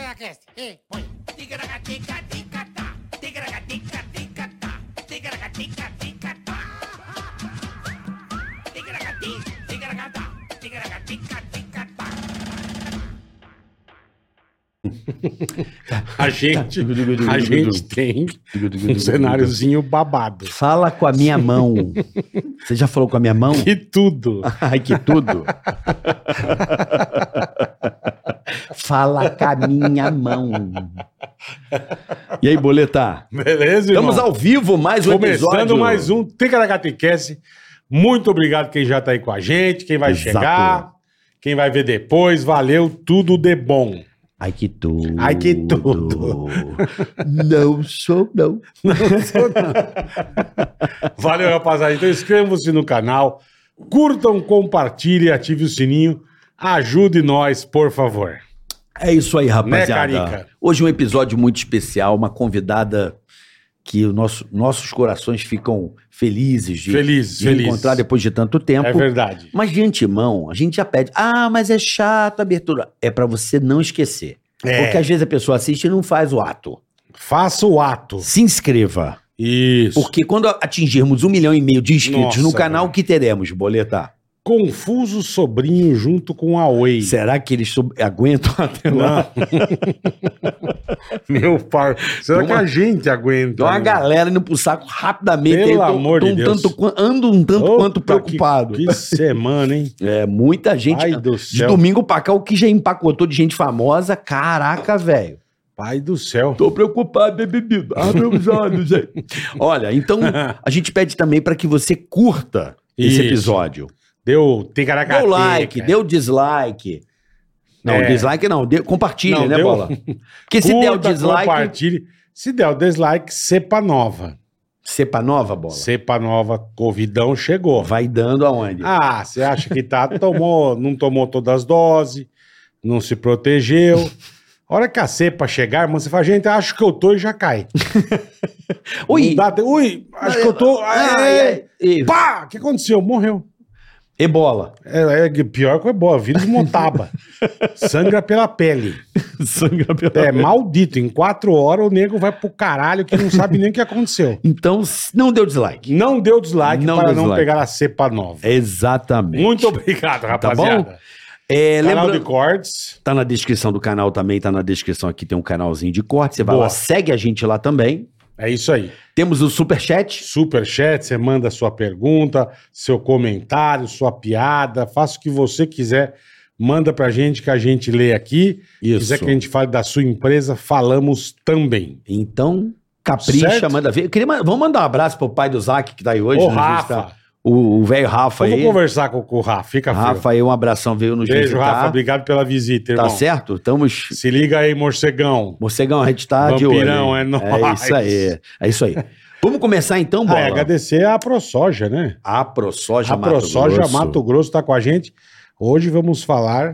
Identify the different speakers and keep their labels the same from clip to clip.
Speaker 1: Ticaracast. Ei, põe.
Speaker 2: Ticaragatica-tica-tá. Ticaragatica-tica-tá. Ticaragatica-tica-tá. Ticaragati, ticaragatá. Ticaragatica-tica-tá.
Speaker 3: A
Speaker 4: Tá.
Speaker 3: gente, a gente tem um cenáriozinho babado.
Speaker 4: Fala com a minha mão. Você já falou com a minha mão?
Speaker 3: E tudo.
Speaker 4: Ai, que tudo. Fala com a minha mão. E aí, Boleta?
Speaker 3: Beleza, irmão?
Speaker 4: Estamos ao vivo, mais um
Speaker 3: Começando
Speaker 4: episódio.
Speaker 3: mais um Ticaracatecast. Muito obrigado quem já tá aí com a gente, quem vai
Speaker 4: Exato.
Speaker 3: chegar, quem vai ver depois. Valeu, tudo de bom.
Speaker 4: Ai, que tudo.
Speaker 3: Ai, que tudo.
Speaker 4: Não sou, não.
Speaker 3: Valeu, rapaziada. Então inscrevam-se no canal, curtam, compartilhem, ative o sininho. Ajude nós, por favor.
Speaker 4: É isso aí, rapaziada.
Speaker 3: Né, Carica?
Speaker 4: Hoje um episódio muito especial, uma convidada que o nosso- nossos corações ficam felizes de,
Speaker 3: Felizes,
Speaker 4: de
Speaker 3: felizes.
Speaker 4: encontrar depois de tanto tempo.
Speaker 3: É verdade.
Speaker 4: Mas de antemão, a gente já pede. Ah, mas é chato a abertura. É pra você não esquecer.
Speaker 3: É.
Speaker 4: Porque às vezes a pessoa assiste e não faz o ato.
Speaker 3: Faça o ato.
Speaker 4: Se inscreva.
Speaker 3: Isso.
Speaker 4: Porque quando atingirmos um milhão e meio de inscritos
Speaker 3: Nossa,
Speaker 4: no canal,
Speaker 3: velho.
Speaker 4: o que teremos, Boleta?
Speaker 3: Confuso sobrinho junto com a Oi.
Speaker 4: Será que eles sob- aguentam até lá?
Speaker 3: Não. Meu pai. Será
Speaker 4: Tem
Speaker 3: que
Speaker 4: uma-
Speaker 3: a gente aguenta?
Speaker 4: Então a
Speaker 3: né?
Speaker 4: galera indo pro saco rapidamente.
Speaker 3: Pelo
Speaker 4: aí eu tô-
Speaker 3: amor
Speaker 4: tô
Speaker 3: de
Speaker 4: um
Speaker 3: Deus.
Speaker 4: tanto quan- ando um tanto
Speaker 3: Opa,
Speaker 4: quanto preocupado.
Speaker 3: Que, que semana, hein?
Speaker 4: É, muita gente.
Speaker 3: Pai do
Speaker 4: de
Speaker 3: céu.
Speaker 4: domingo pra cá, o que já empacotou de gente famosa, caraca, velho.
Speaker 3: Pai do céu.
Speaker 4: Tô preocupado, bebê. Abre os olhos, gente. Olha, então a gente pede também pra que você curta
Speaker 3: Isso.
Speaker 4: esse episódio.
Speaker 3: Deu ticaracateca.
Speaker 4: Deu like, deu dislike. Não,
Speaker 3: É.
Speaker 4: dislike não, deu- compartilha,
Speaker 3: Não,
Speaker 4: né,
Speaker 3: deu-
Speaker 4: Bola? Porque se der o
Speaker 3: Curta,
Speaker 4: dislike,
Speaker 3: Compartilhe. Se der o dislike, cepa nova.
Speaker 4: cepa é nova, Bola.
Speaker 3: Cepa nova, covidão chegou.
Speaker 4: Vai dando aonde?
Speaker 3: Ah, você acha que tá, tomou, não tomou todas as doses, não se protegeu. A hora que a cepa chegar, irmão, você fala, gente, acho que eu tô e já cai. Não
Speaker 4: Oi,
Speaker 3: dá te- Ui, acho que eu tô.
Speaker 4: Ai,
Speaker 3: é,
Speaker 4: ai, e-
Speaker 3: Pá! O que aconteceu? Morreu.
Speaker 4: Ebola.
Speaker 3: É, é pior que o ebola, vírus motaba. Sangra pela pele.
Speaker 4: Sangra pela
Speaker 3: É maldito. Em quatro horas o nego vai pro caralho que não sabe nem o que aconteceu.
Speaker 4: Então, s- não deu dislike.
Speaker 3: Não deu dislike
Speaker 4: Não
Speaker 3: para
Speaker 4: deu
Speaker 3: não
Speaker 4: dislike.
Speaker 3: pegar a cepa nova.
Speaker 4: Exatamente.
Speaker 3: Muito obrigado, rapaziada.
Speaker 4: bom? É,
Speaker 3: Canal
Speaker 4: lembrando-
Speaker 3: de cortes.
Speaker 4: Tá na descrição do canal também, tá na descrição aqui, tem um canalzinho de corte. Você vai
Speaker 3: Boa.
Speaker 4: lá, segue a gente lá também.
Speaker 3: É isso aí.
Speaker 4: Temos o Superchat.
Speaker 3: Super chat, você manda sua pergunta, seu comentário, sua piada, faça o que você quiser. Manda pra gente que a gente lê aqui. Se quiser que a gente fale da sua empresa, falamos também.
Speaker 4: Então, capricha,
Speaker 3: Certo.
Speaker 4: manda ver. Eu queria ma- Vamos mandar um abraço pro pai do Zac, que tá aí hoje.
Speaker 3: Ô,
Speaker 4: né,
Speaker 3: Rafa,
Speaker 4: justa- O o velho Rafa
Speaker 3: vamos
Speaker 4: aí.
Speaker 3: conversar com, com o Rafa, fica
Speaker 4: Rafa
Speaker 3: Rafa,
Speaker 4: aí, um abração, veio nos
Speaker 3: Beijo,
Speaker 4: visitar.
Speaker 3: Rafa, obrigado pela visita, irmão.
Speaker 4: Tá certo? Estamos...
Speaker 3: Se liga aí, morcegão.
Speaker 4: Morcegão, a gente tá de
Speaker 3: Vampirão,
Speaker 4: olho.
Speaker 3: é nóis.
Speaker 4: É isso aí, é isso aí. Vamos começar então,
Speaker 3: Ah,
Speaker 4: Bola?
Speaker 3: e agradecer a ProSoja, né?
Speaker 4: A ProSoja
Speaker 3: a
Speaker 4: Mato
Speaker 3: ProSoja
Speaker 4: Grosso.
Speaker 3: Mato Grosso tá com a gente. Hoje vamos falar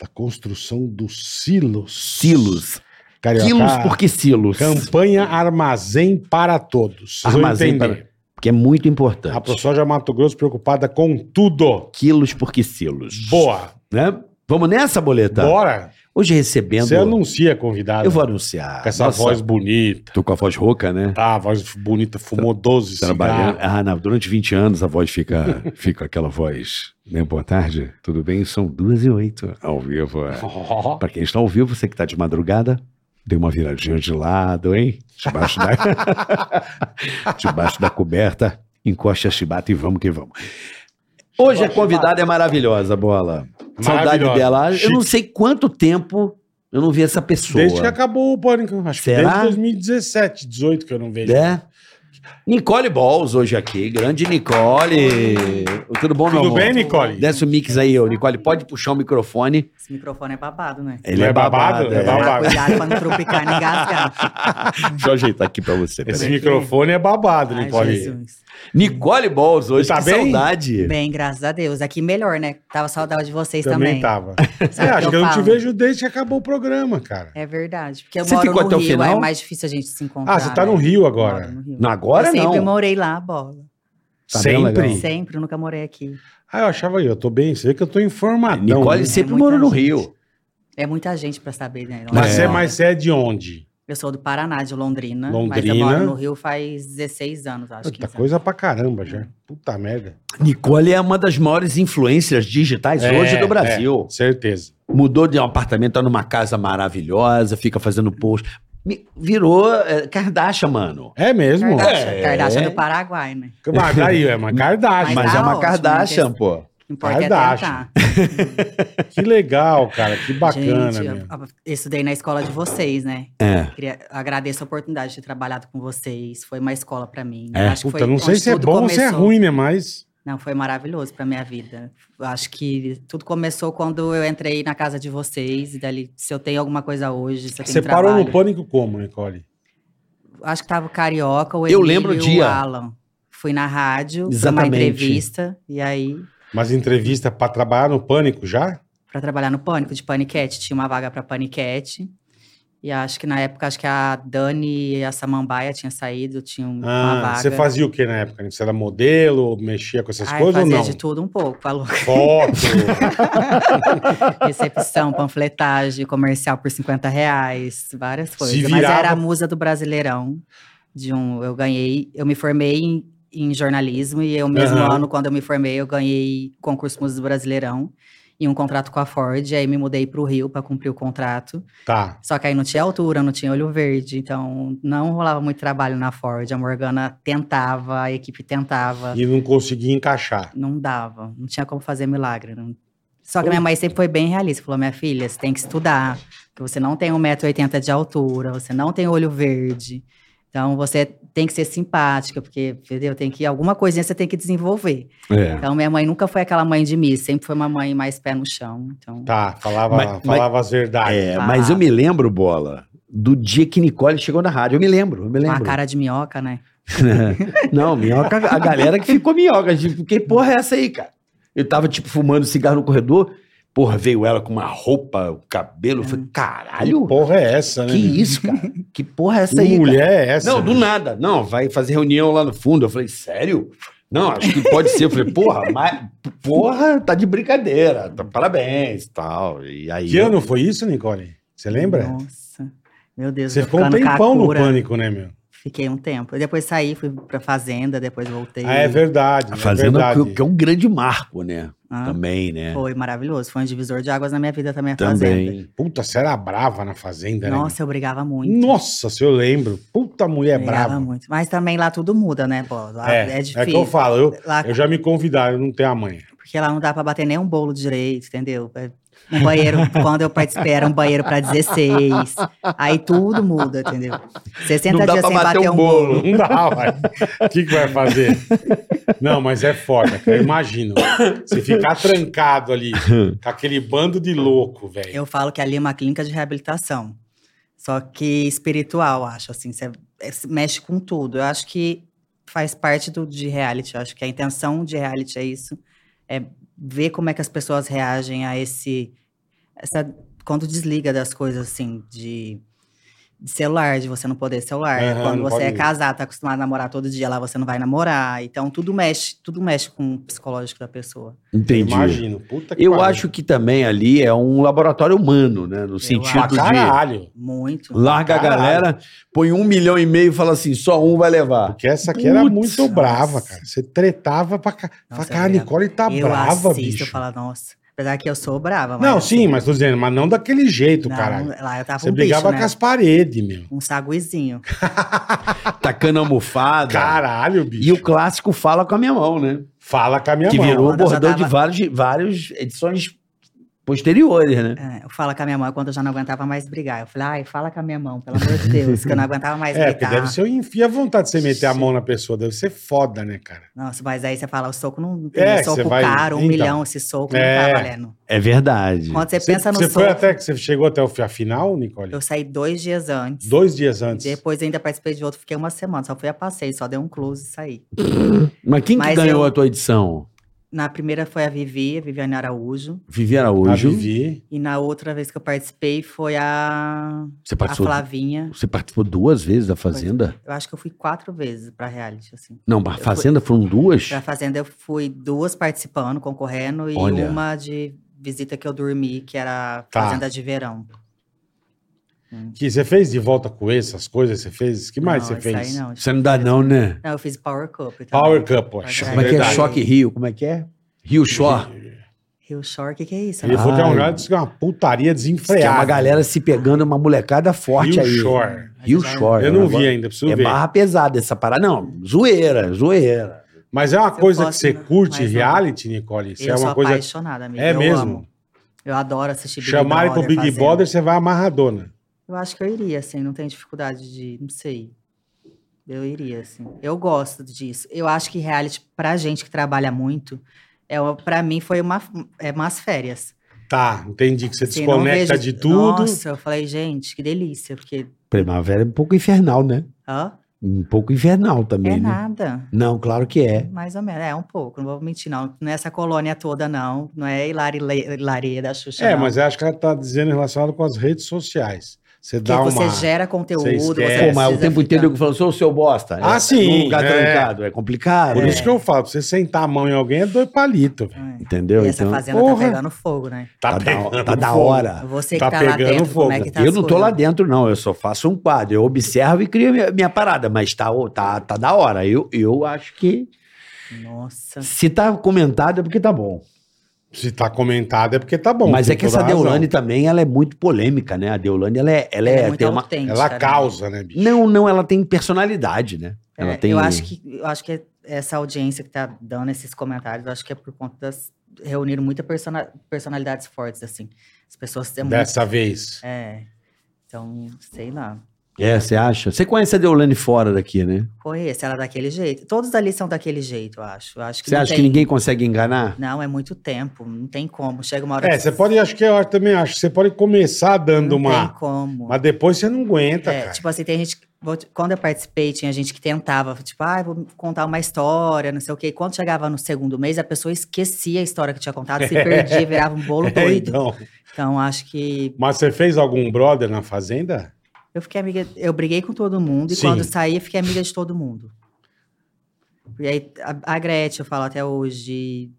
Speaker 3: da construção dos silos.
Speaker 4: Silos.
Speaker 3: Carioca,
Speaker 4: Quilos porque silos.
Speaker 3: Campanha Armazém para Todos. Vocês vão
Speaker 4: Armazém
Speaker 3: entender.
Speaker 4: Porque é muito
Speaker 3: A
Speaker 4: importante.
Speaker 3: ProSoja Mato Grosso preocupada com tudo.
Speaker 4: Quilos porque silos.
Speaker 3: Boa.
Speaker 4: Né? Vamos nessa, Boleta?
Speaker 3: Bora.
Speaker 4: Hoje recebendo...
Speaker 3: Você anuncia convidado.
Speaker 4: Eu vou anunciar.
Speaker 3: Com essa
Speaker 4: Nossa,
Speaker 3: voz bonita.
Speaker 4: Tô com a voz rouca, né?
Speaker 3: Tá, voz bonita. Fumou 12
Speaker 4: Trabalhando.
Speaker 3: cigarros.
Speaker 4: Ah, não, durante 20 anos a voz fica, fica aquela voz. Né? Boa tarde, tudo bem? São duas e oito ao vivo. é.
Speaker 3: Ó.
Speaker 4: Pra quem está ao vivo, você que tá de madrugada, dê uma viradinha de lado, hein? Debaixo da, debaixo da coberta, encoste a chibata e vamos que vamos. Hoje a convidada é maravilhosa, Bola. Saudade
Speaker 3: Maravilhosa.
Speaker 4: dela. Eu não
Speaker 3: Chique.
Speaker 4: sei quanto tempo eu não vi essa pessoa.
Speaker 3: Desde que acabou o pânico. Acho que
Speaker 4: Será?
Speaker 3: desde 2017, 18 que eu não vejo.
Speaker 4: né? Nicole Balls hoje aqui, grande Nicole. Tudo bom, meu
Speaker 3: Tudo
Speaker 4: amor?
Speaker 3: bem, Nicole?
Speaker 4: Desce o mix aí, ô. Nicole. Pode puxar o microfone.
Speaker 5: Esse microfone é babado, né?
Speaker 4: Ele
Speaker 3: Não
Speaker 4: é,
Speaker 3: é babado?
Speaker 4: babado.
Speaker 3: É
Speaker 4: é.
Speaker 3: babado.
Speaker 5: Cuidado pra não tropicar nem Ah, engasgar.
Speaker 4: Deixa eu ajeitar aqui pra você.
Speaker 3: Esse
Speaker 4: peraí.
Speaker 3: microfone é babado,
Speaker 5: Ai,
Speaker 3: Nicole.
Speaker 5: Jesus.
Speaker 4: Nicole Balls hoje,
Speaker 3: Tá
Speaker 4: que
Speaker 3: bem?
Speaker 4: saudade.
Speaker 5: Bem, graças a Deus. Aqui melhor, né? Tava saudade de vocês também.
Speaker 3: Também tava. Você
Speaker 5: Sabe o
Speaker 3: acha que eu não te
Speaker 5: falo?
Speaker 3: vejo desde que acabou o programa, cara.
Speaker 5: É verdade. Porque eu
Speaker 4: Você
Speaker 5: moro
Speaker 4: ficou
Speaker 5: no
Speaker 4: até o
Speaker 5: Rio,
Speaker 4: final?
Speaker 5: é mais difícil a gente se encontrar.
Speaker 3: Ah, você tá
Speaker 5: né?
Speaker 3: no Rio
Speaker 5: Eu moro
Speaker 3: agora.
Speaker 5: no Rio.
Speaker 4: Não, agora
Speaker 5: eu sempre
Speaker 4: não.
Speaker 5: morei lá, bola.
Speaker 4: Tá bem
Speaker 3: Sempre.
Speaker 4: legal.
Speaker 5: Sempre, eu nunca morei aqui.
Speaker 3: Ah, eu achava aí, eu tô bem. Você vê que eu tô informadão.
Speaker 4: Nicole
Speaker 3: né?
Speaker 4: sempre
Speaker 5: Muita
Speaker 4: morou no
Speaker 5: gente.
Speaker 4: Rio.
Speaker 5: É muita gente pra saber, né?
Speaker 3: Mas
Speaker 4: É.
Speaker 3: você é, mas você é de onde?
Speaker 5: Eu sou do Paraná, de Londrina. Mas eu
Speaker 3: Londrina.
Speaker 5: moro no Rio faz 16 anos, acho que. é.
Speaker 3: Puta coisa pra caramba já. Puta merda.
Speaker 4: Nicole é uma das maiores influências digitais
Speaker 3: É,
Speaker 4: hoje do Brasil.
Speaker 3: Certeza.
Speaker 4: Mudou de um apartamento, tá numa casa maravilhosa, fica fazendo post. Me- Virou é, Kardashian, mano.
Speaker 3: É mesmo?
Speaker 5: Kardashian,
Speaker 4: É.
Speaker 5: Kardashian do Paraguai, né?
Speaker 3: Mas daí, é uma Kardashian.
Speaker 4: Mas
Speaker 5: tá
Speaker 4: é uma
Speaker 5: ótimo,
Speaker 4: Kardashian,
Speaker 5: não
Speaker 4: pô.
Speaker 5: O que Importa
Speaker 3: Kardashian.
Speaker 5: é tentar.
Speaker 3: Que legal, cara. Que bacana,
Speaker 5: Gente, eu,
Speaker 3: meu.
Speaker 5: eu estudei na escola de vocês, né?
Speaker 4: É.
Speaker 5: Queria, agradeço a oportunidade de ter trabalhado com vocês. Foi uma escola pra mim.
Speaker 4: É.
Speaker 5: Acho que
Speaker 3: Puta,
Speaker 5: foi
Speaker 3: não sei
Speaker 5: onde
Speaker 3: se é
Speaker 5: tudo
Speaker 3: bom ou se é
Speaker 5: começou.
Speaker 3: ruim, né? Mas.
Speaker 5: Não, foi maravilhoso pra minha vida. Eu Acho que tudo começou quando eu entrei na casa de vocês. E dali, se eu tenho alguma coisa hoje, se eu tenho
Speaker 3: Você parou
Speaker 5: trabalho.
Speaker 3: no pânico como, Nicole?
Speaker 5: Acho que tava o Carioca, o
Speaker 4: Eu
Speaker 5: Emílio
Speaker 4: lembro o
Speaker 5: e
Speaker 4: dia.
Speaker 5: o Alan. Fui na rádio, pra uma
Speaker 4: Exatamente.
Speaker 5: entrevista. E aí,
Speaker 3: Mas entrevista pra trabalhar no pânico já?
Speaker 5: pra trabalhar no Pânico, de Paniquete, tinha uma vaga pra Paniquete. E acho que na época, acho que a Dani e a Samambaia tinham saído, tinham uma
Speaker 3: Ah,
Speaker 5: vaga.
Speaker 3: você fazia o que na época? Você era modelo, mexia com essas
Speaker 5: Ai,
Speaker 3: coisas ou
Speaker 5: fazia
Speaker 3: não?
Speaker 5: de tudo um pouco, falou.
Speaker 3: Foto.
Speaker 5: Recepção, panfletagem, comercial por 50 reais, várias coisas. Mas
Speaker 3: virava.
Speaker 5: era a musa do Brasileirão. De um, eu ganhei, eu me formei em, em jornalismo e eu mesmo
Speaker 3: Aham.
Speaker 5: ano, quando eu me formei, eu ganhei concurso Musa do Brasileirão e um contrato com a Ford. Aí me mudei para o Rio para cumprir o contrato.
Speaker 3: tá.
Speaker 5: Só que aí não tinha altura, não tinha olho verde, então não rolava muito trabalho na Ford. A Morgana tentava, a equipe tentava.
Speaker 3: E não conseguia encaixar.
Speaker 5: Não dava, não tinha como fazer milagre. não- Só que minha mãe sempre foi bem realista. Falou, minha filha, você tem que estudar, que você não tem 1,80m de altura, você não tem olho verde. Então, você tem que ser simpática, porque, entendeu? Tem que, alguma coisinha você tem que desenvolver.
Speaker 4: É.
Speaker 5: Então, minha mãe nunca foi aquela mãe de mim, sempre foi uma mãe mais pé no chão. Então,
Speaker 3: Tá, falava,
Speaker 4: Mas- mas-
Speaker 3: falava as verdades.
Speaker 4: É,
Speaker 5: Tá.
Speaker 4: mas eu me lembro, Bola, do dia que Nicole chegou na rádio. Eu me lembro, eu me
Speaker 5: com a
Speaker 4: lembro.
Speaker 5: Ah, cara de minhoca, né?
Speaker 4: Não, minhoca, a galera que ficou minhoca. Tipo, que porra é essa aí, cara? Eu tava, tipo, fumando cigarro no corredor. Porra, veio ela com uma roupa, o cabelo. Eu
Speaker 5: Hum.
Speaker 4: falei,
Speaker 3: Que
Speaker 4: caralho,
Speaker 3: porra é essa, né?
Speaker 4: que isso, cara? Que porra é essa aí, cara?
Speaker 3: mulher é essa?
Speaker 4: Não, do nada. Não, vai fazer reunião lá no fundo. Eu falei, sério? Não, acho que pode ser. Eu falei, porra, mas, porra, tá de brincadeira. Tá, parabéns e tal. E aí...
Speaker 3: Que ano foi isso, Nicole? Você lembra?
Speaker 5: Nossa, meu Deus.
Speaker 3: Você
Speaker 5: tô
Speaker 3: ficou um
Speaker 5: ficando com a
Speaker 3: tempão no
Speaker 5: cura.
Speaker 3: pânico, né, meu?
Speaker 5: Fiquei um tempo. Eu depois saí, fui pra fazenda, depois voltei.
Speaker 3: Ah, é verdade.
Speaker 4: A
Speaker 3: é
Speaker 4: Fazenda,
Speaker 3: verdade.
Speaker 4: que, que é um grande marco, né?
Speaker 5: Ah,
Speaker 4: Também, né?
Speaker 5: Foi maravilhoso, foi um divisor de águas na minha vida também a
Speaker 4: tá
Speaker 5: fazenda.
Speaker 4: Também.
Speaker 3: Puta, você era brava na Fazenda, né?
Speaker 5: Nossa, eu brigava
Speaker 3: meu?
Speaker 5: muito.
Speaker 3: Nossa, se eu lembro. Puta mulher
Speaker 5: brigava
Speaker 3: brava.
Speaker 5: muito. Mas também lá tudo muda, né, pô? Lá é, difícil.
Speaker 3: que eu falo, eu,
Speaker 5: Lá-
Speaker 3: eu já me convidaram, eu não tenho a mãe.
Speaker 5: Porque lá não dá pra bater nem um bolo direito, entendeu? É, Um banheiro, quando eu participei, era um banheiro pra 16. Aí tudo muda, entendeu? 60
Speaker 4: Não dá
Speaker 5: dias
Speaker 4: pra
Speaker 5: sem
Speaker 4: bater um bolo.
Speaker 3: Não dá, vai. O que, que vai fazer? Não, mas é foda, cara. Eu imagino. Você ficar trancado ali, com aquele bando de louco, velho.
Speaker 5: Eu falo que ali é uma clínica de reabilitação. Só que espiritual, acho, assim. Você é, se mexe com tudo. Eu acho que faz parte do, de reality. Eu acho que a intenção de reality é isso. É ver como é que as pessoas reagem a esse... Essa, quando desliga das coisas, assim, de... de celular, de você não poder celular.
Speaker 3: Aham,
Speaker 5: Quando
Speaker 3: não
Speaker 5: você é
Speaker 3: pode-
Speaker 5: casado, tá acostumado a namorar todo dia, lá você não vai namorar. Então, tudo mexe, tudo mexe com o psicológico da pessoa.
Speaker 3: Eu
Speaker 4: Entendi.
Speaker 3: imagino. Puta que
Speaker 4: Eu
Speaker 3: pariu.
Speaker 4: acho que também ali é um laboratório humano, né? No sentido
Speaker 3: Pra
Speaker 5: acho.
Speaker 4: de
Speaker 3: caralho.
Speaker 5: Muito.
Speaker 4: larga a
Speaker 3: Caralho.
Speaker 4: galera, põe um milhão e meio e fala assim, só um vai levar.
Speaker 3: Porque essa aqui era
Speaker 4: Putz,
Speaker 3: muito
Speaker 5: nossa.
Speaker 3: brava, cara. Você tretava pra cá. Fala,
Speaker 5: Nossa,
Speaker 3: cara, a
Speaker 5: eu
Speaker 3: Nicole tá
Speaker 5: eu
Speaker 3: brava,
Speaker 5: assisto,
Speaker 3: bicho.
Speaker 5: Eu falo, nossa. Apesar que eu sou brava, mas. assim,
Speaker 3: Não, sim, mas tô dizendo, mas não daquele jeito,
Speaker 5: não,
Speaker 3: caralho.
Speaker 5: Lá eu tava
Speaker 3: Você
Speaker 5: um bicho,
Speaker 3: brigava
Speaker 5: né?
Speaker 3: com as paredes, meu.
Speaker 5: Um saguizinho.
Speaker 4: Tacando almofada.
Speaker 3: Caralho, bicho.
Speaker 4: E o clássico fala com a minha mão, né?
Speaker 3: Fala com a minha
Speaker 4: que
Speaker 3: mão.
Speaker 4: virou
Speaker 5: Quando eu já
Speaker 4: bordão de
Speaker 5: tava-
Speaker 4: vários, vários edições posteriores, né?
Speaker 5: É, eu falo com a minha mão quando eu já não aguentava mais brigar. Eu falei, ai, fala com a minha mão, pelo amor de Deus, que eu não aguentava mais
Speaker 3: É, porque
Speaker 5: gritar.
Speaker 3: deve ser um enfia à vontade de você meter a mão na pessoa. Deve ser foda, né, cara?
Speaker 5: Nossa, mas aí você fala, o soco não tem
Speaker 3: É, você
Speaker 5: soco
Speaker 3: vai-
Speaker 5: caro, um
Speaker 3: então.
Speaker 5: milhão, esse soco
Speaker 3: É.
Speaker 5: não tá valendo.
Speaker 4: É verdade.
Speaker 5: Quando você, pensa no
Speaker 3: você
Speaker 5: soco,
Speaker 3: foi até que você chegou até o fi- a final, Nicole?
Speaker 5: eu saí dois dias antes.
Speaker 3: Dois dias antes.
Speaker 5: Depois ainda participei de outro, fiquei uma semana, só fui a passeio, só dei um close e saí.
Speaker 4: Mas quem que
Speaker 5: Mas
Speaker 4: ganhou
Speaker 5: eu-
Speaker 4: a tua edição?
Speaker 5: Na primeira foi a Vivi, a Viviane Araújo.
Speaker 4: Vivi
Speaker 3: A
Speaker 4: Araújo.
Speaker 3: Vivi.
Speaker 5: E na outra vez que eu participei foi a,
Speaker 4: Você,
Speaker 5: a
Speaker 4: participou,
Speaker 5: Flavinha.
Speaker 4: você participou duas vezes da Fazenda?
Speaker 5: Eu acho que eu fui quatro vezes pra reality, assim.
Speaker 4: Não, a Fazenda foram duas?
Speaker 5: Pra Fazenda eu fui duas participando, concorrendo, e
Speaker 4: Olha.
Speaker 5: uma de visita que eu dormi, que era
Speaker 3: Tá.
Speaker 5: Fazenda de Verão.
Speaker 3: Que você fez de volta com essas coisas? Você fez? que mais
Speaker 5: Não, esse
Speaker 3: você
Speaker 5: aí
Speaker 3: fez?
Speaker 5: não.
Speaker 4: Você não dá não, né?
Speaker 5: Não, eu fiz Power Cup. também.
Speaker 3: Power Cup, acho.
Speaker 4: Como é que é?
Speaker 5: Verdade.
Speaker 4: Choque Rio. Como é que é? Rio Shore.
Speaker 5: Rio Shore, o que, que é isso?
Speaker 3: Ele
Speaker 5: Ah,
Speaker 3: foi de um
Speaker 4: Ai.
Speaker 3: lugar disse que é uma putaria
Speaker 4: Que é
Speaker 3: desenfreada.
Speaker 4: uma galera se pegando, uma molecada forte
Speaker 3: Rio
Speaker 4: aí.
Speaker 3: Shore.
Speaker 4: Rio Shore.
Speaker 3: Eu não
Speaker 4: Agora-
Speaker 3: vi ainda, preciso
Speaker 4: É
Speaker 3: ver.
Speaker 4: barra pesada essa parada. Não, zoeira, zoeira.
Speaker 3: Mas é uma
Speaker 5: Se eu
Speaker 3: coisa
Speaker 5: posso,
Speaker 3: que você
Speaker 5: não.
Speaker 3: curte
Speaker 5: Mas não.
Speaker 3: reality, Nicole? Isso é
Speaker 5: eu sou
Speaker 3: uma coisa.
Speaker 5: apaixonada, amiga.
Speaker 3: É
Speaker 5: eu
Speaker 3: mesmo?
Speaker 5: Amo. Eu adoro assistir Big
Speaker 3: Chamarem pro
Speaker 5: Brother.
Speaker 3: Big
Speaker 5: Fazenda.
Speaker 3: Brother, você vai amarradona.
Speaker 5: Eu acho que eu iria, assim, não tenho dificuldade de, não sei. Eu iria, assim. Eu gosto disso. Eu acho que reality, pra gente que trabalha muito, é, uma- pra mim foi uma, é umas férias.
Speaker 3: Tá, entendi que você
Speaker 5: Assim, não
Speaker 3: desconecta
Speaker 5: vejo-
Speaker 3: de tudo.
Speaker 5: Nossa, eu falei, gente, que delícia, porque,
Speaker 4: Primavera é um pouco infernal, né?
Speaker 5: ó,
Speaker 4: Um pouco infernal também,
Speaker 5: é
Speaker 4: né?
Speaker 5: nada.
Speaker 4: Não, claro que é.
Speaker 5: Mais ou menos, é um pouco, não vou mentir, não. Não é essa colônia toda, não. Não é Hilari Le- Lareia da Xuxa,
Speaker 3: É,
Speaker 5: não.
Speaker 3: mas eu acho que ela tá dizendo relacionado com as redes sociais. Você
Speaker 5: Porque
Speaker 3: dá uma.
Speaker 5: você gera conteúdo, você,
Speaker 3: esquece. É,
Speaker 4: Pô, mas o
Speaker 5: precisa
Speaker 4: tempo inteiro
Speaker 5: ficar-
Speaker 4: eu falo, sou o seu bosta.
Speaker 3: Ah,
Speaker 4: É,
Speaker 3: sim,
Speaker 4: Num lugar
Speaker 3: é.
Speaker 4: trancado. É complicado.
Speaker 3: Por
Speaker 4: né?
Speaker 3: isso que eu falo, pra você sentar a mão em alguém é dois palitos, velho.
Speaker 5: É.
Speaker 4: Entendeu?
Speaker 5: E essa
Speaker 4: Então,
Speaker 5: fazenda
Speaker 3: porra.
Speaker 5: tá pegando fogo, né?
Speaker 4: tá, da, tá da
Speaker 3: fogo.
Speaker 4: hora.
Speaker 5: Você que
Speaker 3: Tá
Speaker 5: tá, lá
Speaker 3: pegando
Speaker 5: dentro,
Speaker 3: fogo.
Speaker 5: como é que tá
Speaker 4: eu
Speaker 5: as
Speaker 4: não tô lá
Speaker 5: coisas?
Speaker 4: dentro, não. Eu só faço um quadro. Eu observo e crio minha, minha parada, mas tá, tá, tá da hora. Eu, eu acho que
Speaker 5: Nossa.
Speaker 4: se tá comentado é porque tá bom.
Speaker 3: Se tá comentado é porque tá bom.
Speaker 4: mas
Speaker 3: tem
Speaker 4: é que essa
Speaker 3: toda a razão.
Speaker 4: Deolane também, ela é muito polêmica, né? A Deolane, ela é, ela
Speaker 5: Ela
Speaker 4: é,
Speaker 5: muito
Speaker 4: tem uma...
Speaker 5: autêntica,
Speaker 3: Ela
Speaker 5: né?
Speaker 3: causa, né, bicho?
Speaker 4: Não, não, ela tem personalidade, né? Ela
Speaker 5: É,
Speaker 4: tem...
Speaker 5: Eu acho que, eu acho que essa audiência que tá dando esses comentários, eu acho que é por conta das. reuniram muitas persona- personalidades fortes, assim. As pessoas. É muito-
Speaker 3: Dessa vez.
Speaker 5: É. Então, sei lá.
Speaker 4: É, você acha? Você conhece a Deolane fora daqui, né?
Speaker 5: Conheço ela é daquele jeito. Todos ali são daquele jeito, eu acho. Eu acho que
Speaker 4: Você
Speaker 5: não
Speaker 4: acha que
Speaker 5: tem-
Speaker 4: ninguém consegue enganar?
Speaker 5: Não, é muito tempo. Não tem como. Chega uma hora
Speaker 3: É,
Speaker 5: que
Speaker 3: você pode, acho que eu também acho, que você pode começar dando
Speaker 5: não
Speaker 3: uma.
Speaker 5: tem como.
Speaker 3: Mas depois você não aguenta,
Speaker 5: É,
Speaker 3: cara.
Speaker 5: tipo assim, tem gente. que- vou te- Quando eu participei, tinha gente que tentava, tipo, ah, eu vou contar uma história, não sei o quê. E quando chegava no segundo mês, a pessoa esquecia a história que tinha contado, se perdia, virava um bolo
Speaker 3: É,
Speaker 5: doido. então.
Speaker 3: então.
Speaker 5: acho que.
Speaker 3: Mas você fez algum brother na fazenda?
Speaker 5: Eu fiquei amiga. Eu briguei com todo mundo e
Speaker 3: Sim.
Speaker 5: quando saí, eu fiquei amiga de todo mundo. E aí, a, a Gretchen, eu falo até hoje.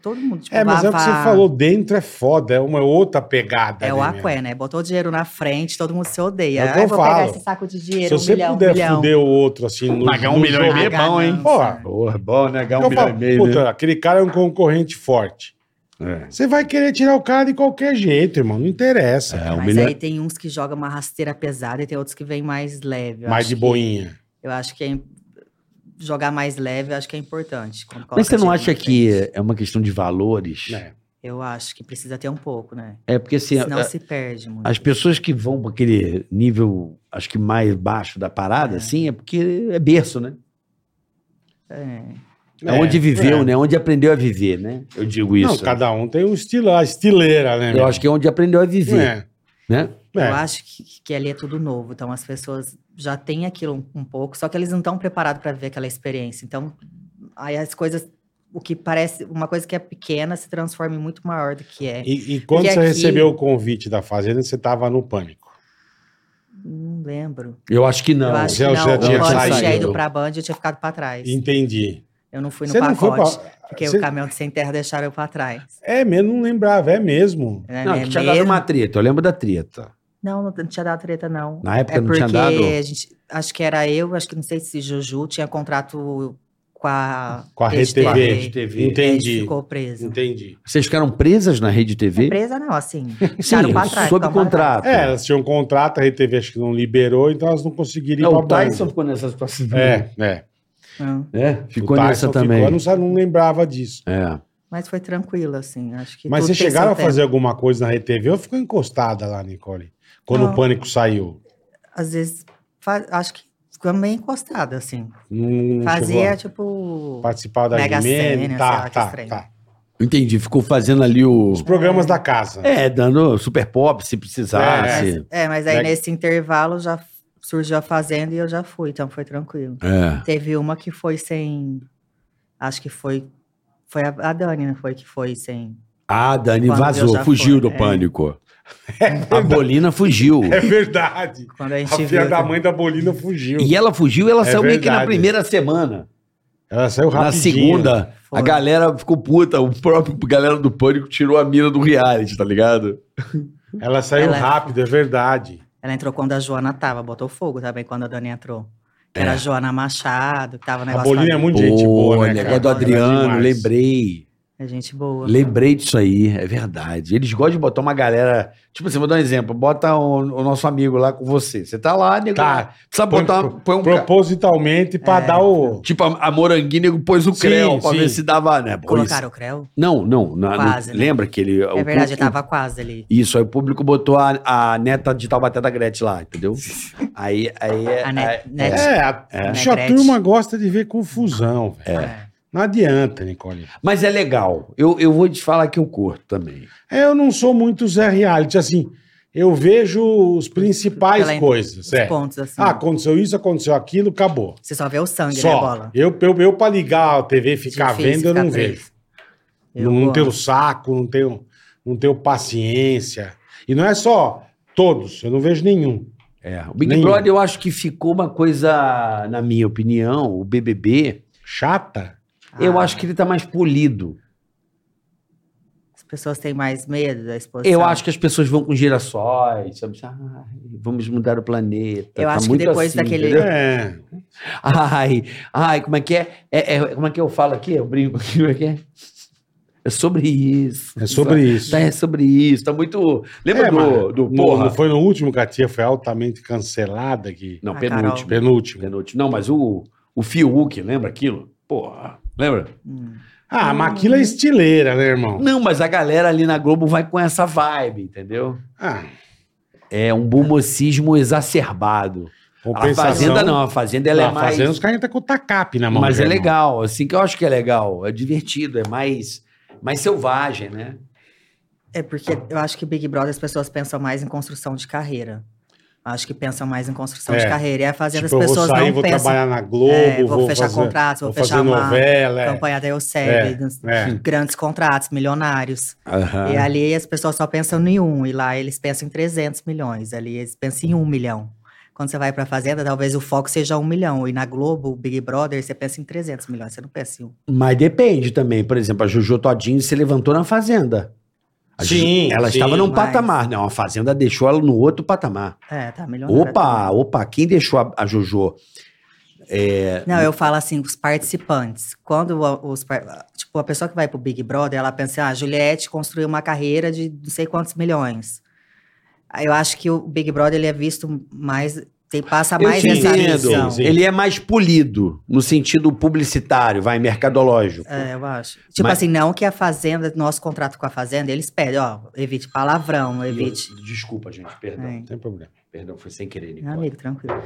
Speaker 5: Todo mundo, tipo,
Speaker 3: É, mas é o que você
Speaker 5: Vavá,
Speaker 3: falou, dentro é foda, é uma outra pegada.
Speaker 5: É
Speaker 3: né,
Speaker 5: o
Speaker 3: meu?
Speaker 5: aqué, né? Botou dinheiro na frente, todo mundo se odeia.
Speaker 3: É o que
Speaker 5: Ai,
Speaker 3: eu
Speaker 5: vou pegar
Speaker 3: falo.
Speaker 5: esse saco de
Speaker 3: Se
Speaker 5: dinheiro, um
Speaker 3: você
Speaker 5: milhão, um
Speaker 3: puder
Speaker 5: milhão.
Speaker 3: fuder o outro assim. No,
Speaker 4: Pagar um
Speaker 3: no
Speaker 4: milhão e
Speaker 3: jogo-
Speaker 4: meio é
Speaker 5: Pagar
Speaker 4: bom, hein?
Speaker 5: não,
Speaker 3: Porra,
Speaker 4: Porra, bom, né? Ganhar
Speaker 5: Então, um
Speaker 3: eu falo, puta, aquele cara é um concorrente forte.
Speaker 4: né?
Speaker 3: Você vai querer tirar o cara de qualquer jeito, irmão. Não interessa.
Speaker 4: É, um
Speaker 5: Mas
Speaker 4: milhão-
Speaker 5: aí tem uns que jogam uma rasteira pesada e tem outros que vêm mais leve. Eu
Speaker 3: mais
Speaker 5: acho
Speaker 3: de
Speaker 5: que-
Speaker 3: boinha.
Speaker 5: Eu acho que é im- jogar mais leve, eu acho que é importante. quando coloca
Speaker 4: Mas você não
Speaker 5: dinheiro na
Speaker 4: acha que
Speaker 5: frente.
Speaker 4: é uma questão de valores?
Speaker 3: né?
Speaker 5: Eu acho que precisa ter um pouco, né?
Speaker 4: É porque assim,
Speaker 5: Senão
Speaker 4: a-
Speaker 5: se perde muito.
Speaker 4: as pessoas que vão para aquele nível, acho que mais baixo da parada,
Speaker 5: É.
Speaker 4: assim, é porque é berço, né?
Speaker 5: É.
Speaker 4: É, onde viveu,
Speaker 3: é.
Speaker 4: né? Onde aprendeu a viver, né? Eu digo isso.
Speaker 3: Não, cada um tem um estilo, a estileira, né?
Speaker 4: Eu acho que é onde aprendeu a viver,
Speaker 3: é.
Speaker 4: né?
Speaker 3: É.
Speaker 5: Eu acho que, que ali é tudo novo. Então as pessoas já têm aquilo um, um pouco, só que eles não estão preparados para ver aquela experiência. Então, aí as coisas. O que parece. Uma coisa que é pequena se transforma em muito maior do que é.
Speaker 3: E, e quando
Speaker 5: Porque
Speaker 3: você
Speaker 5: aqui-
Speaker 3: recebeu o convite da fazenda, você tava no pânico.
Speaker 5: Não lembro.
Speaker 4: Eu acho que não.
Speaker 5: eu acho
Speaker 3: já-
Speaker 5: que
Speaker 3: já
Speaker 5: não. Quando
Speaker 4: tinha
Speaker 5: eu
Speaker 4: saído.
Speaker 5: tinha ido pra Band, eu tinha ficado pra trás.
Speaker 3: Entendi.
Speaker 5: Eu não fui no
Speaker 3: Você não foi
Speaker 5: pacote.
Speaker 3: pra-
Speaker 5: Porque
Speaker 3: Você-
Speaker 5: o caminhão de sem terra deixaram eu pra trás.
Speaker 3: É mesmo, não lembrava, é mesmo.
Speaker 5: Né?
Speaker 4: Não,
Speaker 5: É
Speaker 4: que tinha dado
Speaker 5: mesmo?
Speaker 4: uma treta, eu lembro da treta.
Speaker 5: Não, não, não tinha dado treta, não.
Speaker 4: Na época
Speaker 5: é
Speaker 4: não
Speaker 5: porque
Speaker 4: tinha dado.
Speaker 5: a gente, acho que era eu, acho que não sei se Juju tinha contrato com a
Speaker 3: Com a Rede
Speaker 5: RedeTV.
Speaker 3: TV.
Speaker 4: TV.
Speaker 5: E aí
Speaker 3: Entendi.
Speaker 5: Ficou preso.
Speaker 3: Entendi.
Speaker 4: Vocês ficaram presas na rede TV?
Speaker 5: Presa não, assim.
Speaker 4: Sim,
Speaker 5: Deixaram pra trás.
Speaker 4: sob
Speaker 5: tomaram-
Speaker 4: contrato.
Speaker 3: É, elas tinham um contrato, a RTV acho que não liberou, então elas não conseguiriam
Speaker 4: Não,
Speaker 3: ir
Speaker 4: o
Speaker 3: pra
Speaker 4: Tyson
Speaker 3: Band.
Speaker 4: ficou nessa situação.
Speaker 3: É, é.
Speaker 5: Não,
Speaker 4: É, ficou
Speaker 3: O Tyson
Speaker 4: nessa
Speaker 3: ficou,
Speaker 4: também.
Speaker 3: eu não, sa- não lembrava disso.
Speaker 4: É.
Speaker 5: Mas foi tranquilo, assim. Acho que
Speaker 3: Mas
Speaker 5: tudo
Speaker 3: vocês
Speaker 5: tem seu
Speaker 3: chegaram a
Speaker 5: tempo.
Speaker 3: fazer alguma coisa na RTV ou ficou encostada lá, Nicole? Quando
Speaker 5: Não.
Speaker 3: o pânico saiu?
Speaker 5: Às vezes, fa- acho que ficou meio encostada, assim.
Speaker 3: Não- não chegou
Speaker 5: Fazia,
Speaker 3: a
Speaker 5: tipo.
Speaker 3: participar da
Speaker 5: Mega
Speaker 3: Jimena?
Speaker 5: Sena, sei
Speaker 3: Tá,
Speaker 5: lá, que
Speaker 3: tá,
Speaker 5: estranho.
Speaker 3: tá.
Speaker 4: Entendi, ficou fazendo ali o.
Speaker 3: Os programas da casa.
Speaker 4: É, dando super pop se precisasse.
Speaker 5: Mas- é, mas aí
Speaker 3: Mega-
Speaker 5: nesse intervalo já surgiu a fazenda e eu já fui, então foi tranquilo.
Speaker 4: É.
Speaker 5: Teve uma que foi sem. Acho que foi. Foi a, a Dani, não foi? Que foi sem.
Speaker 4: Ah, Dani
Speaker 5: Quando eu
Speaker 4: vazou,
Speaker 5: já fui,
Speaker 4: fugiu do
Speaker 5: é.
Speaker 4: pânico. A Bolina fugiu.
Speaker 3: É verdade.
Speaker 5: Quando a gente
Speaker 3: A filha
Speaker 5: viu.
Speaker 3: da mãe da Bolina fugiu.
Speaker 4: E ela fugiu, ela
Speaker 3: É
Speaker 4: saiu meio que na
Speaker 3: verdade.
Speaker 4: primeira semana.
Speaker 3: Ela saiu
Speaker 4: Na
Speaker 3: rapidinho.
Speaker 4: segunda,
Speaker 5: Foi.
Speaker 4: a galera ficou puta. O próprio galera do Pânico tirou a mina do reality, tá ligado?
Speaker 3: Ela saiu
Speaker 5: Ela-
Speaker 3: rápido, é verdade.
Speaker 5: Ela entrou quando a Joana tava, botou fogo também quando a Dani entrou. Era
Speaker 4: É.
Speaker 5: a Joana Machado, que tava no
Speaker 3: A
Speaker 5: Um negócio.
Speaker 3: Bolinha é
Speaker 5: lá.
Speaker 3: muito gente boa,
Speaker 4: Pô,
Speaker 3: né, cara?
Speaker 4: negócio do Adriano,
Speaker 3: Ela é demais.
Speaker 4: lembrei.
Speaker 5: É gente boa.
Speaker 4: Lembrei disso aí, é verdade. Eles gostam de botar uma galera. Tipo assim, vou dar um exemplo. Bota o, o nosso amigo lá com você. Você tá lá, nego.
Speaker 3: Tá.
Speaker 4: Sabe
Speaker 3: Põe-
Speaker 4: botar. Põe um ca-
Speaker 3: Propositalmente pra dar o...
Speaker 4: Tipo, a, a Moranguinha nego pôs o
Speaker 3: Sim,
Speaker 4: Creu pra
Speaker 3: sim.
Speaker 4: ver se dava, né? Pô,
Speaker 5: Colocaram o Creu?
Speaker 4: isso- Não, não. na- no-
Speaker 5: Quase, né?
Speaker 4: Lembra que ele.
Speaker 5: É verdade, eu tava quase ali.
Speaker 4: Isso, aí o público botou a, a neta de Taubaté da Gretchen lá, entendeu? Aí, aí,
Speaker 5: A
Speaker 4: aí-
Speaker 5: Net, Net-
Speaker 3: É, a,
Speaker 4: É.
Speaker 3: bicho, a
Speaker 5: Negrete.
Speaker 3: turma gosta de ver confusão, velho.
Speaker 5: é.
Speaker 3: Não adianta, Nicole.
Speaker 4: Mas é legal. Eu, eu vou te falar que eu curto também.
Speaker 3: É, Eu não sou muito Zé Reality, assim, eu vejo os principais
Speaker 5: Pela-
Speaker 3: coisas,
Speaker 5: Os
Speaker 3: é.
Speaker 5: pontos, assim.
Speaker 3: Ah, aconteceu isso, aconteceu aquilo, acabou.
Speaker 5: Você só vê o sangue, né,
Speaker 3: Só.
Speaker 5: bola?
Speaker 3: Eu, eu, eu pra ligar a TV e ficar
Speaker 5: Difícil
Speaker 3: vendo, eu
Speaker 5: ficar
Speaker 3: não
Speaker 5: preso.
Speaker 3: vejo.
Speaker 5: Eu
Speaker 3: não, não
Speaker 5: gosto.
Speaker 3: tenho saco, não tenho, não tenho paciência. E não é só todos, eu não vejo nenhum.
Speaker 4: É, o Big
Speaker 3: Nenhum.
Speaker 4: Brother eu acho que ficou uma coisa, na minha opinião, o BBB,
Speaker 3: Chata?
Speaker 4: eu
Speaker 5: Ah,
Speaker 4: acho que ele tá mais polido.
Speaker 5: As pessoas têm mais medo da exposição.
Speaker 4: Eu acho que as pessoas vão com girassóis, sabe? Assim, Ai, vamos mudar o planeta.
Speaker 5: Eu
Speaker 4: Tá
Speaker 5: acho que
Speaker 4: muito
Speaker 5: depois daquele-
Speaker 4: entendeu?
Speaker 3: É.
Speaker 4: Ai, ai, como é que é? É- é- Como é que eu falo aqui? Eu brinco aqui, como é que é? É sobre isso.
Speaker 3: É sobre isso.
Speaker 4: Tá, é sobre isso. Tá muito. Lembra
Speaker 3: É,
Speaker 4: do,
Speaker 3: mas
Speaker 4: do
Speaker 3: no-
Speaker 4: porra?
Speaker 3: Não
Speaker 5: Ah,
Speaker 3: foi no último que a tia foi altamente cancelada tipo, é aqui.
Speaker 4: Não,
Speaker 5: A
Speaker 4: penúltimo.
Speaker 3: Penúltimo.
Speaker 4: Penúltimo. Não, mas o, o Fiuk, lembra aquilo? Porra. Lembra?
Speaker 5: Hum.
Speaker 3: Ah, mas aquilo é estileira, né, irmão?
Speaker 4: Não, mas a galera ali na Globo vai com essa vibe, entendeu?
Speaker 3: Ah,
Speaker 4: É um bumocismo exacerbado.
Speaker 3: compensação.
Speaker 4: A Fazenda não, a Fazenda ela
Speaker 3: Ela
Speaker 4: é mais...
Speaker 3: Fazenda os caras entram com o tacape na mão.
Speaker 4: Mas
Speaker 3: né,
Speaker 4: é
Speaker 3: irmão?
Speaker 4: legal, assim que eu acho que é legal, é divertido, é mais, mais selvagem, né?
Speaker 5: É porque eu acho que Big Brother as pessoas pensam mais em construção de carreira. Acho que pensam mais em construção
Speaker 3: É.
Speaker 5: de carreira. E a Fazenda
Speaker 3: Tipo, eu
Speaker 5: as
Speaker 3: vou
Speaker 5: pessoas
Speaker 3: sair,
Speaker 5: não
Speaker 3: vou
Speaker 5: pensam.
Speaker 3: trabalhar na Globo,
Speaker 5: É, vou,
Speaker 3: vou
Speaker 5: fechar
Speaker 3: fazer,
Speaker 5: contratos, vou,
Speaker 3: vou
Speaker 5: fechar
Speaker 3: fazer
Speaker 5: uma
Speaker 3: novela. é.
Speaker 5: campanha da Euseb, dos-
Speaker 3: É.
Speaker 5: grandes contratos, milionários. E
Speaker 3: Ah.
Speaker 5: ali as pessoas só pensam em um, e lá eles pensam em 300 milhões, ali eles pensam em um milhão. Quando você vai pra Fazenda, talvez o foco seja um milhão, e na Globo, o Big Brother, você pensa em 300 milhões, você não pensa em um.
Speaker 4: Mas depende também, por exemplo, a Jojo Todinho se levantou na Fazenda. A Jojo-
Speaker 3: Sim,
Speaker 4: Ela
Speaker 3: sim.
Speaker 4: estava num
Speaker 5: Mas-
Speaker 4: patamar, não, a Fazenda deixou ela no outro patamar.
Speaker 5: É, tá, milionário.
Speaker 4: Opa, opa, quem deixou a, a Jojo? Hum.
Speaker 5: Não, eu falo assim, os participantes. Quando a- os, par- tipo, a pessoa que vai pro Big Brother, ela pensa, ah, a Juliette construiu uma carreira de não sei quantos milhões. Aí Eu acho que o Big Brother ele é visto mais, tem, passa
Speaker 4: Eu
Speaker 5: É mais
Speaker 4: te
Speaker 5: essa
Speaker 4: entendo.
Speaker 5: visão.
Speaker 3: Sim, sim.
Speaker 4: Ele é mais polido, no sentido publicitário, vai, mercadológico.
Speaker 5: É, eu acho. Tipo
Speaker 4: Mas-
Speaker 5: assim, não que a Fazenda, nosso contrato com a Fazenda, eles pedem, ó, evite palavrão,
Speaker 4: E eu-
Speaker 5: evite.
Speaker 4: desculpa, gente, perdão.
Speaker 5: É.
Speaker 3: Não tem problema.
Speaker 4: Perdão, foi sem querer,
Speaker 5: Meu
Speaker 4: Nicole.
Speaker 5: amigo, tranquilo.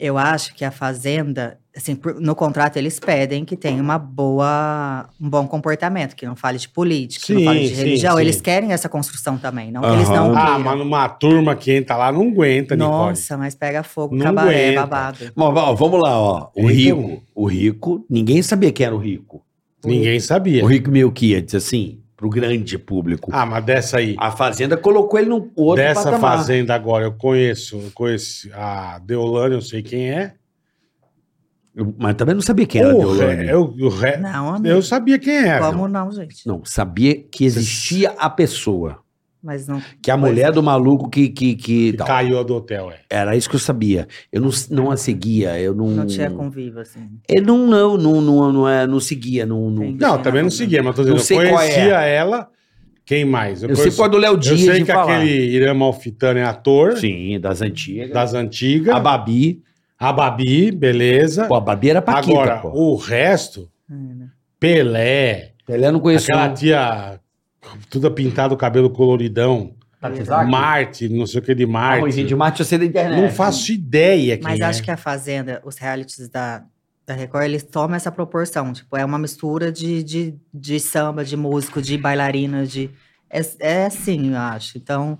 Speaker 5: Eu acho que a Fazenda, assim, por- no contrato eles pedem que tenha uma boa, um bom comportamento, que não fale de política, que não
Speaker 3: Sim,
Speaker 5: fale de
Speaker 3: sim,
Speaker 5: religião.
Speaker 3: sim.
Speaker 5: Eles querem essa construção também, não que eles não
Speaker 4: Aham.
Speaker 3: Ah,
Speaker 5: queiram.
Speaker 3: mas numa turma que entra lá não aguenta, Nicole.
Speaker 5: Nossa, mas pega fogo,
Speaker 3: Não
Speaker 5: cabaré,
Speaker 3: aguenta.
Speaker 5: babado.
Speaker 4: Bom, ó, vamos lá, ó. O
Speaker 3: Então-
Speaker 4: rico, o rico, ninguém sabia quem era o rico.
Speaker 3: Ninguém sabia.
Speaker 4: O rico Melquiades, assim, pro grande público.
Speaker 3: Ah, mas dessa aí.
Speaker 4: A Fazenda colocou ele num outro
Speaker 3: dessa
Speaker 4: patamar.
Speaker 3: fazenda agora, eu conheço, eu conheço a Deolane, eu sei quem é.
Speaker 4: Eu- Mas também não sabia quem era a
Speaker 3: Porra, é.
Speaker 4: Deolane.
Speaker 3: Eu, o re-
Speaker 5: Não,
Speaker 3: eu
Speaker 5: amigo,
Speaker 3: sabia quem era.
Speaker 5: como não, gente?
Speaker 4: Não, sabia que existia a pessoa.
Speaker 5: Mas não...
Speaker 4: Que a mulher do maluco que... que, que,
Speaker 3: é. Que
Speaker 4: tal.
Speaker 3: caiu do hotel, é.
Speaker 4: Era isso que eu sabia. Eu não, não a seguia, eu não...
Speaker 5: Não tinha convívio, assim.
Speaker 4: Eu não, não, não, não, não, é- não seguia, não... não-
Speaker 5: Entendi.
Speaker 3: Não, também não seguia, mas tô dizendo,
Speaker 4: Não sei
Speaker 3: eu
Speaker 4: qual é.
Speaker 3: conhecia ela. Quem mais?
Speaker 4: Eu, sei
Speaker 3: conheço-
Speaker 4: qual é do Léo
Speaker 3: Eu
Speaker 4: Dias
Speaker 3: sei
Speaker 4: de
Speaker 3: que
Speaker 4: falar.
Speaker 3: aquele Irã Malfitano é ator
Speaker 4: Sim, das antigas.
Speaker 3: das antigas.
Speaker 4: A
Speaker 3: A,
Speaker 4: Babi.
Speaker 3: Babi, beleza.
Speaker 4: Pô, a Babi era paquita,
Speaker 3: Agora,
Speaker 4: pô.
Speaker 3: o resto,
Speaker 5: É, né?
Speaker 3: Pelé,
Speaker 4: Pelé não conheceu.
Speaker 3: aquela tia toda pintada, o cabelo coloridão, Marte, não sei o que de
Speaker 4: Arrozinho
Speaker 3: Marte.
Speaker 4: de Marte, eu sei da internet.
Speaker 3: Não faço ideia quem
Speaker 5: É. Mas
Speaker 3: é.
Speaker 5: acho que a Fazenda, os realities da, da Record, eles tomam essa proporção. Tipo, é uma mistura de, de, de samba, de músico, de bailarina, de. É, é assim, eu acho. Então.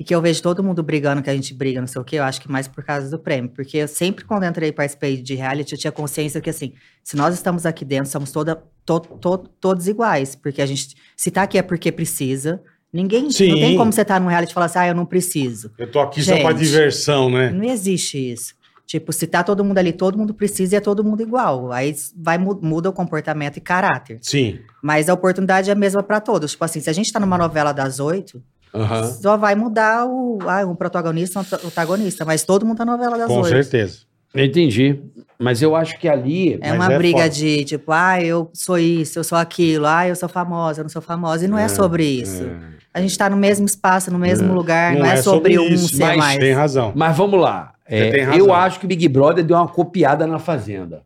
Speaker 5: E que eu vejo todo mundo brigando, que a gente briga, não sei o quê, eu acho que mais por causa do prêmio. Porque eu sempre, quando eu entrei e participei de reality, eu tinha consciência que, assim, se nós estamos aqui dentro, somos toda, to- to- todos iguais. Porque a gente. Se tá aqui é porque precisa. Ninguém. Não
Speaker 3: Sim.
Speaker 5: tem tá como você estar num reality e falar assim, ah, eu não preciso.
Speaker 3: Eu tô aqui só pra
Speaker 5: Gente.
Speaker 3: diversão, né?
Speaker 5: Não existe isso. Tipo, se tá todo mundo ali, todo mundo precisa e é todo mundo igual. Aí s- vai mu- muda o comportamento e caráter.
Speaker 3: Sim.
Speaker 5: Mas a oportunidade é a mesma para todos. Tipo assim, se a gente tá numa novela das oito,
Speaker 3: Aham.
Speaker 5: só vai mudar o ah, um protagonista, um anta- antagonista, mas todo mundo tá na novela das
Speaker 3: Com
Speaker 5: oito.
Speaker 3: certeza.
Speaker 4: Eu entendi. Mas eu acho que ali.
Speaker 5: É
Speaker 3: Mas
Speaker 5: uma
Speaker 3: é
Speaker 5: briga
Speaker 3: foda.
Speaker 5: de tipo, ah, eu sou isso, eu sou aquilo, ah, eu sou famosa, eu não sou famosa. E não é, sobre isso.
Speaker 3: é.
Speaker 5: A gente tá no mesmo espaço, no mesmo lugar, não, é, sobre, um
Speaker 3: isso,
Speaker 5: ser
Speaker 3: mas
Speaker 5: mais.
Speaker 3: Tem razão.
Speaker 4: Mas vamos lá. É,
Speaker 3: Você tem razão.
Speaker 4: eu acho que Big Brother deu uma copiada na Fazenda.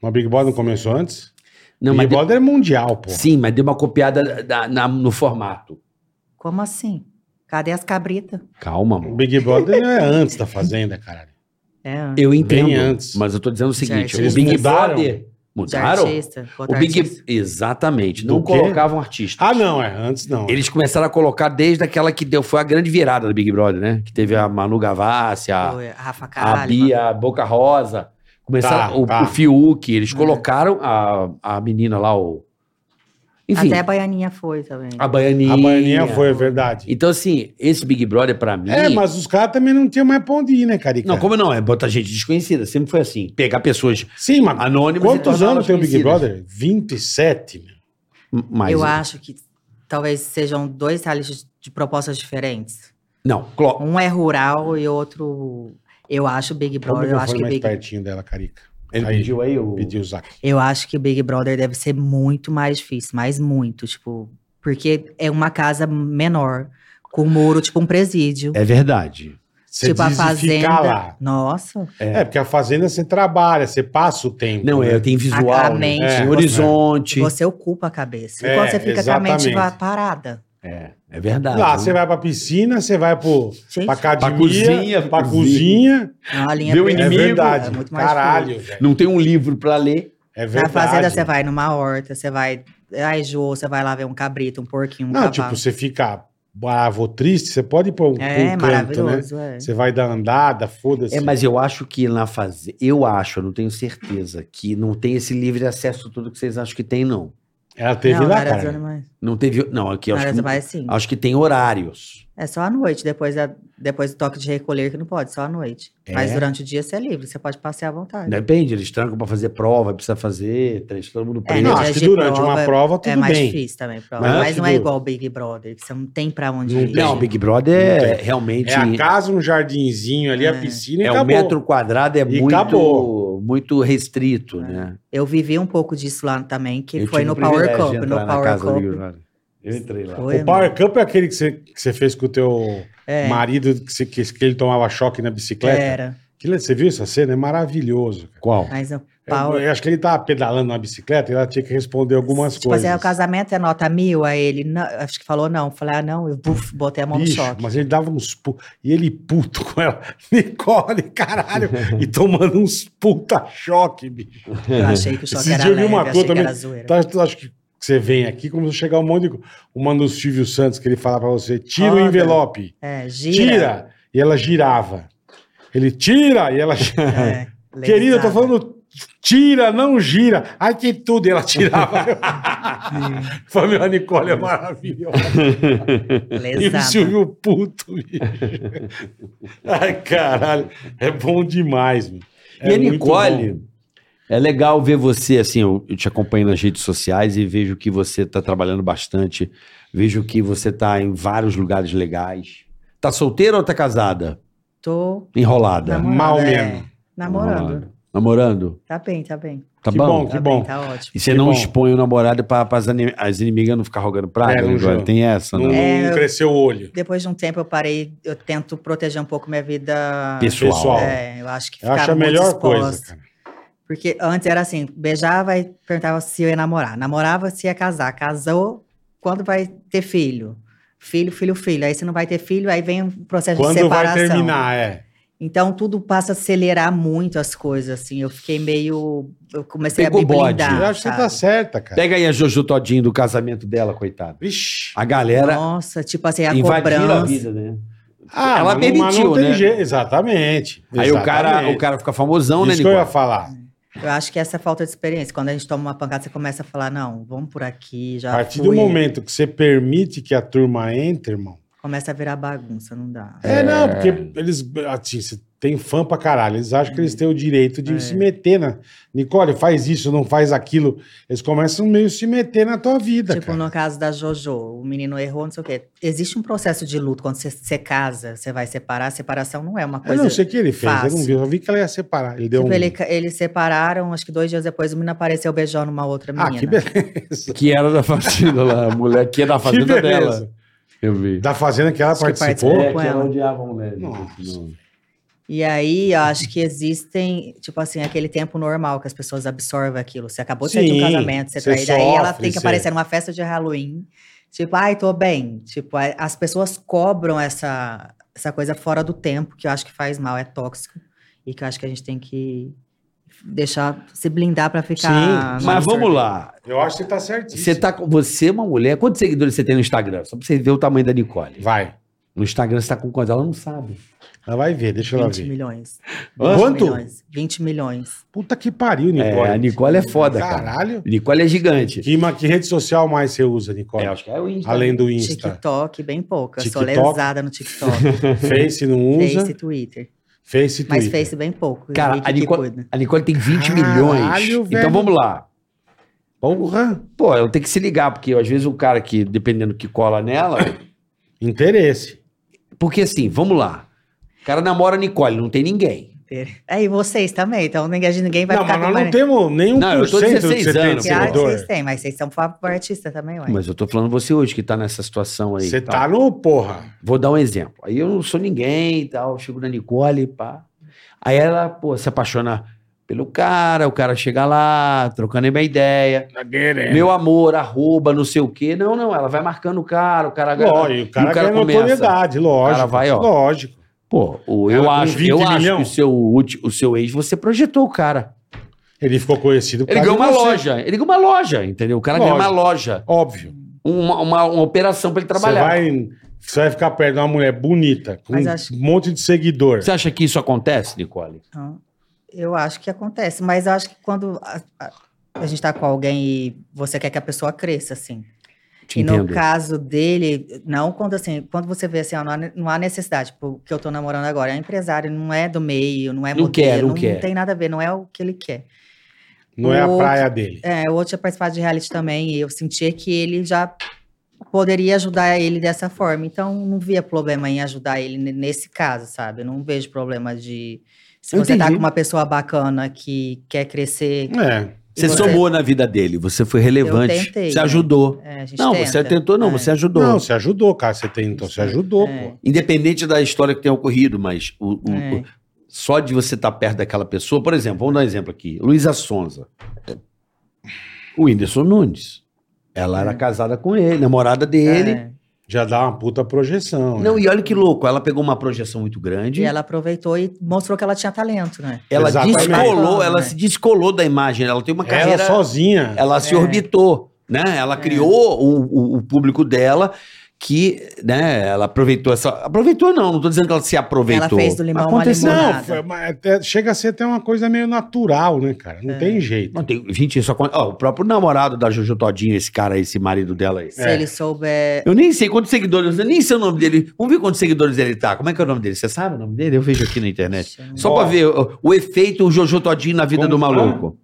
Speaker 3: Mas Big Brother não começou antes?
Speaker 4: Não,
Speaker 3: Big
Speaker 4: mas deu-
Speaker 3: Brother é mundial, pô.
Speaker 4: sim, mas deu uma copiada da- na- no formato.
Speaker 5: Como assim? Cadê as cabritas?
Speaker 4: Calma,
Speaker 3: O
Speaker 4: amor.
Speaker 3: Big Brother é antes da Fazenda, caralho.
Speaker 5: É,
Speaker 4: Eu entendo.
Speaker 3: Bem antes.
Speaker 4: Mas eu tô dizendo o seguinte:
Speaker 5: Eles
Speaker 4: o Big
Speaker 3: mudaram?
Speaker 4: Brother.
Speaker 5: de
Speaker 4: Mudaram?
Speaker 5: artista.
Speaker 4: O
Speaker 5: contra
Speaker 4: Big.
Speaker 5: artista.
Speaker 4: Exatamente.
Speaker 3: Do
Speaker 4: Não
Speaker 3: quê?
Speaker 4: colocavam artistas.
Speaker 3: Ah, não, é. Antes não.
Speaker 4: Eles começaram a colocar desde aquela que deu. Foi a grande virada do Big Brother, né? Que teve a Manu Gavassi, a,
Speaker 5: Foi Rafa
Speaker 4: a
Speaker 5: Caralho.
Speaker 4: Bia, a Boca Rosa. Começaram
Speaker 3: Tá,
Speaker 4: o,
Speaker 3: tá.
Speaker 4: o Fiuk, eles
Speaker 5: É.
Speaker 4: colocaram a, a menina lá, o. Enfim,
Speaker 5: Até a Baianinha foi também.
Speaker 4: a Baianinha.
Speaker 3: A Baianinha foi, é verdade.
Speaker 4: Então, assim, esse Big Brother, pra mim.
Speaker 3: É, mas os caras também não tinham mais pra onde ir, né, Carica?
Speaker 4: Não, como não? É botar gente desconhecida. Sempre foi assim. Pegar pessoas
Speaker 3: Sim, mas
Speaker 4: anônimas. e
Speaker 3: quantos
Speaker 4: torná-las
Speaker 3: anos tem o Big
Speaker 4: conhecidas.
Speaker 3: Brother? 27, meu.
Speaker 4: M- um. Mas,
Speaker 5: eu acho que talvez sejam dois realities de propostas diferentes.
Speaker 4: Não, clo-
Speaker 5: Um é rural e outro. Eu acho Big
Speaker 3: Põe o
Speaker 5: Brother. Então, Eu acho
Speaker 3: microfone
Speaker 5: que
Speaker 3: mais
Speaker 5: Big, Tipo,
Speaker 3: pertinho dela, Carica.
Speaker 4: ele
Speaker 3: Aí,
Speaker 4: pediu aí o.
Speaker 3: Pediu o Zac.
Speaker 5: eu acho que Big Brother deve ser muito mais difícil, mas muito, tipo, porque é uma casa menor, com um muro, tipo um presídio.
Speaker 4: É verdade.
Speaker 3: Você
Speaker 5: tipo a
Speaker 3: diz e fica
Speaker 5: fazenda.
Speaker 3: lá.
Speaker 5: Nossa.
Speaker 3: É, porque a fazenda você trabalha, você passa o tempo.
Speaker 4: Não, é,
Speaker 3: né?
Speaker 4: tem visual.
Speaker 5: A- a
Speaker 4: né?
Speaker 5: mente,
Speaker 4: Tem
Speaker 5: você-
Speaker 4: horizonte.
Speaker 5: Você ocupa a cabeça.
Speaker 3: É,
Speaker 5: Enquanto você fica com a mente
Speaker 3: exatamente.
Speaker 5: va- parada.
Speaker 4: É, é verdade.
Speaker 3: Lá
Speaker 4: né?
Speaker 3: você vai pra piscina, você vai pro,
Speaker 5: Gente,
Speaker 3: pra academia, pra cozinha,
Speaker 4: cozinha,
Speaker 3: pra
Speaker 4: cozinha.
Speaker 3: cozinha.
Speaker 5: é uma linha
Speaker 4: Vê o
Speaker 5: perdida,
Speaker 3: É
Speaker 4: inimigo.
Speaker 3: verdade.
Speaker 5: é muito mais
Speaker 3: Caralho, velho.
Speaker 4: Não tem um livro pra ler.
Speaker 3: É
Speaker 5: Na
Speaker 3: verdade.
Speaker 5: fazenda você vai numa horta, você vai. Ai, Jô, você vai lá ver um cabrito, um porquinho, um
Speaker 3: Não,
Speaker 5: cavalo.
Speaker 3: tipo, você fica bravo, ou triste, você pode ir pra um, pra
Speaker 5: é
Speaker 3: um canto, né?
Speaker 5: maravilhoso, é.
Speaker 3: Você vai dar andada, foda-se.
Speaker 4: É, mas eu acho que na fazenda. Eu acho, eu não tenho certeza, que não tem esse livre acesso todo que vocês acham que tem, não.
Speaker 3: Ela teve
Speaker 5: não,
Speaker 3: lá,
Speaker 5: na Arizona
Speaker 3: cara.
Speaker 5: mais.
Speaker 4: Não teve. Não, aqui eu
Speaker 5: Na
Speaker 4: acho
Speaker 5: Arizona
Speaker 4: que,
Speaker 5: mais, sim.
Speaker 4: acho que tem horários.
Speaker 5: É só à noite, depois, da- depois do toque de recolher que não pode, só à noite.
Speaker 4: É?
Speaker 5: Mas durante o dia você é livre, você pode passear à vontade.
Speaker 4: Depende, eles trancam pra fazer prova, precisa fazer, três, todo mundo preso.
Speaker 5: né,
Speaker 3: Não,
Speaker 5: dias
Speaker 3: acho que
Speaker 5: de
Speaker 3: durante
Speaker 5: prova
Speaker 3: uma prova, tudo
Speaker 5: é mais
Speaker 3: bem.
Speaker 5: difícil também, prova.
Speaker 3: Mas
Speaker 5: Mas,
Speaker 3: acho
Speaker 5: não é
Speaker 3: do-
Speaker 5: igual o Big Brother, que você não tem pra onde
Speaker 3: Não
Speaker 5: ir.
Speaker 3: tem.
Speaker 4: Não, o Big Brother é
Speaker 3: Não
Speaker 4: realmente.
Speaker 3: É a casa, um jardinzinho ali, a
Speaker 5: É.
Speaker 3: piscina e
Speaker 4: é, o
Speaker 3: acabou.
Speaker 4: metro quadrado é
Speaker 3: E
Speaker 4: muito,
Speaker 3: acabou.
Speaker 4: muito restrito, né?
Speaker 5: Eu vivi um pouco disso lá também, que
Speaker 4: Eu
Speaker 5: foi
Speaker 4: tive
Speaker 5: no
Speaker 4: o
Speaker 5: Power
Speaker 4: privilégio de
Speaker 5: Cup.
Speaker 4: entrar
Speaker 5: No
Speaker 4: na
Speaker 5: Power
Speaker 4: casa do Big
Speaker 5: Cup.
Speaker 4: Brother. Eu entrei lá.
Speaker 5: Foi,
Speaker 3: O Power Cup é aquele que você, que você fez com o teu
Speaker 5: É.
Speaker 3: marido, que, você- que, que ele tomava choque na bicicleta.
Speaker 5: Era.
Speaker 3: Aquilo, você viu essa cena? É maravilhoso. cara.
Speaker 4: Qual?
Speaker 5: Mas o
Speaker 3: Eu,
Speaker 5: Power
Speaker 3: eu acho que ele tava pedalando na bicicleta e ela tinha que responder algumas
Speaker 5: tipo
Speaker 3: coisas.
Speaker 5: assim, ah, o casamento é nota mil, aí ele, não- acho que falou não. Falei, ah, não, eu buf, botei a mão
Speaker 3: Bicho,
Speaker 5: no um choque.
Speaker 3: mas ele dava uns pu... E ele puto com ela. Nicole, caralho. e tomando uns puta choque, bicho.
Speaker 5: Eu achei que o choque
Speaker 3: Esse
Speaker 5: era
Speaker 3: dia eu vi
Speaker 5: leve,
Speaker 3: uma
Speaker 5: achei
Speaker 3: coisa
Speaker 5: que era
Speaker 3: também-
Speaker 5: zoeira.
Speaker 3: Tá, tu acha que você vem aqui, começou a chegar um monte de... co- Uma do Silvio Santos que ele fala pra você, tira o
Speaker 5: Roda.
Speaker 3: envelope.
Speaker 5: É,
Speaker 3: Tira.
Speaker 5: gira.
Speaker 3: E ela girava. Ele, tira! E ela...
Speaker 5: É,
Speaker 3: Querida, eu tô
Speaker 5: lesada.
Speaker 3: falando... Tira, não gira. Ai, que tudo. E ela tirava. Foi meu, a Nicole é maravilhosa. E o
Speaker 5: Lesada.
Speaker 3: Silvio puto, bicho. Ai, caralho. É bom demais, meu. É
Speaker 4: e a
Speaker 3: muito
Speaker 4: Nicole, é legal ver você, assim, eu, eu te acompanho nas redes sociais e vejo que você está trabalhando bastante, vejo que você está em vários lugares legais. Tá solteira ou tá casada?
Speaker 5: Tô
Speaker 4: Enrolada.
Speaker 5: namorando.
Speaker 3: Mal
Speaker 5: é.
Speaker 3: mesmo.
Speaker 5: Namorando.
Speaker 4: Namorando?
Speaker 5: Tá bem, tá bem.
Speaker 4: Tá
Speaker 3: Que
Speaker 4: bom?
Speaker 3: bom.
Speaker 5: tá
Speaker 3: bom.
Speaker 5: bem, tá ótimo.
Speaker 4: E você
Speaker 3: Que
Speaker 4: não
Speaker 3: bom.
Speaker 4: expõe o namorado para as inimigas não ficar rogando praga?
Speaker 3: É, não
Speaker 4: né, Joana?
Speaker 3: joga.
Speaker 4: Tem essa,
Speaker 3: Não,
Speaker 4: não?
Speaker 3: não
Speaker 5: É, eu-
Speaker 3: cresceu o olho.
Speaker 5: Depois de um tempo eu parei, eu tento proteger um pouco minha vida
Speaker 4: Pessoal.
Speaker 3: Pessoal.
Speaker 5: É, eu acho que
Speaker 3: Eu acho
Speaker 5: ficar
Speaker 3: a
Speaker 5: muito
Speaker 3: melhor coisa,
Speaker 5: exposta.
Speaker 3: cara.
Speaker 5: Porque antes era assim, beijava e perguntava se eu ia namorar. Namorava se ia casar. Casou, quando vai ter filho? Filho, filho, filho. Aí se não vai ter filho, aí vem o processo de
Speaker 3: Quando vai
Speaker 5: separação.
Speaker 3: terminar, é.
Speaker 5: Então tudo passa a acelerar muito as coisas, assim. Eu fiquei meio. Eu comecei
Speaker 4: Pegou
Speaker 5: a me
Speaker 4: bode.
Speaker 5: blindar.
Speaker 3: eu acho que você
Speaker 5: sabe?
Speaker 3: tá certa, cara.
Speaker 4: Pega aí a Jojo Todinho do casamento dela, coitada.
Speaker 3: Vixe.
Speaker 4: A galera
Speaker 5: Nossa, tipo assim, a
Speaker 4: invadiu a
Speaker 5: cobrança.
Speaker 4: vida, né?
Speaker 3: Ah,
Speaker 4: Ela
Speaker 3: mas não- mas
Speaker 4: permitiu,
Speaker 3: não tem
Speaker 4: né?
Speaker 3: jeito. Exatamente.
Speaker 4: Aí o cara,
Speaker 3: Exatamente.
Speaker 4: o cara fica famosão,
Speaker 3: Isso
Speaker 4: né,
Speaker 3: que eu
Speaker 4: Nicole?
Speaker 3: ia falar.
Speaker 5: Eu acho que essa falta de experiência. Quando a gente toma uma pancada, você começa a falar, não, vamos por aqui, já
Speaker 3: a partir
Speaker 5: fui.
Speaker 3: do momento que você permite que a turma entre, irmão,
Speaker 5: Começa a virar bagunça, não dá.
Speaker 3: É, não, porque eles, assim, você tem fã pra caralho, eles acham que eles têm o direito de
Speaker 5: É.
Speaker 3: se meter na... Nicole, faz isso, não faz aquilo. Eles começam meio a se meter na tua vida,
Speaker 5: Tipo,
Speaker 3: cara.
Speaker 5: no caso da Jojo, o menino errou, não sei o quê. Existe um processo de luto quando você, você casa, você vai separar. Separação não é uma
Speaker 3: Eu
Speaker 5: coisa.
Speaker 3: não sei o que ele fez, eu não
Speaker 5: fácil.
Speaker 3: vi, eu só vi que ela ia separar. Ele deu
Speaker 5: Tipo,
Speaker 3: um...
Speaker 5: ele ca- eles separaram, acho que dois dias depois o menino apareceu beijando uma outra
Speaker 3: Ah,
Speaker 5: menina.
Speaker 3: que beleza.
Speaker 4: Que era da fazenda lá, a mulher que é da
Speaker 3: Que
Speaker 4: fazenda dela.
Speaker 3: beleza.
Speaker 4: Eu vi.
Speaker 3: Da fazenda que ela
Speaker 5: Acho que
Speaker 3: participou.
Speaker 5: participou. É, que ela
Speaker 4: odiava um leve.
Speaker 5: E aí, eu acho que existem, tipo assim, aquele tempo normal que as pessoas absorvem aquilo. Você acabou de sair de um
Speaker 3: Sim,
Speaker 5: casamento, você
Speaker 3: você
Speaker 5: traída. Aí ela
Speaker 3: sofre,
Speaker 5: tem que
Speaker 3: você-
Speaker 5: aparecer numa festa de Halloween. Tipo, ai, tô bem. Tipo, a- as pessoas cobram essa, essa coisa fora do tempo, que eu acho que faz mal, é tóxico. E que eu acho que a gente tem que deixar, se blindar pra ficar...
Speaker 4: Mas vamos lá.
Speaker 3: Eu acho que você tá certíssimo.
Speaker 4: Você, tá, com- você é uma mulher. Quantos seguidores você tem no Instagram? Só pra você ver o tamanho da Nicole.
Speaker 3: Vai.
Speaker 4: No Instagram você tá com quantos? Ela não sabe.
Speaker 3: Ela vai ver, deixa ela
Speaker 5: 20
Speaker 3: ver.
Speaker 5: milhões. 20
Speaker 3: Quanto?
Speaker 5: Milhões, 20 milhões.
Speaker 3: Puta que pariu, Nicole.
Speaker 4: É, a Nicole é foda, cara.
Speaker 3: Caralho.
Speaker 4: Nicole é gigante.
Speaker 3: Que, ma- que rede social mais você usa, Nicole?
Speaker 4: É, acho que é o Insta.
Speaker 3: Além do Insta.
Speaker 5: TikTok, bem pouca. Sou
Speaker 3: TikTok?
Speaker 5: lesada no TikTok.
Speaker 3: Face não usa.
Speaker 5: Face e
Speaker 3: Face,
Speaker 5: Twitter.
Speaker 3: Twitter.
Speaker 5: Mas fez bem pouco.
Speaker 4: Cara,
Speaker 5: Henrique
Speaker 4: a
Speaker 5: que
Speaker 4: Nicole-
Speaker 5: cuida.
Speaker 4: A Nicole tem 20
Speaker 3: Caralho,
Speaker 4: milhões.
Speaker 3: velho.
Speaker 4: Então vamos lá.
Speaker 3: Porra.
Speaker 4: Pô, eu tenho que se ligar, porque às vezes o cara que, dependendo do que cola nela.
Speaker 3: Interesse.
Speaker 4: Porque assim, vamos lá. O cara namora a Nicole, não tem ninguém.
Speaker 5: É, e vocês também, então ninguém, a gente- ninguém vai
Speaker 3: não,
Speaker 5: ficar
Speaker 3: mas nós não
Speaker 5: comparando.
Speaker 3: temos nenhum
Speaker 4: Não, eu
Speaker 3: por
Speaker 4: tô
Speaker 3: cento do que
Speaker 4: 16
Speaker 3: você tem de
Speaker 4: anos, pô.
Speaker 5: Claro que
Speaker 3: seguidor.
Speaker 5: vocês têm, mas vocês são fa- artista também, ué.
Speaker 4: Mas eu tô falando você hoje que tá nessa situação aí.
Speaker 3: Você
Speaker 4: e
Speaker 3: tá
Speaker 4: tal.
Speaker 3: no porra.
Speaker 4: Vou dar um exemplo. Aí eu não sou ninguém e tal, chego na Nicole, pá. Aí ela, pô, se apaixona pelo cara, o cara chega lá, trocando uma ideia.
Speaker 3: É.
Speaker 4: Meu amor, arroba, não sei o quê. Não, não, ela vai marcando o cara, o cara
Speaker 3: Lógico, e o cara,
Speaker 4: e o cara
Speaker 3: ganha
Speaker 4: começa.
Speaker 3: notoriedade, lógico.
Speaker 4: O cara vai, ó.
Speaker 3: Lógico.
Speaker 4: Pô, o-
Speaker 3: Cara
Speaker 4: eu
Speaker 3: com
Speaker 4: acho,
Speaker 3: 20
Speaker 4: eu acho
Speaker 3: milhão.
Speaker 4: que o seu, ulti- o seu ex, você projetou o cara.
Speaker 3: Ele ficou conhecido por
Speaker 4: Ele
Speaker 3: causa
Speaker 4: ganhou uma
Speaker 3: de você.
Speaker 4: loja. Ele ganhou uma loja, entendeu? O cara ganhou uma
Speaker 3: Lógico.
Speaker 4: loja.
Speaker 3: Óbvio.
Speaker 4: Uma, uma, uma operação pra ele
Speaker 3: Você
Speaker 4: trabalhar. Você,
Speaker 3: vai, você vai ficar perto de uma mulher bonita, com
Speaker 5: Mas
Speaker 3: um
Speaker 5: acho-
Speaker 3: monte de seguidor.
Speaker 4: acha que isso acontece, Nicole?
Speaker 5: Então, eu acho que acontece, mas eu acho que quando a, a- a gente tá com alguém e você quer que a pessoa cresça, assim.
Speaker 4: Te
Speaker 5: e no
Speaker 4: entendo.
Speaker 5: caso dele, não quando assim, quando você vê assim, ó, não há, ne- não há necessidade, porque eu tô namorando agora, é empresário, não é do meio, não é
Speaker 4: Não quer,
Speaker 5: modelo,
Speaker 4: não quer.
Speaker 5: tem nada a ver, não é o que ele quer.
Speaker 3: Não é a
Speaker 5: Outro-
Speaker 3: praia dele.
Speaker 5: É, o outro tinha participado de reality também e eu sentia que ele já poderia ajudar ele dessa forma. Então, não via problema em ajudar ele ne- nesse caso, sabe? Eu não vejo problema de. Se
Speaker 4: Eu
Speaker 5: você tá
Speaker 4: entendi.
Speaker 5: com uma pessoa bacana que quer crescer,
Speaker 3: É.
Speaker 4: Você,
Speaker 5: você?
Speaker 4: somou na vida dele, você foi
Speaker 5: Eu
Speaker 4: relevante.
Speaker 5: tentei,
Speaker 4: Você
Speaker 5: né?
Speaker 4: ajudou.
Speaker 5: é, a gente
Speaker 4: Não,
Speaker 5: tenta.
Speaker 4: você tentou, não,
Speaker 5: É.
Speaker 4: você ajudou.
Speaker 3: Não, você ajudou, cara. Você tem, então, você ajudou,
Speaker 5: É.
Speaker 3: pô.
Speaker 4: Independente da história que tenha ocorrido, mas o, o-
Speaker 5: É.
Speaker 4: o- só de você estar perto daquela pessoa, por exemplo, vamos dar um exemplo aqui: Luísa Sonza. O Whindersson Nunes. Ela era casada com ele, namorada dele.
Speaker 5: É.
Speaker 3: Já dá uma puta projeção.
Speaker 4: Não,
Speaker 3: né?
Speaker 4: e olha que louco, ela pegou uma projeção muito grande.
Speaker 5: E ela aproveitou e mostrou que ela tinha talento, né?
Speaker 4: Ela
Speaker 3: Exatamente.
Speaker 4: descolou, ela
Speaker 5: É.
Speaker 4: se descolou da imagem, ela tem uma
Speaker 3: Ela
Speaker 4: carreira.
Speaker 3: sozinha.
Speaker 4: Ela se
Speaker 5: É.
Speaker 4: orbitou, né? Ela criou o, o- o público dela que, né, ela aproveitou essa. Aproveitou, não, não tô dizendo que ela se aproveitou.
Speaker 5: Ela fez do limão uma
Speaker 4: Aconteceu.
Speaker 5: limonada.
Speaker 3: Não, foi- mas até- chega a ser até uma coisa meio natural, né, cara?
Speaker 5: É.
Speaker 3: Não tem jeito.
Speaker 4: Não, tem, gente, isso acontece. Ó, o próprio namorado da Jojo Todinho, esse cara, aí, esse marido dela aí.
Speaker 5: Se
Speaker 3: É.
Speaker 5: ele souber.
Speaker 4: Eu nem sei quantos seguidores, eu nem sei o nome dele. Vamos ver quantos seguidores ele tá. Como é que é o nome dele? Você sabe o nome dele? Eu vejo aqui na internet.
Speaker 5: Ixi, eu não-
Speaker 4: Só pra ver o, o efeito o Jojo Todinho na vida
Speaker 3: Como
Speaker 4: do maluco.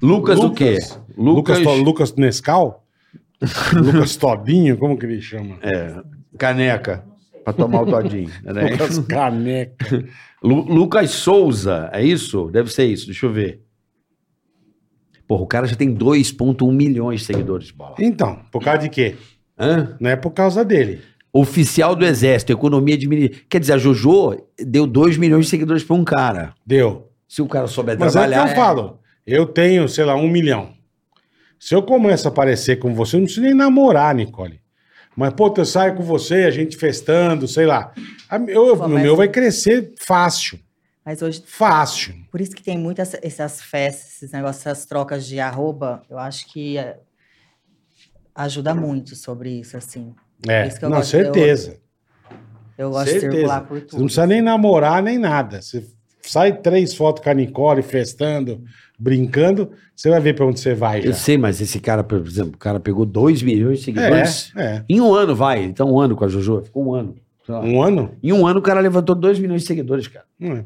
Speaker 4: Lucas, o quê?
Speaker 3: Lucas,
Speaker 4: Lucas.
Speaker 3: To- Lucas Nescau? Lucas Todinho, como que ele chama?
Speaker 4: É, caneca. Pra tomar o Todinho. né?
Speaker 3: Lucas Caneca.
Speaker 4: Lu- Lucas Souza, é isso? Deve ser isso, deixa eu ver. Porra, o cara já tem 2,1 milhões de seguidores, bola.
Speaker 3: Então, por causa de quê?
Speaker 4: Hã?
Speaker 3: Não é por causa dele.
Speaker 4: Oficial do Exército, economia de mini- Quer dizer, a JoJo deu 2 milhões de seguidores pra um cara.
Speaker 3: Deu.
Speaker 4: Se o cara souber
Speaker 3: Mas é o que
Speaker 4: trabalhar.
Speaker 3: eu falo. Eu tenho, sei lá, um milhão. Se eu começo a aparecer com você, eu não preciso nem namorar, Nicole. Mas, pô, eu saio com você, a gente festando, sei lá. A- eu-
Speaker 5: Pô,
Speaker 3: o
Speaker 5: mas-
Speaker 3: meu vai crescer fácil.
Speaker 5: Mas hoje,
Speaker 3: Fácil.
Speaker 5: por isso que tem muitas essas festas, esses negócios, essas trocas de arroba, eu acho que é, ajuda muito sobre isso, assim.
Speaker 3: É,
Speaker 5: Isso que eu
Speaker 3: não,
Speaker 5: gosto de ter
Speaker 3: certeza.
Speaker 5: Eu gosto
Speaker 3: Certeza.
Speaker 5: de circular por
Speaker 3: é Você não
Speaker 5: tudo.
Speaker 3: precisa nem namorar, nem nada. Você sai três fotos com a Nicole festando, brincando, você vai ver pra onde você vai já.
Speaker 4: Eu sei, mas esse cara, por exemplo, o cara pegou 2 milhões de seguidores.
Speaker 3: É, é.
Speaker 4: Em um ano, vai. Então, um ano com a Jojo. Ficou um ano. Sei lá.
Speaker 3: Um ano?
Speaker 4: Em um ano, o cara levantou 2 milhões de seguidores, cara.
Speaker 3: Não é.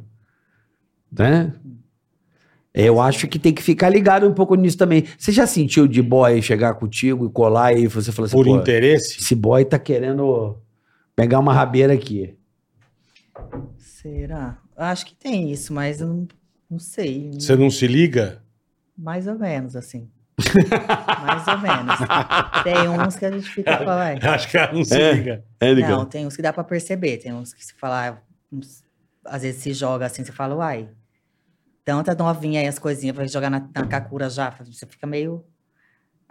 Speaker 4: Né? Eu acho que tem que ficar ligado um pouco nisso também. Você já sentiu de boy chegar contigo e colar e você falou assim,
Speaker 3: Por
Speaker 4: "Pô,
Speaker 3: interesse?
Speaker 4: esse boy tá querendo pegar uma rabeira aqui.
Speaker 5: Será? Eu Acho que tem isso, mas eu não, não sei.
Speaker 3: Você não se liga?
Speaker 5: Mais ou menos, assim. Mais ou menos. Tem uns que a gente fica falando.
Speaker 3: Acho que ela não se
Speaker 4: É.
Speaker 3: liga.
Speaker 4: É,
Speaker 5: Não, tem uns que dá pra perceber, tem uns que se falar, uns- às vezes se joga assim, você fala, uai, tanta novinha aí as coisinhas, vai jogar na, na Kakura já, você fica meio.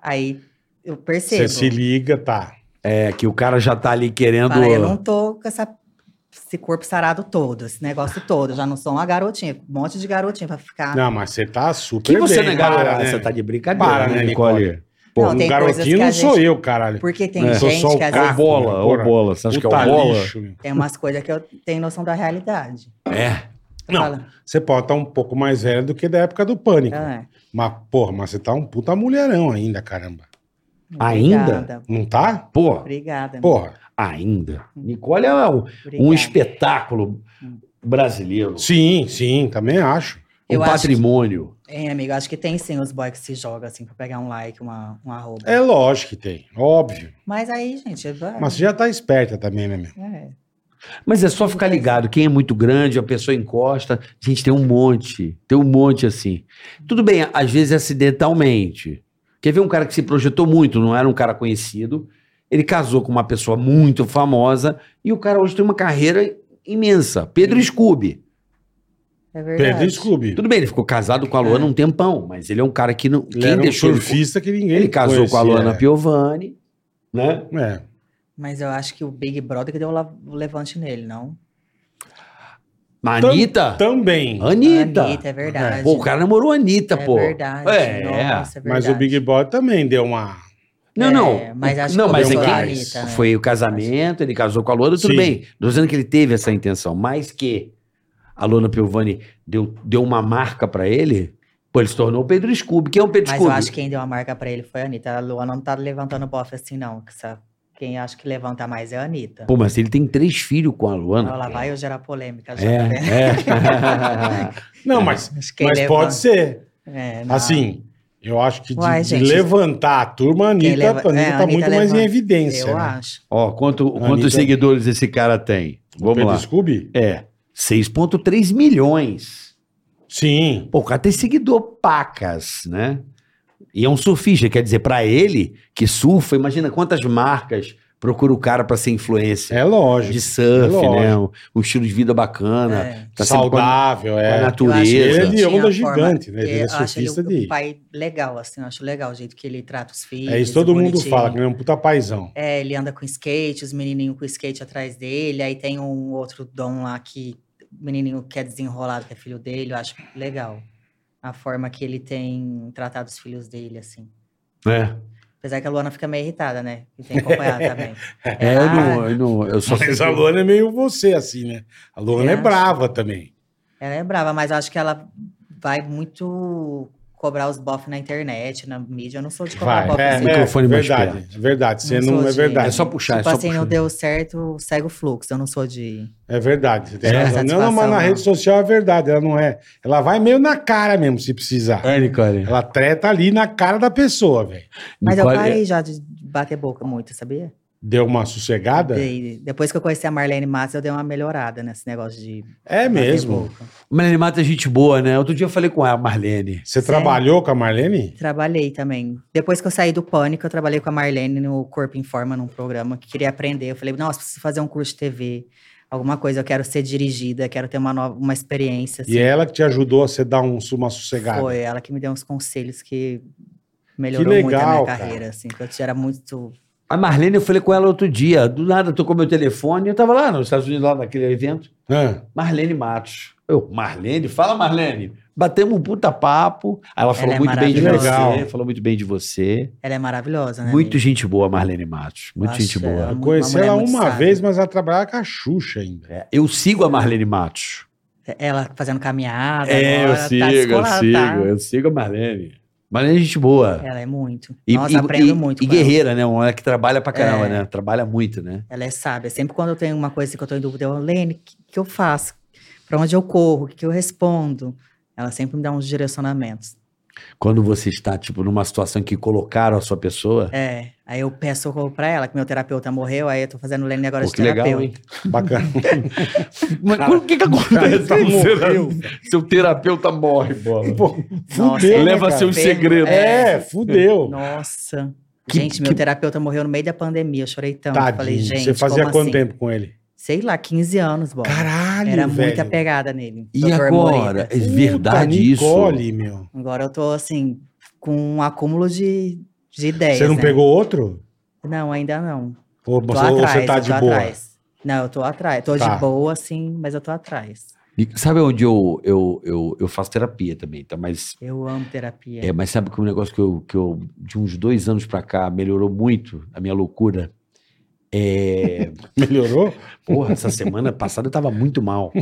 Speaker 5: Aí eu percebo.
Speaker 3: Você se liga, tá.
Speaker 4: É, que o cara já tá ali querendo...
Speaker 5: Fala, eu não tô com essa- esse corpo sarado todo, esse negócio todo, já não sou uma garotinha, um monte de garotinha pra ficar.
Speaker 3: Não, mas você tá super
Speaker 4: Que você
Speaker 3: bem,
Speaker 4: não é garoto,
Speaker 3: para, né?
Speaker 4: você tá de brincadeira,
Speaker 3: Para, né, Nicole?
Speaker 5: Não,
Speaker 3: um
Speaker 5: tem coisas
Speaker 3: garotinho
Speaker 5: que a
Speaker 3: não sou
Speaker 5: gente-
Speaker 3: eu, caralho.
Speaker 5: Porque tem
Speaker 3: É. Sou só
Speaker 5: gente
Speaker 3: o
Speaker 5: que às
Speaker 3: cara.
Speaker 5: vezes
Speaker 4: bola, ou
Speaker 3: Porra.
Speaker 4: bola. Você acha que é o
Speaker 3: Puta
Speaker 4: bola?
Speaker 3: lixo, meu.
Speaker 5: tem umas coisas que eu tenho noção da realidade.
Speaker 4: É.
Speaker 3: Não,
Speaker 5: Fala,
Speaker 3: Você pode estar um pouco mais velho do que da época do pânico.
Speaker 5: "Ah,
Speaker 3: Mas, porra, mas você tá um puta mulherão ainda, caramba.
Speaker 4: Ainda?
Speaker 5: Ah, Obrigada,
Speaker 3: Não tá?
Speaker 4: Pô,
Speaker 5: obrigada.
Speaker 3: Porra.
Speaker 4: ainda. Nicole é um, um
Speaker 5: obrigada. Hum.
Speaker 4: espetáculo brasileiro.
Speaker 3: Sim, sim, também acho.
Speaker 4: Um
Speaker 5: Eu acho
Speaker 4: patrimônio.
Speaker 5: É, amigo, acho que tem sim os boys que se jogam assim pra pegar um like, uma, um arroba.
Speaker 3: É lógico que tem, óbvio.
Speaker 5: Mas aí, gente, é vai.
Speaker 3: Mas você já tá esperta também, né, meu?
Speaker 5: É.
Speaker 4: Mas é só ficar ligado. Quem é muito grande, a pessoa encosta. Gente, tem um monte. Tem um monte assim. Tudo bem, às vezes acidentalmente. Quer ver um cara que se projetou muito, não era um cara conhecido. Ele casou com uma pessoa muito famosa e o cara hoje tem uma carreira imensa. Pedro Scooby.
Speaker 5: É
Speaker 3: Pedro
Speaker 5: verdade.
Speaker 3: Scooby.
Speaker 4: Tudo bem, ele ficou casado com a Luana um tempão, mas ele é um cara que não.
Speaker 3: Ele
Speaker 4: Quem
Speaker 3: era um é.
Speaker 4: deixou ele-
Speaker 3: surfista que ninguém
Speaker 4: Ele casou com a
Speaker 3: conhecia.
Speaker 4: Luana Piovani, né?
Speaker 3: É.
Speaker 5: Mas eu acho que o Big Brother que deu o la- o levante nele, não?
Speaker 4: Mas
Speaker 3: Tam-
Speaker 4: Anitta?
Speaker 3: Também.
Speaker 4: Anitta.
Speaker 5: Anitta, é verdade.
Speaker 4: Pô, o cara namorou a Anitta,
Speaker 5: é
Speaker 4: pô.
Speaker 5: Verdade.
Speaker 4: É.
Speaker 5: Nossa, é verdade.
Speaker 3: Mas o Big Brother também deu uma...
Speaker 4: Não, não.
Speaker 5: É, mas acho
Speaker 4: não,
Speaker 5: que
Speaker 4: mas é
Speaker 3: deu
Speaker 4: que
Speaker 3: um
Speaker 5: gás,
Speaker 4: ele-
Speaker 5: né?
Speaker 4: foi o casamento, ele casou com a Luana, tudo
Speaker 3: Sim.
Speaker 4: bem. Não dizendo que ele teve essa intenção, mas que a Luana Piovani deu, deu uma marca pra ele, pô, ele se tornou o Pedro Scooby. Quem é o Pedro
Speaker 5: Mas eu
Speaker 4: Scooby?
Speaker 5: acho que quem deu a marca pra ele foi a Anitta. A Luana não tá levantando bofe assim, não. que essa- Quem acho que levanta mais é a Anitta.
Speaker 4: Pô, mas ele tem três filhos com a
Speaker 5: Olha lá,
Speaker 4: Luana.
Speaker 5: vai eu gerar polêmica já. tá vendo?
Speaker 4: É, é.
Speaker 3: Não, mas,
Speaker 5: Acho que
Speaker 3: mas
Speaker 5: ele
Speaker 3: pode ser.
Speaker 5: leva- É, não.
Speaker 3: Assim, eu acho que de,
Speaker 5: Uai,
Speaker 3: de
Speaker 5: gente.
Speaker 3: levantar a turma, a Anitta,
Speaker 5: leva-
Speaker 3: a Anitta
Speaker 5: é, a
Speaker 3: tá
Speaker 5: Anitta
Speaker 3: muito mais em
Speaker 5: levanta.
Speaker 3: evidência.
Speaker 5: Eu
Speaker 3: né?
Speaker 5: acho.
Speaker 4: Ó, quanto,
Speaker 3: Anitta-
Speaker 4: quantos seguidores esse cara tem?
Speaker 3: O
Speaker 4: Vamos
Speaker 3: Pedro
Speaker 4: lá.
Speaker 3: Scooby?
Speaker 4: É, 6,3 milhões.
Speaker 3: Sim.
Speaker 4: Pô, o cara tem seguidor pacas, né? E é um surfista, quer dizer, pra ele que surfa, imagina quantas marcas procura o cara pra ser influência
Speaker 3: É lógico.
Speaker 4: de surf,
Speaker 3: lógico.
Speaker 4: né? Um, um estilo de vida bacana,
Speaker 5: É.
Speaker 4: tá sempre com a,
Speaker 3: Saudável,
Speaker 4: com a
Speaker 3: é.
Speaker 5: Eu acho que
Speaker 4: natureza.
Speaker 3: Ele é de
Speaker 5: tinha
Speaker 3: onda
Speaker 5: uma
Speaker 3: gigante, né? Ele
Speaker 5: porque
Speaker 3: é
Speaker 5: eu acho
Speaker 3: surfista
Speaker 5: ele um
Speaker 3: de-
Speaker 5: pai legal, assim. Eu acho legal o jeito que ele trata os filhos.
Speaker 3: É isso todo mundo
Speaker 5: bonitinho.
Speaker 3: fala, que ele é um puta paizão.
Speaker 5: É, ele anda com skate, os menininhos com skate atrás dele. Aí tem um outro dom lá que o menininho que é desenrolado, que é filho dele. Eu acho legal a forma que ele tem tratado os filhos dele, assim.
Speaker 4: né?
Speaker 5: Apesar que a Luana fica meio irritada, né? E tem que acompanhar também.
Speaker 4: É, eu, não, eu, não, eu só sei
Speaker 3: Mas
Speaker 4: que-
Speaker 3: a Luana é meio você, assim, né? A Luana é
Speaker 5: Você acha?
Speaker 3: brava também.
Speaker 5: Ela é brava, mas eu acho que ela vai muito cobrar os bofs na internet, na mídia. Eu não sou de cobrar
Speaker 3: Vai.
Speaker 5: bofe
Speaker 3: É,
Speaker 5: assim.
Speaker 3: é,
Speaker 4: microfone mais
Speaker 3: verdade, é verdade.
Speaker 5: Não
Speaker 3: Você não,
Speaker 5: sou
Speaker 3: é
Speaker 5: de-
Speaker 4: É
Speaker 3: verdade.
Speaker 4: só puxar,
Speaker 5: tipo
Speaker 4: é só
Speaker 5: assim,
Speaker 4: puxar.
Speaker 5: não deu certo, segue o fluxo. Eu não sou de.
Speaker 3: É verdade. Você tem
Speaker 5: Não é
Speaker 3: razão. Não, não, mas na
Speaker 5: satisfação,
Speaker 4: né?"
Speaker 3: rede social é verdade. Ela não é. Ela vai meio na cara mesmo, se precisar.
Speaker 4: É, Nicole.
Speaker 3: Ela treta ali na cara da pessoa, velho.
Speaker 5: Mas
Speaker 4: Nicole,
Speaker 5: eu parei já de bater boca muito, sabia?
Speaker 3: Deu uma sossegada?
Speaker 5: Dei- depois que eu conheci a Marlene Matos, eu dei uma melhorada nesse negócio de.
Speaker 3: É
Speaker 5: bater
Speaker 3: mesmo.
Speaker 5: boca.
Speaker 4: Marlene Mata é gente boa, né? Outro dia eu falei com ela, Marlene.
Speaker 3: Você
Speaker 5: Sério?
Speaker 3: trabalhou com a Marlene?
Speaker 5: Trabalhei também. Depois que eu saí do pânico, eu trabalhei com a Marlene no Corpo em Forma, num programa que queria aprender. Eu falei, nossa, preciso fazer um curso de TV, alguma coisa, eu quero ser dirigida, quero ter uma nova, uma experiência.
Speaker 4: é
Speaker 5: assim."
Speaker 3: E ela que te ajudou a você dar um, uma sossegada.
Speaker 5: Foi ela que me deu uns conselhos que melhorou muito a
Speaker 3: legal,
Speaker 5: minha
Speaker 3: cara.
Speaker 5: carreira, assim, que eu era muito
Speaker 4: A Marlene, eu falei com ela outro dia. Do nada, tocou meu telefone. Eu tava lá nos Estados Unidos, lá naquele evento.
Speaker 3: Hã?
Speaker 4: Marlene Matos. Eu, Marlene? Fala, Marlene. Batemos um puta papo. Aí ela falou
Speaker 5: é
Speaker 4: muito bem de
Speaker 3: maravilhosa.
Speaker 4: você. Falou muito bem de você.
Speaker 5: Ela é maravilhosa, né?
Speaker 4: Muito
Speaker 5: amiga?
Speaker 4: gente boa, Marlene Matos. Muito
Speaker 5: Nossa,
Speaker 4: gente boa.
Speaker 5: ela-
Speaker 3: Eu
Speaker 5: Uma
Speaker 3: conheci
Speaker 5: mulher
Speaker 3: ela
Speaker 5: muito
Speaker 3: uma
Speaker 5: sábia.
Speaker 3: vez, mas ela trabalhava com a Xuxa ainda.
Speaker 4: É, Eu sigo a Marlene Matos.
Speaker 5: Ela fazendo caminhada.
Speaker 4: É, eu
Speaker 5: agora, tá
Speaker 4: sigo, eu
Speaker 5: descolada,
Speaker 4: sigo,
Speaker 5: tá?
Speaker 4: eu sigo a Marlene. Marlene é gente boa.
Speaker 5: Ela é muito.
Speaker 4: E,
Speaker 5: Nossa,
Speaker 4: e-
Speaker 5: aprendo
Speaker 4: e-
Speaker 5: muito.
Speaker 4: E
Speaker 5: com ela.
Speaker 4: guerreira, né? Uma que trabalha pra caramba,
Speaker 5: É.
Speaker 4: né? Trabalha muito, né?
Speaker 5: Ela é sábia. Sempre quando eu tenho uma coisa que eu tô em dúvida, eu, Lene, o que, que eu faço? Pra onde eu corro? O que, que eu respondo? Ela sempre me dá uns direcionamentos.
Speaker 4: Quando você está, tipo, numa situação que colocaram a sua pessoa.
Speaker 5: É. Aí eu peço socorro pra ela, que meu terapeuta morreu, aí eu tô fazendo Lene agora
Speaker 4: Pô,
Speaker 5: de
Speaker 4: que legal,
Speaker 5: terapeuta.
Speaker 4: hein?
Speaker 3: Bacana.
Speaker 4: Mas o que, que acontece
Speaker 5: tá
Speaker 3: Cara,
Speaker 4: quando seu-
Speaker 3: morreu.
Speaker 4: seu terapeuta morre, bola?
Speaker 3: Pô,
Speaker 5: Nossa,
Speaker 3: fudeu.
Speaker 5: né,
Speaker 4: Leva
Speaker 5: cara?
Speaker 4: seus segredos.
Speaker 3: É, fudeu.
Speaker 5: Nossa.
Speaker 4: Que-
Speaker 5: gente, meu terapeuta morreu no meio da pandemia. Eu chorei tanto.
Speaker 3: Tadinho.
Speaker 5: Falei, gente.
Speaker 3: Você fazia
Speaker 5: como
Speaker 3: quanto
Speaker 5: assim?
Speaker 3: tempo com ele?
Speaker 5: Sei lá, 15 anos, bom.
Speaker 3: Caralho,
Speaker 5: Era
Speaker 3: velho.
Speaker 5: muita pegada nele.
Speaker 4: E
Speaker 5: Dr.
Speaker 4: agora?
Speaker 5: Moreira.
Speaker 4: É
Speaker 3: Puta,
Speaker 4: verdade isso?
Speaker 3: Nicole, meu.
Speaker 5: Agora eu tô assim, com um acúmulo de, de ideias.
Speaker 3: Você não
Speaker 5: né?
Speaker 3: pegou outro?
Speaker 5: Não, ainda não.
Speaker 3: Ou
Speaker 5: Tô
Speaker 3: você, ou
Speaker 5: atrás,
Speaker 3: você tá
Speaker 5: eu
Speaker 3: de
Speaker 5: tô
Speaker 3: boa?
Speaker 5: atrás. Não, eu tô atrás. Tô
Speaker 3: Tá.
Speaker 5: de boa, sim, mas eu tô atrás.
Speaker 4: E sabe onde eu, eu, eu, eu faço terapia também, tá? Mas,
Speaker 5: Eu amo terapia.
Speaker 4: é, mas sabe que um negócio que eu, que eu, de uns dois anos pra cá, melhorou muito a minha loucura? É.
Speaker 3: Melhorou?
Speaker 4: Porra, essa semana passada eu tava muito mal.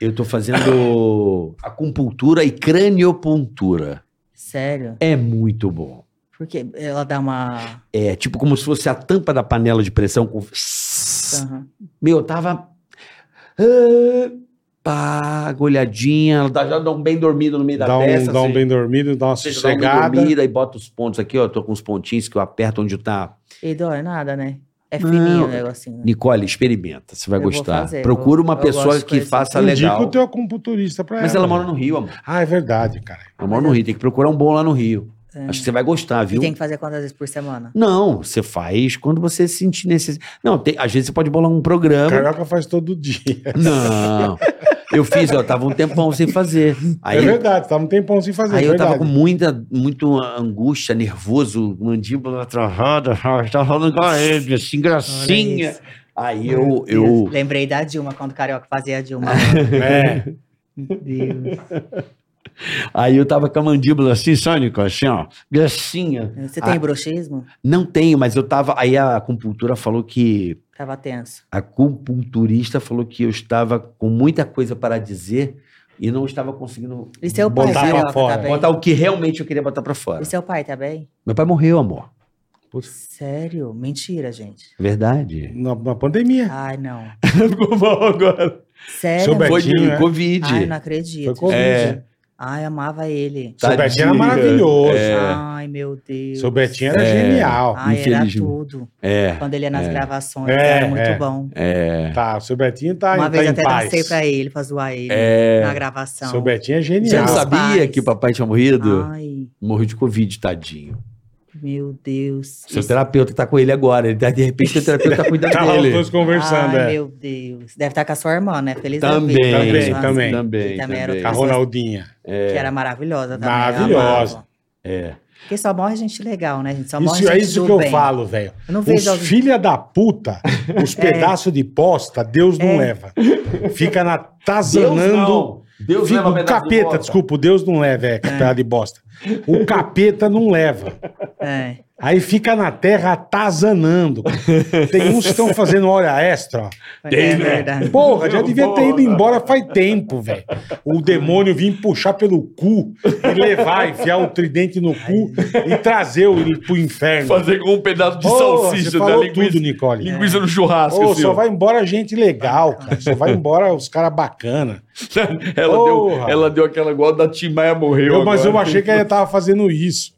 Speaker 4: Eu tô fazendo acupuntura e craniopuntura.
Speaker 5: Sério?
Speaker 4: É muito bom.
Speaker 5: Porque ela dá uma.
Speaker 4: É tipo como se fosse a tampa da panela de pressão com.
Speaker 5: Aham.
Speaker 4: Meu, eu tava. ah, Pá, agulhadinha, ela dá- já dá um bem dormido no meio da
Speaker 3: Dá um,
Speaker 4: testa.
Speaker 3: dá um
Speaker 4: assim.
Speaker 3: bem dormido, dá uma
Speaker 4: Ou seja, dá um bem
Speaker 3: sossegada.
Speaker 4: dormida e bota os pontos aqui, ó. Tô com os pontinhos que eu aperto onde tá.
Speaker 5: E dói nada, né? É
Speaker 4: Não.
Speaker 5: fininho o negocinho. né?
Speaker 4: Nicole, experimenta, você vai
Speaker 5: Eu vou
Speaker 4: gostar.
Speaker 5: fazer,
Speaker 4: Procura
Speaker 5: eu-
Speaker 4: uma
Speaker 5: eu
Speaker 4: pessoa
Speaker 5: gosto de
Speaker 4: que
Speaker 5: coisa assim.
Speaker 4: faça
Speaker 3: Indica
Speaker 4: é legal.
Speaker 3: o teu acupunturista pra
Speaker 4: Mas ela mora no Rio, amor.
Speaker 3: Ah, é verdade, cara.
Speaker 4: Ela mora no Rio, tem que procurar um bom lá no Rio. Acho que você vai gostar,
Speaker 5: É. E
Speaker 4: viu?
Speaker 5: tem que fazer quantas vezes por semana?
Speaker 4: Não, você faz quando você sentir necessidade. Não, tem- às vezes você pode bolar um programa.
Speaker 3: Carioca faz todo dia.
Speaker 4: Não. Eu fiz, ó, tava um tempão sem fazer. Aí,
Speaker 3: é verdade, tava um tempão sem fazer.
Speaker 4: aí
Speaker 3: é
Speaker 4: eu tava
Speaker 3: verdade.
Speaker 4: com muita, muito angústia, nervoso, mandíbula travada, tava falando com a ele, assim, gracinha.
Speaker 5: isso.
Speaker 4: Aí eu, eu,
Speaker 5: Lembrei da Dilma, quando o Carioca fazia a Dilma.
Speaker 3: É.
Speaker 5: Meu Deus.
Speaker 4: aí eu tava com a mandíbula assim, sônica, assim, ó, gracinha.
Speaker 5: Você tem
Speaker 4: Ah.
Speaker 5: bruxismo?
Speaker 4: Não tenho, mas eu tava, aí a acupuntura falou que
Speaker 5: Tava tenso.
Speaker 4: A acupunturista falou que eu estava com muita coisa para dizer e não estava conseguindo
Speaker 5: E seu
Speaker 3: Botar
Speaker 5: pai,
Speaker 3: pra
Speaker 5: Carioca,
Speaker 3: fora.
Speaker 5: tá bem?
Speaker 4: botar o que realmente eu queria botar para fora.
Speaker 5: E seu pai, tá bem?
Speaker 4: Meu pai morreu, amor. É
Speaker 5: Sério? Mentira, gente.
Speaker 4: Verdade.
Speaker 3: É, Na, na pandemia.
Speaker 5: Ai, não.
Speaker 4: Ficou mal agora.
Speaker 5: Sério?
Speaker 3: Seu Betinho,
Speaker 4: Foi de
Speaker 3: né?
Speaker 4: Covid.
Speaker 5: Ai, não
Speaker 3: Foi
Speaker 5: acredito.
Speaker 3: Covid.
Speaker 4: É.
Speaker 5: Ai, amava ele.
Speaker 3: Seu
Speaker 4: Tadinho.
Speaker 3: Betinho era maravilhoso.
Speaker 5: Ai, meu Deus.
Speaker 3: É. Seu Betinho era
Speaker 4: É.
Speaker 3: genial.
Speaker 5: Ai, era
Speaker 4: infelizmente.
Speaker 5: tudo.
Speaker 4: É,
Speaker 5: Quando ele ia nas gravações,
Speaker 3: É,
Speaker 5: era muito
Speaker 3: é.
Speaker 5: bom.
Speaker 4: é.
Speaker 3: Tá, o seu Betinho tá,
Speaker 5: Uma
Speaker 3: tá
Speaker 5: vez
Speaker 3: em
Speaker 5: até
Speaker 3: paz.
Speaker 5: dancei pra ele, então. pra zoar ele na gravação.
Speaker 3: Seu Betinho é
Speaker 4: Você
Speaker 3: genial.
Speaker 4: não
Speaker 5: Meus
Speaker 4: sabia
Speaker 5: pais.
Speaker 4: que o papai tinha morrido?
Speaker 5: Ai,
Speaker 4: Morreu de Covid, tadinho.
Speaker 5: meu Deus.
Speaker 4: Seu
Speaker 5: Isso-
Speaker 4: terapeuta tá com ele agora. Ele tá- de repente, seu terapeuta tá cuidando
Speaker 3: Tá lá os
Speaker 4: dele.
Speaker 3: dois
Speaker 5: Ai,
Speaker 3: conversando, é.
Speaker 5: meu Deus. Deve estar com a sua irmã, né? Feliz
Speaker 3: tá
Speaker 5: da
Speaker 4: Também,
Speaker 5: vida.
Speaker 3: Também,
Speaker 5: Mas-
Speaker 3: também.
Speaker 5: Que também era
Speaker 3: A
Speaker 5: outra-
Speaker 3: Ronaldinha.
Speaker 5: Que era maravilhosa também. eu
Speaker 3: Maravilhosa.
Speaker 5: amava.
Speaker 4: É.
Speaker 5: Porque só morre gente legal, né? gente? Só morre
Speaker 3: Isso é
Speaker 5: gente
Speaker 3: isso
Speaker 5: do
Speaker 3: que eu
Speaker 5: bem.
Speaker 3: falo, velho.
Speaker 5: Eu não
Speaker 3: Os
Speaker 5: vejo alguém...
Speaker 3: filha da puta, os
Speaker 5: É.
Speaker 3: pedaços de posta, Deus não leva. Fica na tazanando.
Speaker 4: Deus
Speaker 3: fica
Speaker 4: leva um
Speaker 3: o
Speaker 4: pedaço de
Speaker 3: capeta,
Speaker 4: bosta.
Speaker 3: desculpa, o Deus não leva, é, pedaço de bosta. O capeta não leva.
Speaker 5: É.
Speaker 3: Aí fica na terra atazanando. Tem uns que estão fazendo hora extra. ó. né?
Speaker 5: é verdade.
Speaker 3: Porra, já devia ter ido embora faz tempo, velho. O demônio vir puxar pelo cu e levar, enfiar o tridente no cu e trazer o ele pro inferno.
Speaker 4: Fazer com um pedaço de
Speaker 3: Porra,
Speaker 4: salsicha
Speaker 3: você
Speaker 4: da
Speaker 3: falou
Speaker 4: linguiça.
Speaker 3: tudo, Nicole.
Speaker 4: Linguiça no churrasco,
Speaker 3: Ô,
Speaker 4: assim,
Speaker 3: só
Speaker 4: ó.
Speaker 3: vai embora gente legal, cara. Só vai embora os caras bacana.
Speaker 4: ela, deu,
Speaker 3: Porra.
Speaker 4: ela deu aquela igual da Tim Maia morreu.
Speaker 3: Eu, mas eu
Speaker 4: agora. assim.
Speaker 3: achei que ela tava fazendo isso.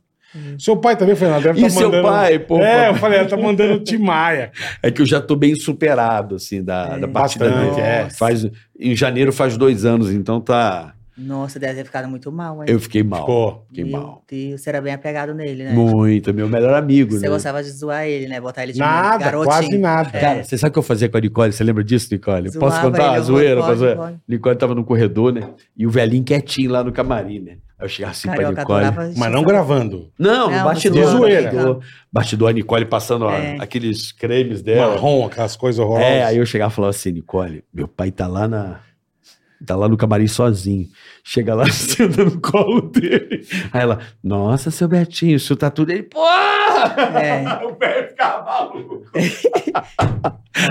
Speaker 3: Seu pai também, Fernando, deve
Speaker 4: E
Speaker 3: tá
Speaker 4: seu
Speaker 3: mandando...
Speaker 4: pai, pô?
Speaker 3: É, eu falei, ela tá mandando Timaia.
Speaker 4: É que eu já tô bem superado, assim, da, da partida
Speaker 3: Bastante,
Speaker 4: dele.
Speaker 3: é.
Speaker 4: Faz, em janeiro faz dois anos, então tá.
Speaker 5: Nossa, deve ter ficado muito mal, hein?
Speaker 4: Eu fiquei mal.
Speaker 3: Pô,
Speaker 4: Fiquei
Speaker 5: Meu
Speaker 4: mal.
Speaker 5: Deus, você era bem apegado nele, né?
Speaker 4: Muito, meu melhor amigo,
Speaker 5: Você
Speaker 4: né?
Speaker 5: gostava de zoar ele, né? Botar ele de
Speaker 3: nada,
Speaker 5: garotinho.
Speaker 3: quase nada.
Speaker 4: Cara, você sabe o que eu fazia com a Nicole? Você lembra disso, Nicole?
Speaker 5: Zoava
Speaker 4: Posso contar
Speaker 5: ele,
Speaker 4: a zoeira?
Speaker 5: pode,
Speaker 4: Posso...
Speaker 5: pode.
Speaker 4: Nicole tava no corredor, né? E o velhinho quietinho lá no camarim, né? Aí eu chegava assim
Speaker 5: Carioca
Speaker 4: pra Nicole.
Speaker 5: adorava...
Speaker 3: Mas não gravando.
Speaker 4: Não,
Speaker 5: Não,
Speaker 4: no bastidor.
Speaker 3: zoando,
Speaker 4: bastidor.
Speaker 5: zoeira.
Speaker 4: Bastidor, a Nicole passando ó,
Speaker 5: É.
Speaker 4: aqueles cremes dela.
Speaker 3: Marrom, aquelas coisas horrorosas.
Speaker 4: É, aí eu chegava e falava assim, Nicole, meu pai tá lá na, Tá lá no camarim sozinho. Chega lá, senta no colo dele. Aí ela, nossa, seu Betinho, isso tá tudo. Ele, porra!
Speaker 5: É.
Speaker 4: O Beto ficava maluco.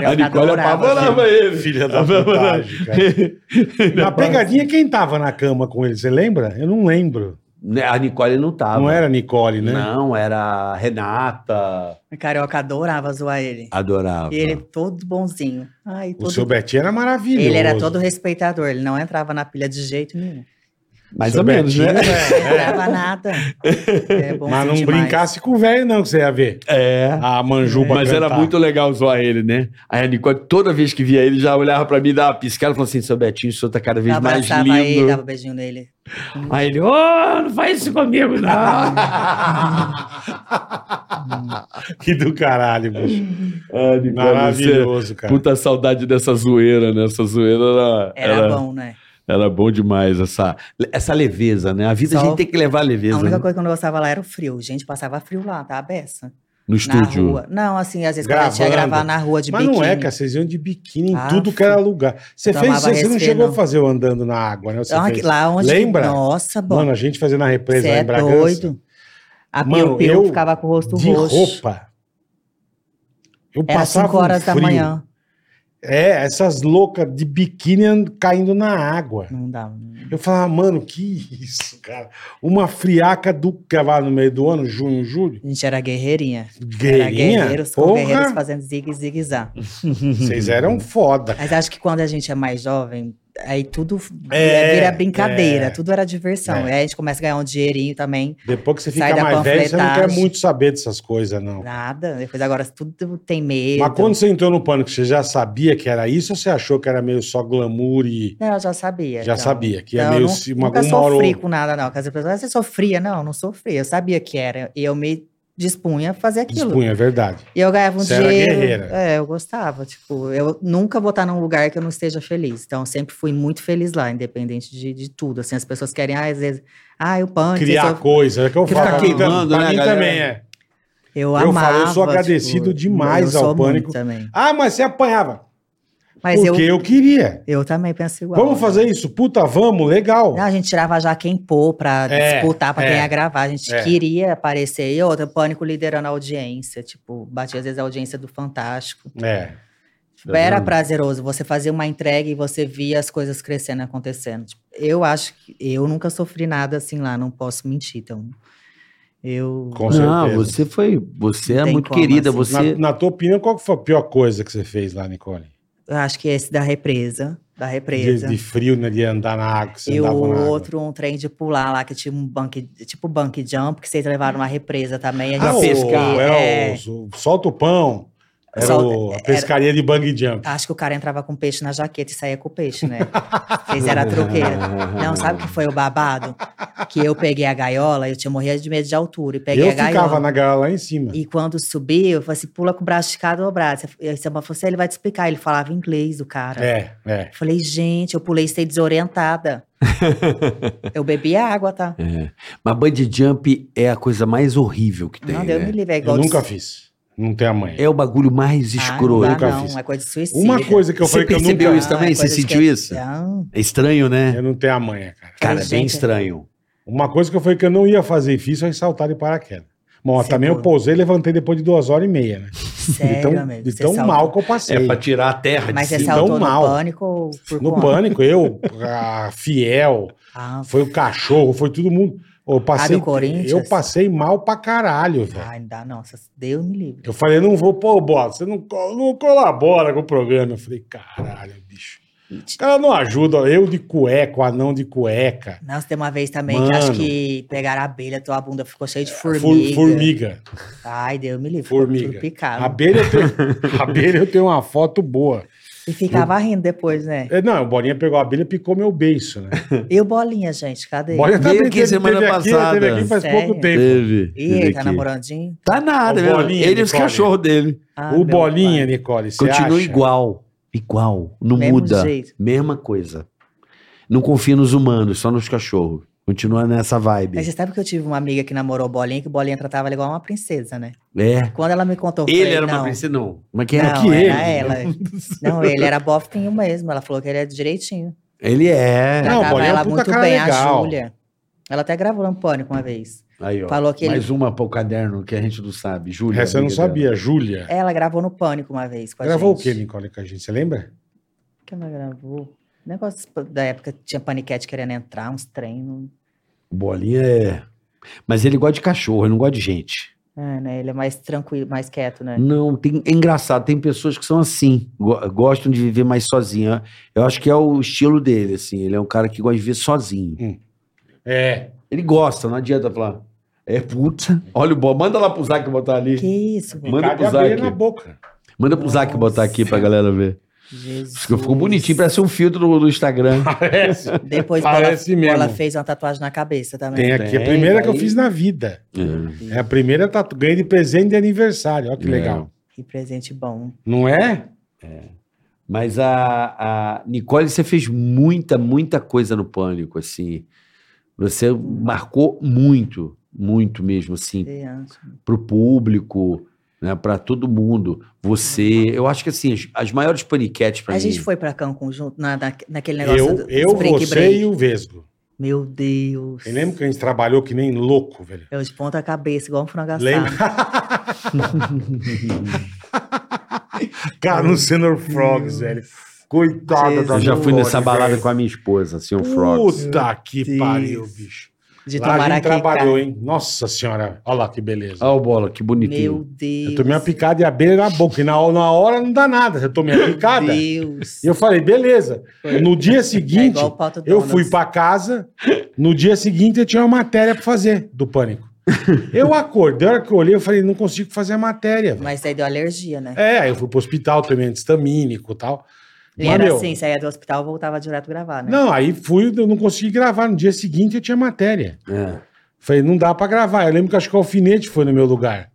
Speaker 5: Eu
Speaker 4: A Nicole
Speaker 5: adorava.
Speaker 4: apavorava ele.
Speaker 3: Filha da vontade, cara. Na pegadinha, quem tava na cama com ele? Você lembra? Eu não lembro.
Speaker 4: A Nicole não tava.
Speaker 3: Não era a Nicole, né?
Speaker 4: Ah, Não, era a Renata.
Speaker 5: O Carioca adorava zoar ele.
Speaker 4: Adorava.
Speaker 5: E ele todo bonzinho. Ai,
Speaker 3: O
Speaker 5: todo-
Speaker 3: seu Betinho era maravilhoso.
Speaker 5: Ele era todo respeitador, ele não entrava na pilha de jeito nenhum.
Speaker 4: Mais
Speaker 3: Seu
Speaker 4: ou menos,
Speaker 3: Betinho,
Speaker 4: né?
Speaker 5: Não entrava nada. É bonzinho
Speaker 3: Mas não
Speaker 5: demais.
Speaker 3: brincasse com o velho, não, que você ia ver.
Speaker 4: É.
Speaker 3: A manjuba
Speaker 4: Mas era
Speaker 3: cantar.
Speaker 4: muito legal zoar ele, né? Aí a Nicole, toda vez que via ele, já olhava pra mim, dava uma piscada e falava assim: seu Betinho, o senhor tá cada vez mais
Speaker 5: Abraçava
Speaker 4: lindo.
Speaker 5: ele, dava um beijinho nele.
Speaker 4: Aí ele, ô, não faz isso comigo, não. Ah,
Speaker 3: Que do caralho, bicho.
Speaker 4: Ah, Nicole, você-
Speaker 3: Maravilhoso, cara.
Speaker 4: Puta saudade dessa zoeira, né? Essa zoeira era,
Speaker 5: Era
Speaker 4: era,
Speaker 5: bom, né?
Speaker 4: era bom demais, essa, essa leveza, né? A vida a
Speaker 5: Só-
Speaker 4: gente tem que levar a leveza.
Speaker 5: A única
Speaker 4: né?
Speaker 5: coisa que eu não gostava lá era o frio. Gente, passava frio lá, tá? A beça.
Speaker 4: No
Speaker 5: Na
Speaker 4: estúdio.
Speaker 5: rua. Não, assim, às vezes quando a gente ia
Speaker 3: Gravando.
Speaker 5: gravar na rua de
Speaker 3: Mas
Speaker 5: biquíni.
Speaker 3: não é, cara. Vocês iam de biquíni em
Speaker 5: Ah,
Speaker 3: tudo que era lugar. Você
Speaker 5: tomava
Speaker 3: fez, você você não
Speaker 5: resfri,
Speaker 3: chegou
Speaker 5: não.
Speaker 3: a fazer o andando na água, né? Você
Speaker 5: Então,
Speaker 3: fez.
Speaker 5: aqui- lá onde...
Speaker 3: Lembra?
Speaker 5: Nossa, bom.
Speaker 3: Mano, a gente fazia na represa
Speaker 5: Você
Speaker 3: lá
Speaker 5: é
Speaker 3: em Bragança.
Speaker 5: doido. A Piu
Speaker 3: Mano,
Speaker 5: Piu
Speaker 3: eu-
Speaker 5: ficava com o rosto
Speaker 3: de
Speaker 5: roxo.
Speaker 3: roupa. Eu
Speaker 5: Era
Speaker 3: passava
Speaker 5: 5 horas
Speaker 3: um
Speaker 5: da
Speaker 3: frio.
Speaker 5: manhã.
Speaker 3: É, essas loucas de biquíni and- caindo na água.
Speaker 5: Não dava.
Speaker 3: Eu falava, mano, que isso, cara. Uma friaca do cavalo no meio do ano, junho, julho.
Speaker 5: A gente era guerreirinha. Era
Speaker 3: Guerrinha?
Speaker 5: guerreiros com guerreiros
Speaker 3: Porra,
Speaker 5: fazendo zigue zigue zá.
Speaker 3: vocês eram foda.
Speaker 5: Mas acho que quando a gente é mais jovem, aí tudo
Speaker 3: É,
Speaker 5: vira brincadeira,
Speaker 3: é.
Speaker 5: tudo era diversão.
Speaker 3: É.
Speaker 5: Aí a gente começa a ganhar um dinheirinho também.
Speaker 3: Depois que você
Speaker 5: Sai
Speaker 3: fica
Speaker 5: da
Speaker 3: mais velho, você não quer
Speaker 5: panfletagem.
Speaker 3: muito saber dessas coisas, não.
Speaker 5: Nada. Depois agora tudo tem medo.
Speaker 3: Mas quando você entrou no pânico, você já sabia que era isso ou você achou que era meio só glamour e.
Speaker 5: Não, eu já sabia.
Speaker 3: Já sabia, que é
Speaker 5: Não,
Speaker 3: meio
Speaker 5: eu
Speaker 3: se-
Speaker 5: nu-
Speaker 3: uma-
Speaker 5: nunca
Speaker 3: uma hora ou
Speaker 5: sofri
Speaker 3: outra.
Speaker 5: com nada, não. Porque as pessoas, "Ah, você sofria? Não, eu não sofria. Eu sabia que era. E eu me dispunha a fazer aquilo.
Speaker 3: Dispunha, é verdade.
Speaker 5: E eu ganhava um
Speaker 3: Você era
Speaker 5: dinheiro.
Speaker 3: guerreira.
Speaker 5: É, eu gostava. Tipo, eu nunca vou estar num lugar que eu não esteja feliz. Então, eu sempre fui muito feliz lá, independente de, de tudo. Assim, as pessoas querem, ah, às vezes, ah, eu pânico.
Speaker 3: Criar
Speaker 5: Eu,
Speaker 3: coisa, é que eu
Speaker 5: Ficar
Speaker 3: falo.
Speaker 4: queimando,
Speaker 3: pra
Speaker 4: né,
Speaker 3: mim
Speaker 4: galera?
Speaker 3: também é.
Speaker 5: eu
Speaker 3: falo, eu
Speaker 5: amava. tipo,
Speaker 3: sou agradecido demais
Speaker 5: eu
Speaker 3: ao
Speaker 5: sou muito
Speaker 3: Pânico.
Speaker 5: também.
Speaker 3: Ah, mas você apanhava.
Speaker 5: Mas eu,
Speaker 3: porque eu, queria.
Speaker 5: eu também penso igual.
Speaker 3: Vamos fazer isso? Puta, vamos, legal.
Speaker 5: Não, a gente tirava já quem pô pra
Speaker 3: É,
Speaker 5: disputar, pra
Speaker 3: é,
Speaker 5: quem ia gravar. A gente
Speaker 3: é.
Speaker 5: queria aparecer. E outra, pânico liderando a audiência. Tipo, batia às vezes a audiência do Fantástico.
Speaker 3: É.
Speaker 5: Tipo, Era prazeroso você fazer uma entrega e você via as coisas crescendo, acontecendo. Tipo, eu acho que eu nunca sofri nada assim lá, não posso mentir. Então, eu.
Speaker 3: Com
Speaker 4: não,
Speaker 3: certeza.
Speaker 4: você foi. Você é
Speaker 5: Não tem
Speaker 4: muito
Speaker 5: como,
Speaker 4: querida.
Speaker 5: assim.
Speaker 3: Na,
Speaker 4: Você.
Speaker 3: na tua opinião, qual que foi a pior coisa que você fez lá, Nicole?
Speaker 5: eu acho que é esse da represa. Da
Speaker 3: De,
Speaker 5: represa.
Speaker 3: de frio, né? De andar na água, que você
Speaker 5: E o
Speaker 3: andava na água.
Speaker 5: outro, um trem de pular lá, que tinha um bunk, tipo bunk jump, que vocês levaram uma represa também. A
Speaker 3: Ah,
Speaker 5: gente-
Speaker 4: pescar.
Speaker 3: O,
Speaker 5: É.
Speaker 3: é, o- o- solta o pão. Era
Speaker 5: Solta- Ah,
Speaker 3: o- a pescaria de bang jump.
Speaker 5: Acho que o cara entrava com peixe na jaqueta e saía com o peixe, né? Fez era truqueira. Não, sabe o que foi o babado? Que eu peguei a gaiola, eu tinha morrido de medo de altura e peguei
Speaker 3: eu
Speaker 5: a
Speaker 3: ficava
Speaker 5: gaiola.
Speaker 3: na gaiola lá em cima.
Speaker 5: E quando subi, eu falei assim, pula com o braço esticado ou o braço. Aí você falou assim, ele vai te explicar. Ele falava inglês, o cara.
Speaker 3: É, é.
Speaker 5: Eu Falei, gente, eu pulei sem desorientada. eu bebi água, tá?
Speaker 4: É. Mas bungee jump é a coisa mais horrível que tem.
Speaker 5: não, deu
Speaker 4: né?
Speaker 5: me livre. É
Speaker 3: Eu
Speaker 5: igual
Speaker 3: nunca
Speaker 5: de...
Speaker 3: fiz. Não tem amanhã.
Speaker 4: É o bagulho mais
Speaker 5: Ah,
Speaker 4: escroto.
Speaker 5: Não,
Speaker 3: nunca
Speaker 5: dá, não,
Speaker 3: fiz.
Speaker 5: é coisa de suicídio.
Speaker 3: Uma coisa que eu
Speaker 4: Você
Speaker 3: falei que eu
Speaker 4: percebeu
Speaker 3: nunca...
Speaker 4: isso também?
Speaker 5: é
Speaker 4: Você
Speaker 5: coisa de
Speaker 4: sentiu
Speaker 5: que-
Speaker 4: isso?
Speaker 5: Não.
Speaker 4: É estranho, né?
Speaker 3: Eu não tenho amanhã, cara.
Speaker 4: Cara, é
Speaker 5: Gente,
Speaker 4: bem estranho.
Speaker 3: Uma coisa que eu falei que eu não ia fazer e fiz foi saltar de paraquedas. Bom,
Speaker 5: Sim,
Speaker 3: também eu
Speaker 5: pô.
Speaker 3: pousei e levantei depois de duas horas e meia, né?
Speaker 5: Sério,
Speaker 3: de tão,
Speaker 5: amigo.
Speaker 3: de
Speaker 5: você
Speaker 3: tão
Speaker 5: saltou.
Speaker 3: mal que eu passei.
Speaker 4: É pra tirar a terra
Speaker 5: Mas
Speaker 4: de
Speaker 5: você
Speaker 4: cima.
Speaker 3: Então,
Speaker 5: saltou no
Speaker 3: mal.
Speaker 5: pânico ou por
Speaker 3: No
Speaker 5: conta?
Speaker 3: pânico, eu, a Fiel,
Speaker 5: Ah,
Speaker 3: foi o cachorro, foi todo mundo. Eu passei,
Speaker 5: do Corinthians?
Speaker 3: eu passei mal pra caralho, velho.
Speaker 5: ai, não dá, não. Cê- Deus me livre.
Speaker 3: Eu falei, não vou, pô, Bola, você não, co- não colabora com o programa. Eu falei, caralho, bicho. Os caras não ajudam. Eu de cueca, o anão de cueca.
Speaker 5: Nossa, tem uma vez também que acho
Speaker 3: Mano.
Speaker 5: que pegaram a abelha, tua bunda ficou cheia de
Speaker 3: Fur-
Speaker 5: formiga. Ah.
Speaker 3: Formiga.
Speaker 5: Ai, Deus me livre. Ficou
Speaker 3: Formiga.
Speaker 5: tudo picado.
Speaker 3: Abelha eu, tenho, abelha eu tenho uma foto boa.
Speaker 5: E ficava rindo depois, né?
Speaker 3: É, Não, o Bolinha pegou a abelha e picou meu beiço, né?
Speaker 5: E o Bolinha, gente, cadê? ele?
Speaker 3: Bolinha tá
Speaker 4: Veio aqui semana
Speaker 3: aqui, né? teve
Speaker 4: passada. É.
Speaker 3: aqui faz
Speaker 5: Sério?
Speaker 3: pouco tempo.
Speaker 4: Teve.
Speaker 5: Ih,
Speaker 4: teve
Speaker 5: ele tá
Speaker 4: aqui.
Speaker 5: namoradinho?
Speaker 4: Tá nada,
Speaker 3: O
Speaker 4: né?
Speaker 3: Bolinha,
Speaker 4: Ele e os
Speaker 3: Nicole.
Speaker 4: cachorros dele.
Speaker 5: Ah,
Speaker 3: o
Speaker 5: meu
Speaker 3: Bolinha,
Speaker 5: pai.
Speaker 3: Nicole, você
Speaker 4: Continua
Speaker 3: acha?
Speaker 4: igual. Igual. Não
Speaker 5: Mesmo
Speaker 4: muda.
Speaker 5: jeito.
Speaker 4: Mesma coisa. Não confia nos humanos, só nos cachorros. Continua nessa vibe.
Speaker 5: Mas você sabe que eu tive uma amiga que namorou o Bolinha, que o Bolinha tratava ela igual uma princesa, né?
Speaker 4: É.
Speaker 5: Quando ela me contou, eu
Speaker 4: Ele
Speaker 5: falei,
Speaker 4: era
Speaker 5: não,
Speaker 4: uma princesa, não. Como é que
Speaker 5: Não,
Speaker 4: era?
Speaker 5: era ela. Não, ele era bofinho mesmo. Ela falou que ele é direitinho.
Speaker 4: Ele é.
Speaker 3: Não,
Speaker 5: Tratava
Speaker 3: Bolinha é um
Speaker 5: ela
Speaker 3: puta
Speaker 5: muito
Speaker 3: cara
Speaker 5: bem,
Speaker 3: legal.
Speaker 5: a Júlia. Ela até gravou no Pânico uma vez.
Speaker 4: Aí, ó.
Speaker 5: Falou que ele-
Speaker 3: um.
Speaker 4: Mais uma pro caderno que a gente não sabe. Júlia.
Speaker 3: Essa eu não
Speaker 4: amiga dela.
Speaker 3: sabia, Júlia.
Speaker 5: Ela gravou no Pânico uma vez com a
Speaker 3: Gravou
Speaker 5: gente.
Speaker 3: o que, Nicole, com a gente? Você lembra?
Speaker 5: O que ela gravou? Negócio da época que tinha paniquete querendo entrar, uns treinos.
Speaker 4: Bolinha é. Mas ele gosta de cachorro, ele não gosta de gente.
Speaker 5: É, né? Ele é mais tranquilo, mais quieto, né?
Speaker 4: Não, tem, é engraçado, tem pessoas que são assim, go- gostam de viver mais sozinha. Eu acho que é o estilo dele, assim. Ele é um cara que gosta de viver sozinho.
Speaker 3: É.
Speaker 4: Ele gosta, não adianta falar. É puta. Olha o bom, manda lá pro Zac botar ali.
Speaker 5: Que isso,
Speaker 4: Manda
Speaker 3: Manda
Speaker 4: pro
Speaker 3: a abelha
Speaker 4: Zac.
Speaker 3: na boca.
Speaker 4: Manda pro Zac botar aqui pra galera ver.
Speaker 5: Jesus.
Speaker 4: Ficou ficou bonitinho, parece um filtro do, do Instagram.
Speaker 3: Parece.
Speaker 5: Depois
Speaker 3: Parece
Speaker 5: Bola,
Speaker 3: mesmo.
Speaker 5: Bola fez uma tatuagem na cabeça também.
Speaker 3: Tem aqui.
Speaker 4: Tem,
Speaker 3: a primeira que eu
Speaker 4: daí-
Speaker 3: fiz na vida.
Speaker 4: É.
Speaker 3: É a primeira tatu. Ganhei de presente de aniversário. Olha que
Speaker 4: É.
Speaker 3: legal.
Speaker 5: Que presente bom.
Speaker 3: Não é?
Speaker 4: Mas a, a Nicole, você fez muita, muita coisa no Pânico, assim. Você marcou muito, muito mesmo, assim,
Speaker 5: Criança.
Speaker 4: pro público, né, para todo mundo. Você, eu acho que assim, as, as maiores paniquetes pra
Speaker 5: A
Speaker 4: mim.
Speaker 5: gente foi pra Cancún junto, na, na- naquele negócio
Speaker 3: Eu,
Speaker 5: do-
Speaker 3: eu
Speaker 5: dos break
Speaker 3: você
Speaker 5: break.
Speaker 3: e o Vesgo.
Speaker 5: Meu Deus.
Speaker 3: Eu lembro que a gente trabalhou que nem louco, velho.
Speaker 5: Eu de ponta cabeça, igual um frango assado.
Speaker 3: Lembra? Cara, no Senor Frogs, velho. Coitada da
Speaker 4: eu já fui
Speaker 3: Nicole,
Speaker 4: nessa balada
Speaker 3: velho.
Speaker 4: com a minha esposa, assim, o Frogs.
Speaker 3: Puta que
Speaker 5: Deus.
Speaker 3: pariu, bicho.
Speaker 5: De
Speaker 3: Lá a
Speaker 5: tomar
Speaker 3: gente
Speaker 5: aqui.
Speaker 3: trabalhou, hein? Nossa senhora. Olha lá que beleza.
Speaker 4: Olha o bola, que bonitinho.
Speaker 5: Meu Deus.
Speaker 3: Eu tomei uma picada de abelha na boca. E na, ho- na hora não dá nada. Eu tomei a picada.
Speaker 5: Meu
Speaker 3: E
Speaker 5: Deus.
Speaker 3: eu falei, beleza. No dia
Speaker 5: é
Speaker 3: seguinte,
Speaker 5: igual o Pato
Speaker 3: eu
Speaker 5: Donald.
Speaker 3: fui pra casa. No dia seguinte, eu tinha uma matéria pra fazer do pânico. Eu acordei, a hora que eu olhei, eu falei, não consigo fazer a matéria. velho.
Speaker 5: Mas aí deu alergia, né?
Speaker 3: É, aí eu fui pro hospital, tomei antistamínico e tal.
Speaker 5: E
Speaker 3: Mas,
Speaker 5: era
Speaker 3: meu,
Speaker 5: assim, saía do hospital, voltava direto gravar, né?
Speaker 3: Não, aí fui, eu não consegui gravar. No dia seguinte, eu tinha matéria.
Speaker 4: É.
Speaker 3: Falei, não dá pra gravar. Eu lembro que acho que o alfinete foi no meu lugar.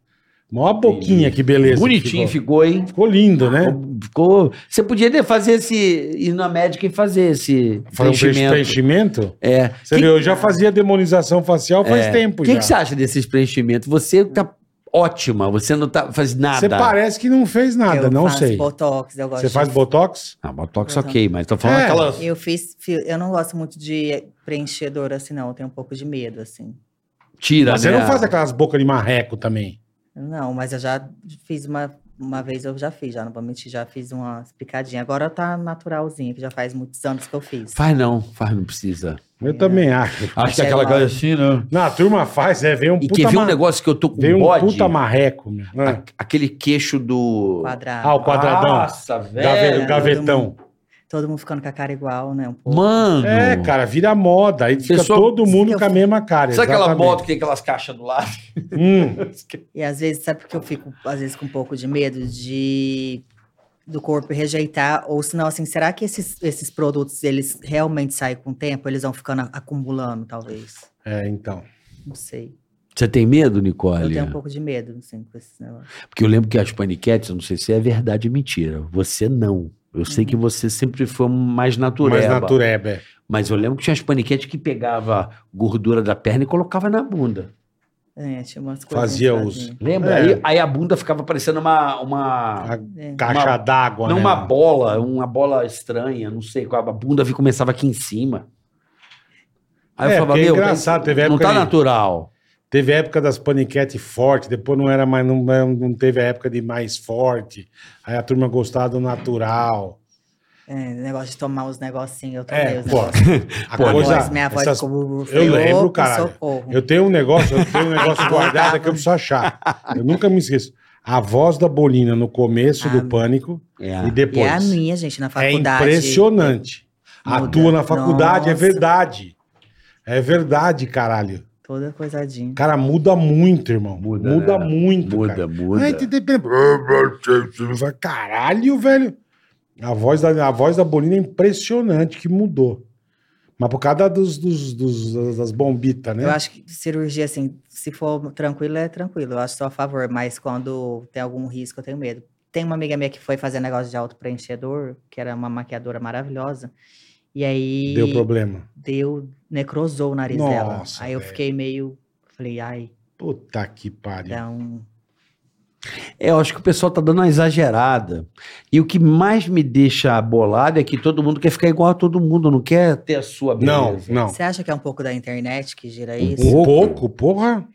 Speaker 3: Mó boquinha, que beleza.
Speaker 4: Bonitinho
Speaker 3: ficou.
Speaker 4: ficou, hein?
Speaker 3: Ficou lindo, né?
Speaker 4: Ficou. Você podia né, fazer esse. ir na médica e fazer esse
Speaker 3: Foi um preenchimento.
Speaker 4: preenchimento.
Speaker 3: preenchimento?
Speaker 4: É.
Speaker 3: Você vê, eu já fazia demonização facial faz tempo
Speaker 4: O que,
Speaker 3: já.
Speaker 4: que você acha desses preenchimentos? Você tá ótima, você não tá, faz nada.
Speaker 3: Você parece que não fez nada,
Speaker 5: eu
Speaker 3: não
Speaker 5: faço
Speaker 3: sei.
Speaker 5: Botox, eu gosto
Speaker 3: Você
Speaker 5: de-
Speaker 3: faz botox?
Speaker 4: Ah, botox ok, mas tô falando
Speaker 3: É.
Speaker 4: aquela...
Speaker 5: Eu fiz, fi- eu não gosto muito de preenchedor assim, não. Eu tenho um pouco de medo, assim.
Speaker 4: Tira,
Speaker 3: Mas você
Speaker 4: né?
Speaker 3: não faz aquelas bocas de marreco também.
Speaker 5: Não, mas eu já fiz uma, uma vez, eu já fiz, já não vou mentir, já fiz uma picadinha. Agora tá naturalzinha, que já faz muitos anos que eu fiz.
Speaker 4: Faz não, faz, não precisa.
Speaker 3: Eu também acho.
Speaker 4: Acho que
Speaker 5: é
Speaker 4: aquela
Speaker 5: igual.
Speaker 4: coisa assim, né?
Speaker 3: Não, a turma faz, é, vem um
Speaker 4: E
Speaker 3: puta
Speaker 4: quer ver um
Speaker 3: ma-
Speaker 4: negócio que eu tô com
Speaker 3: Vem um
Speaker 4: bode?
Speaker 3: puta marreco. meu.
Speaker 5: É.
Speaker 3: Ah,
Speaker 4: A- aquele queixo do...
Speaker 5: Quadrado.
Speaker 3: ah, o quadradão.
Speaker 4: Nossa,
Speaker 3: Gave-
Speaker 4: velho.
Speaker 5: Gaveiro.
Speaker 3: é, gavetão.
Speaker 5: Todo mundo ficando com a cara igual, né? Um pouco.
Speaker 4: Mano.
Speaker 3: É, cara, vira moda. Aí fica
Speaker 4: Pessoa-
Speaker 3: todo mundo
Speaker 5: Eu-
Speaker 3: com a mesma cara.
Speaker 4: Sabe aquela
Speaker 3: exatamente.
Speaker 4: moto que tem aquelas caixas do lado?
Speaker 3: Hum.
Speaker 5: E às vezes, sabe porque eu fico, às vezes, com um pouco de medo de do corpo rejeitar? Ou senão, assim, será que esses, esses produtos, eles realmente saem com o tempo? Eles vão ficando a- acumulando, talvez?
Speaker 3: É, então.
Speaker 5: Não sei.
Speaker 4: Você tem medo,
Speaker 5: Eu
Speaker 4: Nicole?
Speaker 3: né?
Speaker 5: tenho um pouco de medo, assim, com esses negócios.
Speaker 4: Porque eu lembro que as paniquetes, eu não sei se é verdade ou mentira. Você não. Eu sei
Speaker 3: Uhum.
Speaker 4: que você sempre foi
Speaker 3: Mas
Speaker 4: mais natureba.
Speaker 3: natureba. é.
Speaker 4: Mas eu lembro que tinha as paniquetes que pegava gordura da perna e colocava na bunda.
Speaker 5: É, tinha umas coisas.
Speaker 3: Fazia os
Speaker 4: Lembra?
Speaker 3: É.
Speaker 4: Aí, aí a bunda ficava parecendo uma. uma
Speaker 3: a
Speaker 5: É,
Speaker 3: caixa d'água,
Speaker 4: não
Speaker 3: né?
Speaker 4: uma bola, uma bola estranha, não sei. qual. A bunda vi- começava aqui em cima. Aí
Speaker 3: É,
Speaker 4: eu falava,
Speaker 3: porque é
Speaker 4: meu,
Speaker 3: engraçado, teve
Speaker 4: não
Speaker 3: época
Speaker 4: tá
Speaker 3: aí-
Speaker 4: natural.
Speaker 3: Teve a época das paniquete forte, depois não era mais, não, não teve a época de mais forte. Aí a turma gostava do natural.
Speaker 5: É, negócio de tomar os negocinhos, eu tomei
Speaker 3: É,
Speaker 5: os
Speaker 3: pô.
Speaker 5: negócios.
Speaker 3: A
Speaker 4: Pô,
Speaker 5: Minha
Speaker 3: coisa,
Speaker 5: voz, minha é voz
Speaker 3: essas-
Speaker 5: ficou... Eu
Speaker 3: lembro, caralho.
Speaker 5: Socorro.
Speaker 3: Eu tenho um negócio, eu tenho um negócio guardado que eu preciso achar. Eu nunca me esqueço. A voz da Bolina no começo do
Speaker 5: Ah.
Speaker 3: pânico
Speaker 4: É.
Speaker 3: e
Speaker 5: E
Speaker 3: depois.
Speaker 5: é a minha, gente, na
Speaker 3: É
Speaker 5: faculdade.
Speaker 3: impressionante.
Speaker 5: Muda.
Speaker 3: Atua na faculdade, é
Speaker 5: Nossa.
Speaker 3: verdade. É verdade, caralho.
Speaker 5: Toda coisadinha.
Speaker 3: Cara, muda muito, irmão. Muda,
Speaker 4: Muda, né?
Speaker 3: muito, cara.
Speaker 4: Muda, muda.
Speaker 3: Ai, te depende- Caralho, velho. A voz, da, a voz da Bolina é impressionante que mudou. Mas por causa dos, dos- dos- das bombitas, né?
Speaker 5: Eu acho que cirurgia, assim, se for tranquilo, é tranquilo. Eu acho só a favor, mas quando tem algum risco, eu tenho medo. Tem uma amiga minha que foi fazer negócio de autopreenchedor, que era uma maquiadora maravilhosa, e aí
Speaker 3: Deu problema.
Speaker 5: deu- necrosou o nariz dela.
Speaker 3: Nossa,
Speaker 5: Aí eu
Speaker 3: velho.
Speaker 5: fiquei meio, falei, ai,
Speaker 3: Puta que pariu.
Speaker 5: dá é um...
Speaker 4: É, eu acho que o pessoal tá dando uma exagerada. E o que mais me deixa bolado é que todo mundo quer ficar igual a todo mundo, não quer ter a sua
Speaker 3: Não,
Speaker 4: beleza.
Speaker 3: não.
Speaker 5: Você acha que é um pouco da internet que gira
Speaker 4: Um
Speaker 5: isso?
Speaker 3: Um pouco, porra.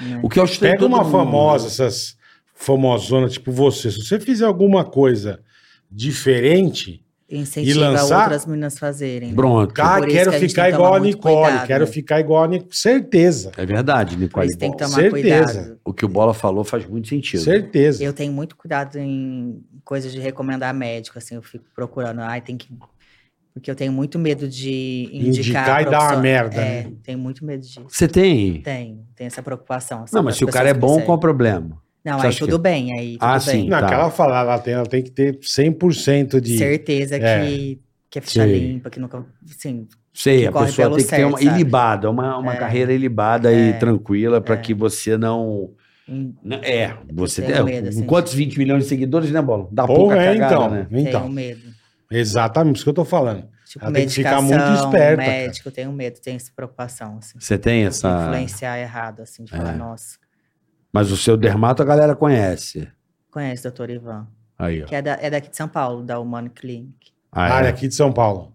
Speaker 5: Né?
Speaker 4: O que eu acho que
Speaker 3: Pega uma famosa, essas famosonas tipo você. Se você fizer alguma coisa diferente,
Speaker 5: Incentiva
Speaker 3: lançar-
Speaker 5: outras meninas fazerem. né?
Speaker 4: Pronto.
Speaker 3: cara,
Speaker 5: Por isso
Speaker 3: quero
Speaker 5: que a gente
Speaker 3: ficar
Speaker 5: tem que
Speaker 3: igual
Speaker 5: tomar
Speaker 3: a
Speaker 5: muito
Speaker 3: Nicole,
Speaker 5: cuidado,
Speaker 3: quero
Speaker 5: né?
Speaker 3: ficar igual a Nicole. Certeza,
Speaker 4: É verdade,
Speaker 5: Por
Speaker 4: Nicole.
Speaker 5: isso tem que
Speaker 4: Bom,
Speaker 5: tomar
Speaker 3: certeza.
Speaker 5: cuidado.
Speaker 4: O que o Bola falou faz muito sentido.
Speaker 3: certeza.
Speaker 5: Eu tenho muito cuidado em coisas de recomendar médico, assim, eu fico procurando, ai, tem que porque eu tenho muito medo de indicar
Speaker 3: Indicar e dar uma
Speaker 5: profissio-
Speaker 3: merda, né?
Speaker 5: É, tenho muito medo disso.
Speaker 4: Você tem.
Speaker 5: Tenho, tenho essa preocupação. assim,
Speaker 4: Não, mas
Speaker 5: das
Speaker 4: se o cara
Speaker 5: pessoas
Speaker 4: é
Speaker 5: que me
Speaker 4: bom,
Speaker 5: seguem.
Speaker 4: qual o problema?
Speaker 5: Não,
Speaker 4: Você
Speaker 5: aí
Speaker 4: acha
Speaker 5: tudo bem, aí tudo
Speaker 4: Ah,
Speaker 5: bem.
Speaker 4: sim.
Speaker 3: Não,
Speaker 4: Tá.
Speaker 3: aquela fala, ela tem, ela tem que ter 100% de.
Speaker 5: Certeza
Speaker 3: É.
Speaker 5: que, que é ficha
Speaker 4: Sim.
Speaker 5: limpa, que nunca. assim, Sim,
Speaker 4: Sei,
Speaker 5: Que
Speaker 4: a
Speaker 5: corre
Speaker 4: pessoa
Speaker 5: pelo
Speaker 4: tem que ter
Speaker 5: certo,
Speaker 4: uma
Speaker 5: sabe?
Speaker 4: ilibada, uma, uma
Speaker 5: É.
Speaker 4: carreira ilibada
Speaker 5: É.
Speaker 4: e tranquila pra
Speaker 5: É.
Speaker 4: que você não.
Speaker 5: em-
Speaker 4: não- É, você
Speaker 5: tenho
Speaker 4: tem.
Speaker 5: medo, assim.
Speaker 4: Quantos 20 milhões de seguidores, né, Bola? Dá pouca
Speaker 3: Porra, é,
Speaker 4: cagada,
Speaker 3: então.
Speaker 4: né?
Speaker 3: Então,
Speaker 5: tenho medo.
Speaker 3: exatamente isso que eu tô falando.
Speaker 5: Tipo,
Speaker 3: Ela tem que ficar
Speaker 5: medicação,
Speaker 3: muito esperta, cara.
Speaker 5: médico, eu tenho medo, tenho essa preocupação, assim.
Speaker 4: Você tem essa.
Speaker 5: Influenciar errado, assim, de falar,
Speaker 4: É.
Speaker 5: nossa,
Speaker 4: Mas o seu dermato a galera conhece.
Speaker 5: conhece o Dr. Ivan.
Speaker 4: Aí, ó.
Speaker 5: Que é, da- é daqui de São Paulo, da Humano Clinic.
Speaker 4: Ah, é.
Speaker 3: área aqui de São Paulo.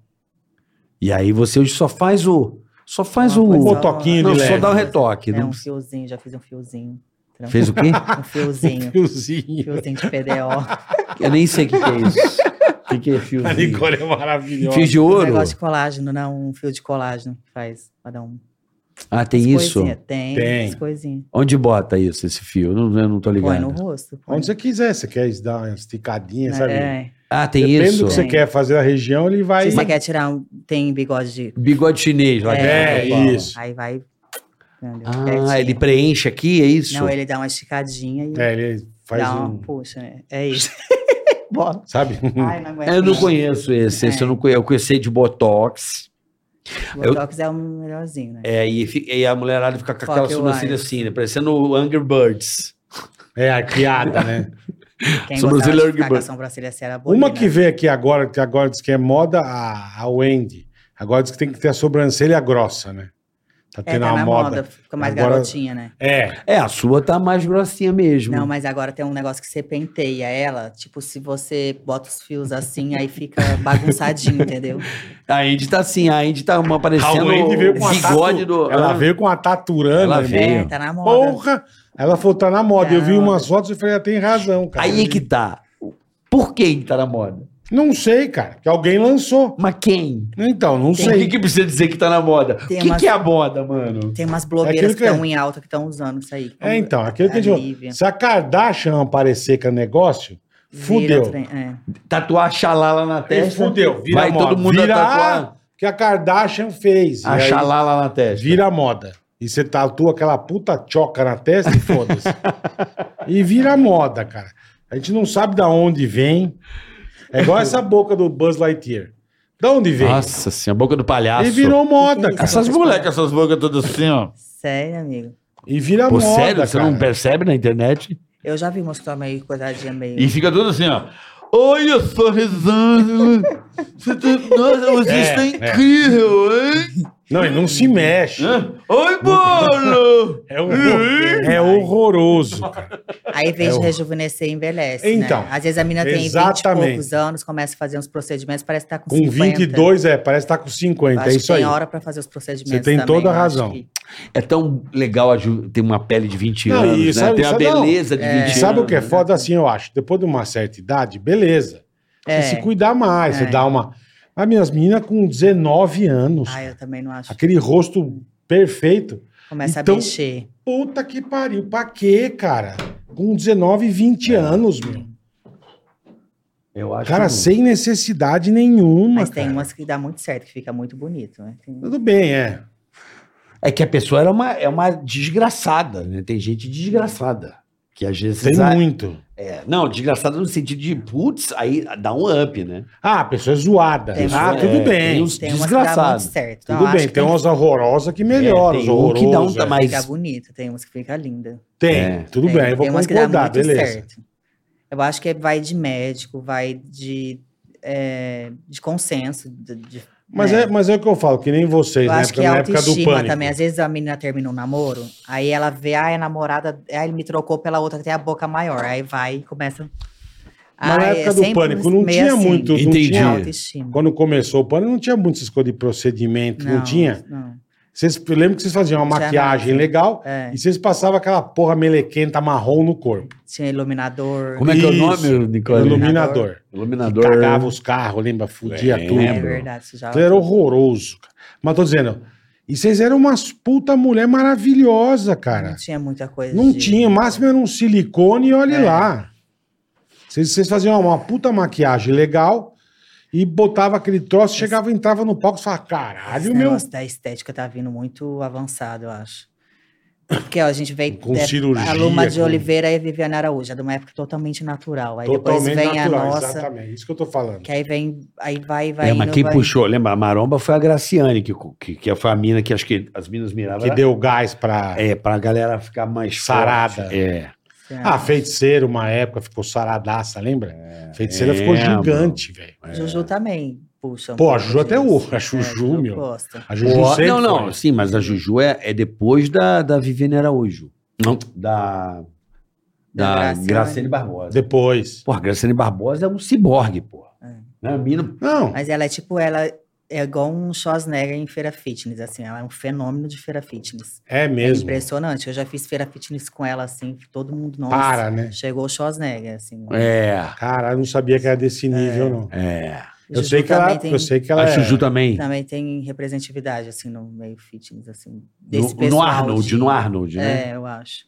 Speaker 4: E aí você hoje só faz o. Só faz
Speaker 5: Uma
Speaker 4: o.
Speaker 5: coisa-
Speaker 3: Um botoquinho
Speaker 4: Não,
Speaker 3: de
Speaker 4: só
Speaker 3: leve.
Speaker 4: dá o retoque.
Speaker 5: É
Speaker 4: não-
Speaker 5: um fiozinho, já fiz um fiozinho. Tranquilo.
Speaker 4: Fez o quê?
Speaker 5: Um fiozinho. um
Speaker 3: Fiozinho.
Speaker 5: fiozinho de PDO.
Speaker 4: Eu nem sei o que, que é isso. O que, que é fio?
Speaker 3: A Nicole é maravilhosa.
Speaker 4: Fio de
Speaker 5: Um
Speaker 4: ouro?
Speaker 5: negócio de colágeno, não, um fio de colágeno que faz cada um.
Speaker 4: Ah, tem
Speaker 5: As
Speaker 4: isso?
Speaker 5: coisinhas, Tem,
Speaker 3: Tem.
Speaker 5: as coisinhas.
Speaker 4: Onde bota isso, esse fio? Eu não, eu não tô
Speaker 5: Põe no
Speaker 4: ligado.
Speaker 5: rosto. põe.
Speaker 3: Onde você quiser, você quer dar uma esticadinha, sabe?
Speaker 5: É.
Speaker 4: Ah, tem
Speaker 3: Depende
Speaker 4: isso?
Speaker 3: do que você
Speaker 5: Tem.
Speaker 3: quer fazer na região, ele vai.
Speaker 5: Se você quer tirar um. Tem bigode de.
Speaker 4: Bigode chinês lá.
Speaker 3: É,
Speaker 4: que fala.
Speaker 3: isso.
Speaker 5: Aí vai. entendeu? Quietinho.
Speaker 4: Ah, ele preenche aqui, é isso?
Speaker 5: Não, ele dá uma esticadinha e
Speaker 3: É, ele faz
Speaker 5: dá uma.
Speaker 3: um.
Speaker 5: Puxa, né? É isso. Bora.
Speaker 3: Sabe?
Speaker 5: Ai, não aguento.
Speaker 4: É, Eu não conheço esse, esse eu não conheço. Eu conheci de Botox.
Speaker 5: Botox é o melhorzinho, né?
Speaker 4: É, e, fi- e a mulherada fica com
Speaker 5: Fuck
Speaker 4: aquela
Speaker 5: your
Speaker 4: sobrancelha
Speaker 5: eyes.
Speaker 4: assim, né? Parecendo o Angry Birds.
Speaker 3: É a piada, né?
Speaker 5: Quem gostava
Speaker 4: Sobrancelha
Speaker 5: de
Speaker 4: Ergber.
Speaker 5: ficar com a sobrancelha assim era
Speaker 3: Uma
Speaker 5: bolina.
Speaker 3: que veio aqui agora, que agora diz que é moda, a, a Wendy. Agora diz que tem que ter a sobrancelha grossa, né? Tá
Speaker 5: É,
Speaker 3: tendo
Speaker 5: tá
Speaker 3: uma
Speaker 5: na
Speaker 3: moda.
Speaker 5: moda, fica mais
Speaker 3: Agora-
Speaker 5: garotinha, né?
Speaker 3: É,
Speaker 4: É, a sua tá mais grossinha mesmo.
Speaker 5: Não, mas agora tem um negócio que você penteia ela. Tipo, se você bota os fios assim, aí fica bagunçadinho, entendeu?
Speaker 4: A Indy tá assim, a Indy tá uma
Speaker 3: a
Speaker 4: parecendo
Speaker 3: Wendy veio com
Speaker 4: o
Speaker 3: a
Speaker 4: bigode do...
Speaker 3: Ela
Speaker 4: Ah,
Speaker 3: veio com a taturana,
Speaker 4: Ela
Speaker 3: irmão.
Speaker 4: veio.
Speaker 5: É, tá na moda.
Speaker 3: Porra! Ela falou, tá na moda. Eu vi
Speaker 5: Tá na
Speaker 3: umas fotos e falei, ah, tem razão, cara.
Speaker 4: Aí é que tá. Por quem tá na moda?
Speaker 3: Não sei, cara, que alguém lançou.
Speaker 4: Mas quem?
Speaker 3: Então, não
Speaker 4: O que,
Speaker 3: sei.
Speaker 4: que precisa dizer que tá na moda? O
Speaker 5: Tem
Speaker 4: que,
Speaker 5: uma-
Speaker 4: que é a moda, mano?
Speaker 5: Tem umas
Speaker 3: Aquilo
Speaker 5: blogueiras que
Speaker 3: que é.
Speaker 5: estão em alta que estão usando isso aí.
Speaker 3: É, então, aquilo que a
Speaker 5: A
Speaker 3: gente
Speaker 5: Lívia.
Speaker 3: Se a Kardashian aparecer com o negócio,
Speaker 5: Vira
Speaker 3: fudeu.
Speaker 5: trem, é.
Speaker 4: Tatuar xalala na
Speaker 3: Aí
Speaker 4: testa.
Speaker 3: Fudeu, vira
Speaker 4: Vai
Speaker 3: moda.
Speaker 4: todo mundo
Speaker 3: vira,
Speaker 4: a tatuar
Speaker 3: que a Kardashian fez. E
Speaker 4: a
Speaker 3: aí
Speaker 4: xalala na testa.
Speaker 3: vira moda. E você tatua aquela puta choca na testa e foda-se. e vira moda, cara. A gente não sabe da onde vem. É igual essa boca do Buzz Lightyear. Da onde vem?
Speaker 4: Nossa senhora, boca do palhaço.
Speaker 3: e virou
Speaker 5: Que
Speaker 3: moda,
Speaker 5: que é
Speaker 3: cara.
Speaker 5: isso?
Speaker 4: Essas moleques, essas bocas todas assim, ó.
Speaker 5: Sério, amigo.
Speaker 3: E vira
Speaker 4: Pô,
Speaker 3: Tá moda,
Speaker 4: sério? Você
Speaker 3: cara.
Speaker 4: não percebe na internet?
Speaker 5: Eu já vi umas que estão meio coisadinha, meio.
Speaker 4: E fica tudo assim, ó. Oi, eu sou Rosângela. Você tá- Nossa, você
Speaker 3: É,
Speaker 4: está
Speaker 3: é.
Speaker 4: incrível, hein?
Speaker 3: Não, ele não se mexe.
Speaker 4: Hã? Oi, bolo!
Speaker 3: É, horror- é horroroso, cara.
Speaker 5: Aí, em vez
Speaker 3: É
Speaker 5: de
Speaker 3: o-
Speaker 5: rejuvenescer, envelhece.
Speaker 3: Então,
Speaker 5: Né? Às vezes a menina tem 20 e
Speaker 3: exatamente.
Speaker 5: poucos anos, começa a fazer uns procedimentos, parece que tá com,
Speaker 3: Com
Speaker 5: 50.
Speaker 3: 22, é, parece que tá com 50.
Speaker 5: Acho
Speaker 3: é
Speaker 5: que
Speaker 3: isso aí.
Speaker 5: Tem hora pra fazer os procedimentos.
Speaker 3: Você tem
Speaker 5: também,
Speaker 3: toda a
Speaker 5: eu acho
Speaker 3: razão.
Speaker 5: que-
Speaker 4: É tão legal a Ju ter uma pele de 20
Speaker 3: Não,
Speaker 4: anos,
Speaker 3: e
Speaker 4: né?
Speaker 3: sabe-
Speaker 4: Tem a
Speaker 3: sabe-
Speaker 4: beleza de 20
Speaker 3: E
Speaker 4: anos.
Speaker 3: sabe o que é
Speaker 4: né?
Speaker 3: foda assim, eu acho? Depois de uma certa idade, beleza.
Speaker 5: É.
Speaker 3: Você se cuidar mais,
Speaker 5: É.
Speaker 3: você dá uma. As minhas meninas com 19 anos,
Speaker 5: Ah, eu assim. também não acho.
Speaker 3: aquele rosto perfeito.
Speaker 5: Começa
Speaker 3: Então-
Speaker 5: a mexer.
Speaker 3: Puta que pariu, pra quê, cara? Com 19, 20
Speaker 5: É.
Speaker 3: anos, meu.
Speaker 4: Eu acho
Speaker 3: Cara,
Speaker 4: que-
Speaker 3: sem necessidade nenhuma.
Speaker 5: Mas tem
Speaker 3: cara.
Speaker 5: umas que dá muito certo, que fica muito bonito. Né? Tem-
Speaker 3: Tudo bem, é.
Speaker 4: É que a pessoa era uma, é uma desgraçada, né? Tem gente desgraçada. Que às vezes.
Speaker 3: Tem
Speaker 4: a-
Speaker 3: muito.
Speaker 4: é, não, desgraçada no sentido de, putz, aí dá um up, né?
Speaker 3: Ah, a pessoa é zoada.
Speaker 5: Tem
Speaker 3: ah,
Speaker 5: umas-
Speaker 3: tudo
Speaker 4: é,
Speaker 3: bem.
Speaker 4: tem uns-
Speaker 5: Tem umas que dá
Speaker 4: Desgraçado.
Speaker 5: muito certo. Não,
Speaker 3: Tudo
Speaker 5: acho
Speaker 3: bem.
Speaker 5: que
Speaker 3: Tem umas horrorosas que melhoram.
Speaker 4: É,
Speaker 3: os
Speaker 4: tem um que dá um
Speaker 3: horrorosos. é.
Speaker 4: tamanho.
Speaker 5: que fica
Speaker 4: mas-
Speaker 5: bonita, tem umas que fica linda.
Speaker 3: Tem,
Speaker 4: É.
Speaker 3: tudo
Speaker 5: tem,
Speaker 3: bem. Eu vou
Speaker 5: tem umas que dá
Speaker 3: concordar,
Speaker 5: muito
Speaker 3: beleza.
Speaker 5: certo. Eu acho que vai de médico, vai de, é, de é, consenso, de, de
Speaker 3: Mas é.
Speaker 5: É.
Speaker 3: mas é o que eu falo, que nem vocês,
Speaker 5: Eu
Speaker 3: né?
Speaker 5: acho
Speaker 3: Porque
Speaker 5: que a
Speaker 3: na época do
Speaker 5: autoestima
Speaker 3: pânico.
Speaker 5: também. Às vezes a menina termina um namoro, aí ela vê, ah, é namorada, ah, ele me trocou pela outra, tem a boca maior. Aí vai e começa.
Speaker 3: Mas na
Speaker 5: Ah, é
Speaker 3: época do
Speaker 5: sempre
Speaker 3: pânico não
Speaker 5: meio assim.
Speaker 3: tinha muito. Não
Speaker 6: Entendi.
Speaker 5: de
Speaker 3: tinha,
Speaker 5: autoestima.
Speaker 3: quando começou o pânico, não tinha muito essas coisas de procedimento, não, tinha.
Speaker 5: não.
Speaker 3: Vocês, eu lembro que vocês faziam uma
Speaker 5: Tinha
Speaker 3: maquiagem
Speaker 5: nada.
Speaker 3: legal
Speaker 5: É.
Speaker 3: e vocês passavam aquela porra melequenta marrom no corpo.
Speaker 5: Tinha iluminador.
Speaker 6: Como é que é o
Speaker 3: Isso.
Speaker 6: nome, Nicole?
Speaker 3: Iluminador.
Speaker 6: Iluminador.
Speaker 3: Cagava os carros, lembra? Fudia
Speaker 6: Lembro.
Speaker 3: tudo.
Speaker 5: É
Speaker 6: Lembro.
Speaker 5: verdade, isso já.
Speaker 3: Então era horroroso. cara. Mas tô dizendo, e vocês eram umas puta mulher maravilhosa,
Speaker 5: Não
Speaker 3: cara.
Speaker 5: tinha muita coisa.
Speaker 3: Não
Speaker 5: de-
Speaker 3: tinha, o máximo era um silicone e olhe
Speaker 5: É.
Speaker 3: lá. Vocês, vocês faziam uma puta maquiagem legal e botava aquele troço, chegava, entrava no palco e falava,
Speaker 5: Esse
Speaker 3: caralho, meu.
Speaker 5: negócio da estética tá vindo muito avançado, eu acho. Porque ó, a gente vem
Speaker 3: Com cirurgia,
Speaker 5: a Luma de
Speaker 3: com-
Speaker 5: Oliveira e Viviana Araújo, é de uma época totalmente natural. Aí
Speaker 3: Totalmente
Speaker 5: depois vem
Speaker 3: natural,
Speaker 5: a nossa,
Speaker 3: exatamente. Isso que eu tô falando.
Speaker 5: que aí vem, aí vai, vai
Speaker 4: É, mas
Speaker 5: indo,
Speaker 4: quem
Speaker 5: vai-
Speaker 4: puxou, lembra? A maromba foi a Graciane, que, que, que foi a mina que acho que as minas miravam.
Speaker 5: é
Speaker 3: Que deu gás pra.
Speaker 4: É, pra galera ficar mais
Speaker 3: Sarada.
Speaker 4: forte. É.
Speaker 5: Sei lá.
Speaker 3: Ah, feiticeiro, uma época ficou saradaça, lembra?
Speaker 5: É.
Speaker 3: feiticeira ficou
Speaker 4: lembro.
Speaker 3: gigante, velho.
Speaker 5: Juju também puxa. um
Speaker 3: Pô, a
Speaker 5: pouco
Speaker 3: Juju até
Speaker 5: disso. É,
Speaker 3: o- a Juju, meu.
Speaker 5: Gosta.
Speaker 3: A Juju
Speaker 4: Ó,
Speaker 3: sempre
Speaker 4: é- não, não,
Speaker 3: foi.
Speaker 4: sim, mas a Juju é, é depois da, da Viviane Araújo. Não, da, da Graciane.
Speaker 5: Graciane.
Speaker 4: Barbosa.
Speaker 3: Depois.
Speaker 4: Porra, a Graciane Barbosa é um ciborgue, porra.
Speaker 5: É.
Speaker 4: Né, a mina,
Speaker 3: Não.
Speaker 5: Mas ela é tipo, ela é igual um Schwarzenegger em feira fitness, assim, ela é um fenômeno de feira fitness.
Speaker 3: É mesmo.
Speaker 5: Impressionante, eu já fiz feira fitness com ela, assim, todo mundo, nossa,
Speaker 3: Para, né?
Speaker 5: chegou o Schwarzenegger, assim.
Speaker 4: é,
Speaker 3: Cara, eu não sabia que era desse nível, não.
Speaker 4: é.
Speaker 3: Eu
Speaker 5: Juju
Speaker 3: sei, que ela,
Speaker 5: também tem-
Speaker 3: eu sei que ela
Speaker 4: A
Speaker 3: é.
Speaker 4: Juju também.
Speaker 5: também tem representatividade, assim, no meio fitness, assim.
Speaker 4: No,
Speaker 5: Desse
Speaker 4: no
Speaker 5: pessoal
Speaker 4: Arnold,
Speaker 5: de-
Speaker 4: no Arnold, né?
Speaker 5: É, eu acho.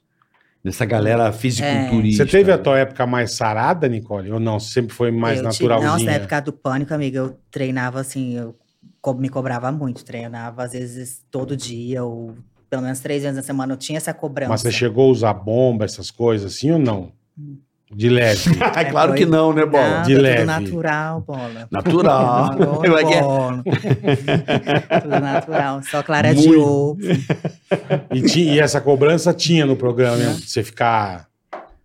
Speaker 4: Nessa galera fisiculturista. Ah,
Speaker 3: Você teve a tua época mais sarada, Nicole? Ou não? Sempre foi mais
Speaker 5: É, eu
Speaker 3: naturalzinha?
Speaker 5: Tive, nossa, na época do pânico, amiga, eu treinava, assim, eu co- me cobrava muito. Treinava, às vezes, todo dia, ou pelo menos três vezes na semana. Eu tinha essa cobrança.
Speaker 3: Mas você chegou a usar bomba, essas coisas assim ou não?
Speaker 5: Hum.
Speaker 3: De leve.
Speaker 4: Ah, é claro
Speaker 5: foi-
Speaker 4: que não, né, Bola?
Speaker 5: Nada,
Speaker 3: de
Speaker 5: tudo
Speaker 3: leve. Ah,
Speaker 5: natural, bola.
Speaker 4: Natural.
Speaker 5: Agora,
Speaker 4: Como é que é?
Speaker 5: bola. tudo natural. Só Clara de
Speaker 3: Muito.
Speaker 5: ovo.
Speaker 3: E, ti- e essa cobrança tinha no programa, né? Você ficar.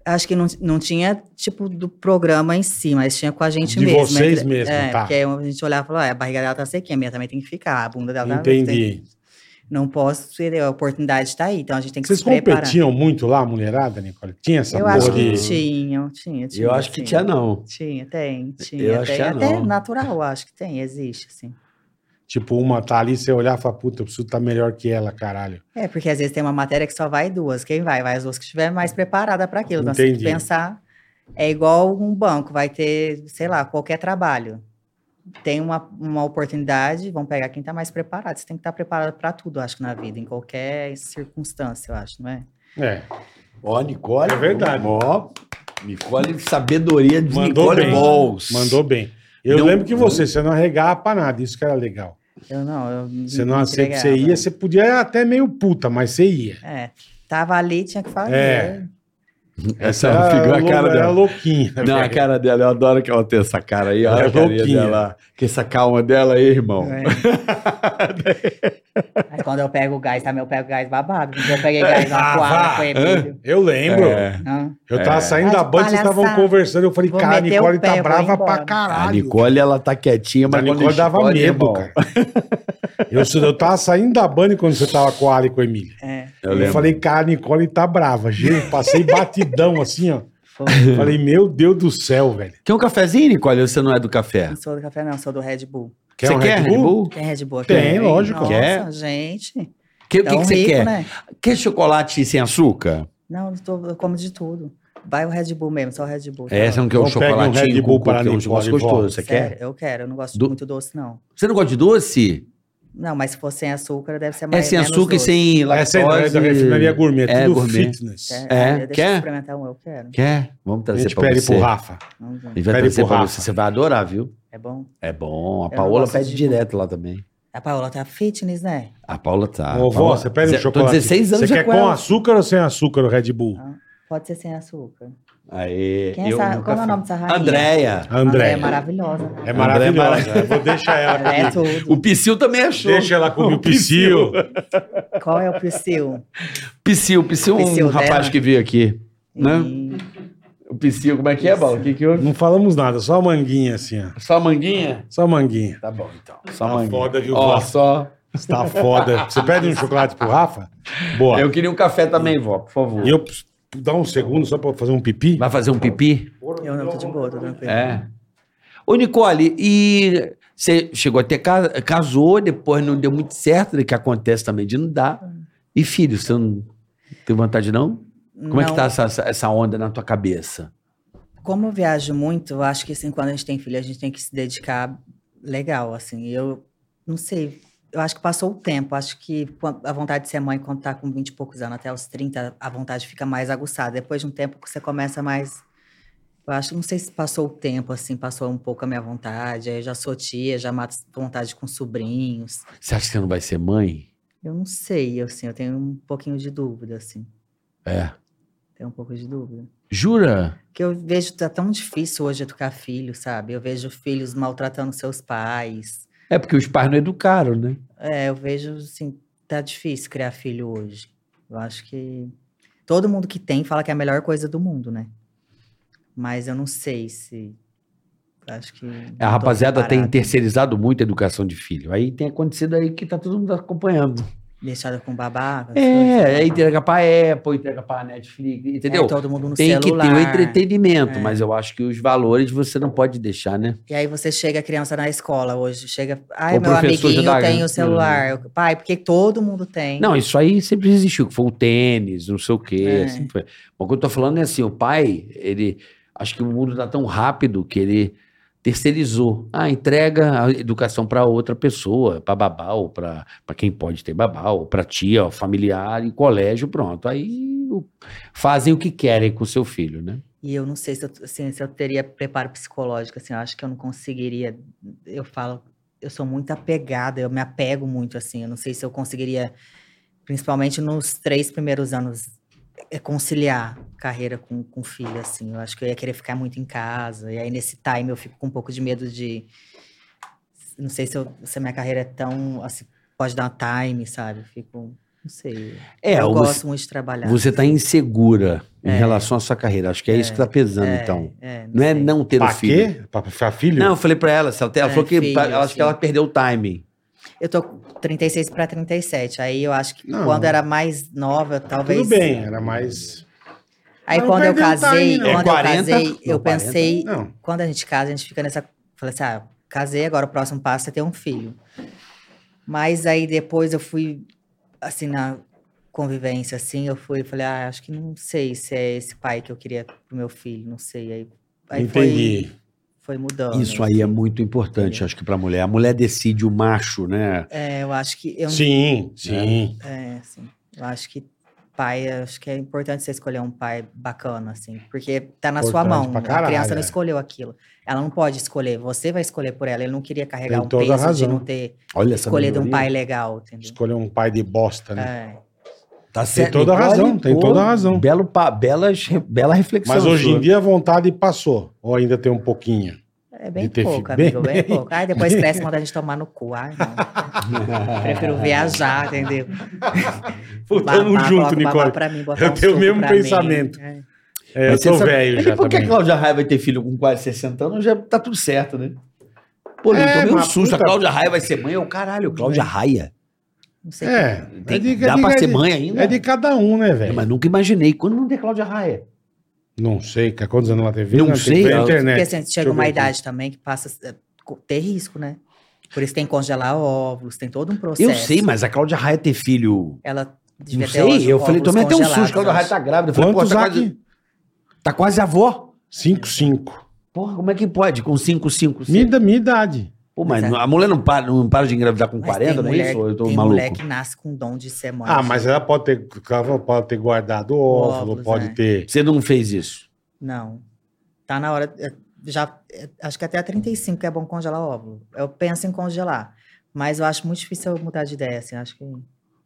Speaker 5: Acho que não, não tinha, tipo, do programa em si, mas tinha com a gente
Speaker 3: De
Speaker 5: mesmo.
Speaker 3: vocês
Speaker 5: entre-
Speaker 3: mesmo,
Speaker 5: é,
Speaker 3: tá.
Speaker 5: Porque aí a gente olhava e falava, "Ah, a barriga dela tá sequinha, a minha também tem que ficar, a bunda dela tá... tem-
Speaker 3: Entendi.
Speaker 5: Não posso, ter a oportunidade tá aí, então a gente tem que
Speaker 3: Vocês
Speaker 5: se preparar.
Speaker 3: competiam muito lá, mulherada, Nicole? Tinha essa
Speaker 5: Eu
Speaker 3: porra
Speaker 5: acho
Speaker 3: de.
Speaker 5: que tinham, tinha, tinha.
Speaker 4: Eu acho que
Speaker 5: sim.
Speaker 4: tinha não.
Speaker 5: Tinha, tem, tinha.
Speaker 4: Eu acho
Speaker 5: tem,
Speaker 4: que
Speaker 5: até
Speaker 4: não.
Speaker 5: natural, eu acho que tem, existe, assim.
Speaker 3: Tipo, uma tá ali, você olhar e falar, puta, eu preciso estar melhor que ela, caralho.
Speaker 5: É, porque às vezes tem uma matéria que só vai duas. Quem vai? Vai as duas que estiver mais preparada para aquilo. Então, você tem que
Speaker 3: Entendi.
Speaker 5: pensar. É igual um banco, vai ter, sei lá, qualquer trabalho. Tem uma, uma oportunidade, vão pegar quem está mais preparado. Você tem que estar preparado para tudo, eu acho, na vida, em qualquer circunstância, eu acho, não é?
Speaker 3: É.
Speaker 4: Ó, Nicole.
Speaker 3: É verdade.
Speaker 4: Ó, Nicole, sabedoria de
Speaker 3: Mandou
Speaker 4: Nicole
Speaker 3: bem.
Speaker 4: Balls.
Speaker 3: Mandou bem. Eu
Speaker 4: Não-
Speaker 3: lembro que você, você não arregava pra nada, isso que era legal.
Speaker 5: Eu não, eu me-
Speaker 3: Você não
Speaker 5: me
Speaker 3: aceita, você
Speaker 5: entregava.
Speaker 3: ia, você podia ir até meio puta, mas você ia.
Speaker 5: É, tava ali, tinha que fazer.
Speaker 3: É.
Speaker 4: Essa é uma figura, a
Speaker 3: lou-
Speaker 4: cara
Speaker 3: era
Speaker 4: dela.
Speaker 3: louquinha.
Speaker 4: Não, a
Speaker 3: velho.
Speaker 4: cara dela, eu adoro que ela tem essa cara aí, olha
Speaker 3: Ela é
Speaker 4: a carinha
Speaker 3: louquinha.
Speaker 4: dela, que essa calma dela aí, irmão.
Speaker 5: É. Aí quando eu pego o gás, também eu pego gás babado. Eu peguei gás
Speaker 3: Ah,
Speaker 5: na
Speaker 3: vá.
Speaker 5: quadra, com o Emílio.
Speaker 3: Eu lembro.
Speaker 4: É.
Speaker 5: Hã?
Speaker 3: Eu tava saindo da
Speaker 5: Mas
Speaker 3: banca, vocês estavam
Speaker 5: palhaçada.
Speaker 3: conversando. Eu falei,
Speaker 5: Vou
Speaker 3: cara, a
Speaker 5: meter o
Speaker 3: Nicole
Speaker 5: pé,
Speaker 3: tá
Speaker 5: vou
Speaker 3: brava pra
Speaker 5: embora.
Speaker 3: caralho.
Speaker 4: A Nicole, ela tá quietinha,
Speaker 3: a
Speaker 4: mas quando
Speaker 3: Nicole dava
Speaker 4: explode,
Speaker 3: medo,
Speaker 4: irmão.
Speaker 3: cara. Eu, eu tava saindo da banca quando você tava com a Ali e com o Emílio.
Speaker 5: É,
Speaker 4: Eu,
Speaker 3: Eu,
Speaker 4: lembro.
Speaker 3: falei, cara, a Nicole tá brava. Gente, passei batidão assim, ó.
Speaker 5: foi.
Speaker 3: Falei, meu Deus do céu, velho.
Speaker 4: Quer um cafezinho, Nicole? Ou você não é do café?
Speaker 5: Não sou do café, não, sou do Red Bull.
Speaker 3: um
Speaker 4: você quer Red Bull?
Speaker 5: Tem Red Bull aqui?
Speaker 3: Tem,
Speaker 5: Ih,
Speaker 3: lógico.
Speaker 5: Nossa,
Speaker 4: Quer?
Speaker 5: gente.
Speaker 4: Que- O que,
Speaker 5: tão
Speaker 4: que você
Speaker 5: rico,
Speaker 4: quer?
Speaker 5: Né?
Speaker 4: Quer chocolate sem açúcar?
Speaker 5: Não, eu, tô- eu como de tudo. Vai o Red Bull mesmo, só o Red Bull. tá
Speaker 4: É, você
Speaker 5: bom.
Speaker 4: não quer um
Speaker 3: Então pega um
Speaker 4: chocolatinho
Speaker 3: Red Bull
Speaker 4: com qualquer um
Speaker 3: Paraninfo,
Speaker 4: negócio
Speaker 3: Olivola.
Speaker 4: gostoso? Você
Speaker 5: Sério,
Speaker 4: quer?
Speaker 5: Eu quero, eu não gosto
Speaker 4: Do-
Speaker 5: muito doce, não.
Speaker 4: Você não gosta de doce?
Speaker 5: Não, mas se for sem açúcar, deve ser
Speaker 4: É
Speaker 5: mais
Speaker 4: sem
Speaker 5: menos
Speaker 4: açúcar e
Speaker 5: doce.
Speaker 4: sem
Speaker 3: Essa é a ideia
Speaker 4: lactose.
Speaker 3: da refinaria gourmet,
Speaker 4: É,
Speaker 3: tudo
Speaker 4: gourmet.
Speaker 3: fitness.
Speaker 5: É,
Speaker 4: É,
Speaker 5: deixa
Speaker 4: quer?
Speaker 5: eu experimentar um, eu quero.
Speaker 4: Quer? Vamos
Speaker 3: A
Speaker 4: trazer
Speaker 3: gente
Speaker 4: pra
Speaker 3: pede
Speaker 4: você.
Speaker 3: pro Rafa.
Speaker 5: Não, não.
Speaker 4: A gente vai
Speaker 3: Pede
Speaker 4: trazer
Speaker 3: pro
Speaker 4: pra
Speaker 3: Rafa.
Speaker 4: você. Você vai adorar, viu?
Speaker 5: É bom.
Speaker 4: É bom. A
Speaker 5: não
Speaker 4: Paola
Speaker 5: gosto
Speaker 4: pede
Speaker 5: um de-
Speaker 4: direto lá também.
Speaker 5: A Paola tá fitness, né?
Speaker 4: A Paola tá.
Speaker 3: Ô,
Speaker 4: a
Speaker 3: vó,
Speaker 4: Paola...
Speaker 3: você pede um
Speaker 4: Zé-
Speaker 3: chocolate.
Speaker 4: Tô 16 anos
Speaker 3: Você
Speaker 4: já
Speaker 3: quer
Speaker 4: com,
Speaker 3: com
Speaker 4: ela.
Speaker 3: açúcar ou sem açúcar o Red Bull?
Speaker 5: Pode ser sem açúcar.
Speaker 4: Aê,
Speaker 5: Quem é
Speaker 4: eu
Speaker 5: essa,
Speaker 4: nunca
Speaker 5: como é o
Speaker 4: fui.
Speaker 5: nome dessa rainha?
Speaker 4: Andréia.
Speaker 3: A
Speaker 5: Andréia
Speaker 3: Andréia.
Speaker 5: é maravilhosa. né?
Speaker 3: É
Speaker 4: Andréia é
Speaker 3: maravilhosa. Eu vou deixar ela
Speaker 5: Ela é
Speaker 3: aqui.
Speaker 5: tudo.
Speaker 4: O Psyu também achou.
Speaker 3: Deixa ela comigo, o
Speaker 4: Psyu.
Speaker 3: Psyu.
Speaker 5: Qual é o Priscil?
Speaker 4: Psyu, Psyu é um
Speaker 5: Psyu
Speaker 4: rapaz
Speaker 5: dela.
Speaker 4: que veio aqui. Né?
Speaker 5: E-
Speaker 4: O psico, como é que é, Bala? O que que houve?
Speaker 3: Não falamos nada, só a manguinha assim, ó.
Speaker 4: Só manguinha?
Speaker 3: Só a manguinha.
Speaker 4: Tá bom, então. Só
Speaker 3: Tá
Speaker 4: manguinha.
Speaker 3: foda, viu,
Speaker 4: Ó,
Speaker 3: vó?
Speaker 4: só.
Speaker 3: Está foda. Você pede um chocolate pro Rafa? Boa.
Speaker 4: Eu queria um café também, vó, por favor.
Speaker 3: E eu ps- dá um segundo só pra fazer um pipi?
Speaker 4: Vai fazer um pipi?
Speaker 5: Eu não tô de boa, tô tranquilo.
Speaker 4: É. Ô, Nicole, e você chegou a ter ca- casou, depois não deu muito certo, né, que acontece também de não dar.
Speaker 5: Hum.
Speaker 4: E filho, você não tem vontade, não? Como é que
Speaker 5: Não,
Speaker 4: tá essa, essa- essa onda na tua cabeça?
Speaker 5: Como eu viajo muito, eu acho que assim, quando a gente tem filho, a gente tem que se dedicar legal, assim. Eu não sei, eu acho que passou o tempo. Acho que quan- a vontade de ser mãe, quando tá com 20 e poucos anos, até os 30, a vontade fica mais aguçada. Depois de um tempo que você começa mais. Eu acho, não sei se passou o tempo, assim, passou um pouco a minha vontade. Aí eu já sou tia, já mato vontade com sobrinhos.
Speaker 4: Você acha que você não vai ser mãe?
Speaker 5: Eu não sei, eu, assim, eu tenho um pouquinho de dúvida, assim.
Speaker 4: É.
Speaker 5: Tenho um pouco de dúvida.
Speaker 4: Jura?
Speaker 5: que eu vejo tá tão difícil hoje educar filho, sabe? Eu vejo filhos maltratando seus pais.
Speaker 4: É porque os pais não educaram, né?
Speaker 5: É, eu vejo assim, tá difícil criar filho hoje. Eu acho que todo mundo que tem fala que é a melhor coisa do mundo, né? Mas eu não sei se acho que
Speaker 4: A rapaziada tem
Speaker 5: tem
Speaker 4: terceirizado muito a educação de filho. Aí tem acontecido aí que tá todo mundo acompanhando.
Speaker 5: deixado com babá, com as coisas. né?
Speaker 4: É, aí entrega pra Apple, entrega pra Netflix, entendeu?
Speaker 5: É, todo mundo no
Speaker 4: tem que
Speaker 5: celular.
Speaker 4: ter o entretenimento,
Speaker 5: É.
Speaker 4: mas eu acho que os valores você não pode deixar, né?
Speaker 5: E aí você chega a criança na escola hoje, chega, ai,
Speaker 4: O
Speaker 5: meu
Speaker 4: professor já
Speaker 5: amiguinho
Speaker 4: dá-
Speaker 5: tem o celular.
Speaker 4: Hum.
Speaker 5: Eu, Pai, porque todo mundo tem.
Speaker 4: Não, isso aí sempre existiu, que foi o tênis, não sei o quê,
Speaker 5: É.
Speaker 4: assim foi. Mas o que eu tô falando é assim, o pai, ele, acho que o mundo tá tão rápido que ele terceirizou. Ah, entrega a educação para outra pessoa, para babá, ou para quem pode ter babá, ou para tia, ou familiar, em colégio, pronto. Aí o- fazem o que querem com o seu filho, né?
Speaker 5: E eu não sei se eu, assim, se eu teria preparo psicológico, assim, eu acho que eu não conseguiria. Eu falo, eu sou muito apegada, eu me apego muito, assim, eu não sei se eu conseguiria, principalmente nos três primeiros anos, eh, conciliar carreira com, com filho, assim. Eu acho que eu ia querer ficar muito em casa, e aí nesse time eu fico com um pouco de medo de. Não sei se, eu- se a minha carreira é tão. Assim, pode dar time, sabe? Eu Fico. Não sei.
Speaker 4: É,
Speaker 5: eu
Speaker 4: você-
Speaker 5: gosto muito de trabalhar.
Speaker 4: Você tá insegura em
Speaker 5: É.
Speaker 4: relação à sua carreira. Acho que é, isso que tá pesando, então.
Speaker 5: É,
Speaker 4: Não é
Speaker 5: sei.
Speaker 4: não ter o
Speaker 3: Pra
Speaker 4: filho.
Speaker 3: quê? Pra ficar filho?
Speaker 4: Não, eu falei pra ela, se ela, ela
Speaker 5: É,
Speaker 4: falou que
Speaker 5: filho,
Speaker 4: pra- ela acho que
Speaker 5: filho.
Speaker 4: ela perdeu o timing.
Speaker 5: Eu tô com 36 para 37. Aí eu acho que
Speaker 3: Não.
Speaker 5: quando era mais nova, talvez.
Speaker 3: Tudo bem, era mais...
Speaker 5: Aí
Speaker 3: Não
Speaker 5: quando eu
Speaker 3: perdeu o
Speaker 5: casei,
Speaker 3: time, não.
Speaker 5: quando
Speaker 4: É 40?
Speaker 5: eu casei, eu
Speaker 4: Não, 40.
Speaker 5: pensei,
Speaker 3: Não.
Speaker 5: quando a gente casa, a gente fica nessa, falei assim, ah, casei, agora o próximo passo é ter um filho. Mas aí depois eu fui assim na convivência assim, eu fui, falei, ah, acho que não sei se é esse pai que eu queria pro meu filho, não sei. Aí, aí foi
Speaker 3: Entendi.
Speaker 5: foi mudando.
Speaker 7: Isso aí é muito importante, acho que para a mulher. A mulher decide o macho, né?
Speaker 5: É, eu acho que eu
Speaker 3: Sim, sim.
Speaker 5: É, assim, eu acho que pai, eu acho que é importante você escolher um pai bacana, assim, porque tá na sua
Speaker 3: Importante
Speaker 5: mão.
Speaker 3: pra caralho,
Speaker 5: a criança
Speaker 3: é.
Speaker 5: não escolheu aquilo. Ela não pode escolher, você vai escolher por ela. Ele não queria carregar
Speaker 3: Tem
Speaker 5: um
Speaker 3: toda a
Speaker 5: peso de
Speaker 3: razão.
Speaker 5: não ter
Speaker 7: Olha essa
Speaker 5: escolhido um
Speaker 7: melhoria.
Speaker 5: pai legal, entendeu?
Speaker 3: Escolher um pai de bosta, né?
Speaker 5: É.
Speaker 4: Tá
Speaker 3: Tem toda a razão, tem toda a razão.
Speaker 4: Belo, pa- belas, bela reflexão.
Speaker 3: Mas hoje
Speaker 4: sua.
Speaker 3: em dia a vontade passou. Ou ainda tem um pouquinho.
Speaker 5: É bem
Speaker 3: ter
Speaker 5: pouco,
Speaker 3: filho.
Speaker 5: amigo,
Speaker 3: Bem,
Speaker 5: bem, pouco. Ai, depois cresce e manda a gente tomar no cu. Ai, não. Prefiro viajar, entendeu?
Speaker 3: Pô, Tamo
Speaker 5: Babá,
Speaker 3: junto,
Speaker 5: coloca o babá
Speaker 3: Nicole.
Speaker 5: pra mim, botar
Speaker 3: Eu
Speaker 5: um
Speaker 3: tenho o
Speaker 5: suco
Speaker 3: mesmo
Speaker 5: pra mim.
Speaker 3: pensamento.
Speaker 5: É.
Speaker 3: É, eu
Speaker 4: Mas
Speaker 3: tô
Speaker 4: você sabe-
Speaker 3: velho
Speaker 4: é
Speaker 3: já
Speaker 4: que por que a
Speaker 3: também.
Speaker 4: Cláudia Raia vai ter filho com quase 60 anos? Já tá tudo certo, né? Pô, eu
Speaker 3: É,
Speaker 4: tomei um
Speaker 3: mas
Speaker 4: susto.
Speaker 3: puta-
Speaker 4: A Cláudia Raia vai ser mãe? Eu, caralho, Cláudia Raia.
Speaker 5: Não sei
Speaker 3: É,
Speaker 4: Tem-
Speaker 3: é de-
Speaker 4: dá
Speaker 3: é de-
Speaker 4: pra
Speaker 3: é
Speaker 4: ser
Speaker 3: de-
Speaker 4: mãe ainda?
Speaker 3: É de cada um, né,
Speaker 4: É,
Speaker 3: velho?
Speaker 4: mas nunca imaginei. Quando não tem Cláudia Raia?
Speaker 3: Não sei, que- quantos anos ela teve?
Speaker 4: Não
Speaker 3: tem que
Speaker 4: sei,
Speaker 3: ver
Speaker 4: É, eu-
Speaker 3: na internet.
Speaker 5: Porque assim,
Speaker 3: Deixa
Speaker 5: chega
Speaker 3: eu
Speaker 5: uma
Speaker 3: ver
Speaker 5: idade também que passa é, co- ter risco, né? Por isso tem que congelar óvulos, tem todo um processo.
Speaker 4: Eu sei, mas a Cláudia Raia ter filho...
Speaker 5: Ela devia
Speaker 4: Não
Speaker 5: ter óvulos
Speaker 4: sei, eu falei, tomei até um
Speaker 5: congelados,
Speaker 4: susto. Cláudia
Speaker 5: eu
Speaker 4: Raia tá grávida. Eu falei, pô,
Speaker 3: Quantos
Speaker 4: tá quase-
Speaker 3: aqui?
Speaker 4: Tá quase avó?
Speaker 3: 5, 5.
Speaker 4: Porra, como é que pode? Com 5, 5, 5.
Speaker 3: Minha, minha idade.
Speaker 4: Pô, mas
Speaker 5: Exato.
Speaker 4: a mulher não para, não para de engravidar com
Speaker 5: é. Mas
Speaker 4: 40,
Speaker 5: tem
Speaker 4: não é
Speaker 5: mulher-
Speaker 4: isso? Ou eu tô
Speaker 5: tem
Speaker 4: maluco?
Speaker 5: mulher que nasce com dom de ser mãe.
Speaker 3: Ah,
Speaker 5: assim.
Speaker 3: mas ela pode ter, ela pode ter guardado óvulo,
Speaker 5: Óvulos,
Speaker 3: pode
Speaker 4: é.
Speaker 5: né?
Speaker 3: ter.
Speaker 4: Você não fez isso.
Speaker 5: Não. Tá na hora. é, Já, é, acho que até a 35 que é bom congelar óvulo. Eu penso em congelar. Mas eu acho muito difícil eu mudar de ideia, assim. Acho que.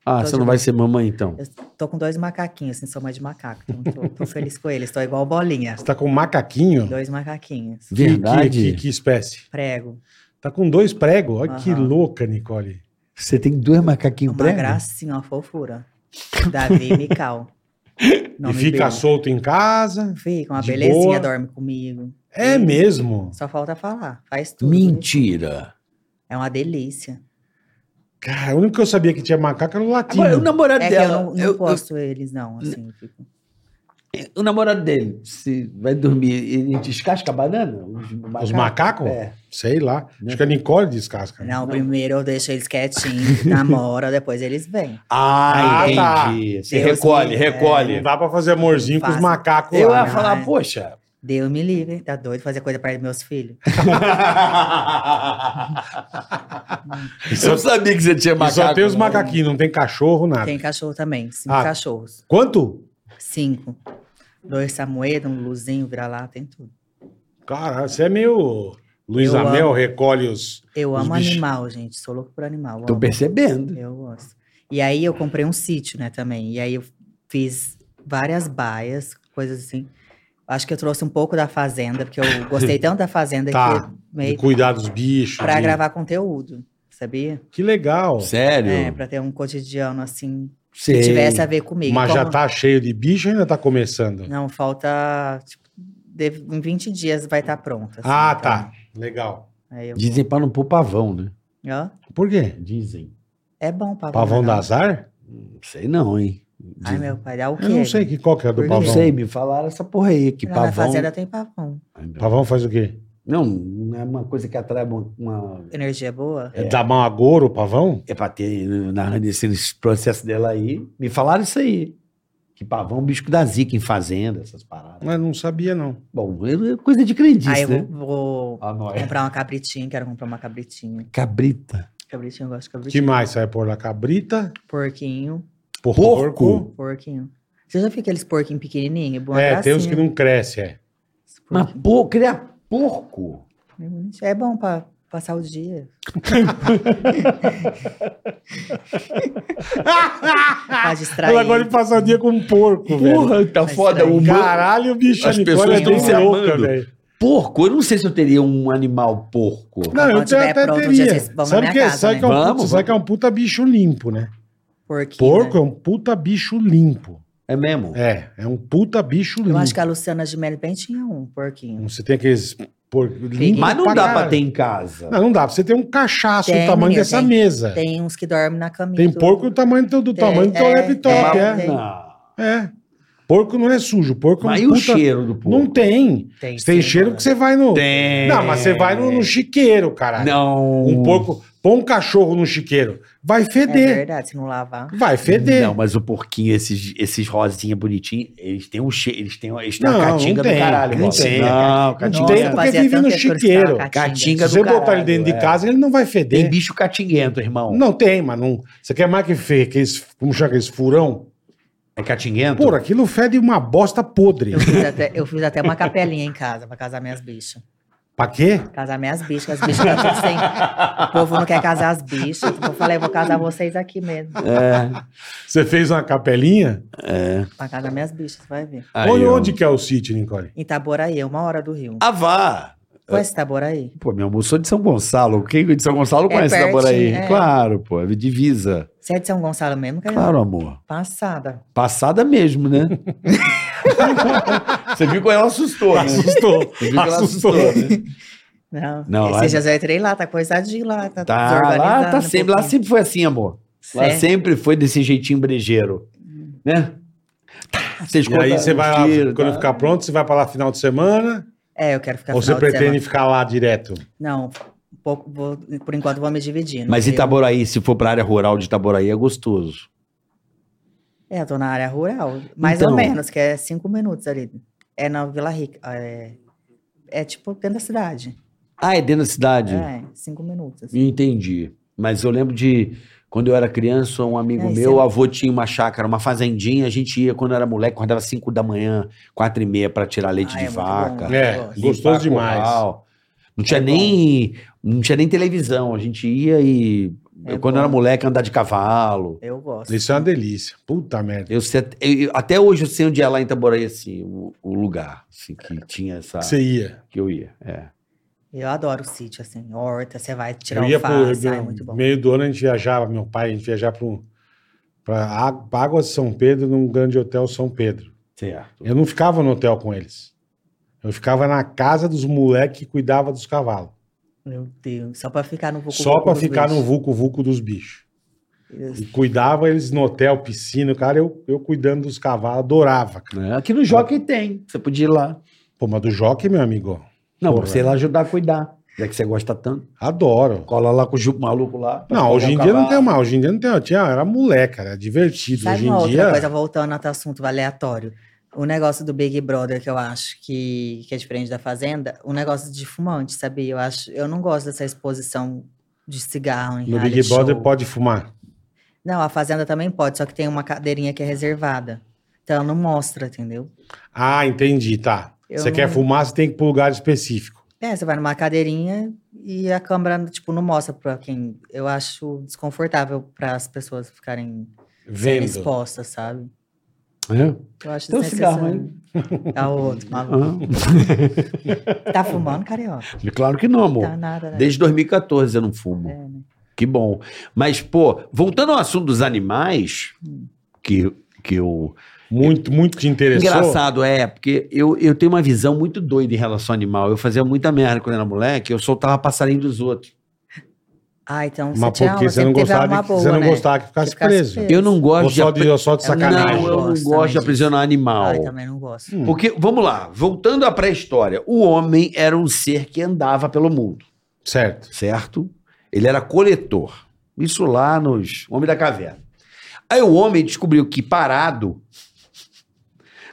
Speaker 4: Ah,
Speaker 5: Tô
Speaker 4: você
Speaker 5: de
Speaker 4: não vai ser mamãe, então.
Speaker 5: Eu tô com dois macaquinhos, assim, sou mãe de macaco. Então tô, tô feliz com eles. Tô igual bolinha.
Speaker 3: Você tá com macaquinho?
Speaker 5: Dois macaquinhos.
Speaker 3: Que-
Speaker 4: Verdade.
Speaker 3: Que, que, que espécie?
Speaker 5: Prego.
Speaker 3: Tá com dois pregos? Olha que
Speaker 5: Aham.
Speaker 3: louca, Nicole.
Speaker 5: É
Speaker 4: Você tem dois macaquinhos
Speaker 5: Uma gracinha, uma fofura. assim, Davi e Mical.
Speaker 3: E fica solto em casa.
Speaker 5: Fica uma
Speaker 3: de
Speaker 5: belezinha,
Speaker 3: boa.
Speaker 5: dorme comigo.
Speaker 3: É mesmo?
Speaker 5: Só falta falar. Faz tudo. né?
Speaker 4: Mentira.
Speaker 5: É uma delícia.
Speaker 3: Cara, o único que eu sabia que tinha macaco era o latino.
Speaker 4: Agora, o namorado
Speaker 5: É que eu
Speaker 4: dela.
Speaker 5: não, não
Speaker 4: eu- eu-
Speaker 5: gosto eles, não. Assim, eu fico-
Speaker 4: o namorado dele, se vai dormir, ele descasca a banana? Os macacos?
Speaker 3: Os macacos?
Speaker 4: É.
Speaker 3: Sei lá. Acho que a Nicole descasca. né?
Speaker 5: Não, primeiro eu deixo eles quietinhos, namora, depois eles vêm.
Speaker 4: Ah,
Speaker 3: Ah, tá.
Speaker 4: entendi. Você
Speaker 5: Deus
Speaker 4: recolhe,
Speaker 5: me-
Speaker 4: recolhe.
Speaker 3: Não dá pra fazer amorzinho com os
Speaker 5: Fácil.
Speaker 3: macacos
Speaker 4: Eu
Speaker 3: lá.
Speaker 4: ia
Speaker 3: né?
Speaker 4: falar,
Speaker 5: né?
Speaker 4: poxa.
Speaker 5: Deus me livre, tá doido fazer coisa perto dos meus filhos.
Speaker 3: Isso-
Speaker 4: eu sabia que você tinha
Speaker 3: E
Speaker 4: macaco.
Speaker 3: só tem os
Speaker 4: né?
Speaker 3: macaquinhos, não tem cachorro, nada.
Speaker 5: Tem cachorro também, cinco
Speaker 3: Ah.
Speaker 5: cachorros.
Speaker 3: Quanto?
Speaker 5: Cinco. Dois Samoedo, um Luzinho, vira-lá, tem tudo.
Speaker 3: Cara, você é meio... Luiz
Speaker 5: Eu
Speaker 3: Amel
Speaker 5: amo.
Speaker 3: recolhe os...
Speaker 5: Eu
Speaker 3: Os
Speaker 5: amo
Speaker 3: bichos.
Speaker 5: animal, gente, sou louco por animal.
Speaker 4: Tô
Speaker 5: amo.
Speaker 4: percebendo.
Speaker 5: Eu gosto. E aí eu comprei um sítio, né, também. E aí eu fiz várias baias, coisas assim. Acho que eu trouxe um pouco da fazenda, porque eu gostei tanto da fazenda
Speaker 3: Tá,
Speaker 5: que
Speaker 3: De
Speaker 5: meio
Speaker 3: cuidar dos bichos.
Speaker 5: pra
Speaker 3: de-
Speaker 5: gravar conteúdo, sabia?
Speaker 3: Que legal.
Speaker 4: Sério?
Speaker 5: É, pra ter um cotidiano assim
Speaker 4: Sei.
Speaker 5: que tivesse a ver comigo.
Speaker 3: Mas já
Speaker 5: Como-
Speaker 3: tá cheio de bicho ou ainda tá começando?
Speaker 5: Não, falta tipo, deve- em 20 dias vai estar pronta. assim,
Speaker 3: ah,
Speaker 5: então.
Speaker 3: tá. Legal.
Speaker 5: Aí eu-
Speaker 4: Dizem pra não pôr pavão, né?
Speaker 5: Ó,
Speaker 3: Por quê?
Speaker 4: Dizem.
Speaker 5: é bom pavão.
Speaker 3: Pavão
Speaker 5: né?
Speaker 3: da azar?
Speaker 4: Não sei não, hein?
Speaker 5: Ai, meu pai, dá o quê?
Speaker 3: Eu não sei que, qual que é a do
Speaker 5: Eu
Speaker 4: Não
Speaker 3: pavão.
Speaker 4: sei, me falaram essa porra aí, que
Speaker 5: Lá na
Speaker 4: pavão...
Speaker 5: fazenda tem pavão.
Speaker 4: Ai, meu-
Speaker 3: Pavão faz o quê?
Speaker 4: Não, não é uma coisa que atrai uma- uma...
Speaker 5: Energia boa?
Speaker 3: É. Dá mal a o pavão?
Speaker 4: É pra ter, na, nesse, nesse processo dela aí, me falaram isso aí. Que pavão é um bicho que dá zica em fazenda, essas paradas.
Speaker 3: Mas não sabia, não.
Speaker 4: Bom, é coisa de crendice,
Speaker 5: Aí eu
Speaker 4: né?
Speaker 5: vou
Speaker 4: A nóia.
Speaker 5: comprar uma cabritinha, quero comprar uma cabritinha.
Speaker 4: Cabrita.
Speaker 5: Cabritinha, eu gosto de
Speaker 3: que
Speaker 5: cabritinha.
Speaker 3: mais sai por lá? Cabrita,
Speaker 5: Porquinho,
Speaker 3: porco.
Speaker 4: Porco?
Speaker 5: porquinho. Você já viu aqueles porquinhos pequenininhos? Boa
Speaker 3: Uh! É, tem uns
Speaker 5: gracinha.
Speaker 3: que não crescem, é.
Speaker 5: Esse
Speaker 4: Mas
Speaker 5: porquinho.
Speaker 4: pô, criar porco.
Speaker 5: É bonitinho. É bom pra passar o dia. pra distrair.
Speaker 3: Ela agora de passar o dia com um porco, velho.
Speaker 4: Porra, tá
Speaker 5: Mas
Speaker 4: foda.
Speaker 5: estranho.
Speaker 4: O meu
Speaker 3: Caralho, bicho,
Speaker 4: As
Speaker 3: a Nicole
Speaker 4: pessoas
Speaker 3: é bem
Speaker 5: tão se
Speaker 3: louca,
Speaker 4: amando.
Speaker 3: velho.
Speaker 4: porco, eu não sei se eu teria um animal porco.
Speaker 3: Não, eu
Speaker 5: Quando tiver
Speaker 3: até
Speaker 5: pronto,
Speaker 3: teria.
Speaker 5: vocês vão na
Speaker 3: Sabe o
Speaker 5: minha
Speaker 3: que? é?
Speaker 5: casa,
Speaker 3: Sabe
Speaker 5: né?
Speaker 3: que é um puta-
Speaker 4: Vamos,
Speaker 3: sabe que é um puta bicho limpo, né?
Speaker 5: Porquinho,
Speaker 3: Porco
Speaker 5: né?
Speaker 3: é um puta bicho limpo.
Speaker 4: É mesmo?
Speaker 3: É, é um puta bicho
Speaker 5: né? Eu
Speaker 3: limpo.
Speaker 5: acho que a Luciana Gimelli bem tinha um porquinho.
Speaker 3: Você tem aqueles porco limpo
Speaker 4: Mas não dá pra
Speaker 3: caralho.
Speaker 4: ter em casa.
Speaker 3: Não, não dá. Você tem um cachaço
Speaker 5: Tem,
Speaker 3: do tamanho
Speaker 5: menino,
Speaker 3: dessa
Speaker 5: tem.
Speaker 3: mesa. Tem,
Speaker 5: Tem uns que dormem na caminha. do-
Speaker 3: porco do tamanho do, do
Speaker 5: Tem,
Speaker 3: tamanho do teu
Speaker 5: né? é,
Speaker 3: laptop,
Speaker 5: é,
Speaker 3: é.
Speaker 5: tem.
Speaker 4: Não.
Speaker 3: É. Porco não é sujo, porco
Speaker 4: Mas
Speaker 3: é
Speaker 4: e
Speaker 3: um
Speaker 4: o
Speaker 3: puta...
Speaker 4: cheiro do porco?
Speaker 3: Não tem.
Speaker 5: Tem, sim,
Speaker 3: Tem cheiro
Speaker 5: mano.
Speaker 3: que você vai no...
Speaker 4: né? Tem.
Speaker 3: Não, mas você vai no, no chiqueiro, caralho.
Speaker 4: Não.
Speaker 3: Um porco... Põe um cachorro no chiqueiro. Vai
Speaker 5: É
Speaker 3: feder.
Speaker 5: verdade, se não lavar.
Speaker 3: vai é feder.
Speaker 4: Não,
Speaker 3: Não,
Speaker 4: mas o porquinho, esses, esses rosinha bonitinho, eles têm um cheiro, eles têm, eles têm
Speaker 3: Não,
Speaker 4: uma
Speaker 3: não
Speaker 4: catinga do
Speaker 3: tem,
Speaker 4: caralho.
Speaker 3: não
Speaker 4: Bob.
Speaker 3: tem.
Speaker 4: Não,
Speaker 3: Não
Speaker 4: catinga.
Speaker 3: tem
Speaker 5: Nossa,
Speaker 3: porque
Speaker 5: fazia
Speaker 3: vive no
Speaker 5: tanto tempo que eu escutava
Speaker 3: chiqueiro.
Speaker 4: Catinga
Speaker 3: Se
Speaker 4: do
Speaker 3: você
Speaker 4: caralho.
Speaker 3: botar ele dentro
Speaker 4: é.
Speaker 3: de casa, ele não vai feder.
Speaker 4: Tem bicho catinguento, irmão.
Speaker 3: Não tem, mas não... Você quer mais que fe... aqueles... Como chama aqueles furão?
Speaker 4: É catinguento?
Speaker 3: Pô, aquilo fede uma bosta podre.
Speaker 5: Eu fiz, até, eu fiz até uma capelinha em casa pra casar minhas bichas.
Speaker 3: Pra quê?
Speaker 5: Casar minhas bichas, as bichas estão tudo sem. O povo não quer casar as bichas. Eu falei, vou casar vocês aqui mesmo.
Speaker 4: É.
Speaker 3: Você fez uma capelinha?
Speaker 5: Pra casar minhas bichas, vai ver.
Speaker 4: Aí,
Speaker 3: onde,
Speaker 4: ó.
Speaker 3: onde que é o sítio, Nicole?
Speaker 5: Em Itaboraí, é uma hora do Rio.
Speaker 4: Ah, vá!
Speaker 5: Conhece Itaboraí?
Speaker 4: Pô, meu amor, sou de São Gonçalo. Quem de São Gonçalo
Speaker 5: É
Speaker 4: conhece
Speaker 5: pertinho,
Speaker 4: Itaboraí?
Speaker 5: é.
Speaker 4: Claro, pô. é Divisa.
Speaker 5: Você é de São Gonçalo mesmo? Cara?
Speaker 4: Claro, amor.
Speaker 5: Passada.
Speaker 4: Passada mesmo, né? Você viu como ela assustou, né?
Speaker 3: Assustou.
Speaker 4: Você viu que ela
Speaker 3: assustou.
Speaker 4: assustou, né?
Speaker 5: Não,
Speaker 4: Não, lá- é-
Speaker 5: Esses dias eu entrei lá, tá coisadinho lá. Tá,
Speaker 4: Tá, lá,
Speaker 5: desorganizado
Speaker 4: tá
Speaker 5: um
Speaker 4: sempre, lá
Speaker 5: pouquinho.
Speaker 4: sempre foi assim, amor. Lá
Speaker 5: Certo.
Speaker 4: sempre foi desse jeitinho brejeiro, né? Você
Speaker 3: E aí
Speaker 4: um
Speaker 3: você vai lá,
Speaker 4: tá.
Speaker 5: tá?
Speaker 3: quando ficar pronto, você vai pra lá final de semana?
Speaker 5: É, eu quero ficar
Speaker 3: ou você
Speaker 5: final de
Speaker 3: pretende ficar lá direto?
Speaker 5: semana. Não, um pouco, vou- por enquanto vou me dividindo.
Speaker 4: Mas
Speaker 5: Eu-
Speaker 4: Itaboraí, se for pra área rural de Itaboraí, é gostoso.
Speaker 5: É, eu tô na área rural. Mais
Speaker 4: Então.
Speaker 5: ou menos, que é cinco minutos ali. É na Vila Rica. É, é tipo dentro da cidade.
Speaker 4: Ah, é dentro da cidade?
Speaker 5: É, cinco minutos. assim.
Speaker 4: Entendi. Mas eu lembro de quando eu era criança, um
Speaker 5: É,
Speaker 4: amigo
Speaker 5: isso
Speaker 4: meu,
Speaker 5: é-
Speaker 4: o avô tinha uma chácara, uma fazendinha, a gente ia quando era moleque, acordava 5 da manhã, 4 e meia pra tirar leite
Speaker 5: Ah,
Speaker 4: de
Speaker 5: é muito
Speaker 4: vaca.
Speaker 5: bom.
Speaker 3: É,
Speaker 5: gosto.
Speaker 4: limpar
Speaker 3: gostoso demais.
Speaker 4: curral. Não tinha
Speaker 5: É bom.
Speaker 4: nem não tinha nem televisão, a gente ia e
Speaker 5: É
Speaker 4: eu, quando
Speaker 5: bom.
Speaker 4: era moleque andar de cavalo.
Speaker 5: Eu gosto.
Speaker 3: Isso é uma delícia. Puta merda.
Speaker 4: Eu, sei- eu- até hoje eu sei onde é lá em Itaboraí assim, o, o lugar assim, que tinha essa
Speaker 5: Tá.
Speaker 3: Que Você ia.
Speaker 4: que eu ia. É.
Speaker 5: Eu adoro o sítio, assim. Horta, você vai tirar
Speaker 3: Eu
Speaker 5: o
Speaker 3: ia pro
Speaker 5: alface. ai, muito bom.
Speaker 3: meio do ano a gente viajava, meu pai, a gente viajava pra um, para água de São Pedro num grande hotel São Pedro.
Speaker 4: Certo.
Speaker 3: Eu não ficava no hotel com eles. Eu ficava na casa dos moleques que cuidava dos cavalos.
Speaker 5: Meu Deus, só pra ficar no vucu
Speaker 3: Só para ficar no vulco-vulco dos bichos. E cuidava eles no hotel, piscina, o cara, eu, eu cuidando dos cavalos, adorava, cara.
Speaker 4: É, Aqui no Jockey tem. Você podia ir lá.
Speaker 3: Pô, mas do Jockey, meu amigo,
Speaker 4: Não,
Speaker 3: Porra.
Speaker 4: você ir lá ajudar a cuidar. Já que você gosta tanto.
Speaker 3: adoro.
Speaker 4: Cola lá com o Jupo maluco lá. pra
Speaker 3: Não,
Speaker 4: pegar
Speaker 3: hoje
Speaker 4: o
Speaker 3: em dia não
Speaker 4: cavalo.
Speaker 3: tem mais, hoje em dia não tem, tinha, era moleque, cara, era divertido.
Speaker 5: Sabe
Speaker 3: hoje
Speaker 5: uma
Speaker 3: em
Speaker 5: outra
Speaker 3: dia,
Speaker 5: coisa, voltando ao assunto aleatório? O negócio do Big Brother, que eu acho que, que é diferente da Fazenda, o negócio de fumante, sabia? Eu, acho, eu não gosto dessa exposição de cigarro em
Speaker 3: no
Speaker 5: reality
Speaker 3: Big Brother
Speaker 5: show.
Speaker 3: pode fumar.
Speaker 5: Não, a Fazenda também pode, só que tem uma cadeirinha que é reservada. Então ela não mostra, entendeu?
Speaker 3: Ah, entendi, tá.
Speaker 5: Eu
Speaker 3: você quer
Speaker 5: não-
Speaker 3: fumar, você tem que ir para lugar específico.
Speaker 5: É, você vai numa cadeirinha e a câmera, tipo, não mostra pra quem. Eu acho desconfortável para as pessoas ficarem sendo
Speaker 3: Vendo.
Speaker 5: expostas, sabe?
Speaker 4: É?
Speaker 5: Eu acho
Speaker 4: Tem um cigarro
Speaker 5: desnecessário. Tá outro, maluco. Tá fumando, carioca?
Speaker 4: Ah, claro que não, amor.
Speaker 5: Tá nada, né?
Speaker 4: Desde 2014 eu não fumo.
Speaker 5: É, né?
Speaker 4: Que bom. Mas, pô, voltando ao assunto dos animais,
Speaker 5: Hum.
Speaker 4: que, que eu.
Speaker 3: Muito, muito te interessou.
Speaker 4: Engraçado, é, porque eu, eu tenho uma visão muito doida em relação ao animal. Eu fazia muita merda quando era moleque, eu soltava passarinho dos outros.
Speaker 5: Ah, então você
Speaker 3: Mas
Speaker 5: tinha
Speaker 3: porque
Speaker 5: aula,
Speaker 3: você não
Speaker 5: sempre teve
Speaker 3: gostava,
Speaker 5: alma
Speaker 3: que,
Speaker 5: boa,
Speaker 3: você não
Speaker 5: né?
Speaker 3: gostava que ficasse
Speaker 5: Que ficasse
Speaker 3: preso.
Speaker 5: preso.
Speaker 4: Eu não
Speaker 3: Ou
Speaker 4: gosto de.
Speaker 3: só de,
Speaker 4: apre-
Speaker 3: ou só de
Speaker 5: Eu não-
Speaker 3: sacanagem.
Speaker 4: Não, eu
Speaker 5: Gosto
Speaker 4: não gosto
Speaker 5: também
Speaker 4: de
Speaker 5: disso.
Speaker 4: aprisionar animal.
Speaker 5: Ah, eu também não gosto.
Speaker 3: Hum.
Speaker 4: Porque, vamos lá, voltando à pré-história, o homem era um ser que andava pelo mundo,
Speaker 3: Certo.
Speaker 4: certo? Ele era coletor. Isso lá nos Homem da Caverna. Aí o homem descobriu que parado.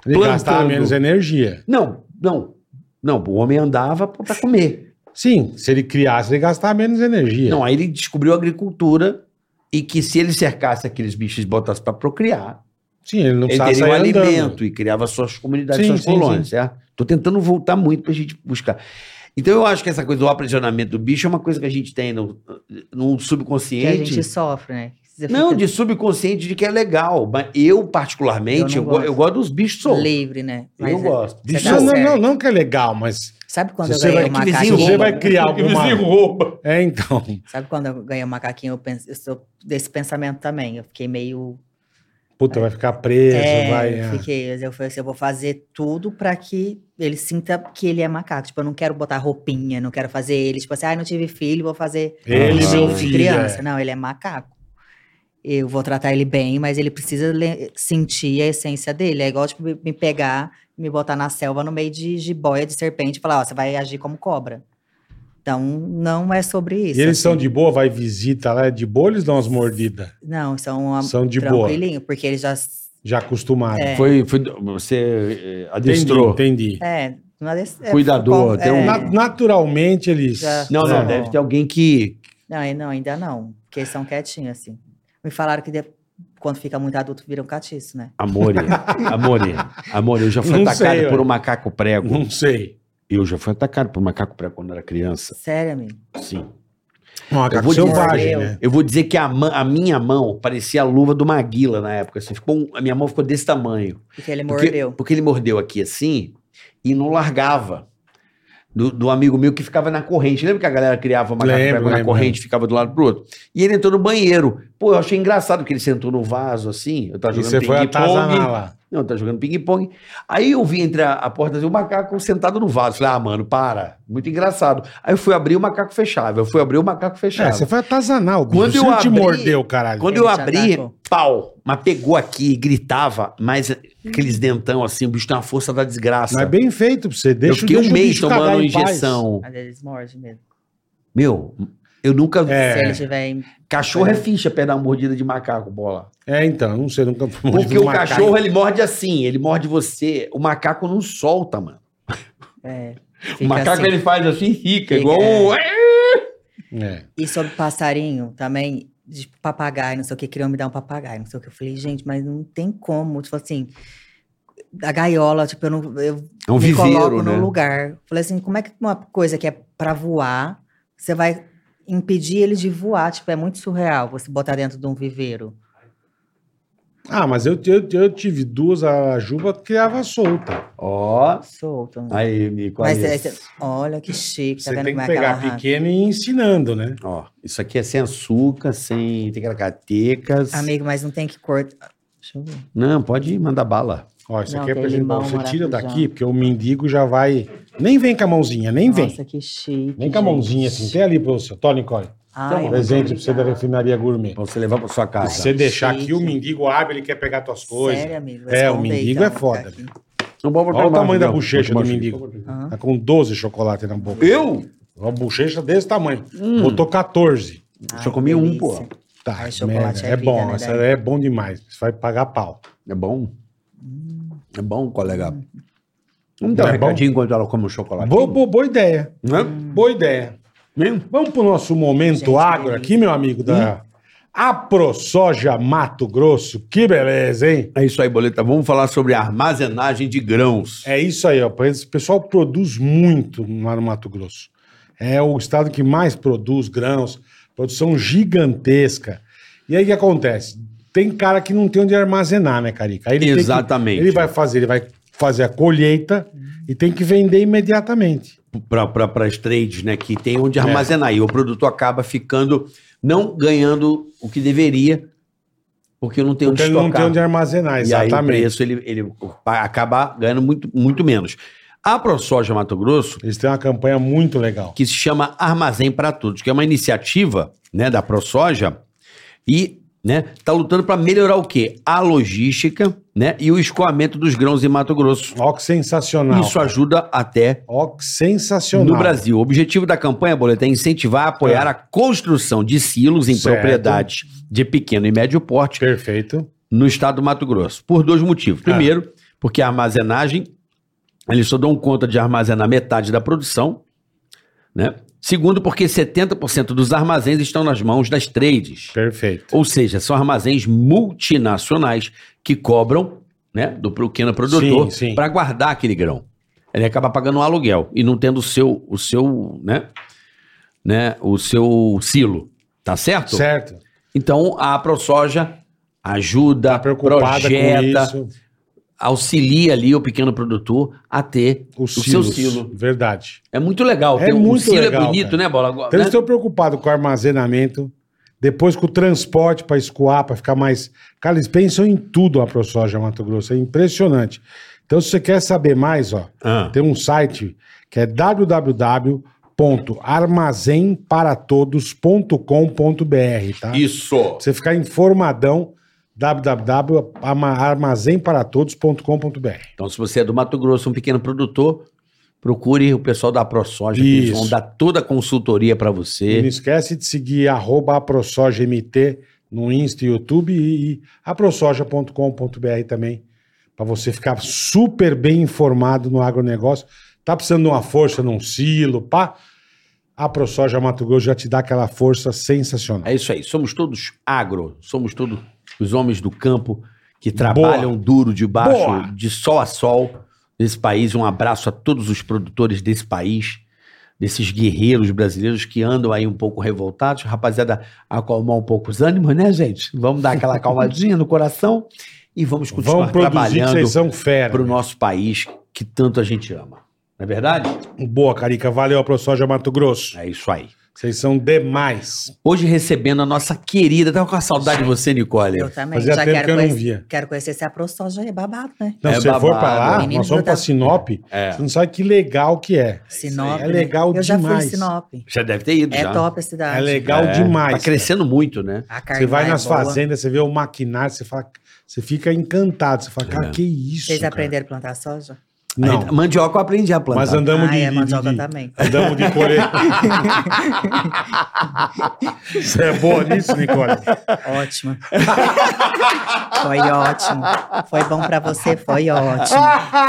Speaker 3: Ele
Speaker 4: Plantando.
Speaker 3: gastava menos energia.
Speaker 4: Não, não. Não, o homem andava para comer.
Speaker 3: Sim, se ele criasse, ele gastava menos energia.
Speaker 4: Não, aí ele descobriu a agricultura e que se ele cercasse aqueles bichos e botasse para procriar,
Speaker 3: Sim, ele não
Speaker 4: ele
Speaker 3: precisava
Speaker 4: teria
Speaker 3: sair
Speaker 4: um
Speaker 3: andando.
Speaker 4: alimento e criava suas comunidades,
Speaker 3: Sim,
Speaker 4: suas
Speaker 3: sim,
Speaker 4: colônias, certo? Tô tentando voltar muito pra gente buscar. Então eu acho que essa coisa do aprisionamento do bicho é uma coisa que a gente tem no, no
Speaker 5: Que a
Speaker 4: subconsciente.
Speaker 5: gente sofre, né? Você
Speaker 4: Não,
Speaker 5: fica
Speaker 4: de subconsciente de que é legal. Mas eu, particularmente, eu,
Speaker 5: Eu não
Speaker 4: go- eu gosto.
Speaker 5: gosto.
Speaker 4: dos bichos soltos.
Speaker 5: livre, né?
Speaker 4: Eu
Speaker 5: Mas é-
Speaker 4: gosto.
Speaker 5: Você
Speaker 4: Bicho
Speaker 5: dá
Speaker 3: Não,
Speaker 4: solto.
Speaker 3: não, não,
Speaker 5: certo.
Speaker 3: não que é legal, mas
Speaker 5: Sabe quando
Speaker 3: Se
Speaker 5: eu
Speaker 3: você
Speaker 5: ganhei
Speaker 3: vai-
Speaker 5: o
Speaker 4: que vizinho
Speaker 5: macaquinho?
Speaker 3: você
Speaker 4: rouba,
Speaker 3: vai
Speaker 4: né?
Speaker 3: criar alguma...
Speaker 7: rouba.
Speaker 3: É, então.
Speaker 5: Sabe quando eu ganhei o macaquinho, eu, penso, eu sou desse pensamento também. Eu fiquei meio.
Speaker 3: Puta, vai ficar preso,
Speaker 5: é,
Speaker 3: vai...
Speaker 5: eu fiquei. Eu falei assim, eu vou fazer tudo pra que ele sinta que ele é macaco. Tipo, eu não quero botar roupinha, não quero fazer ele. Tipo assim, ah, não tive filho, vou fazer
Speaker 3: Ele,
Speaker 5: um
Speaker 3: meu
Speaker 5: tipo de
Speaker 3: filho,
Speaker 5: criança.
Speaker 3: é.
Speaker 5: Não, ele é macaco. Eu vou tratar ele bem, mas ele precisa le- sentir a essência dele. É igual, tipo, me me pegar, me botar na selva no meio de jiboia, de serpente, e falar, ó, você vai agir como cobra. Então, não é sobre isso.
Speaker 3: E eles
Speaker 5: assim.
Speaker 3: são de boa, vai visita lá, é de boa eles dão umas mordidas.
Speaker 5: Não, são uma, É.
Speaker 3: São de boa, Ah,
Speaker 5: tranquilinho, porque eles já.
Speaker 3: já acostumados.
Speaker 4: Foi, foi, você eh,
Speaker 3: Entendi,
Speaker 4: adestrou.
Speaker 3: entendi.
Speaker 5: É, não é desse- é,
Speaker 4: Cuidador,
Speaker 5: com-
Speaker 4: tem um-
Speaker 5: é,
Speaker 3: Na- naturalmente eles...
Speaker 5: Já-
Speaker 4: Não, não,
Speaker 3: É.
Speaker 4: deve ter alguém que.
Speaker 5: não, é- não, ainda não. Porque eles são quietinhos, assim. Me falaram que de- quando fica muito adulto, vira um catiço, né?
Speaker 4: Amore, amore, amore, eu já fui
Speaker 3: Não
Speaker 4: atacado
Speaker 3: sei,
Speaker 4: por
Speaker 3: ué.
Speaker 4: um macaco prego.
Speaker 3: Não sei.
Speaker 7: Eu já fui atacado
Speaker 4: um
Speaker 7: por macaco prego quando era criança.
Speaker 5: Sério, amigo.
Speaker 7: Sim.
Speaker 3: Um macaco
Speaker 4: vou dizer-
Speaker 3: selvagem,
Speaker 5: Eu-
Speaker 3: né?
Speaker 4: Eu vou dizer que a, ma- a minha mão parecia a luva do Maguila na época. Assim, ficou um- a minha mão ficou desse tamanho.
Speaker 5: Porque ele
Speaker 4: Porque-
Speaker 5: mordeu.
Speaker 4: Porque, ele mordeu aqui assim e não largava. Do, do amigo meu que ficava na corrente. Lembra que a galera criava uma
Speaker 3: Lembro,
Speaker 4: macaco na
Speaker 3: lembro.
Speaker 4: corrente, ficava do lado pro outro? E ele entrou no banheiro. Pô, eu achei engraçado que ele sentou no vaso assim. Eu tava
Speaker 3: E
Speaker 4: jogando
Speaker 3: você foi atazanar
Speaker 4: ping-pong.
Speaker 3: lá.
Speaker 4: Não, eu tava jogando ping-pong. Aí eu vi entre a, a porta assim, o macaco sentado no vaso. Falei, ah, mano, para. Muito engraçado. Aí eu fui abrir o macaco fechava. Eu fui abrir o macaco
Speaker 3: É,
Speaker 4: fechava.
Speaker 3: você foi atazanar o bicho.
Speaker 4: Quando
Speaker 3: Você
Speaker 4: eu
Speaker 3: não te
Speaker 4: abri-
Speaker 3: mordeu, caralho.
Speaker 4: Quando
Speaker 5: Ele
Speaker 4: eu
Speaker 5: te
Speaker 4: abri,
Speaker 5: atacou.
Speaker 4: pau, mas pegou aqui, gritava, mas aqueles dentão assim, o bicho tem uma força da desgraça.
Speaker 3: Mas é bem feito pra você.
Speaker 4: eu
Speaker 3: Deixa,
Speaker 4: fiquei
Speaker 3: deixa
Speaker 4: um
Speaker 3: o
Speaker 4: mês
Speaker 3: bicho cagar
Speaker 4: tomando
Speaker 3: em paz.
Speaker 4: injeção.
Speaker 5: Mas eles mordem mesmo.
Speaker 4: Meu, eu nunca.
Speaker 3: É.
Speaker 5: Se ele tiver. em-
Speaker 4: Cachorro é ficha perto da mordida de macaco, bola.
Speaker 3: É, então, não sei, nunca fui mordido
Speaker 4: Porque
Speaker 3: por
Speaker 4: o
Speaker 3: macaco.
Speaker 4: cachorro, ele morde assim, ele morde você. O macaco não solta, mano.
Speaker 5: É,
Speaker 4: o
Speaker 5: fica
Speaker 4: macaco,
Speaker 5: assim.
Speaker 4: ele faz assim, rica,
Speaker 5: Fica,
Speaker 4: igual um...
Speaker 3: É.
Speaker 5: E sobre passarinho também, de papagaio, não sei o que, queriam me dar um papagaio, não sei o que. Eu falei, gente, mas não tem como. Tipo assim, a gaiola, tipo, eu não. Eu
Speaker 4: É um
Speaker 5: me coloco
Speaker 4: viveiro,
Speaker 5: no
Speaker 4: né?
Speaker 5: lugar. Falei assim, como é que uma coisa que é pra voar, você vai impedir ele de voar? Tipo, é muito surreal você botar dentro de um viveiro.
Speaker 3: Ah, mas eu, eu, eu tive duas, a Juba criava solta.
Speaker 4: Ó.
Speaker 5: Solto. né?
Speaker 4: Aí, Mico.
Speaker 5: Mas
Speaker 4: Aí.
Speaker 5: é- cê- olha que chique, tá
Speaker 3: Você
Speaker 5: vendo
Speaker 3: tem
Speaker 5: como
Speaker 3: que
Speaker 5: é que ela
Speaker 3: pegar
Speaker 5: arrasa?
Speaker 3: pequeno e ir ensinando, né?
Speaker 4: Ó, isso aqui é sem açúcar, sem tecaracatecas.
Speaker 5: Amigo, mas não tem que cortar. Deixa eu ver.
Speaker 4: Não, pode mandar bala.
Speaker 3: Ó, isso
Speaker 5: Não,
Speaker 3: aqui é
Speaker 5: tem
Speaker 3: pra gente.
Speaker 5: limão,
Speaker 3: Você
Speaker 5: maracujá.
Speaker 3: tira daqui, porque o mendigo já vai. Nem vem com a mãozinha, nem vem.
Speaker 5: Nossa, que chique.
Speaker 3: Nem com a mãozinha assim. Tem ali pra você. Tô, Nicole.
Speaker 5: Ai,
Speaker 3: Presente pra você da refinaria gourmet.
Speaker 4: Pra você levar pra sua
Speaker 3: Se
Speaker 4: casa.
Speaker 3: você deixar aqui,
Speaker 5: Chique.
Speaker 3: o mendigo abre, ele quer pegar tuas coisas.
Speaker 5: Sério, amigo?
Speaker 3: É, o
Speaker 5: Esconder, então,
Speaker 3: mendigo é foda.
Speaker 5: aqui.
Speaker 4: Não pode botar
Speaker 3: Olha o
Speaker 4: mais,
Speaker 3: tamanho da
Speaker 4: não.
Speaker 3: bochecha
Speaker 4: Bota
Speaker 3: do
Speaker 4: mais.
Speaker 3: mendigo.
Speaker 5: Aham.
Speaker 3: Tá com 12 chocolates na boca.
Speaker 4: Eu?
Speaker 3: Uma bochecha desse tamanho. Botou 14.
Speaker 5: Ai,
Speaker 4: Só comi um, pô.
Speaker 5: delícia.
Speaker 3: Tá,
Speaker 5: Hum. Ai, chocolate
Speaker 3: merda.
Speaker 5: é
Speaker 3: é
Speaker 5: vida,
Speaker 3: bom.
Speaker 5: né,
Speaker 3: essa
Speaker 5: Dani?
Speaker 3: é bom demais. Você vai pagar pau.
Speaker 4: É bom? É bom, colega? Vamos dar um
Speaker 3: É bom?
Speaker 4: recadinho enquanto ela come o chocolate.
Speaker 3: Boa, boa, boa ideia.
Speaker 4: Né?
Speaker 3: Boa ideia.
Speaker 4: Mesmo? Hum?
Speaker 3: Vamos pro nosso momento
Speaker 5: Gente,
Speaker 3: agro
Speaker 5: delícia.
Speaker 3: aqui, meu amigo da AproSoja Mato Grosso. Que beleza, hein?
Speaker 4: É isso aí, Boleta. Vamos falar sobre armazenagem de grãos.
Speaker 3: É isso aí, ó. Esse pessoal produz muito lá no Mato Grosso. É o estado que mais produz grãos, produção gigantesca. E aí o que acontece? Tem cara que não tem onde armazenar, né, Carica? Aí ele tem que-
Speaker 4: Exatamente.
Speaker 3: ele vai fazer, ele vai fazer a colheita e tem que vender imediatamente.
Speaker 4: para as trades, né? Que tem onde armazenar.
Speaker 3: É.
Speaker 4: E o produto acaba ficando, não ganhando o que deveria, porque não tem onde
Speaker 3: Porque ele não
Speaker 4: estocar.
Speaker 3: tem onde armazenar,
Speaker 4: E aí o
Speaker 3: exatamente.
Speaker 4: preço ele, ele vai acabar ganhando muito, muito menos. A ProSoja Mato Grosso,
Speaker 3: Eles têm uma campanha muito legal.
Speaker 4: que se chama Armazém para Todos, que é uma iniciativa né, da ProSoja e né, tá lutando para melhorar o quê? A logística né, e o escoamento dos grãos em Mato Grosso.
Speaker 3: Ó, que sensacional.
Speaker 4: Isso ajuda até
Speaker 3: Ó, que sensacional.
Speaker 4: no Brasil. O objetivo da campanha, Boleta, é incentivar e apoiar
Speaker 3: É.
Speaker 4: a construção de silos em
Speaker 3: Certo.
Speaker 4: propriedades de pequeno e médio porte
Speaker 3: Perfeito.
Speaker 4: no estado do Mato Grosso, por dois motivos.
Speaker 3: É.
Speaker 4: Primeiro, porque a armazenagem, eles só dão conta de armazenar metade da produção. Né? Segundo, porque 70% dos armazéns estão nas mãos das trades.
Speaker 3: Perfeito.
Speaker 4: Ou seja, são armazéns multinacionais que cobram né, do pequeno
Speaker 3: Sim,
Speaker 4: produtor
Speaker 3: sim.
Speaker 4: para guardar aquele grão. Ele acaba pagando um aluguel e não tendo o seu, o seu, né, né, o seu silo, tá certo?
Speaker 3: Certo.
Speaker 4: Então a ProSoja ajuda,
Speaker 3: Tá preocupada
Speaker 4: projeta,
Speaker 3: com isso.
Speaker 4: auxilia ali o pequeno produtor a ter
Speaker 3: O,
Speaker 4: o, seu silo.
Speaker 3: Verdade.
Speaker 4: É muito legal.
Speaker 3: É
Speaker 4: Tem- o
Speaker 3: muito
Speaker 4: silo
Speaker 3: legal,
Speaker 4: é bonito,
Speaker 3: cara.
Speaker 4: né, Bola?
Speaker 3: Então
Speaker 4: Né?
Speaker 3: eles estão preocupados com o armazenamento, depois com o transporte para escoar, para ficar mais. Cara, eles pensam em tudo a ProSoja Mato Grosso. É impressionante. Então, se você quer saber mais, ó,
Speaker 4: Ah.
Speaker 3: tem um site que é www.armazenparatodos.com.br, tá?
Speaker 4: Isso.
Speaker 3: Pra você ficar informadão, www.armazenparatodos.com.br.
Speaker 4: Então, se você é do Mato Grosso, um pequeno produtor, procure o pessoal da ProSoja, que eles
Speaker 3: Isso.
Speaker 4: vão dar toda a consultoria para
Speaker 3: E não
Speaker 4: você.
Speaker 3: esquece de seguir arroba AproSojaMT no Insta e YouTube e, e aprosoja.com.br também, para você ficar super bem informado no agronegócio. Tá precisando de uma força num silo, pá? A ProSoja Mato Grosso já te dá aquela força sensacional.
Speaker 4: É isso aí. Somos todos agro, somos todos os homens do campo que trabalham duro debaixo,
Speaker 3: Boa.
Speaker 4: de sol a sol, nesse país. Um abraço a todos os produtores desse país, desses guerreiros brasileiros que andam aí um pouco revoltados. Rapaziada, acalmar um pouco os ânimos, né, gente? Vamos dar aquela acalmadinha no coração e vamos continuar
Speaker 3: Vamos produzir, que
Speaker 4: trabalhando.
Speaker 3: vocês são fera.
Speaker 4: para o nosso país que tanto a gente ama. Não é verdade?
Speaker 3: Boa, Carica. Valeu, ProSoja Mato Grosso.
Speaker 4: É isso aí.
Speaker 3: Vocês são demais.
Speaker 4: Hoje recebendo a nossa querida, tava com a saudade de você, Nicole.
Speaker 5: Eu também.
Speaker 3: Fazia
Speaker 5: Já
Speaker 3: tempo
Speaker 5: quero
Speaker 3: que eu não
Speaker 5: conhecer-
Speaker 3: via.
Speaker 5: Quero conhecer esse AproSoja aí, babado, né?
Speaker 3: Não,
Speaker 4: É
Speaker 3: se você for
Speaker 4: babado.
Speaker 3: para lá,
Speaker 5: Menino
Speaker 3: nós vamos
Speaker 5: da-
Speaker 3: para Sinop,
Speaker 4: É.
Speaker 3: você não sabe que legal que é.
Speaker 5: Sinop.
Speaker 3: É
Speaker 5: né?
Speaker 3: legal
Speaker 5: Eu já fui
Speaker 3: demais.
Speaker 5: em Sinop.
Speaker 4: Já deve ter ido
Speaker 5: É
Speaker 4: já.
Speaker 5: top a cidade.
Speaker 3: É legal
Speaker 4: É,
Speaker 3: demais.
Speaker 4: Tá crescendo muito, né?
Speaker 5: A carne
Speaker 3: Você vai
Speaker 5: lá é
Speaker 3: nas
Speaker 5: boa.
Speaker 3: fazendas, você vê o maquinário, você fala, você fica encantado, você fala, cara,
Speaker 4: É.
Speaker 3: que isso,
Speaker 5: Vocês
Speaker 3: cara.
Speaker 5: aprenderam a plantar soja?
Speaker 4: A
Speaker 3: Não,
Speaker 4: gente- mandioca eu aprendi a tá plantar.
Speaker 3: mas andamos
Speaker 5: ah,
Speaker 3: de,
Speaker 5: é,
Speaker 3: de, de,
Speaker 5: mandioca
Speaker 3: de
Speaker 5: também.
Speaker 3: andamos de colher. você é boa nisso, Nicole?
Speaker 5: Ótimo. foi ótimo. Foi bom pra você, foi ótimo.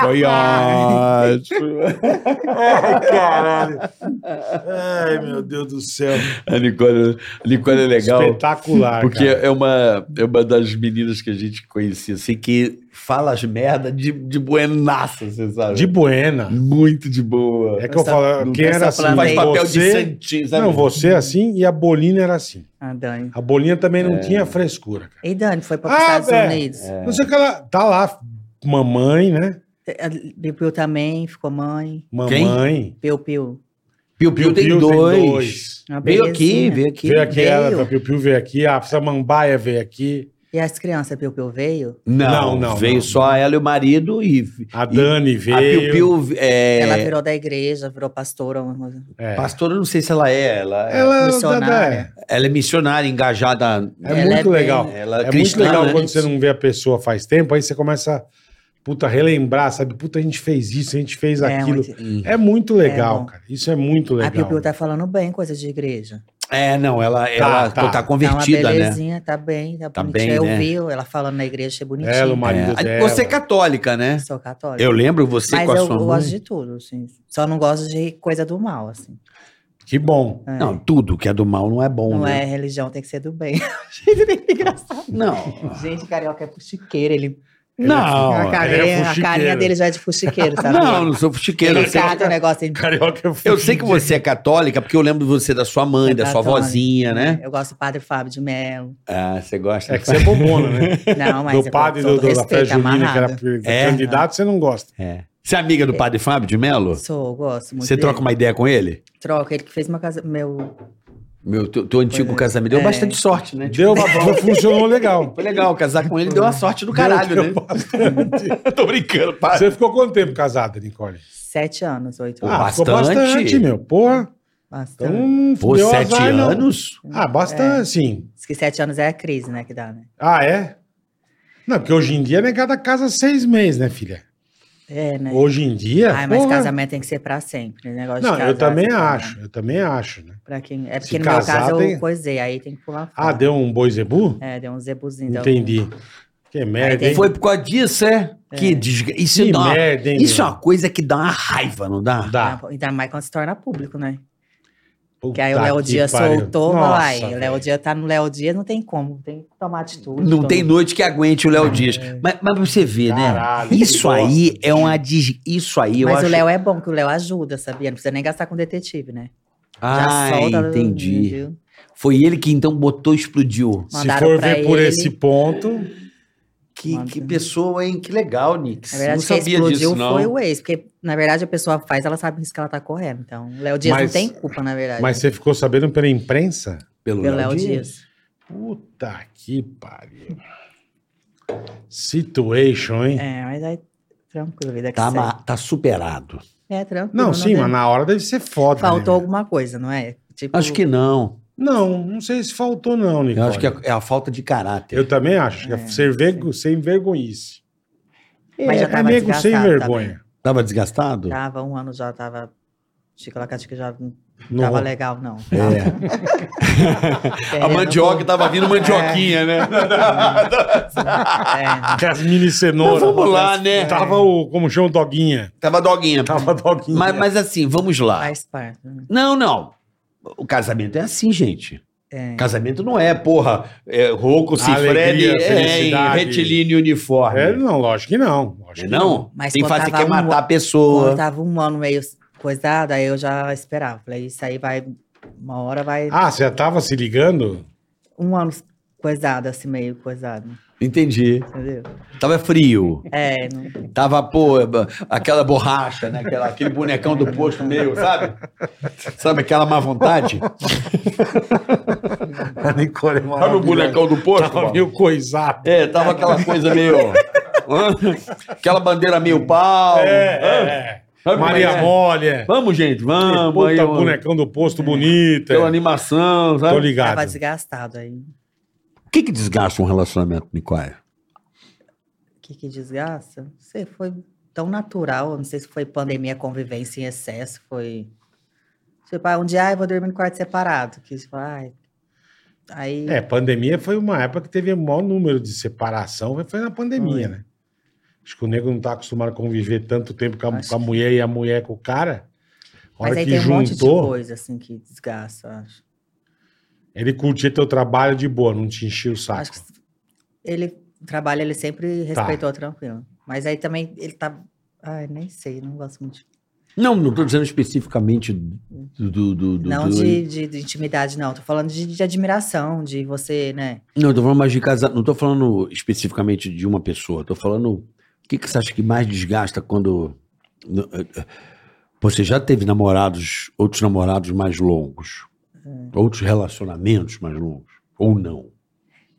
Speaker 4: Foi ótimo.
Speaker 3: Ai, É, caralho. Ai, meu Deus do céu.
Speaker 4: A Nicole, a Nicole é legal.
Speaker 3: Espetacular,
Speaker 4: Porque
Speaker 3: cara.
Speaker 4: é uma, é uma das meninas que a gente conhecia, assim, que fala as merda de, de buenaça, você sabe?
Speaker 3: De buena.
Speaker 4: Muito de boa.
Speaker 3: É que eu falo, quem era assim,
Speaker 5: Não
Speaker 4: Faz
Speaker 5: tem.
Speaker 4: papel de
Speaker 3: você...
Speaker 4: santinho, sabe?
Speaker 3: Não, você assim e a Bolina era assim.
Speaker 5: A Ah, Dani.
Speaker 3: A Bolina também
Speaker 5: É.
Speaker 3: não tinha frescura, cara.
Speaker 5: E Dani foi para
Speaker 3: Ah,
Speaker 5: os Estados
Speaker 3: velho.
Speaker 5: Unidos.
Speaker 3: Não sei o que ela... Tá lá, mamãe, né?
Speaker 5: A Piu Piu É. também ficou mãe.
Speaker 3: Mamãe.
Speaker 5: Piu Piu.
Speaker 4: Piu Piu tem
Speaker 3: Piu-piu
Speaker 4: dois.
Speaker 5: Uma
Speaker 4: Veio aqui,
Speaker 5: belezinha.
Speaker 4: veio aqui.
Speaker 3: assim, Veio aqui
Speaker 5: veio.
Speaker 3: ela, a Piu Piu veio aqui, a Samambaia veio aqui,
Speaker 5: E as crianças, Piu Piu veio?
Speaker 4: Não,
Speaker 3: Não, não,
Speaker 4: Veio
Speaker 3: não.
Speaker 4: só ela e o marido e.
Speaker 3: a Dani
Speaker 4: e
Speaker 3: veio.
Speaker 4: a Piu Piu. É,
Speaker 5: Ela virou da igreja, virou pastora. uma coisa.
Speaker 3: É.
Speaker 4: Pastora, eu não sei se ela é. Ela, é-
Speaker 3: Ela,
Speaker 5: Missionária.
Speaker 4: ela é missionária, engajada.
Speaker 3: é,
Speaker 5: Ela
Speaker 3: muito
Speaker 5: é
Speaker 3: legal.
Speaker 5: bem-
Speaker 4: Ela
Speaker 3: É
Speaker 4: cristã,
Speaker 3: muito legal
Speaker 4: né?
Speaker 3: quando você não vê a pessoa faz tempo, aí você começa a puta, relembrar, sabe? Puta, a gente fez isso, a gente fez
Speaker 5: É,
Speaker 3: aquilo.
Speaker 5: muito-
Speaker 4: Hum.
Speaker 3: É muito legal,
Speaker 5: bom.
Speaker 3: cara. Isso é muito
Speaker 5: A Piu
Speaker 3: legal.
Speaker 5: Piu tá falando bem, coisa de igreja.
Speaker 4: É, não, ela, ela
Speaker 3: tá.
Speaker 4: tá,
Speaker 5: tá
Speaker 4: convertida,
Speaker 5: uma
Speaker 4: né?
Speaker 5: belezinha, tá bem, tá,
Speaker 4: Tá
Speaker 5: bonitinha.
Speaker 4: bem,
Speaker 5: eu
Speaker 4: né?
Speaker 5: vi ela falando na igreja, achei bonitinho.
Speaker 3: Ela, o marido
Speaker 4: É.
Speaker 3: dela.
Speaker 4: Você é católica, né?
Speaker 5: Sou católica.
Speaker 4: Eu lembro você
Speaker 5: Mas
Speaker 4: com a
Speaker 5: eu
Speaker 4: sua mãe.
Speaker 5: gosto de tudo, assim. Só não gosto de coisa do mal, assim.
Speaker 3: Que bom.
Speaker 5: É.
Speaker 4: Não, tudo que é do mal não é bom,
Speaker 5: Não
Speaker 3: Uhum.
Speaker 4: né?
Speaker 5: é religião, tem que ser do bem. Gente, tem que engraçado.
Speaker 4: Não.
Speaker 3: Ah.
Speaker 5: Gente, carioca é fuxiqueira, ele...
Speaker 4: Não,
Speaker 5: a,
Speaker 3: ele é
Speaker 5: carinha, a carinha
Speaker 3: fuxiqueiro.
Speaker 5: dele já é de fuxiqueiro, sabe?
Speaker 4: Não, não sou fuxiqueiro.
Speaker 3: é
Speaker 5: ele
Speaker 4: Eu sei,
Speaker 5: cata o negócio... Ele...
Speaker 3: Carioca é
Speaker 4: eu sei que você é católica, porque eu lembro de você da sua mãe,
Speaker 5: É
Speaker 4: da sua
Speaker 5: católica.
Speaker 4: vozinha, né?
Speaker 5: Eu gosto do padre Fábio de Mello.
Speaker 4: Ah, você gosta.
Speaker 3: É que você é bobona, né?
Speaker 5: Não, mas
Speaker 3: do padre
Speaker 5: eu,
Speaker 3: do, do, da Fé
Speaker 5: respeito,
Speaker 3: Junina, que
Speaker 5: amarrado.
Speaker 3: era
Speaker 4: É.
Speaker 3: candidato, você não gosta.
Speaker 4: É. Você é amiga do padre Fábio de Melo?
Speaker 5: Sou, gosto muito
Speaker 4: Você
Speaker 5: dele.
Speaker 4: troca uma ideia com ele?
Speaker 5: Troca, ele que fez uma casa... Meu...
Speaker 4: Meu, teu, teu antigo casamento deu
Speaker 5: É.
Speaker 4: bastante sorte, né?
Speaker 3: Deu, funcionou legal.
Speaker 4: Foi legal, casar com ele deu uma sorte do caralho,
Speaker 3: Deu-
Speaker 4: né?
Speaker 3: deu bastante.
Speaker 4: Tô brincando, padre.
Speaker 3: Você ficou quanto tempo casada, Nicole?
Speaker 5: Sete anos, oito anos.
Speaker 3: Ah, ficou
Speaker 4: bastante.
Speaker 3: bastante, meu. Porra.
Speaker 5: Bastante.
Speaker 3: Então,
Speaker 4: Pô,
Speaker 3: deu
Speaker 4: sete
Speaker 3: azar, não.
Speaker 4: anos?
Speaker 3: Ah, bastante,
Speaker 5: É.
Speaker 3: sim.
Speaker 5: Diz que sete anos é a crise, né, que dá, né?
Speaker 3: Ah, é? Não, porque hoje em dia, né, cada casa seis meses, né, filha?
Speaker 5: É, né?
Speaker 3: Hoje em dia.
Speaker 5: Ai, mas
Speaker 3: porra.
Speaker 5: casamento tem que ser pra sempre. né? Negócio
Speaker 3: Não,
Speaker 5: de casar,
Speaker 3: eu também
Speaker 5: assim,
Speaker 3: acho,
Speaker 5: né?
Speaker 3: eu também acho, né?
Speaker 5: Pra quem... É
Speaker 3: Se
Speaker 5: porque no
Speaker 3: casar,
Speaker 5: meu caso
Speaker 3: tem-
Speaker 5: eu coisei, aí tem que pular fora.
Speaker 3: Ah, deu um boi zebu?
Speaker 5: É, deu um zebuzinho. deu um-
Speaker 3: Entendi. Que merda,
Speaker 5: tem-
Speaker 3: hein?
Speaker 4: Foi por causa disso, é? Que desgra... Isso,
Speaker 3: Que
Speaker 4: dá uma...
Speaker 3: merda, hein?
Speaker 4: Isso é
Speaker 3: meu?
Speaker 4: uma coisa que dá uma raiva, não dá?
Speaker 3: Dá.
Speaker 5: Ah, Ainda mais quando se torna público, né?
Speaker 3: Puta
Speaker 5: Que aí o Léo
Speaker 3: que
Speaker 5: Dias
Speaker 3: pariu.
Speaker 5: soltou,
Speaker 3: Nossa,
Speaker 5: vai. O
Speaker 3: velho.
Speaker 5: Léo Dias tá no Léo Dias, não tem como. Tem que tomar atitude.
Speaker 4: Não
Speaker 5: todo
Speaker 4: tem
Speaker 5: mundo.
Speaker 4: noite que aguente o Léo Dias. Mas, mas você vê,
Speaker 3: Caralho,
Speaker 4: né?
Speaker 3: que
Speaker 4: Isso
Speaker 3: bosta.
Speaker 4: aí é uma des... Isso aí eu
Speaker 5: Mas
Speaker 4: acho.
Speaker 5: o Léo é bom, que o Léo ajuda, sabia? Não precisa nem gastar com detetive, né?
Speaker 4: Ah, entendi.
Speaker 5: viu?
Speaker 4: Foi ele que então botou e explodiu.
Speaker 3: Se
Speaker 5: Mandaram
Speaker 3: for
Speaker 5: pra
Speaker 3: ver por
Speaker 5: ele.
Speaker 3: esse ponto,
Speaker 4: Que,
Speaker 5: Manda.
Speaker 4: que pessoa, hein? Que legal, Nix.
Speaker 5: Na verdade,
Speaker 4: não
Speaker 5: quem
Speaker 4: sabia
Speaker 5: explodiu
Speaker 4: disso, não.
Speaker 5: foi o ex. Porque, na verdade, a pessoa faz, ela sabe o risco que ela tá correndo. Então, o Léo Dias
Speaker 3: Mas-
Speaker 5: não tem culpa, na verdade.
Speaker 3: mas você ficou sabendo pela imprensa?
Speaker 4: Pelo
Speaker 5: Pelo Léo Dias.
Speaker 3: Puta que pariu. Situation, hein?
Speaker 5: É, mas aí, tranquilo, vida que
Speaker 4: Tá,
Speaker 5: segue.
Speaker 4: ma- tá superado.
Speaker 5: É, tranquilo.
Speaker 3: Não, sim,
Speaker 5: tem-
Speaker 3: mas na hora deve ser foda. né?
Speaker 5: Faltou alguma coisa, não é? Tipo,
Speaker 4: Acho que não.
Speaker 3: Não, não sei se faltou, não, Nicole.
Speaker 4: Eu acho que é, é a falta de caráter.
Speaker 3: Eu também acho. que
Speaker 5: É,
Speaker 3: é ser vergo- sem vergonhice.
Speaker 5: Mas já
Speaker 3: é
Speaker 5: tava
Speaker 3: nego sem
Speaker 5: desgastado
Speaker 3: vergonha.
Speaker 4: Tava desgastado?
Speaker 5: Tava um ano já, tava... Chico Lacatica já não
Speaker 3: Não
Speaker 5: tava
Speaker 3: ro-
Speaker 5: legal, não. É,
Speaker 4: É.
Speaker 5: Terreno bom.
Speaker 4: tava vindo mandioquinha, né?
Speaker 5: É,
Speaker 3: Com as mini cenouras.
Speaker 4: Mas vamos lá, né?
Speaker 3: Tava o, como chama, o doguinha.
Speaker 4: Tava doguinha.
Speaker 3: Tava a doguinha.
Speaker 4: Mas, mas assim, vamos lá.
Speaker 5: faz parte. né?
Speaker 4: Não, não. O casamento é assim, gente.
Speaker 5: É.
Speaker 4: Casamento não é, porra, é, rouco, cifrede,
Speaker 3: Alegria,
Speaker 4: é, em
Speaker 3: felicidade.
Speaker 4: retilíneo
Speaker 3: É,
Speaker 4: e uniforme. é,
Speaker 3: não, lógico que não. Lógico que
Speaker 4: Não?
Speaker 5: Mas
Speaker 4: Tem
Speaker 5: quando
Speaker 4: fase que
Speaker 5: tava
Speaker 4: quer matar
Speaker 5: um-
Speaker 4: a
Speaker 5: Quando
Speaker 4: pessoa.
Speaker 5: tava um ano meio coisado, aí eu já esperava. Falei, isso aí vai... Uma hora vai...
Speaker 3: Ah, você já tava se ligando?
Speaker 5: Um ano coisado, assim, meio coisado.
Speaker 4: Entendi.
Speaker 5: Entendeu?
Speaker 4: Tava frio.
Speaker 5: É, não...
Speaker 4: Tava, pô, b- aquela borracha, né? Aquela- aquele bonecão do posto meio, sabe? Sabe aquela má vontade?
Speaker 3: A Nicole é
Speaker 4: Sabe o bonecão do posto?
Speaker 3: Tava
Speaker 4: mano?
Speaker 3: meio coisado.
Speaker 4: É, tava aquela coisa meio. Hã? aquela bandeira meio pau.
Speaker 3: É,
Speaker 4: Sabe como
Speaker 3: Maria
Speaker 4: é?
Speaker 3: Mole. é.
Speaker 4: Vamos, gente, vamos. aí,
Speaker 3: Puta,
Speaker 4: ó,
Speaker 3: bonecão do posto bonito.
Speaker 4: Pela
Speaker 3: é.
Speaker 4: animação,
Speaker 3: Tô
Speaker 4: sabe?
Speaker 3: ligado.
Speaker 5: Tava desgastado aí.
Speaker 4: O que, que desgasta um relacionamento, Nicole?
Speaker 5: O que, que desgasta? Você foi tão natural. eu Não sei se foi pandemia, convivência em excesso, foi. Tipo, ah, um dia ah, eu vou dormir no quarto separado. Que tipo, ai. Aí.
Speaker 3: É, pandemia foi uma época que teve o maior número de separação, foi na pandemia, né? Acho que o nego não tá acostumado a conviver tanto tempo com a,
Speaker 5: Acho
Speaker 3: com a mulher e a mulher com o cara. A
Speaker 5: mas
Speaker 3: hora
Speaker 5: aí
Speaker 3: que
Speaker 5: tem um monte de
Speaker 3: juntou,
Speaker 5: coisa assim que desgasta, eu acho.
Speaker 3: Tá. ele curtia teu trabalho de boa, não te enchia o saco.
Speaker 5: Acho que ele O trabalho ele sempre
Speaker 3: Tá.
Speaker 5: respeitou tranquilo. Mas aí também ele tá. Ai, nem sei, não gosto muito. de-
Speaker 4: Não, não estou dizendo especificamente do. do, do, do-
Speaker 5: não
Speaker 4: do-
Speaker 5: de, de- de intimidade, não. Tô falando de, de admiração, de você, né?
Speaker 4: Não, eu tô falando mais de casa. Não tô falando especificamente de uma pessoa. Tô falando. O que, que você acha que mais desgasta quando. no- eh, eh, Você já teve namorados, outros namorados mais longos?
Speaker 5: É.
Speaker 4: Outros relacionamentos mais longos? Ou não?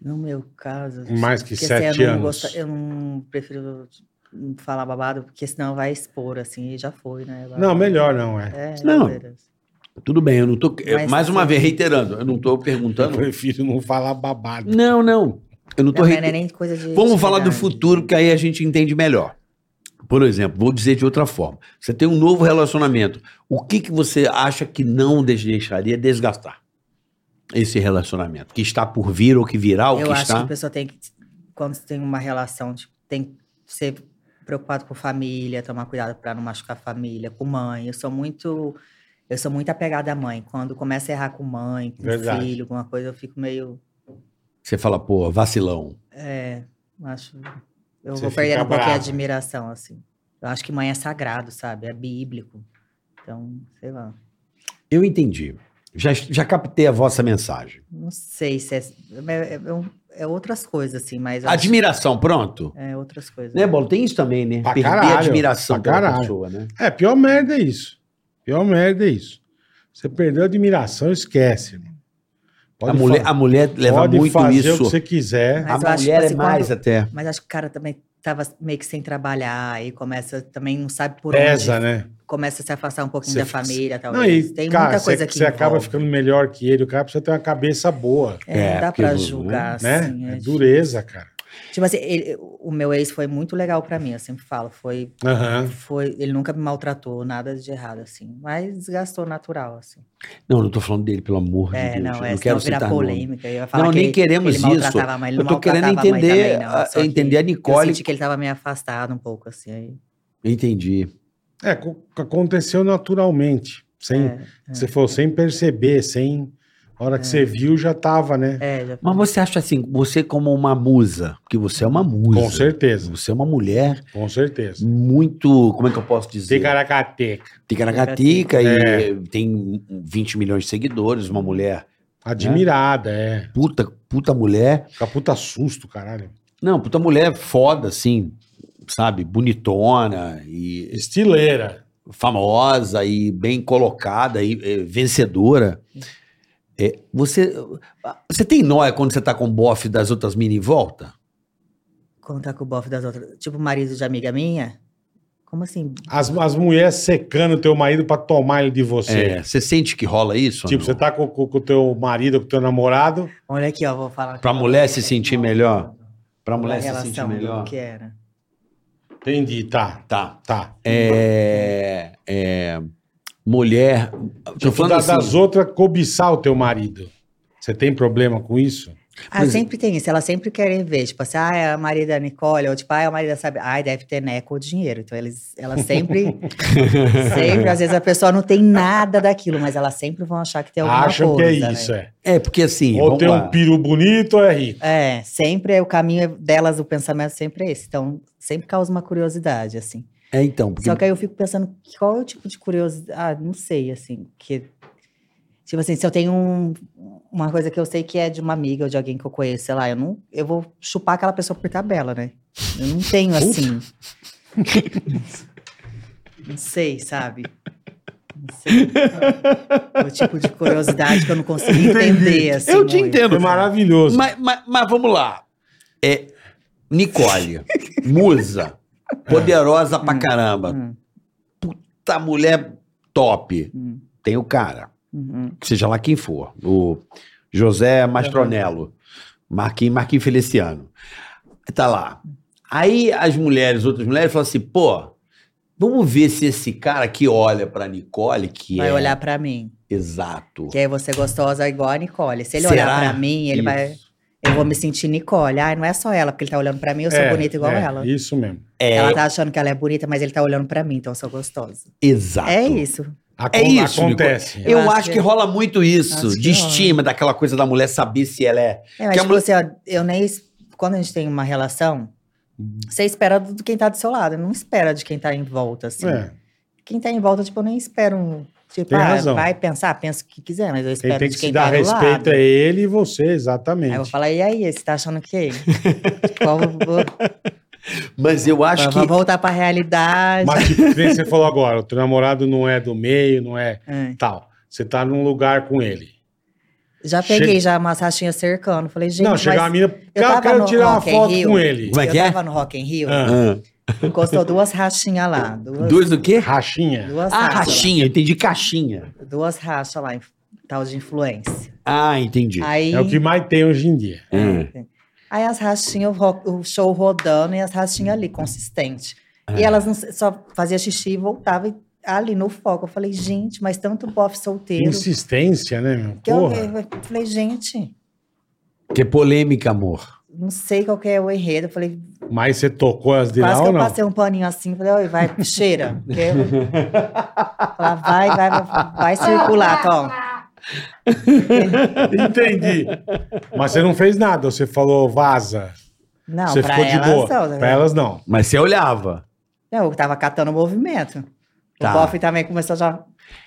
Speaker 5: No meu caso. assim,
Speaker 3: Mais que
Speaker 5: porque,
Speaker 3: sete
Speaker 5: eu não
Speaker 3: anos.
Speaker 5: eu não prefiro não falar babado, porque senão vai expor, assim, e já foi, né?
Speaker 3: Não, melhor não, é.
Speaker 5: É,
Speaker 4: Não.
Speaker 5: beleza.
Speaker 4: Tudo bem, eu não tô. eu-
Speaker 5: Mas
Speaker 4: mais uma
Speaker 5: assim-
Speaker 4: vez, reiterando, eu não tô
Speaker 3: Eu
Speaker 4: perguntando.
Speaker 3: prefiro não falar babado.
Speaker 4: Não, não. Eu não tô.
Speaker 5: Não,
Speaker 4: reiter-
Speaker 5: não é nem coisa de. né?
Speaker 4: Vamos falar do
Speaker 5: intimidade.
Speaker 4: futuro, que aí a gente entende melhor. Por exemplo, vou dizer de outra forma. Você tem um novo relacionamento. O que, que você acha que não des- deixaria desgastar esse relacionamento? Que está por vir ou que virá, ou
Speaker 5: Eu
Speaker 4: é que
Speaker 5: acho
Speaker 4: está.
Speaker 5: que a pessoa tem que. Quando tem uma relação, tipo, tem que ser preocupado com família, tomar cuidado pra não machucar a família, com mãe. Eu sou muito. Eu sou muito apegada à mãe. Quando começa a errar com mãe, com
Speaker 3: Verdade.
Speaker 5: filho, alguma coisa, eu fico meio.
Speaker 4: Você fala, pô, vacilão.
Speaker 5: É, acho. Eu
Speaker 3: Você
Speaker 5: vou perdendo
Speaker 3: fica
Speaker 5: um pouquinho a
Speaker 3: brava.
Speaker 5: admiração, assim. Eu acho que mãe é sagrado, sabe? É bíblico. Então, sei lá.
Speaker 4: Eu entendi. Já, já captei a vossa mensagem.
Speaker 5: Não sei se é. É, é um- é outras coisas, assim, mas. eu acho-
Speaker 4: Admiração, pronto?
Speaker 5: É outras coisas.
Speaker 4: Né, Bola? Tem isso também, né?
Speaker 3: Pra
Speaker 4: Perder
Speaker 3: caralho,
Speaker 4: a admiração
Speaker 3: pra
Speaker 4: pela
Speaker 3: caralho.
Speaker 4: pessoa, né?
Speaker 3: É, pior merda é isso. Pior merda é isso. Você perdeu a admiração, esquece. irmão.
Speaker 4: A
Speaker 3: Pode
Speaker 4: mulher,
Speaker 3: fa-
Speaker 4: a mulher leva
Speaker 3: pode
Speaker 4: muito
Speaker 3: fazer o
Speaker 4: isso.
Speaker 3: que você quiser.
Speaker 5: Mas
Speaker 4: A
Speaker 5: eu acho que,
Speaker 4: mulher é
Speaker 5: assim, quando-
Speaker 4: mais até.
Speaker 5: Mas acho que o cara também tava meio que sem trabalhar e começa também não sabe por um
Speaker 3: Pesa,
Speaker 5: onde.
Speaker 3: né?
Speaker 5: Começa a se afastar um pouquinho
Speaker 3: Você
Speaker 5: da
Speaker 3: fica-
Speaker 5: família,
Speaker 3: Não,
Speaker 5: talvez.
Speaker 3: e,
Speaker 5: Tem
Speaker 3: cara,
Speaker 5: muita coisa
Speaker 3: você,
Speaker 5: que
Speaker 3: você acaba
Speaker 5: envolve.
Speaker 3: ficando melhor que ele. O cara precisa ter uma cabeça boa,
Speaker 5: É,
Speaker 4: É,
Speaker 5: não dá
Speaker 4: porque
Speaker 5: pra
Speaker 4: não-
Speaker 5: julgar, assim.
Speaker 3: né?
Speaker 5: é
Speaker 3: É dureza, cara.
Speaker 5: difícil. Tipo assim, ele- o meu ex foi muito legal pra mim, eu sempre falo. Foi,
Speaker 3: Aham.
Speaker 5: foi, ele nunca me maltratou, nada de errado, assim. Mas desgastou natural, assim.
Speaker 4: Não, não tô falando dele, pelo amor de
Speaker 5: É,
Speaker 4: Deus.
Speaker 5: não,
Speaker 4: eu
Speaker 5: é,
Speaker 4: não
Speaker 5: não
Speaker 4: quero
Speaker 5: senão
Speaker 4: citar
Speaker 5: virar
Speaker 4: nome.
Speaker 5: polêmica. Eu ia falar
Speaker 4: Não,
Speaker 5: que
Speaker 4: nem
Speaker 5: ele-
Speaker 4: queremos
Speaker 5: ele maltratava
Speaker 4: isso.
Speaker 5: a mãe, ele
Speaker 4: Eu
Speaker 5: não
Speaker 4: tô querendo
Speaker 5: maltratava a mãe também,
Speaker 4: entender,
Speaker 5: não,
Speaker 4: a-
Speaker 5: só que
Speaker 4: entender a Nicole.
Speaker 5: Eu senti que ele tava meio afastado um pouco, assim. Aí,
Speaker 4: Entendi.
Speaker 3: É, co- aconteceu naturalmente. Sem,
Speaker 5: é,
Speaker 3: Você falou sem perceber, sem. A hora que você viu, já tava, né?
Speaker 5: é, já
Speaker 4: Mas você acha assim, você como uma musa, porque você é uma musa.
Speaker 3: Com certeza,
Speaker 4: Você é uma mulher
Speaker 3: com certeza.
Speaker 4: muito, como é que eu posso dizer?
Speaker 3: Ticaracateca.
Speaker 4: Ticaracatica e
Speaker 3: É.
Speaker 4: tem 20 milhões de seguidores, uma mulher,
Speaker 3: Admirada, é.
Speaker 4: puta, puta mulher.
Speaker 3: Fica puta susto, caralho.
Speaker 4: Não, puta mulher foda, assim, sabe? Bonitona e
Speaker 3: Estileira.
Speaker 4: famosa e bem colocada e eh, vencedora. É, você, você tem nóia quando você tá com o bofe das outras mini em volta?
Speaker 5: Contar com o bofe das outras. Tipo, marido de amiga minha? Como assim?
Speaker 3: As, as mulheres secando teu marido pra tomar ele de você.
Speaker 4: É, você sente que rola isso? ou
Speaker 3: Tipo,
Speaker 4: não?
Speaker 3: você tá com com- com o teu marido, com o teu namorado.
Speaker 5: Olha aqui, ó, vou falar.
Speaker 4: Pra mulher se sentir melhor? Pra mulher se
Speaker 5: é relação
Speaker 4: sentir
Speaker 5: do
Speaker 4: melhor.
Speaker 5: Que era.
Speaker 3: Entendi, tá.
Speaker 4: Tá.
Speaker 3: Tá.
Speaker 4: É, é, mulher. Tô
Speaker 3: Tipo,
Speaker 4: falando
Speaker 3: da-
Speaker 4: assim,
Speaker 3: das outras cobiçar o teu marido. Você tem problema com isso?
Speaker 5: Ah,
Speaker 4: Mas-
Speaker 5: sempre tem isso. Elas sempre querem ver. Tipo assim, ah, é a marido da Nicole. Ou tipo, ah, é a marido da Sabrina. Ai, deve ter neco ou dinheiro. Então, eles, elas sempre... sempre. Às vezes a pessoa não tem nada daquilo, mas elas sempre vão achar que tem alguma
Speaker 3: Acham
Speaker 5: coisa.
Speaker 3: que é
Speaker 5: né?
Speaker 3: isso,
Speaker 4: é, porque assim.
Speaker 3: é. Ou
Speaker 4: vamos
Speaker 3: tem
Speaker 4: lá.
Speaker 3: um peru bonito ou é rico.
Speaker 5: É, sempre é o caminho delas, o pensamento sempre é esse. Então, sempre causa uma curiosidade, assim.
Speaker 4: É, então. Porque,
Speaker 5: Só que aí eu fico pensando, qual é o tipo de curiosidade? Ah, não sei, assim, que... Tipo assim, se eu tenho um- uma coisa que eu sei que é de uma amiga ou de alguém que eu conheço, sei lá, eu não... Eu vou chupar aquela pessoa por tabela, né? Eu não tenho, assim... não sei, sabe? Não sei. o tipo de curiosidade que eu não consigo entender, assim.
Speaker 4: Eu te
Speaker 5: muito.
Speaker 4: entendo.
Speaker 3: Foi maravilhoso.
Speaker 4: Mas, mas- mas vamos lá. É, Nicole, musa, poderosa pra
Speaker 5: Hum,
Speaker 4: caramba.
Speaker 5: Hum,
Speaker 4: Puta mulher top.
Speaker 5: hum,
Speaker 4: Tem o cara.
Speaker 5: hum,
Speaker 4: seja lá quem for, o José Mastronello, Marquinhos, Marquinhos Feliciano. Tá lá. Aí as mulheres, outras mulheres, falam assim, pô, vamos ver se esse cara que olha pra Nicole, que
Speaker 5: Vai
Speaker 4: é
Speaker 5: olhar pra mim.
Speaker 4: exato.
Speaker 5: Que aí você é gostosa igual a Nicole. Se ele
Speaker 4: Será?
Speaker 5: olhar pra mim, ele vai. Eu vou me sentir Nicole. Ai, não é só ela, porque ele tá olhando pra mim, eu sou
Speaker 3: É,
Speaker 5: bonita igual
Speaker 3: é,
Speaker 5: ela.
Speaker 3: Isso mesmo.
Speaker 5: Ela tá achando que ela é bonita, mas ele tá olhando pra mim, então eu sou gostosa.
Speaker 3: Tá
Speaker 4: Exato.
Speaker 5: É isso.
Speaker 3: Acon-
Speaker 4: É isso,
Speaker 3: Acontece.
Speaker 4: Eu, acho, que, rola muito isso,
Speaker 5: acho que
Speaker 4: de estima, daquela coisa da mulher saber se ela é.
Speaker 5: É, mas
Speaker 4: Que a
Speaker 5: tipo
Speaker 4: mulher-
Speaker 5: assim, ó, eu nem. es- quando a gente tem uma relação,
Speaker 3: Uhum.
Speaker 5: você espera do do quem tá do seu lado, não espera de quem tá em volta, assim.
Speaker 3: É,
Speaker 5: Quem tá em volta, tipo, eu nem espero um. Tipo,
Speaker 3: Tem
Speaker 5: ah,
Speaker 3: razão.
Speaker 5: vai pensar, pensa o que quiser, mas eu
Speaker 3: quem
Speaker 5: espero
Speaker 3: tem
Speaker 5: de
Speaker 3: que
Speaker 5: quem
Speaker 3: se
Speaker 5: tá
Speaker 3: dar
Speaker 5: do lado.
Speaker 3: respeito é ele e você,
Speaker 5: Aí eu vou
Speaker 3: exatamente.
Speaker 5: falar, e aí, você tá achando o quê? Qual, vou,
Speaker 4: Mas eu acho que.
Speaker 5: vou voltar pra realidade.
Speaker 3: Mas tipo, que nem você falou agora, o teu namorado não é do meio, não é
Speaker 5: É.
Speaker 3: tal. Você tá num lugar com ele.
Speaker 5: Já peguei
Speaker 3: Chega-
Speaker 5: já umas rachinhas cercando. Falei, gente,
Speaker 3: não, chegar a
Speaker 5: mas
Speaker 3: mina, cara,
Speaker 5: tava
Speaker 3: quero
Speaker 5: no
Speaker 3: tirar uma
Speaker 5: Rock in
Speaker 3: foto
Speaker 5: Rio.
Speaker 3: com ele.
Speaker 4: Como é que
Speaker 5: eu
Speaker 4: é?
Speaker 5: tava no Rock in Rio,
Speaker 3: Ah.
Speaker 4: Ah.
Speaker 5: encostou duas rachinhas lá. Duas,
Speaker 4: Dois do quê?
Speaker 3: Rachinha.
Speaker 5: duas
Speaker 4: Ah,
Speaker 5: rachas lá.
Speaker 4: rachinha, entendi caixinha.
Speaker 5: Duas rachas lá, em- tal de influência.
Speaker 4: Ah, entendi.
Speaker 5: Aí,
Speaker 3: É o que mais tem hoje em dia.
Speaker 4: Hum.
Speaker 5: aí as rachinhas, o ro- o show rodando e as rachinhas ali, consistente. E elas não se- só fazia xixi e voltava e- ali no foco. Eu falei, gente, mas tanto bofe solteiro.
Speaker 3: Insistência, né, meu?
Speaker 5: Que eu,
Speaker 3: Porra.
Speaker 5: eu falei, gente,
Speaker 4: Que é polêmica, amor.
Speaker 5: não sei qual que é o enredo. Eu falei,
Speaker 3: Mas você tocou as de
Speaker 5: Quase
Speaker 3: lá
Speaker 5: que
Speaker 3: ou
Speaker 5: eu
Speaker 3: não?
Speaker 5: passei um paninho assim, falei, oi, vai, cheira. porque eu- Falar, vai, vai, vai, vai circular, Tom.
Speaker 3: Entendi. Mas você não fez nada, você falou vaza.
Speaker 5: Não,
Speaker 3: você
Speaker 5: pra
Speaker 3: ficou de
Speaker 5: elas
Speaker 3: boa.
Speaker 5: não. né?
Speaker 3: pra elas não.
Speaker 4: Mas você olhava.
Speaker 5: Não, eu tava catando o movimento.
Speaker 4: Tá.
Speaker 5: O bofe também começou a já...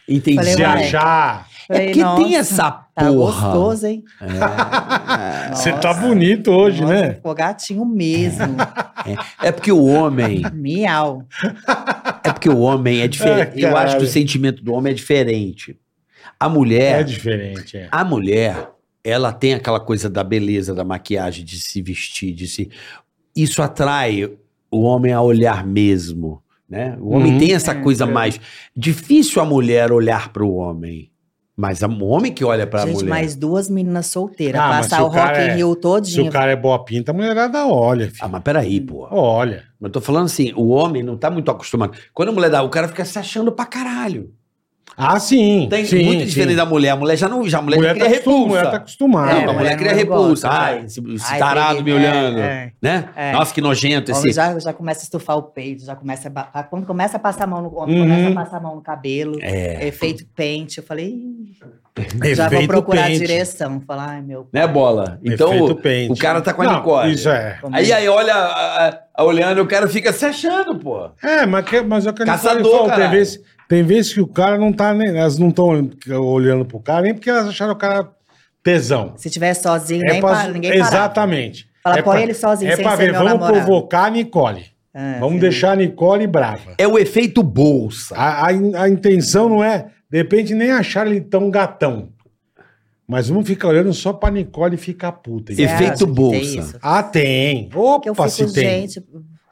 Speaker 4: Entendi.
Speaker 5: Falei,
Speaker 3: Se
Speaker 5: ué,
Speaker 3: achar,
Speaker 4: é
Speaker 5: Falei,
Speaker 4: porque tem
Speaker 5: nossa,
Speaker 4: essa
Speaker 5: Tá
Speaker 4: porra.
Speaker 5: gostoso, hein?
Speaker 3: você tá
Speaker 5: Nossa.
Speaker 3: bonito hoje,
Speaker 5: Nossa,
Speaker 3: né?
Speaker 5: Ficou gatinho mesmo.
Speaker 4: É porque o homem.
Speaker 5: Miau.
Speaker 4: É porque o homem é diferente.
Speaker 3: Ah,
Speaker 4: Eu acho que
Speaker 3: caralho.
Speaker 4: o sentimento do homem é diferente. A
Speaker 3: É,
Speaker 4: mulher.
Speaker 3: diferente, é.
Speaker 4: A mulher, ela tem aquela coisa da beleza, da maquiagem, de se vestir, de se. Isso atrai o homem a olhar mesmo, né? O homem
Speaker 3: Uhum.
Speaker 4: tem essa
Speaker 5: É,
Speaker 4: coisa mais difícil a mulher olhar para o homem, mas a- o homem que olha para a
Speaker 5: Gente,
Speaker 4: mulher.
Speaker 5: mais duas meninas solteiras.
Speaker 3: Ah, mas se
Speaker 5: passar
Speaker 3: o
Speaker 5: o, Rock
Speaker 3: cara
Speaker 5: in
Speaker 3: é-
Speaker 5: Rio
Speaker 3: Se o
Speaker 5: todinho.
Speaker 3: cara é boa pinta, a mulherada olha,
Speaker 4: Ah,
Speaker 3: filho.
Speaker 4: mas peraí, pô.
Speaker 3: Olha.
Speaker 4: Eu tô falando assim, o homem não tá muito acostumado. Quando a mulher dá, o cara fica se achando pra caralho.
Speaker 3: Ah, sim.
Speaker 4: Tem
Speaker 3: sim,
Speaker 4: muito
Speaker 3: sim.
Speaker 4: diferente da mulher. A mulher já não, já a mulher,
Speaker 3: Mulher
Speaker 4: já
Speaker 3: tá,
Speaker 4: cria
Speaker 3: acostum,
Speaker 4: repulsa.
Speaker 3: mulher tá
Speaker 4: Não,
Speaker 3: acostumada.
Speaker 5: É,
Speaker 4: a
Speaker 5: mulher
Speaker 4: mulher cria
Speaker 5: não
Speaker 4: repulsa. né?
Speaker 5: gosta,
Speaker 4: Ai,
Speaker 5: vai.
Speaker 4: esse, esse
Speaker 5: Ai,
Speaker 4: tarado
Speaker 5: peguei,
Speaker 4: me
Speaker 5: é,
Speaker 4: olhando.
Speaker 5: é.
Speaker 4: Né?
Speaker 5: É.
Speaker 4: Nossa, que nojento
Speaker 5: Homem
Speaker 3: assim-
Speaker 4: esse.
Speaker 5: já, já começa a estufar o peito, já começa a, ba- quando começa a passar a mão no homem,
Speaker 3: Uhum.
Speaker 5: começa a passar a mão no cabelo,
Speaker 4: É.
Speaker 5: efeito pente. Eu falei, "Ih, já vou
Speaker 3: Efeito
Speaker 5: procurar
Speaker 3: pente.
Speaker 5: a direção. Falar, ai meu.
Speaker 4: Né, bola? Então,
Speaker 3: Efeito
Speaker 4: o-
Speaker 3: pente.
Speaker 4: o cara tá com a
Speaker 3: Não,
Speaker 4: Nicole.
Speaker 3: Isso é.
Speaker 5: como
Speaker 4: Aí,
Speaker 5: é?"
Speaker 4: aí, olha, a- a- a- olhando, o cara fica se achando, pô.
Speaker 3: É, mas, que, mas é o que ele
Speaker 4: Caçador,
Speaker 3: falou, tem
Speaker 4: caralho.
Speaker 3: vezes, tem vezes que o cara não tá nem. Elas não estão olhando pro cara, nem porque elas acharam o cara tesão.
Speaker 5: Se tiver sozinho, nem
Speaker 3: É pra-
Speaker 5: para, ninguém para.
Speaker 3: Exatamente.
Speaker 5: Fala,
Speaker 3: é
Speaker 5: põe
Speaker 3: pra-
Speaker 5: ele sozinho,
Speaker 3: É
Speaker 5: sem
Speaker 3: pra
Speaker 5: ser
Speaker 3: ver,
Speaker 5: meu
Speaker 3: vamos
Speaker 5: namorado.
Speaker 3: provocar a Nicole.
Speaker 5: É,
Speaker 3: vamos
Speaker 5: sim.
Speaker 3: deixar a Nicole brava.
Speaker 4: É o efeito bolsa.
Speaker 3: A, a in- a intenção não é, de repente, nem achar ele tão gatão. Mas vamos ficar olhando só pra Nicole ficar puta.
Speaker 5: Você
Speaker 3: entendeu?
Speaker 5: acha
Speaker 4: É. Efeito
Speaker 5: É, que tem
Speaker 4: bolsa.
Speaker 5: isso?
Speaker 3: Ah, tem.
Speaker 5: Porque eu
Speaker 3: Opa,
Speaker 5: fico,
Speaker 3: se tem.
Speaker 5: gente,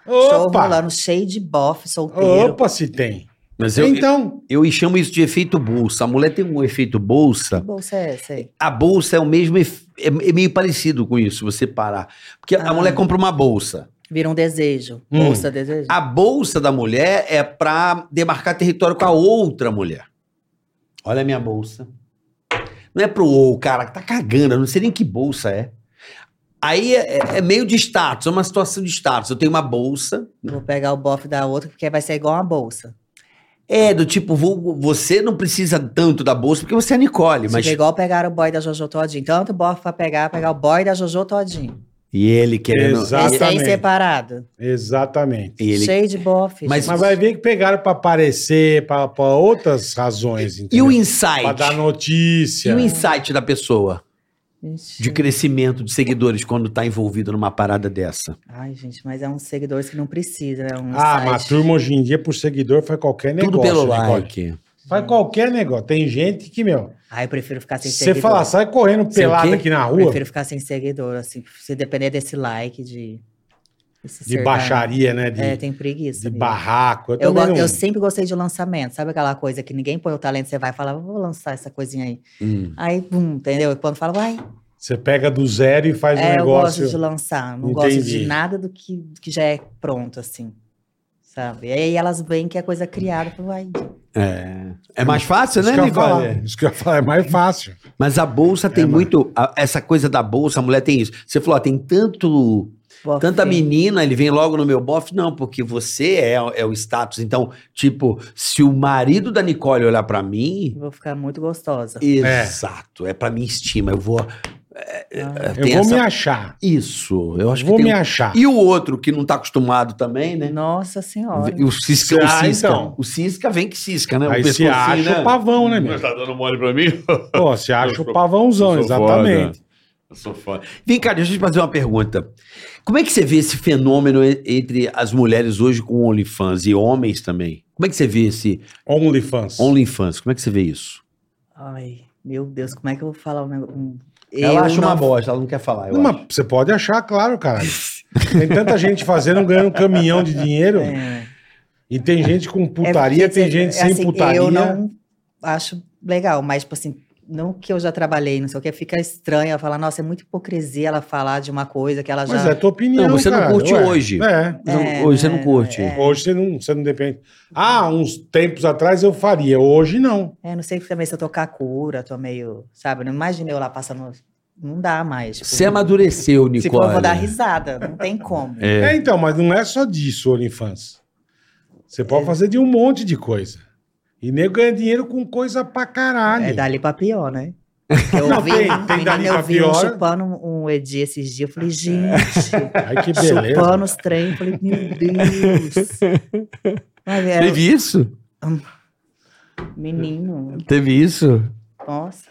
Speaker 5: show
Speaker 3: Opa,
Speaker 5: rolando, cheio de bofe, solteiro.
Speaker 3: opa, se tem.
Speaker 4: Mas eu,
Speaker 3: então,
Speaker 4: eu chamo isso de efeito bolsa. A mulher tem um efeito
Speaker 5: Que
Speaker 4: bolsa.
Speaker 5: bolsa é essa aí?
Speaker 4: A bolsa é o mesmo. ef- É é meio parecido com isso, se você parar. Porque a
Speaker 5: Ah.
Speaker 4: mulher compra uma bolsa.
Speaker 5: Vira um desejo.
Speaker 3: Hum.
Speaker 5: Bolsa desejo.
Speaker 4: A bolsa da mulher é pra demarcar território com a outra mulher. Olha a minha bolsa. Não é pro ou, cara, que tá cagando, eu não sei nem que bolsa é. Aí é, é- é meio de status, é uma situação de status. Eu tenho uma bolsa.
Speaker 5: Vou pegar o bofe da outra, porque vai ser igual uma bolsa.
Speaker 4: É, do tipo, vou- você não precisa tanto da bolsa, porque você é a Nicole,
Speaker 5: Mas...
Speaker 4: mas.
Speaker 5: Fica igual pegar o boy da Jojo Todinho. Tanto bofe pra pegar, pegar o boy da Jojo Todinho.
Speaker 4: E ele querendo.
Speaker 3: Exato.
Speaker 5: Mas sem
Speaker 3: Exatamente.
Speaker 5: separado.
Speaker 3: exatamente.
Speaker 4: E, ele-
Speaker 5: Cheio de bofe.
Speaker 4: Mas-
Speaker 3: Mas vai ver que pegaram pra aparecer, pra, pra outras razões,
Speaker 4: e o
Speaker 3: entendeu? Pra dar
Speaker 4: insight? E
Speaker 3: notícia.
Speaker 4: o insight da pessoa
Speaker 5: Gente.
Speaker 4: de crescimento de seguidores quando tá envolvido numa parada dessa?
Speaker 5: Ai, gente, mas é uns seguidores que não precisa. É um
Speaker 3: Ah,
Speaker 5: site.
Speaker 3: mas a turma hoje em dia, por seguidor, faz qualquer negócio. né,
Speaker 4: Tudo pelo
Speaker 3: Nicole.
Speaker 4: like.
Speaker 3: Faz qualquer negócio. Tem gente que, meu,
Speaker 5: Ai, eu prefiro ficar sem
Speaker 3: se você
Speaker 5: seguidor.
Speaker 3: falar, sai correndo
Speaker 4: Sei o
Speaker 3: pelado
Speaker 4: quê?
Speaker 3: aqui na
Speaker 5: Eu
Speaker 3: rua,
Speaker 5: prefiro ficar sem seguidor, assim. Se depender desse like, de... esse
Speaker 3: de
Speaker 5: cercar-
Speaker 3: baixaria, né? De,
Speaker 5: É, tem preguiça.
Speaker 3: de
Speaker 5: amigo.
Speaker 3: barraco. Eu,
Speaker 5: Eu,
Speaker 3: também
Speaker 5: gosto-
Speaker 3: não-
Speaker 5: eu sempre gostei de lançamento. Sabe aquela coisa que ninguém põe o talento, você vai falar, vou lançar essa coisinha aí.
Speaker 4: Hum.
Speaker 5: Aí, bum, entendeu? E quando fala, vai,
Speaker 3: Você pega do zero e faz um
Speaker 5: é, eu gosto de
Speaker 3: negócio.
Speaker 5: lançar. Não gosto de
Speaker 3: Entendi.
Speaker 5: nada do que, do que já é pronto, assim. Sabe? E aí elas veem que é coisa criada. Falam, ai,
Speaker 4: É. É mais fácil,
Speaker 3: Isso
Speaker 4: né,
Speaker 3: que, eu ia
Speaker 4: Nicole?
Speaker 3: falar, isso que eu ia falar, é mais fácil.
Speaker 4: Mas a bolsa tem
Speaker 3: É, mano.
Speaker 4: muito. a- essa coisa da bolsa, a mulher tem isso. Você falou, ó, tem tanto,
Speaker 5: boa
Speaker 4: tanta
Speaker 5: fé.
Speaker 4: menina, ele vem logo no meu bofe. Não, porque você é, é o status. Então, tipo, se o marido da Nicole olhar pra mim,
Speaker 5: Vou ficar muito gostosa.
Speaker 4: exato, é pra minha estima. Eu vou. É,
Speaker 3: Ah. Eu
Speaker 4: tem
Speaker 3: vou
Speaker 4: essa-
Speaker 3: me achar.
Speaker 4: Isso, eu acho
Speaker 3: vou
Speaker 4: que
Speaker 3: me
Speaker 4: tem... um
Speaker 3: achar.
Speaker 4: E o outro que não tá acostumado também, né?
Speaker 5: Nossa senhora.
Speaker 4: O Cisca, o
Speaker 3: Ah,
Speaker 4: Cisca.
Speaker 3: então.
Speaker 4: O Cisca vem que Cisca, né?
Speaker 3: Aí
Speaker 4: o
Speaker 3: se
Speaker 4: pescocinho,
Speaker 3: acha
Speaker 4: né?
Speaker 3: o pavão, né, meu?
Speaker 7: Mas tá dando mole pra mim?
Speaker 3: Pô, se acha o
Speaker 7: sou-
Speaker 3: pavãozão,
Speaker 7: eu sou foda.
Speaker 3: exatamente.
Speaker 7: Eu sou foda.
Speaker 4: Vem cá, deixa eu te fazer uma pergunta. Como é que você vê esse fenômeno e- entre as mulheres hoje com OnlyFans e homens também? Como é que você vê esse
Speaker 3: OnlyFans.
Speaker 4: OnlyFans? Como é que você vê isso?
Speaker 5: Ai, meu Deus, como é que eu vou falar um negócio? um-
Speaker 4: Ela
Speaker 5: Eu
Speaker 4: acha
Speaker 5: não-
Speaker 4: uma bosta, ela não quer falar. eu
Speaker 3: Não,
Speaker 4: acho.
Speaker 3: mas você pode achar, claro, cara. Tem tanta gente fazendo, ganhando um caminhão de dinheiro.
Speaker 5: É.
Speaker 3: E tem gente com
Speaker 5: É
Speaker 3: putaria,
Speaker 5: porque,
Speaker 3: tem
Speaker 5: assim,
Speaker 3: gente sem
Speaker 5: assim,
Speaker 3: putaria.
Speaker 5: Eu não acho legal, mas, tipo assim, não que eu já trabalhei, não sei o que, fica estranho ela falar, nossa, é muita hipocrisia ela falar de uma coisa que ela
Speaker 3: Mas
Speaker 5: já.
Speaker 3: é tua opinião.
Speaker 4: Não, você não
Speaker 3: cara,
Speaker 4: curte
Speaker 3: ué.
Speaker 4: hoje.
Speaker 3: É.
Speaker 5: É,
Speaker 4: hoje você
Speaker 5: né,
Speaker 4: não curte.
Speaker 3: Hoje você não, você não depende. Ah, uns tempos atrás eu faria, hoje não.
Speaker 5: É, não sei também se eu tô com a cura, tô meio. Sabe? Não imaginei eu lá passando. Não dá mais. tipo,
Speaker 4: Você é amadureceu,
Speaker 5: se for,
Speaker 4: Nicole.
Speaker 5: Tipo, eu vou dar risada, não tem como.
Speaker 4: É.
Speaker 3: É. então, mas não é só disso, OnlyFans. Você pode fazer de um monte de coisa. E nego ganha dinheiro com coisa pra caralho.
Speaker 5: É dali pra pior, né? Eu
Speaker 3: Não,
Speaker 5: vi,
Speaker 3: tem-
Speaker 5: um
Speaker 3: tem
Speaker 5: menino,
Speaker 3: dali pra
Speaker 5: eu vi um
Speaker 3: pior.
Speaker 5: chupando um Edi esses dias. Eu falei, gente,
Speaker 3: Ai, que beleza.
Speaker 5: chupando os trem. Eu falei, meu Deus. Mas era-
Speaker 4: Teve isso?
Speaker 5: Menino,
Speaker 4: Teve isso?
Speaker 5: nossa.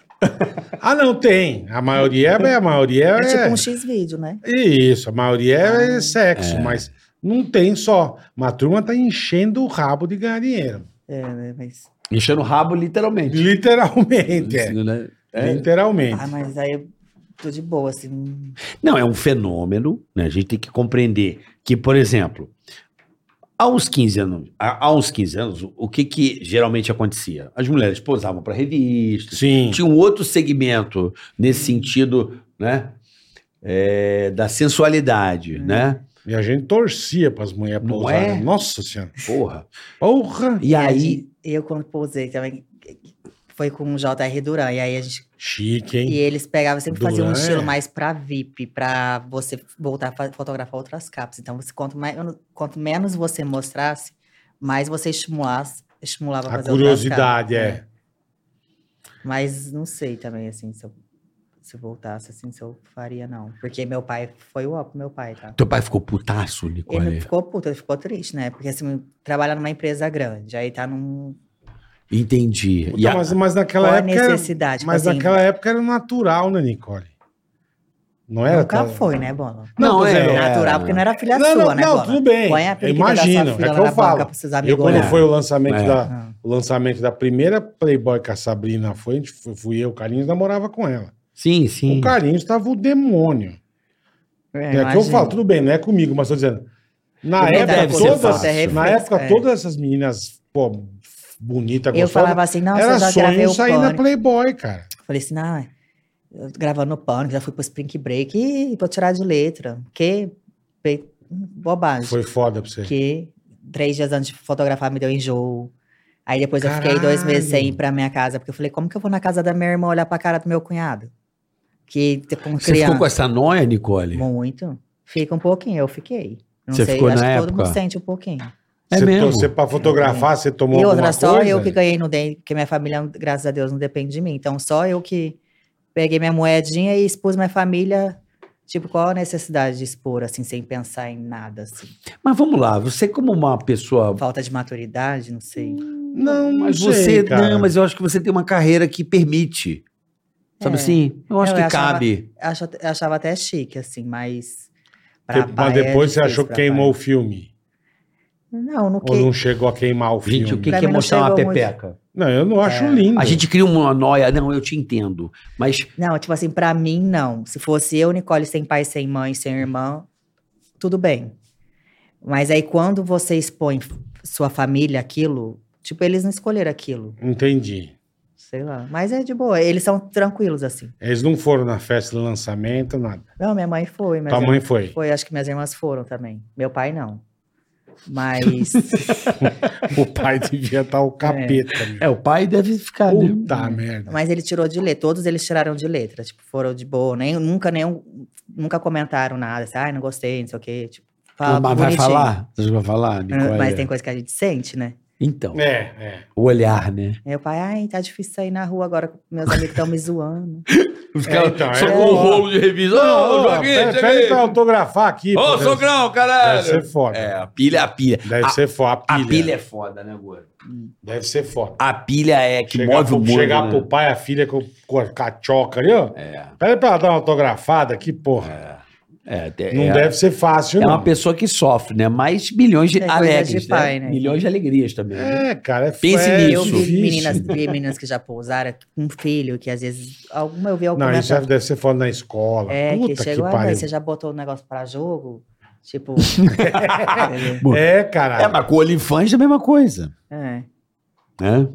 Speaker 3: Ah, não, tem. A maioria é. A maioria
Speaker 5: É,
Speaker 3: é.
Speaker 5: tipo um X-vídeo, né?
Speaker 3: Isso, a maioria é
Speaker 5: Ah.
Speaker 3: sexo, mas não tem só. Uma turma tá enchendo o rabo de ganhar dinheiro.
Speaker 5: É, né? Mas,
Speaker 4: Enchendo o rabo, literalmente.
Speaker 3: Literalmente, é.
Speaker 4: Isso, né?
Speaker 3: Literalmente.
Speaker 5: ah, mas aí eu tô de boa, assim. não-
Speaker 4: Não, é um fenômeno, né? A gente tem que compreender que, por exemplo, há uns 15 anos, há há uns 15 anos, o- o que que geralmente acontecia? As mulheres posavam para revistas,
Speaker 3: Sim.
Speaker 4: tinha um outro segmento nesse sentido, né? É, da sensualidade, né?
Speaker 3: E a gente torcia pras mulheres
Speaker 4: Não
Speaker 3: pousarem.
Speaker 4: é?
Speaker 3: Nossa senhora.
Speaker 4: Porra.
Speaker 3: Porra.
Speaker 4: E
Speaker 5: a
Speaker 4: aí,
Speaker 5: gente- Eu, quando posei também, foi com o JR Duran. E aí a gente.
Speaker 3: Chique,
Speaker 5: E
Speaker 3: hein?
Speaker 5: eles pegavam, sempre faziam um
Speaker 3: Duran,
Speaker 5: estilo
Speaker 3: é.
Speaker 5: mais pra VIP, pra você voltar a fa- fotografar outras capas. Então, você, quanto, mais, quanto menos você mostrasse, mais você estimulasse, estimulava a
Speaker 3: A
Speaker 5: fazer um outras
Speaker 3: curiosidade,
Speaker 5: capas, né?
Speaker 3: é.
Speaker 5: Mas não sei também, assim, se eu, se eu voltasse, assim, se eu faria, não. Porque meu pai foi o ó pro meu pai, tá?
Speaker 4: teu pai ficou putaço,
Speaker 5: Ele é não
Speaker 4: Nicole.
Speaker 5: ficou puto, ele ficou triste, né? Porque, assim, trabalhar numa empresa grande, aí tá num...
Speaker 4: Entendi. E
Speaker 3: Puta,
Speaker 4: a-
Speaker 3: mas, mas
Speaker 5: Qual
Speaker 3: naquela
Speaker 5: a
Speaker 3: época. Era,
Speaker 5: necessidade? Tipo
Speaker 3: mas
Speaker 5: assim,
Speaker 3: naquela época era natural, né, Nicole? Não era?
Speaker 5: Nunca
Speaker 3: tá-
Speaker 5: foi, né, Bono?
Speaker 3: Não,
Speaker 4: Não,
Speaker 3: tô
Speaker 4: é,
Speaker 3: dizendo,
Speaker 5: Natural, porque não era filha
Speaker 3: Não,
Speaker 5: sua,
Speaker 3: não,
Speaker 5: né,
Speaker 3: não,
Speaker 5: Bono?
Speaker 3: tudo bem.
Speaker 5: Põe a película da
Speaker 3: Imagino,
Speaker 5: sua
Speaker 3: é
Speaker 5: filha
Speaker 3: que eu
Speaker 5: lá na
Speaker 3: falo.
Speaker 5: banca pros seus
Speaker 3: Eu,
Speaker 5: amigos
Speaker 3: quando
Speaker 5: olhar.
Speaker 3: foi o lançamento,
Speaker 4: É.
Speaker 3: da,
Speaker 5: Ah,
Speaker 3: o lançamento da primeira Playboy que a Sabrina foi, a gente foi- fui eu, o Carlinhos namorava com ela.
Speaker 4: Sim, sim.
Speaker 3: O Carlinhos estava o demônio.
Speaker 5: é,
Speaker 3: É, que eu
Speaker 5: imagino.
Speaker 3: falo, tudo bem, não é comigo, mas estou dizendo. Na
Speaker 5: Também
Speaker 3: época,
Speaker 4: deve ser
Speaker 3: todas,
Speaker 4: fácil, é
Speaker 3: na
Speaker 5: refresco,
Speaker 3: época
Speaker 5: é.
Speaker 3: todas essas meninas, pô, bonita,
Speaker 5: Eu
Speaker 3: gostosas,
Speaker 5: falava assim, nossa,
Speaker 3: era
Speaker 5: eu já gravei
Speaker 3: sonho
Speaker 5: o
Speaker 3: sair
Speaker 5: Pânico.
Speaker 3: na Playboy, cara.
Speaker 5: Falei assim, ah, eu tô gravando o Pânico, já fui pro Spring Break, e vou tirar de letra. Que pe- bobagem.
Speaker 3: Foi foda pra você.
Speaker 4: É.
Speaker 5: que três dias antes de fotografar me deu enjoo. Aí depois eu fiquei dois meses sem ir pra minha casa, porque eu falei, como que eu vou na casa da minha irmã olhar pra cara do meu cunhado? Que t- com
Speaker 4: Você
Speaker 5: criança.
Speaker 4: ficou com essa noia, Nicole?
Speaker 5: Muito. Fica um pouquinho, eu fiquei. Não
Speaker 4: Você
Speaker 5: sei,
Speaker 4: ficou
Speaker 5: acho
Speaker 4: na
Speaker 5: que
Speaker 4: época?
Speaker 5: todo mundo sente um pouquinho.
Speaker 4: É
Speaker 3: você,
Speaker 4: mesmo.
Speaker 3: você pra fotografar, você tomou
Speaker 5: e
Speaker 3: alguma
Speaker 5: outra, só
Speaker 3: coisa?
Speaker 5: eu que ganhei no dente, porque minha família, graças a Deus, não depende de mim. Então, só eu que peguei minha moedinha e expus minha família. Tipo, qual a necessidade de expor, assim, sem pensar em nada, assim?
Speaker 4: Mas vamos lá, você como uma pessoa
Speaker 5: Falta de maturidade, não sei.
Speaker 3: Não,
Speaker 4: Mas
Speaker 3: não sei,
Speaker 4: você,
Speaker 3: cara.
Speaker 4: não, mas eu acho que você tem uma carreira que permite. Sabe
Speaker 5: É.
Speaker 4: assim? Eu acho
Speaker 5: Eu
Speaker 4: que
Speaker 5: achava-
Speaker 4: cabe.
Speaker 5: acho, eu achava até chique, assim, mas. pra
Speaker 3: Te-
Speaker 5: pai
Speaker 3: Mas
Speaker 5: é
Speaker 3: depois você
Speaker 5: difícil,
Speaker 3: achou que
Speaker 5: pra
Speaker 3: queimou o
Speaker 5: pai.
Speaker 3: filme.
Speaker 5: Não, no
Speaker 3: Ou
Speaker 5: que.
Speaker 3: não chegou a queimar o filme?
Speaker 4: Gente, o que,
Speaker 5: Pra
Speaker 4: que é
Speaker 5: mim não
Speaker 4: mostrar uma
Speaker 5: chegou muito.
Speaker 4: pepeca?
Speaker 3: Não, eu não acho
Speaker 5: É.
Speaker 3: lindo.
Speaker 4: A gente cria uma noia. Não, eu te entendo. Mas
Speaker 5: Não, tipo assim, pra mim, não. Se fosse eu, Nicole, sem pai, sem mãe, sem irmã, tudo bem. Mas aí quando você expõe f- sua família aquilo, tipo, eles não escolheram aquilo.
Speaker 3: Entendi.
Speaker 5: Sei lá. Mas é de boa. Eles são tranquilos, assim.
Speaker 3: Eles não foram na festa do lançamento, nada.
Speaker 5: Não, minha mãe foi, mas. é-
Speaker 3: Tua mãe foi.
Speaker 5: Foi, acho que minhas irmãs foram também. Meu pai não. Mas.
Speaker 3: O pai devia estar o capeta. meu.
Speaker 4: é, o pai deve ficar. né?
Speaker 3: Puta merda.
Speaker 5: Mas ele tirou de letra, todos eles tiraram de letra, tipo, foram de boa, nem, nunca, nem, nunca comentaram nada, assim, ai, não gostei, não sei o quê, tipo, fala
Speaker 4: mas vai
Speaker 5: bonitinho. Ah,
Speaker 4: falar? Você vai falar, Nicole?
Speaker 5: Mas tem coisa que a gente sente, né?
Speaker 4: Então,
Speaker 3: É, é.
Speaker 4: o olhar, né?
Speaker 5: Meu pai, ai, tá difícil sair na rua agora, meus amigos estão me zoando.
Speaker 4: Os
Speaker 3: É,
Speaker 4: caras
Speaker 3: então,
Speaker 4: só
Speaker 3: é.
Speaker 4: com o rolo de revista. Ô,
Speaker 3: Não,
Speaker 4: Joaquim,
Speaker 3: pera-
Speaker 4: chega
Speaker 3: pera
Speaker 4: aí.
Speaker 3: aí pra autografar aqui.
Speaker 4: Ô,
Speaker 3: pô, deve-
Speaker 4: Sogrão,
Speaker 3: Deve
Speaker 4: caralho.
Speaker 3: ser foda.
Speaker 4: É, a pilha é a pilha.
Speaker 3: Deve
Speaker 4: a,
Speaker 3: ser foda.
Speaker 4: a
Speaker 3: A
Speaker 4: pilha.
Speaker 3: pilha.
Speaker 4: é foda, né, Goro?
Speaker 3: Deve ser foda.
Speaker 4: A pilha é que
Speaker 3: chegar
Speaker 4: move
Speaker 3: pro,
Speaker 4: o mundo.
Speaker 3: chegar
Speaker 4: né?
Speaker 3: pro pai e a filha com, com a cachoca ali, ó.
Speaker 4: É,
Speaker 3: Pera aí pra ela dar uma autografada aqui, porra.
Speaker 4: é, te-
Speaker 3: Não
Speaker 4: é,
Speaker 3: deve ser fácil,
Speaker 4: é
Speaker 3: não.
Speaker 4: uma pessoa que sofre, né? Mas milhões de
Speaker 5: É coisa
Speaker 4: alegres,
Speaker 5: de pai,
Speaker 4: né?
Speaker 5: né?
Speaker 4: Milhões de alegrias também. né?
Speaker 3: É, cara, é
Speaker 4: Pense
Speaker 3: é
Speaker 4: nisso.
Speaker 5: eu vi
Speaker 3: difícil.
Speaker 5: meninas, vi meninas que já pousaram com um filho, que às vezes, alguma eu vi alguma
Speaker 3: Não, isso
Speaker 5: já-
Speaker 3: deve deve ser foda na escola.
Speaker 5: É, que
Speaker 3: Puta que,
Speaker 5: chegou, ah, mãe,
Speaker 3: pariu.
Speaker 5: você já botou o negócio pra jogo? Tipo,
Speaker 3: É, caralho.
Speaker 7: É, mas com o OnlyFans é a mesma coisa.
Speaker 5: é.
Speaker 7: Né?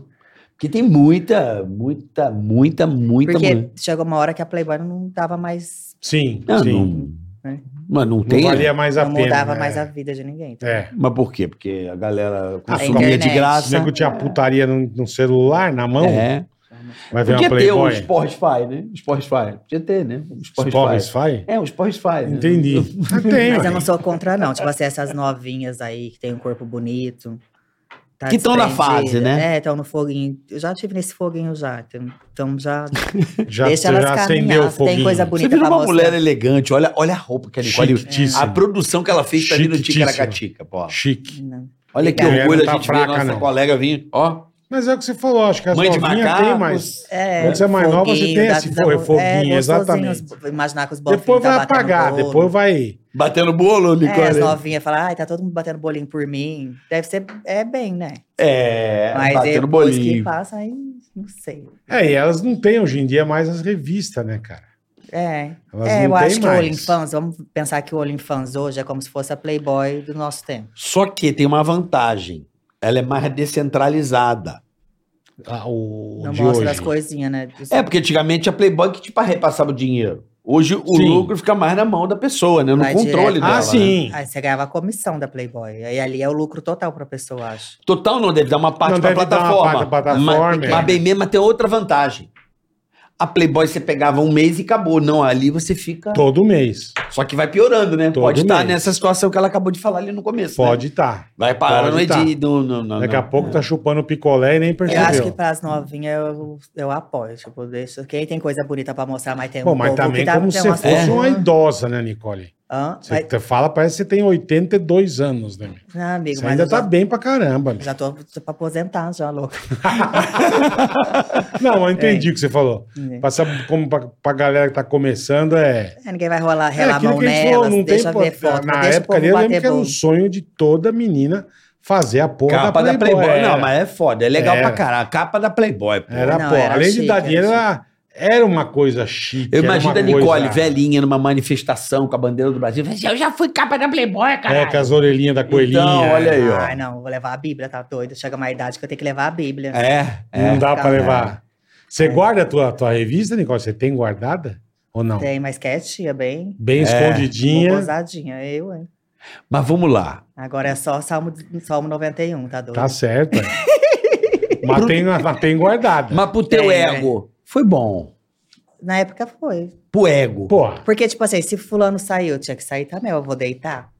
Speaker 4: Porque tem muita, muita, muita, muita.
Speaker 5: Porque
Speaker 4: mulher.
Speaker 5: chegou uma hora que a Playboy não dava mais.
Speaker 3: Sim,
Speaker 4: Não,
Speaker 3: sim. Não,
Speaker 4: não,
Speaker 5: É.
Speaker 4: mas não tem. né?
Speaker 3: valia mais a
Speaker 5: não
Speaker 3: pena.
Speaker 5: mudava
Speaker 3: é.
Speaker 5: mais a vida de ninguém. tá?
Speaker 3: É.
Speaker 7: Mas por quê? Porque a galera
Speaker 3: A
Speaker 7: consumia de
Speaker 5: internet.
Speaker 3: O
Speaker 7: graça.
Speaker 3: nego tinha putaria no, no celular, na mão,
Speaker 7: É.
Speaker 3: vai ver uma
Speaker 4: Podia ter o
Speaker 3: Playboy.
Speaker 4: Sportify, né? O Sportify. Podia ter, né? O Sportify.
Speaker 3: Spotify?
Speaker 4: É, o Sportify. né?
Speaker 3: Entendi. Ah, Tem,
Speaker 4: É.
Speaker 5: Mas eu
Speaker 3: ué.
Speaker 5: não sou contra, não. Tipo assim, essas novinhas aí que tem um corpo bonito. tá
Speaker 4: Que tão na
Speaker 5: desprendida.
Speaker 4: fase, né?
Speaker 5: É, estão no foguinho. Eu já tive nesse foguinho já. Então já.
Speaker 3: já,
Speaker 5: deixa
Speaker 3: você
Speaker 5: elas
Speaker 3: já acendeu
Speaker 5: caminhar.
Speaker 3: o
Speaker 5: se tem
Speaker 3: foguinho.
Speaker 5: coisa
Speaker 4: Você
Speaker 5: bonita
Speaker 4: vira
Speaker 5: pra
Speaker 4: uma
Speaker 5: mostrar.
Speaker 4: mulher elegante, olha, olha a roupa que ela escolhe.
Speaker 3: Chiquitíssima.
Speaker 4: A produção que ela fez pra vir no
Speaker 3: Chiquitíssima.
Speaker 4: Ticaracatica, pô.
Speaker 3: Chique.
Speaker 5: Não.
Speaker 4: Olha que
Speaker 5: A
Speaker 3: mulher
Speaker 4: orgulho
Speaker 3: não
Speaker 4: a
Speaker 3: tá
Speaker 4: gente
Speaker 3: fraca,
Speaker 4: ver nossa
Speaker 3: não.
Speaker 4: colega vir. Ó,
Speaker 3: Mas é o que você falou, acho que as
Speaker 4: mãe de
Speaker 3: novinhas
Speaker 4: macaco.
Speaker 3: tem mais.
Speaker 5: É,
Speaker 3: Quando você é mais nova, você
Speaker 5: foguinho,
Speaker 3: tem
Speaker 5: dá-
Speaker 3: esse
Speaker 5: dá
Speaker 3: fo-
Speaker 5: vo-
Speaker 3: foguinho,
Speaker 5: é, gostosinho,
Speaker 3: exatamente.
Speaker 5: os- Imaginar com os bofinhos
Speaker 3: Depois vai
Speaker 5: tá batendo
Speaker 3: apagar,
Speaker 5: bolo.
Speaker 3: depois vai.
Speaker 4: Batendo bolo, né?
Speaker 5: É, as
Speaker 4: Nicole.
Speaker 5: novinhas falam, ai, tá todo mundo batendo bolinho por mim. Deve ser, é bem, né?
Speaker 4: É,
Speaker 5: Mas
Speaker 4: batendo
Speaker 5: depois que
Speaker 4: bolinho.
Speaker 5: passa, aí não sei.
Speaker 3: É, e elas não têm hoje em dia mais as revistas, né, cara?
Speaker 5: É,
Speaker 3: Elas
Speaker 5: é eu
Speaker 3: não
Speaker 5: acho
Speaker 3: têm
Speaker 5: que o
Speaker 3: mais.
Speaker 5: OnlyFans, vamos pensar que o OnlyFans hoje é como se fosse a Playboy do nosso tempo.
Speaker 4: Só que tem uma vantagem. Ela é mais descentralizada.
Speaker 3: Ah, o
Speaker 5: não
Speaker 3: de
Speaker 5: mostra
Speaker 3: hoje.
Speaker 5: as coisinhas, né? Dos-
Speaker 4: É, porque antigamente a Playboy que tipo, repassava o dinheiro. Hoje o
Speaker 3: Sim.
Speaker 4: lucro fica mais na mão da pessoa, né? No
Speaker 5: Vai
Speaker 4: controle
Speaker 5: direto.
Speaker 4: dela.
Speaker 3: Ah,
Speaker 4: né?
Speaker 3: sim.
Speaker 5: Aí você ganhava a comissão da Playboy. Aí ali é o lucro total pra pessoa, eu acho.
Speaker 4: Total não, deve dar uma parte
Speaker 3: Não,
Speaker 4: pra
Speaker 3: deve dar uma
Speaker 4: plataforma.
Speaker 3: parte pra plataforma,
Speaker 4: Mas,
Speaker 3: é.
Speaker 4: mas bem mesmo, mas tem outra vantagem. A Playboy você pegava um mês e acabou. Não, ali você fica.
Speaker 3: Todo mês.
Speaker 4: Só que vai piorando, né?
Speaker 3: Todo
Speaker 4: Pode estar
Speaker 3: mês.
Speaker 4: nessa situação que ela acabou de falar ali no começo. né?
Speaker 3: Pode estar.
Speaker 4: Vai parar no
Speaker 3: Pode tá.
Speaker 4: edi. No, no, no,
Speaker 3: Daqui
Speaker 4: no-
Speaker 3: a pouco tá chupando picolé e nem
Speaker 5: Eu acho que tá.
Speaker 3: percebeu.
Speaker 5: pras novinhas eu, eu apoio. Tipo, deixa, quem tem coisa bonita pra mostrar, mas tem
Speaker 3: Pô,
Speaker 5: um
Speaker 3: mas
Speaker 5: povo
Speaker 3: também
Speaker 5: que dá,
Speaker 3: como
Speaker 5: tem
Speaker 3: se
Speaker 5: umas
Speaker 3: fosse
Speaker 5: coisas-
Speaker 3: uma idosa, né, Nicole?
Speaker 5: Hã?
Speaker 3: Você
Speaker 5: Mas,
Speaker 3: te fala, parece que você tem 82 anos, né? meu?
Speaker 5: não, amigo,
Speaker 3: Você
Speaker 5: mas
Speaker 3: ainda
Speaker 5: eu
Speaker 3: tá
Speaker 5: já,
Speaker 3: bem pra caramba. meu.
Speaker 5: já tô, tô pra aposentar, já, louco.
Speaker 3: Não, eu entendi o que você falou.
Speaker 5: É.
Speaker 3: Passa como pra, pra galera que tá começando é.
Speaker 5: É, Ninguém vai rolar,
Speaker 3: é
Speaker 5: relar a
Speaker 3: aquilo
Speaker 5: mão
Speaker 3: que a gente falou,
Speaker 5: nelas, deixa
Speaker 3: po-
Speaker 5: ver foto,
Speaker 3: Na
Speaker 5: deixa
Speaker 3: época
Speaker 5: o povo
Speaker 3: ali, eu lembro
Speaker 5: bater
Speaker 3: que era
Speaker 5: bolo.
Speaker 3: um sonho de toda menina fazer a porra
Speaker 4: Capa da Playboy. Não, mas é foda. É legal
Speaker 3: Era.
Speaker 4: pra caralho. Capa da Playboy, pô.
Speaker 3: Era,
Speaker 5: Não,
Speaker 3: porra.
Speaker 5: era
Speaker 3: Além de
Speaker 5: chique,
Speaker 3: dar
Speaker 5: era
Speaker 3: dinheiro, era, era uma coisa chique.
Speaker 4: Eu
Speaker 3: era
Speaker 4: imagino
Speaker 3: é uma
Speaker 4: a Nicole,
Speaker 3: coisa-
Speaker 4: velhinha, numa manifestação com a bandeira do Brasil. Fala assim, Eu já fui capa da Playboy,
Speaker 3: É,
Speaker 4: cara.
Speaker 3: com as orelhinhas da coelhinha.
Speaker 4: Então, olha aí, ó.
Speaker 5: Ai, não, vou levar a Bíblia, tá doido. Chega uma idade que eu tenho que levar a Bíblia.
Speaker 4: É,
Speaker 3: Não dá pra
Speaker 5: Cara.
Speaker 3: levar.
Speaker 5: É.
Speaker 3: Você guarda a tua, tua revista, Nicole? Você tem guardada? Ou não?
Speaker 5: Tem, mas quietinha, bem.
Speaker 4: É.
Speaker 5: Uma
Speaker 3: Bem escondidinha.
Speaker 5: Gozadinha, eu, hein?
Speaker 4: Mas vamos lá.
Speaker 5: Agora é só Salmo, Salmo 91, tá doido?
Speaker 3: Tá certo. é. mas, tem, mas tem guardada.
Speaker 4: Mas pro teu
Speaker 5: Tem, né?
Speaker 4: ego, foi bom.
Speaker 5: Na época foi.
Speaker 4: Pro ego.
Speaker 3: Porra.
Speaker 5: Porque, tipo assim, se fulano saiu, tinha que sair também, eu vou deitar.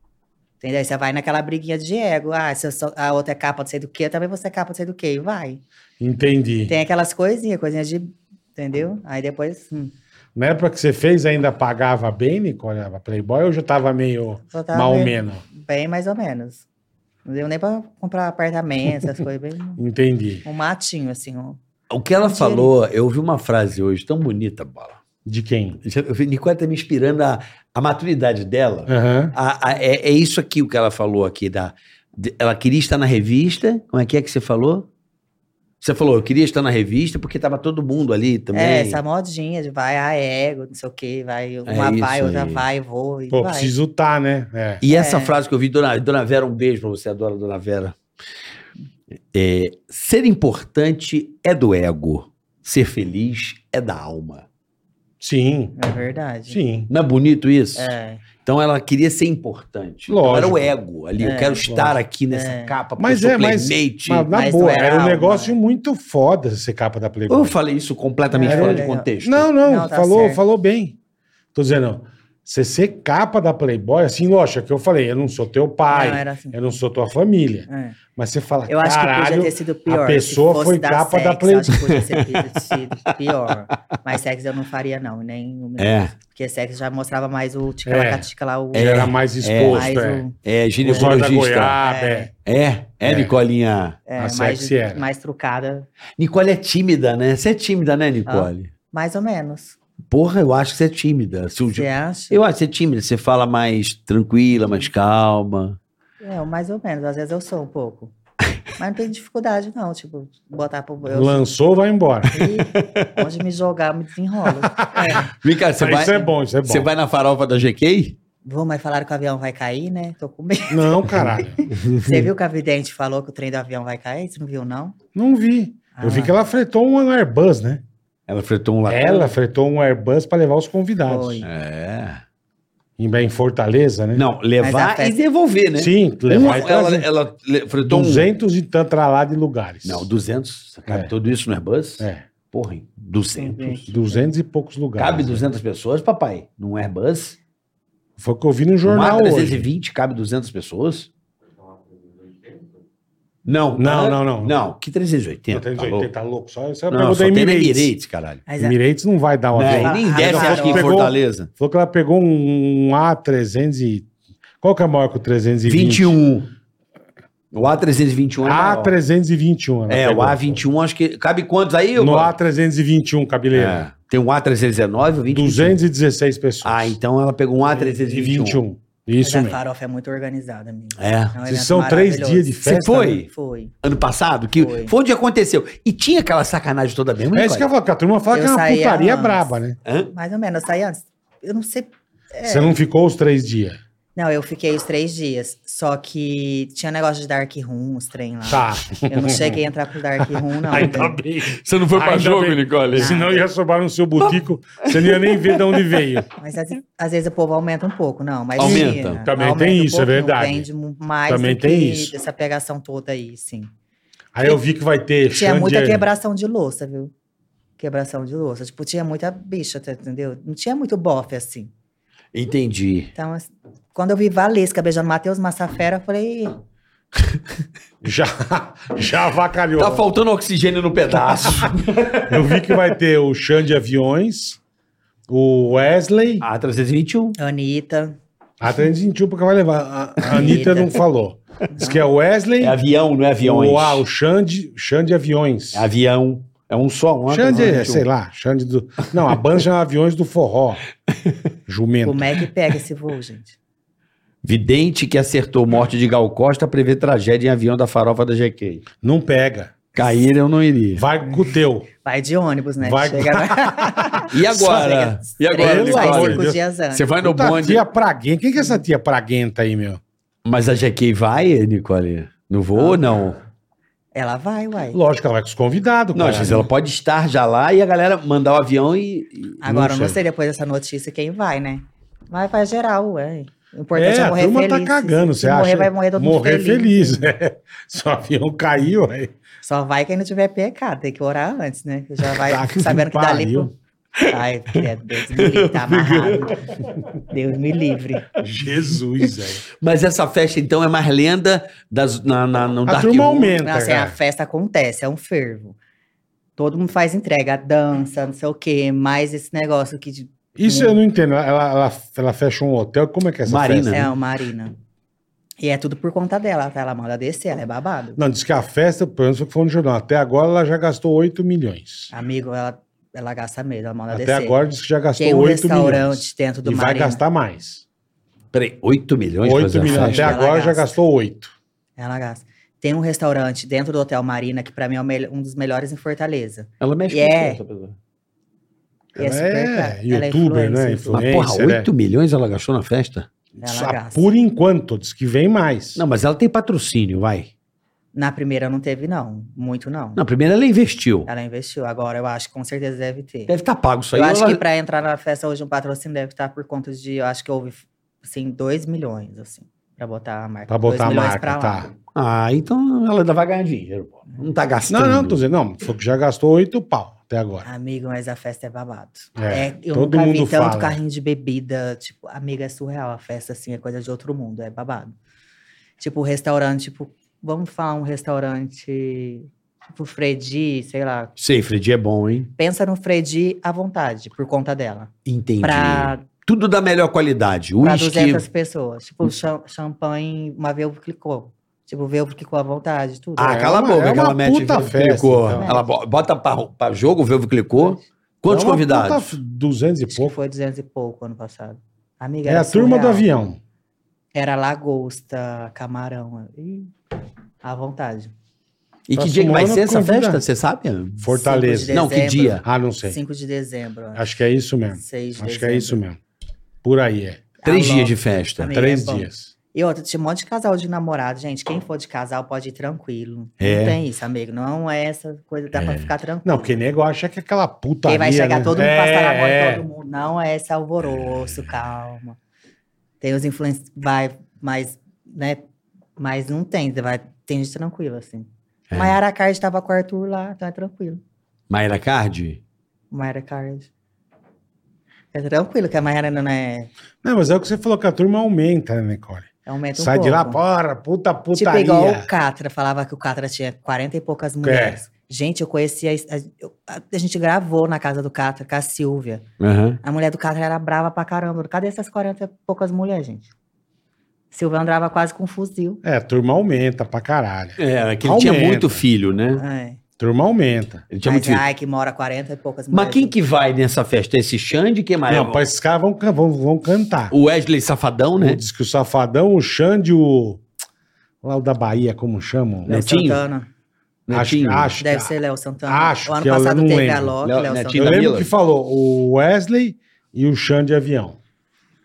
Speaker 5: Entendeu? Aí Você vai naquela briguinha de ego. Ah, se eu sou- a outra é capa de sei do quê, eu também vou ser capa de sei do quê. E vai.
Speaker 3: Entendi.
Speaker 5: Tem aquelas coisinhas, coisinhas de. Entendeu? Aí depois. hum,
Speaker 3: Na época que você fez, ainda pagava bem, Nicole? A Playboy ou já tava meio
Speaker 5: só tava
Speaker 3: mal
Speaker 5: meio-
Speaker 3: menos?
Speaker 5: Bem, mais ou menos. Não deu nem pra comprar apartamento, essas coisas. Bem,
Speaker 3: Entendi.
Speaker 5: um matinho, assim. Um...
Speaker 4: O que ela falou, eu ouvi uma frase hoje tão bonita, Bola.
Speaker 3: De quem?
Speaker 4: Eu vi- Nicole tá me inspirando a, a maturidade dela.
Speaker 3: Aham.
Speaker 4: A- a- é, é isso aqui o que ela falou aqui. Da, de- ela queria estar na revista. Como é que é que você falou? Você falou, eu queria estar na revista porque tava todo mundo ali também.
Speaker 5: É, essa modinha de vai, a ego, não sei o quê, vai, uma
Speaker 4: isso
Speaker 5: vai, outra
Speaker 4: aí.
Speaker 5: vai, vou e
Speaker 3: É Pô,
Speaker 5: vai.
Speaker 3: preciso tá, né? É.
Speaker 4: E essa
Speaker 5: É.
Speaker 4: frase que eu vi, Dona, Dona Vera, um beijo pra você, adoro a Dona Vera. É, ser importante é do ego, ser feliz é da alma.
Speaker 3: Sim,
Speaker 5: É verdade.
Speaker 3: sim.
Speaker 4: Não é bonito isso?
Speaker 5: É.
Speaker 4: Então ela queria ser importante.
Speaker 3: Lógico.
Speaker 4: Então era o ego ali, eu
Speaker 5: É,
Speaker 4: quero estar
Speaker 3: lógico.
Speaker 4: aqui nessa
Speaker 5: É.
Speaker 4: capa, porque
Speaker 3: Mas
Speaker 4: eu
Speaker 3: é,
Speaker 4: sou
Speaker 3: mas, mas
Speaker 4: playmate.
Speaker 3: na
Speaker 5: Mas não
Speaker 3: boa,
Speaker 5: era
Speaker 3: era um
Speaker 5: alma,
Speaker 3: negócio
Speaker 5: né?
Speaker 3: muito foda essa capa da Playboy.
Speaker 4: Eu falei isso completamente
Speaker 5: É,
Speaker 4: fora de
Speaker 5: é,
Speaker 4: contexto.
Speaker 3: Não, não,
Speaker 5: Não, tá
Speaker 3: falou,
Speaker 5: certo.
Speaker 3: falou bem. Tô dizendo, Você ser capa da Playboy, assim, lógico, é que eu falei, eu não sou teu pai,
Speaker 5: Não, era assim.
Speaker 3: eu não sou tua família.
Speaker 5: É.
Speaker 3: Mas você fala,
Speaker 5: Eu acho que
Speaker 3: caralho,
Speaker 5: podia ter sido pior.
Speaker 3: a pessoa
Speaker 5: Se fosse
Speaker 3: foi
Speaker 5: dar
Speaker 3: capa da
Speaker 5: sexo,
Speaker 3: Play-
Speaker 5: Acho que podia ter sido pior. Mas sexo eu não faria, não. Nem, um
Speaker 4: É.
Speaker 5: minuto. Porque sexo já mostrava mais o
Speaker 3: É.
Speaker 5: ticalacatica lá. O,
Speaker 3: ele era mais exposto,
Speaker 5: mais um
Speaker 3: é.
Speaker 5: o-
Speaker 4: É
Speaker 3: Os olhos da
Speaker 4: ginecologista.
Speaker 3: goiaba, é.
Speaker 5: É.
Speaker 4: É, é,
Speaker 3: É.
Speaker 4: Nicolinha.
Speaker 5: é,
Speaker 3: A
Speaker 5: mais,
Speaker 3: sexy era.
Speaker 5: mais trucada.
Speaker 4: Nicole é tímida, né? Você é tímida, né, Nicole?
Speaker 5: Mais ou menos.
Speaker 4: Porra, eu acho que você é tímida. Se o-
Speaker 5: Você acha?
Speaker 4: Eu acho que você é tímida, você fala mais tranquila, mais calma.
Speaker 5: É, mais ou menos. Às vezes eu sou um pouco. Mas não tem dificuldade, não. Tipo, botar pro. Eu
Speaker 3: Lançou, vai embora.
Speaker 5: E onde me jogar, me desenrola. É.
Speaker 4: Vem cá, você
Speaker 3: Mas
Speaker 4: vai,
Speaker 3: Isso é bom, isso é bom.
Speaker 4: você vai na farofa da GK?
Speaker 5: Vou, mas falaram que o avião vai cair, né? Tô com medo.
Speaker 3: Não, caralho.
Speaker 5: Você viu que a vidente falou que o trem do avião vai cair? Você não viu, não?
Speaker 3: Não vi. Eu vi
Speaker 5: Ah,
Speaker 3: que ela fretou um Airbus, né?
Speaker 4: Ela fretou um latão.
Speaker 3: Ela fretou um Airbus pra levar os convidados.
Speaker 5: Foi.
Speaker 4: É.
Speaker 3: Em, em Fortaleza, né?
Speaker 4: Não,
Speaker 5: Mas a
Speaker 4: levar e
Speaker 5: festa-
Speaker 4: devolver, né?
Speaker 3: Sim,
Speaker 4: Uma-
Speaker 3: levar e
Speaker 4: ela,
Speaker 3: trazer.
Speaker 4: ela le- fretou
Speaker 3: 200 e tanto pra lá de lugares.
Speaker 4: um... Não, 200. Cabe
Speaker 3: É.
Speaker 4: tudo isso no Airbus?
Speaker 3: É,
Speaker 4: Porra, hein? 200.
Speaker 3: 200 e poucos lugares.
Speaker 4: Cabe
Speaker 3: né?
Speaker 4: 200 pessoas, papai? Num Airbus?
Speaker 3: Foi o que eu vi no jornal
Speaker 4: Mar
Speaker 3: hoje.
Speaker 4: 320 cabe 200 pessoas? Não,
Speaker 3: Não,
Speaker 4: ah,
Speaker 3: não, não.
Speaker 4: Não, que 380.
Speaker 3: 380, tá louco? Só, só
Speaker 4: Tá
Speaker 3: pegou
Speaker 4: não,
Speaker 3: da
Speaker 4: só tem na
Speaker 3: Emirates.
Speaker 4: Emirates, caralho.
Speaker 5: Mas é- a-
Speaker 3: Emirates não vai dar o
Speaker 4: Não,
Speaker 3: avião.
Speaker 5: ela-
Speaker 4: nem
Speaker 5: ela
Speaker 4: desce
Speaker 5: falou
Speaker 4: aqui
Speaker 5: que
Speaker 4: em
Speaker 3: pegou-
Speaker 4: Fortaleza.
Speaker 3: Falou que ela pegou um A300 e... Qual que é maior que o 320?
Speaker 4: 21. O A321 é maior.
Speaker 3: A321. ela
Speaker 4: É, o
Speaker 3: pegou.
Speaker 4: A21, acho que... Cabe quantos aí?
Speaker 3: No
Speaker 4: Bola?
Speaker 3: A321, cabeleira.
Speaker 4: É. Tem um A319, o 20.
Speaker 3: 216 pessoas.
Speaker 4: Ah, então ela pegou um A321.
Speaker 5: mas
Speaker 3: um. Isso
Speaker 5: a
Speaker 3: mesmo.
Speaker 5: farofa é muito organizada, amigo.
Speaker 4: É.
Speaker 5: É um
Speaker 3: Vocês
Speaker 5: evento
Speaker 3: são três
Speaker 5: maravilhoso.
Speaker 3: dias de festa.
Speaker 4: Você foi?
Speaker 3: né?
Speaker 5: Foi.
Speaker 4: Ano passado, que foi.
Speaker 5: Foi.
Speaker 4: onde aconteceu. E tinha aquela sacanagem toda mesmo,
Speaker 3: É isso que eu
Speaker 4: Nicole?
Speaker 3: falo, que a turma fala
Speaker 5: Eu
Speaker 3: que é uma
Speaker 5: saía
Speaker 3: putaria
Speaker 5: antes.
Speaker 3: braba, né?
Speaker 4: Hã?
Speaker 5: Mais ou menos. Eu saí antes. Eu não sei. É.
Speaker 3: Você não ficou os três dias.
Speaker 5: Não, eu fiquei os três dias. Só que tinha um negócio de Dark Room, os trem lá.
Speaker 3: Tá.
Speaker 5: Eu Ah, não cheguei a entrar pro Dark Room, não.
Speaker 3: Ainda
Speaker 5: entendeu?
Speaker 3: bem.
Speaker 4: Você não foi
Speaker 3: Ainda bem.
Speaker 4: Nicole?
Speaker 3: Senão ia sobrar no seu botico, você não ia nem ver de onde veio.
Speaker 5: Mas às, às vezes o povo aumenta um pouco, não. Mas
Speaker 4: Aumenta.
Speaker 5: tinha.
Speaker 3: Também
Speaker 5: Aumenta
Speaker 3: tem isso, é
Speaker 5: pouquinho,
Speaker 3: verdade.
Speaker 5: Vende mu- mais
Speaker 3: Também
Speaker 5: do
Speaker 3: tem
Speaker 5: que
Speaker 3: isso.
Speaker 5: Essa pegação toda aí, sim.
Speaker 3: Aí eu vi que vai ter
Speaker 5: Tinha
Speaker 3: Xande-
Speaker 5: muita quebração de louça, viu? Quebração de louça. Tipo, tinha muita bicha, tá- entendeu? Não tinha muito bofe, assim.
Speaker 4: Entendi.
Speaker 5: Então, assim, quando eu vi Valesca beijando Matheus Massafera, eu falei... "Ih,
Speaker 3: Já, já avacalhou.
Speaker 4: Tá faltando oxigênio no pedaço.
Speaker 3: Eu vi que vai ter o Xande Aviões, o
Speaker 4: Ah.
Speaker 3: Wesley,
Speaker 4: A321.
Speaker 5: Anitta...
Speaker 3: a 321 porque vai levar. A- A Anitta não falou. Diz que é o Wesley,
Speaker 4: É avião, não é aviões.
Speaker 3: o, ah, o Xande, Xande Aviões.
Speaker 4: É avião. É um só, um
Speaker 3: Xande, é,
Speaker 4: 321.
Speaker 3: sei lá, Xande do. Não, a banda chama Aviões do Forró. Jumento.
Speaker 5: Como é que pega esse voo, gente?
Speaker 4: Vidente que acertou morte de Gal Costa prevê tragédia em avião da farofa da GK.
Speaker 3: Não pega.
Speaker 4: Cair eu não iria.
Speaker 3: Vai com o teu.
Speaker 5: Vai de ônibus, né?
Speaker 3: Vai-
Speaker 4: E agora? E agora,
Speaker 5: Três, sai
Speaker 3: amor de
Speaker 4: Nicole?
Speaker 5: cinco
Speaker 3: Deus.
Speaker 5: dias antes.
Speaker 4: Você vai no
Speaker 3: Puta
Speaker 4: bonde.
Speaker 3: tia Praguenta. Quem que é essa tia Praguenta aí, meu?
Speaker 4: Mas a GK vai, Nicole? No voo ou não?
Speaker 5: Ela vai, uai.
Speaker 3: Lógico, ela vai com os convidados.
Speaker 4: Não,
Speaker 3: cara.
Speaker 4: às vezes ela pode estar já lá e a galera mandar o avião e. e-
Speaker 5: Agora, eu
Speaker 3: sei.
Speaker 5: não sei depois dessa notícia quem vai, né? Mas vai geral, ué. O
Speaker 3: É,
Speaker 5: importante é,
Speaker 3: a
Speaker 5: morrer
Speaker 3: turma
Speaker 5: feliz.
Speaker 3: tá cagando,
Speaker 5: Se
Speaker 3: você
Speaker 5: morrer,
Speaker 3: acha?
Speaker 5: vai morrer todo mundo
Speaker 3: Morrer
Speaker 5: feliz.
Speaker 3: feliz. é. Se o avião caiu, aí.
Speaker 5: Só vai quem não tiver pecado, tem que orar antes, né? Que Já vai
Speaker 3: Tá que
Speaker 5: sabendo que dali...
Speaker 3: pariu.
Speaker 5: Pro... Ai, credo, Deus me livre, tá amarrado. Deus me livre.
Speaker 3: Jesus, velho.
Speaker 4: Mas essa festa, então, é mais lenda das, na, na, no
Speaker 3: A
Speaker 4: Dark
Speaker 3: turma é um
Speaker 4: Room.
Speaker 3: aumenta.
Speaker 5: Assim, a
Speaker 3: cara.
Speaker 5: festa acontece, é um fervo. Todo mundo faz entrega, dança, não sei o quê, mais esse negócio que de-
Speaker 3: Isso eu não entendo. Ela, ela, ela fecha um hotel. Como é que é essa
Speaker 4: Marina.
Speaker 3: festa?
Speaker 5: É, uma Marina. E é tudo por conta dela, tá? Ela manda descer, ela é babado.
Speaker 3: Não, diz que a festa, pelo menos foi o que foi no jornal. Até agora ela já gastou 8 milhões.
Speaker 5: Amigo, ela, ela gasta mesmo, ela manda
Speaker 3: Até
Speaker 5: descer.
Speaker 3: agora diz que já gastou
Speaker 5: Tem um
Speaker 3: 8
Speaker 5: restaurante
Speaker 3: milhões.
Speaker 5: dentro do
Speaker 3: e vai
Speaker 5: Marina.
Speaker 3: gastar mais.
Speaker 4: Peraí, 8 milhões? assim.
Speaker 3: 8 milhões. Até
Speaker 5: festa. Ela
Speaker 3: agora já
Speaker 5: gasta.
Speaker 3: gastou 8.
Speaker 5: Ela gasta. Tem um restaurante dentro do Hotel Marina, que pra mim é o mel- um dos melhores em Fortaleza.
Speaker 4: Ela mexe
Speaker 5: E é-
Speaker 4: com isso,
Speaker 5: E
Speaker 3: Ela
Speaker 5: super
Speaker 3: é
Speaker 5: caro. Ela
Speaker 3: youtuber, né?
Speaker 5: influencer, tudo.
Speaker 4: Mas, porra,
Speaker 3: Influencer, né?
Speaker 4: 8 milhões ela gastou na festa?
Speaker 5: Ela
Speaker 3: Só
Speaker 5: gasta.
Speaker 3: Por enquanto, diz que vem mais.
Speaker 4: Não, mas ela tem patrocínio, vai.
Speaker 5: Na primeira não teve, não. Muito, não.
Speaker 4: Na primeira ela investiu.
Speaker 5: Ela investiu. Agora eu acho que com certeza deve ter.
Speaker 4: Deve estar pago isso aí.
Speaker 5: eu acho
Speaker 4: ela-
Speaker 5: que pra entrar na festa hoje um patrocínio deve estar por conta de, eu acho que houve, assim, 2 milhões, assim, pra botar a marca.
Speaker 3: Pra botar
Speaker 5: Dois
Speaker 3: a
Speaker 5: milhões
Speaker 3: marca,
Speaker 5: pra lá.
Speaker 3: tá.
Speaker 4: Ah, então ela ainda vai ganhar dinheiro. pô. Não tá gastando.
Speaker 3: Não, não, tô dizendo, não, foi que já gastou oito pau. até agora.
Speaker 5: Amigo, mas a festa é babado.
Speaker 3: É,
Speaker 5: É, eu
Speaker 3: todo
Speaker 5: nunca vi
Speaker 3: mundo
Speaker 5: tanto
Speaker 3: fala.
Speaker 5: carrinho de bebida. Tipo, amiga, é surreal. A festa, assim, é coisa de outro mundo. É babado. Tipo, restaurante, tipo... Vamos falar um restaurante... Tipo, Fredi, sei lá.
Speaker 4: Sei, Fred, é bom, hein?
Speaker 5: Pensa no Fredi à vontade, por conta dela.
Speaker 4: Entendi.
Speaker 5: Pra
Speaker 4: Tudo da melhor qualidade.
Speaker 5: Pra
Speaker 4: Whisky.
Speaker 5: 200 pessoas. Tipo, cham- champanhe, uma Velvo clicou. Tipo, Velvo clicou à vontade, tudo.
Speaker 4: Ah,
Speaker 3: É
Speaker 4: cala a
Speaker 3: uma-
Speaker 4: boca,
Speaker 3: é
Speaker 4: que ela
Speaker 3: uma
Speaker 4: mete
Speaker 3: puta
Speaker 4: Velvo
Speaker 3: festa,
Speaker 4: clicô.
Speaker 3: então.
Speaker 4: Ela bo- bota pra, pra jogo, o Velvo clicô. Quantos
Speaker 3: É uma
Speaker 4: convidados?
Speaker 3: puta f- 200 e
Speaker 5: Acho que
Speaker 3: pouco.
Speaker 5: foi 200 e pouco ano passado. Amiga,
Speaker 3: É
Speaker 5: era
Speaker 3: a turma do
Speaker 5: surreal.
Speaker 3: avião.
Speaker 5: Era lagosta, camarão. Ih, à vontade.
Speaker 4: E que
Speaker 3: Próximo
Speaker 4: dia que vai
Speaker 3: ano,
Speaker 4: ser essa
Speaker 3: convida.
Speaker 4: festa? Você sabe?
Speaker 3: Fortaleza.
Speaker 5: Cinco
Speaker 4: Não, que dia?
Speaker 3: Ah, não sei.
Speaker 5: 5 de dezembro. acho.
Speaker 3: Acho que é isso mesmo.
Speaker 5: 6 de
Speaker 3: Acho que
Speaker 5: dezembro.
Speaker 3: é isso mesmo. Por aí é.
Speaker 4: Três
Speaker 5: Alô.
Speaker 4: dias de festa.
Speaker 5: Amigo,
Speaker 3: Três
Speaker 5: é bom.
Speaker 3: dias.
Speaker 5: E outra, tinha um monte de casal de namorado, gente. Quem for de casal pode ir tranquilo.
Speaker 4: É.
Speaker 5: Não tem isso, amigo. Não é essa coisa, dá pra ficar tranquilo.
Speaker 3: Não, porque nego acha que é aquela putaria,
Speaker 5: Quem vai chegar
Speaker 3: né?
Speaker 5: todo mundo
Speaker 3: é,
Speaker 5: passar na mão
Speaker 3: é.
Speaker 5: de todo mundo. Não é esse alvoroço, calma. Tem os influencers, vai, mas, né? Mas não tem, vai, tem gente tranquila, assim.
Speaker 4: É.
Speaker 5: Mayara Card tava com o Arthur lá, então é tranquilo.
Speaker 4: Mayra Cardi?
Speaker 5: Mayara Card. É tranquilo, que a Mayara não é.
Speaker 3: Não, mas é o que você falou, que a turma aumenta, né, Nicole?
Speaker 5: É um metro
Speaker 3: Sai
Speaker 5: um
Speaker 3: de lá,
Speaker 5: pouco.
Speaker 3: porra, puta
Speaker 5: Tipo, igual
Speaker 3: putaria. É.
Speaker 5: o Catra, falava que o Catra tinha 40 e poucas mulheres. Gente, eu conhecia. A, eu- a- a gente gravou na casa do Catra, com a Silvia.
Speaker 4: Aham.
Speaker 5: A mulher do Catra era brava pra caramba. Cadê essas 40 e poucas mulheres, gente? Silvia andava quase com um fuzil.
Speaker 3: É, a turma aumenta pra caralho.
Speaker 4: É, que ele tinha
Speaker 3: Aumenta.
Speaker 4: muito filho, né?
Speaker 5: É.
Speaker 3: Turma aumenta.
Speaker 4: Ele tinha
Speaker 5: Mas
Speaker 4: muito filho.
Speaker 5: ai, que mora 40 e poucas mulheres.
Speaker 4: Mas quem que vai nessa festa? Esse Xande, que mais?
Speaker 3: Não, pô, esses caras vão, can- vão, vão cantar.
Speaker 4: O Wesley Safadão, né?
Speaker 3: Diz que o Safadão, o Xande, o... Lá o da Bahia, como chamam?
Speaker 5: Léo
Speaker 4: é? Netinho?
Speaker 5: Santana.
Speaker 3: Acho,
Speaker 4: Netinho.
Speaker 3: acho,
Speaker 5: Deve ser Léo Santana.
Speaker 3: Acho
Speaker 5: o ano
Speaker 3: que é, eu
Speaker 5: passado
Speaker 3: não
Speaker 5: teve
Speaker 3: lembro.
Speaker 5: a Loki,
Speaker 4: Léo-
Speaker 5: Léo
Speaker 4: Netinho
Speaker 3: Eu
Speaker 5: Santana.
Speaker 4: da
Speaker 3: lembro
Speaker 4: Miller.
Speaker 3: que falou o Wesley e o Xande de avião.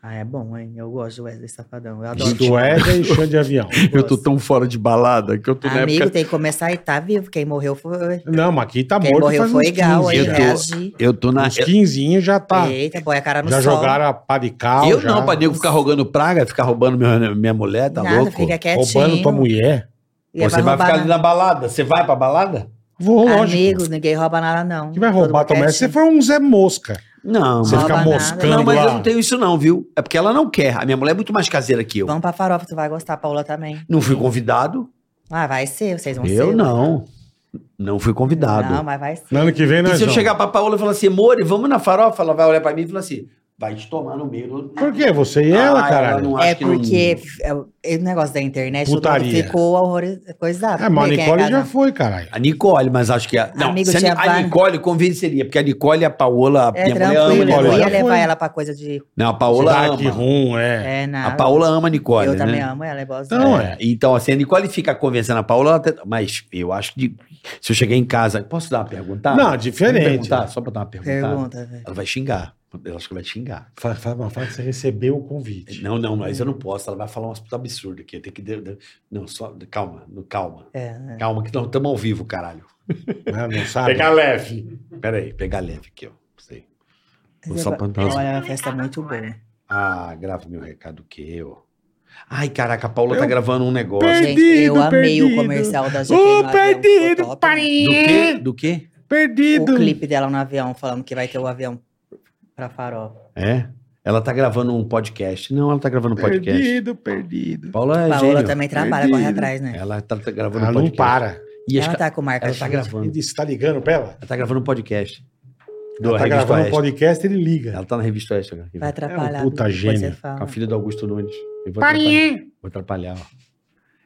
Speaker 5: Ah, é bom, hein? Eu gosto do Wesley Safadão. Eu adoro.
Speaker 3: Diz que o Wesley e o Xande de avião.
Speaker 4: Eu tô tão fora de balada que eu tô na
Speaker 5: Amigo,
Speaker 4: época.
Speaker 5: tem que começar e tá vivo. Quem morreu foi.
Speaker 3: Não, mas aqui tá
Speaker 5: Quem
Speaker 3: morto
Speaker 5: morreu
Speaker 3: faz
Speaker 5: foi
Speaker 3: uns
Speaker 5: igual, aí
Speaker 3: 15 já.
Speaker 5: reagir.
Speaker 4: Eu tô na.
Speaker 3: Uns 15 já tá.
Speaker 5: Eita, põe a cara É, no
Speaker 3: Já
Speaker 5: sol.
Speaker 3: jogaram a pá de cal,
Speaker 4: Eu
Speaker 3: já,
Speaker 4: não, pra nego ficar rogando praga, ficar roubando minha, minha mulher, tá
Speaker 5: Nada,
Speaker 4: louco?
Speaker 5: fica quietinho.
Speaker 3: roubando tua mulher.
Speaker 5: E aí
Speaker 4: Você vai
Speaker 5: roubar
Speaker 4: ficar ali
Speaker 5: nada.
Speaker 4: na balada? Você vai pra balada?
Speaker 3: Vou, lógico.
Speaker 5: Amigo, ninguém rouba nada, não.
Speaker 3: que vai
Speaker 5: Todo
Speaker 3: roubar
Speaker 5: mundo
Speaker 3: tua mulher? Você
Speaker 5: quietinho.
Speaker 3: foi um Zé Mosca.
Speaker 4: Não,
Speaker 3: Você
Speaker 4: mas-
Speaker 5: Rouba
Speaker 3: fica
Speaker 5: nada.
Speaker 3: moscando
Speaker 4: não, mas
Speaker 3: lá.
Speaker 4: eu não tenho isso, não, viu? É porque ela não quer. A minha mulher é muito mais caseira que eu.
Speaker 5: Vamos pra farofa, tu vai gostar, Paula também.
Speaker 4: Não fui convidado?
Speaker 5: Ah, vai ser, vocês vão ser.
Speaker 4: Eu não. Não fui convidado.
Speaker 5: Não, mas vai ser.
Speaker 3: No ano que vem né,
Speaker 4: E
Speaker 3: nós
Speaker 4: se eu
Speaker 3: vamos.
Speaker 4: chegar pra Paola e falar assim, Mori, vamos na farofa? Ela vai olhar pra mim e falar assim, vai te tomar no meio.
Speaker 3: Por quê? Você e ela,
Speaker 4: Ah,
Speaker 3: caralho.
Speaker 4: ela não acha
Speaker 5: É
Speaker 4: que não-
Speaker 5: porque é o- é o negócio da internet todo mundo
Speaker 3: Putaria.
Speaker 5: ficou horrorizado. Coisado.
Speaker 3: É, mas a
Speaker 5: Quem é
Speaker 3: Nicole
Speaker 5: casado?
Speaker 3: já foi, caralho.
Speaker 4: A Nicole, mas acho que a. Não,
Speaker 5: Amigo,
Speaker 4: se a,
Speaker 5: tinha
Speaker 4: Ni- a
Speaker 5: várias-
Speaker 4: Nicole convenceria, porque a Nicole e a Paola.
Speaker 5: É
Speaker 4: minha mulher ama a
Speaker 5: tranquilo,
Speaker 3: Nicole,
Speaker 5: eu
Speaker 4: Nicole.
Speaker 5: ia
Speaker 3: já
Speaker 5: levar
Speaker 3: foi.
Speaker 5: ela pra coisa de.
Speaker 4: Não, a Paola
Speaker 3: Dark
Speaker 4: ama.
Speaker 3: Room, é.
Speaker 5: É,
Speaker 4: A
Speaker 5: nada.
Speaker 4: Paola ama a Nicole.
Speaker 5: Eu
Speaker 4: né?
Speaker 5: também amo ela, é bosta.
Speaker 3: Não, é.
Speaker 4: É, Então, assim, a Nicole fica convencendo a Paola, ela até- mas eu acho que se eu chegar em casa. Posso dar uma perguntada?
Speaker 3: Não, diferente.
Speaker 4: Vamos perguntar, só pra dar uma perguntada.
Speaker 5: Pergunta, velho.
Speaker 4: Ela vai xingar. Eu acho que vai xingar.
Speaker 3: Fala, fala, mano, fala que você recebeu o convite.
Speaker 4: Não, não, mas eu não posso. Ela vai falar umas puta absurdo aqui. Tem que. de- de- Não, só. Calma, no- calma.
Speaker 5: É, é.
Speaker 4: Calma, que não estamos ao vivo, caralho.
Speaker 3: Né? Não sabe?
Speaker 4: leve. Peraí, pegar leve aqui, ó. Sei. Vou só pra dar umas-
Speaker 5: Olha, a festa é muito boa.
Speaker 4: Ah, grava meu recado que eu. Ai, caraca, a Paula
Speaker 3: Eu
Speaker 4: tá gravando um negócio.
Speaker 3: perdi.
Speaker 5: Gente, Tipo assim, eu
Speaker 3: Perdido,
Speaker 5: amei o
Speaker 3: perdido.
Speaker 5: comercial da GQ. no
Speaker 3: Ô,
Speaker 5: avião, ficou top,
Speaker 3: perdido,
Speaker 5: né?
Speaker 4: Do quê?
Speaker 3: parinho!
Speaker 4: Do quê?
Speaker 3: Perdido!
Speaker 5: O clipe dela no avião, falando que vai ter o avião pra farofa.
Speaker 4: É? Ela tá gravando um podcast. Não, ela tá gravando um podcast.
Speaker 3: Perdido, perdido.
Speaker 4: Paula é
Speaker 5: Paola tá
Speaker 4: gênio.
Speaker 5: também trabalha, corre atrás, né?
Speaker 4: Ela tá, tá gravando
Speaker 3: Ela
Speaker 4: um
Speaker 3: Ah, não
Speaker 4: podcast.
Speaker 3: para.
Speaker 4: E as
Speaker 5: Ela
Speaker 4: ca-
Speaker 5: tá com marca
Speaker 4: ela tá
Speaker 5: Schmidt.
Speaker 4: gravando.
Speaker 3: Ele está ligando pra ela?
Speaker 4: Ela tá gravando um podcast. Do
Speaker 3: Ela tá
Speaker 4: Revista
Speaker 3: gravando um
Speaker 4: Oeste.
Speaker 3: podcast, ele liga.
Speaker 4: Ela tá na Revista Oeste agora.
Speaker 5: Vai atrapalhar.
Speaker 3: É um puta
Speaker 5: depois
Speaker 3: gênio.
Speaker 5: você fala.
Speaker 4: Com a filha do Augusto Nunes. Eu vou atrapalhar. Vou atrapalhar, ó.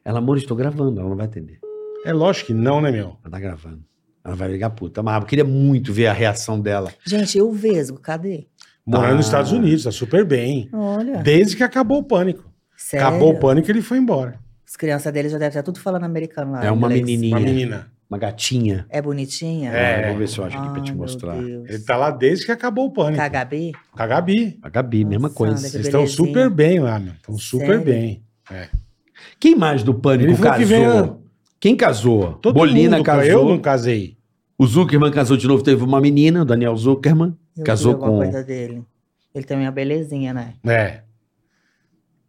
Speaker 4: Ela, amor, estou gravando. Ela não vai atender.
Speaker 3: É lógico que não, né, meu?
Speaker 4: Ela tá gravando. Ela vai ligar puta. Mas eu queria muito ver a reação dela.
Speaker 5: Gente, eu Vesgo, cadê?
Speaker 3: Morando
Speaker 4: Ah.
Speaker 3: nos Estados Unidos, tá super bem.
Speaker 5: Olha.
Speaker 3: Desde que acabou o pânico.
Speaker 5: É. Sério?
Speaker 3: Acabou o pânico, ele foi embora.
Speaker 5: As crianças dele já devem estar tudo falando americano lá.
Speaker 4: É uma
Speaker 5: inglês.
Speaker 4: menininha.
Speaker 3: Ah, Uma menina.
Speaker 4: Uma gatinha.
Speaker 5: É bonitinha?
Speaker 3: É.
Speaker 4: Ah, Vou ver se eu acho aqui
Speaker 5: Ai,
Speaker 4: pra te
Speaker 5: meu
Speaker 4: mostrar.
Speaker 5: Deus.
Speaker 3: Ele tá lá desde que acabou o pânico.
Speaker 5: KHB?
Speaker 3: Com a Gabi.
Speaker 4: A Gabi, mesma
Speaker 5: Nossa,
Speaker 4: coisa.
Speaker 5: olha Que
Speaker 3: Eles estão
Speaker 5: belezinha.
Speaker 3: super bem lá, meu. Estão super
Speaker 5: Sério?
Speaker 3: bem.
Speaker 4: Quem mais do Pânico
Speaker 3: Ele falou que
Speaker 4: casou?
Speaker 3: vem-
Speaker 4: Quem casou?
Speaker 3: Todo
Speaker 4: Bolina
Speaker 3: mundo, cara,
Speaker 4: casou.
Speaker 3: Eu não casei.
Speaker 4: O Zuckerman casou de novo. Teve uma menina, o Daniel Zuckerman.
Speaker 5: Eu
Speaker 4: Casou
Speaker 5: vi alguma
Speaker 4: com-
Speaker 5: coisa dele. Ele também é uma belezinha, né?
Speaker 3: É.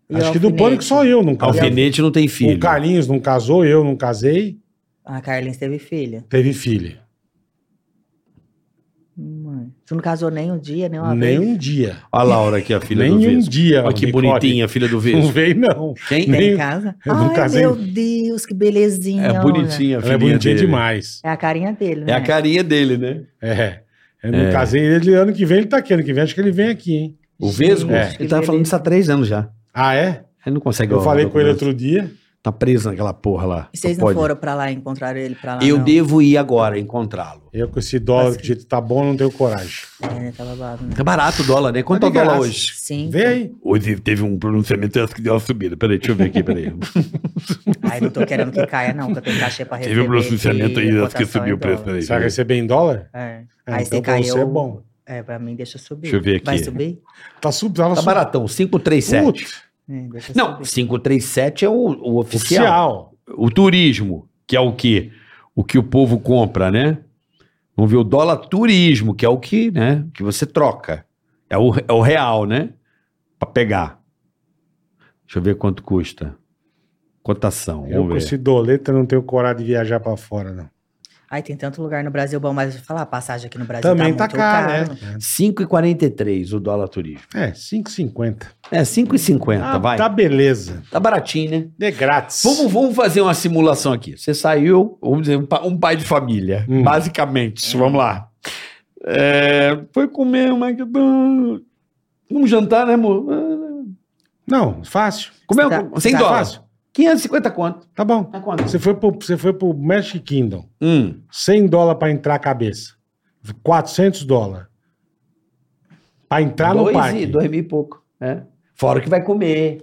Speaker 5: E
Speaker 3: Acho
Speaker 5: o
Speaker 3: que do
Speaker 5: alfinete?
Speaker 3: pânico só eu não casei.
Speaker 4: Alfinete não tem filho.
Speaker 3: O Carlinhos não casou, eu não casei.
Speaker 5: Ah, A Carlinhos teve filha.
Speaker 3: Teve filho.
Speaker 5: é.
Speaker 8: Tu não casou nem um dia, nem uma
Speaker 3: Nem
Speaker 8: vez?
Speaker 3: um dia.
Speaker 7: Olha a Laura aqui, a filha
Speaker 3: nem
Speaker 7: do
Speaker 3: um
Speaker 7: Vesgo.
Speaker 3: dia.
Speaker 7: Olha que
Speaker 3: Nicole.
Speaker 7: bonitinha, a filha do
Speaker 3: Não
Speaker 7: Vesgo.
Speaker 3: veio, não. Nem-
Speaker 4: Quem?
Speaker 7: um-
Speaker 8: Tem em casa?
Speaker 3: Eu não
Speaker 8: Ai,
Speaker 3: casei.
Speaker 8: meu Deus, que belezinha.
Speaker 7: É
Speaker 8: olha.
Speaker 7: bonitinha a
Speaker 3: Ela
Speaker 7: filha
Speaker 3: é bonitinha
Speaker 7: dele.
Speaker 3: demais.
Speaker 8: É a carinha dele, né?
Speaker 7: É a carinha dele, né?
Speaker 3: É. Eu não casei ele ano que vem, ele tá aqui. Ano que vem, acho que ele vem aqui, hein?
Speaker 7: O Vesgo?
Speaker 3: É.
Speaker 7: Ele tava falando isso há três anos já.
Speaker 3: Ah, é?
Speaker 7: Ele não consegue...
Speaker 3: Eu
Speaker 7: arrumar
Speaker 3: falei com ele
Speaker 7: documento.
Speaker 3: outro dia.
Speaker 7: Tá preso naquela porra lá.
Speaker 5: E vocês
Speaker 7: Não
Speaker 5: não
Speaker 7: pode.
Speaker 5: foram pra lá e encontraram ele pra lá?
Speaker 4: Eu
Speaker 5: não?
Speaker 4: devo ir agora encontrá-lo.
Speaker 3: Eu com esse dólar que o jeito tá bom, não tenho coragem.
Speaker 5: É, né, tá babado, né?
Speaker 4: É barato o dólar, né? Quanto
Speaker 3: Tá
Speaker 4: é o
Speaker 3: de
Speaker 4: dólar
Speaker 3: graça.
Speaker 4: hoje?
Speaker 5: Sim.
Speaker 3: Vem aí.
Speaker 7: Hoje teve um pronunciamento antes que deu uma subida. Peraí, deixa eu ver aqui, peraí.
Speaker 5: Ai, não tô querendo que caia, não, que eu tenho cachê pra receber.
Speaker 7: teve um pronunciamento
Speaker 5: que
Speaker 7: aí
Speaker 5: a
Speaker 7: antes que
Speaker 5: cotação é
Speaker 7: subiu o preço.
Speaker 5: dólar.
Speaker 7: Peraí,
Speaker 3: Você vai receber em dólar?
Speaker 5: É.
Speaker 3: É,
Speaker 5: Aí
Speaker 3: então
Speaker 5: você
Speaker 3: pra
Speaker 5: caiu.
Speaker 3: você é bom.
Speaker 5: É, pra mim deixa subir.
Speaker 7: Deixa eu ver aqui.
Speaker 5: Vai subir?
Speaker 3: Tá sub, tava
Speaker 4: Tá
Speaker 3: sub-
Speaker 4: baratão, 537.
Speaker 3: Putz,
Speaker 5: É, deixa
Speaker 4: Não,
Speaker 5: subir.
Speaker 4: 537 é o, o oficial.
Speaker 3: oficial.
Speaker 7: O turismo, que é o quê? O que o povo compra, né? Vamos ver o dólar turismo, que é o que, né? Que você troca. É o, é o real, né? Pra pegar. Deixa eu ver quanto custa. Cotação.
Speaker 3: Eu com
Speaker 7: Vamos ver.
Speaker 3: esse doleta não tenho coragem de viajar pra fora, não.
Speaker 5: Ai, tem tanto lugar no Brasil bom, mas eu vou falar, a passagem aqui no Brasil
Speaker 3: Também tá
Speaker 5: tá muito
Speaker 3: caro,
Speaker 5: caro.
Speaker 3: né?
Speaker 4: 5,43 o dólar turismo.
Speaker 3: É, 5,50.
Speaker 4: É, 5,50,
Speaker 3: Ah,
Speaker 4: vai.
Speaker 3: Tá
Speaker 4: Tá...
Speaker 3: beleza.
Speaker 4: baratinho, né?
Speaker 3: De grátis.
Speaker 4: Vamos, vamos fazer uma simulação aqui. Você saiu, vamos dizer, um pa- um pai de família,
Speaker 3: Hum.
Speaker 4: basicamente. Vamos lá. É, foi comer um McDonald's. Um jantar, né, amor? é Ah,
Speaker 3: Não, fácil.
Speaker 4: Comeu
Speaker 5: Tá,
Speaker 4: com- 100
Speaker 5: tá.
Speaker 4: dólares.
Speaker 3: Fácil.
Speaker 4: 550 quanto?
Speaker 3: Tá bom.
Speaker 4: Tá quanto?
Speaker 3: Você foi pro, você foi pro Magic Kingdom.
Speaker 4: Hum,
Speaker 3: 100 dólares pra entrar a cabeça. 400 dólares. Pra entrar no
Speaker 4: dois,
Speaker 3: parque.
Speaker 4: e, dois mil e pouco. É. Tá Fora o que vai comer.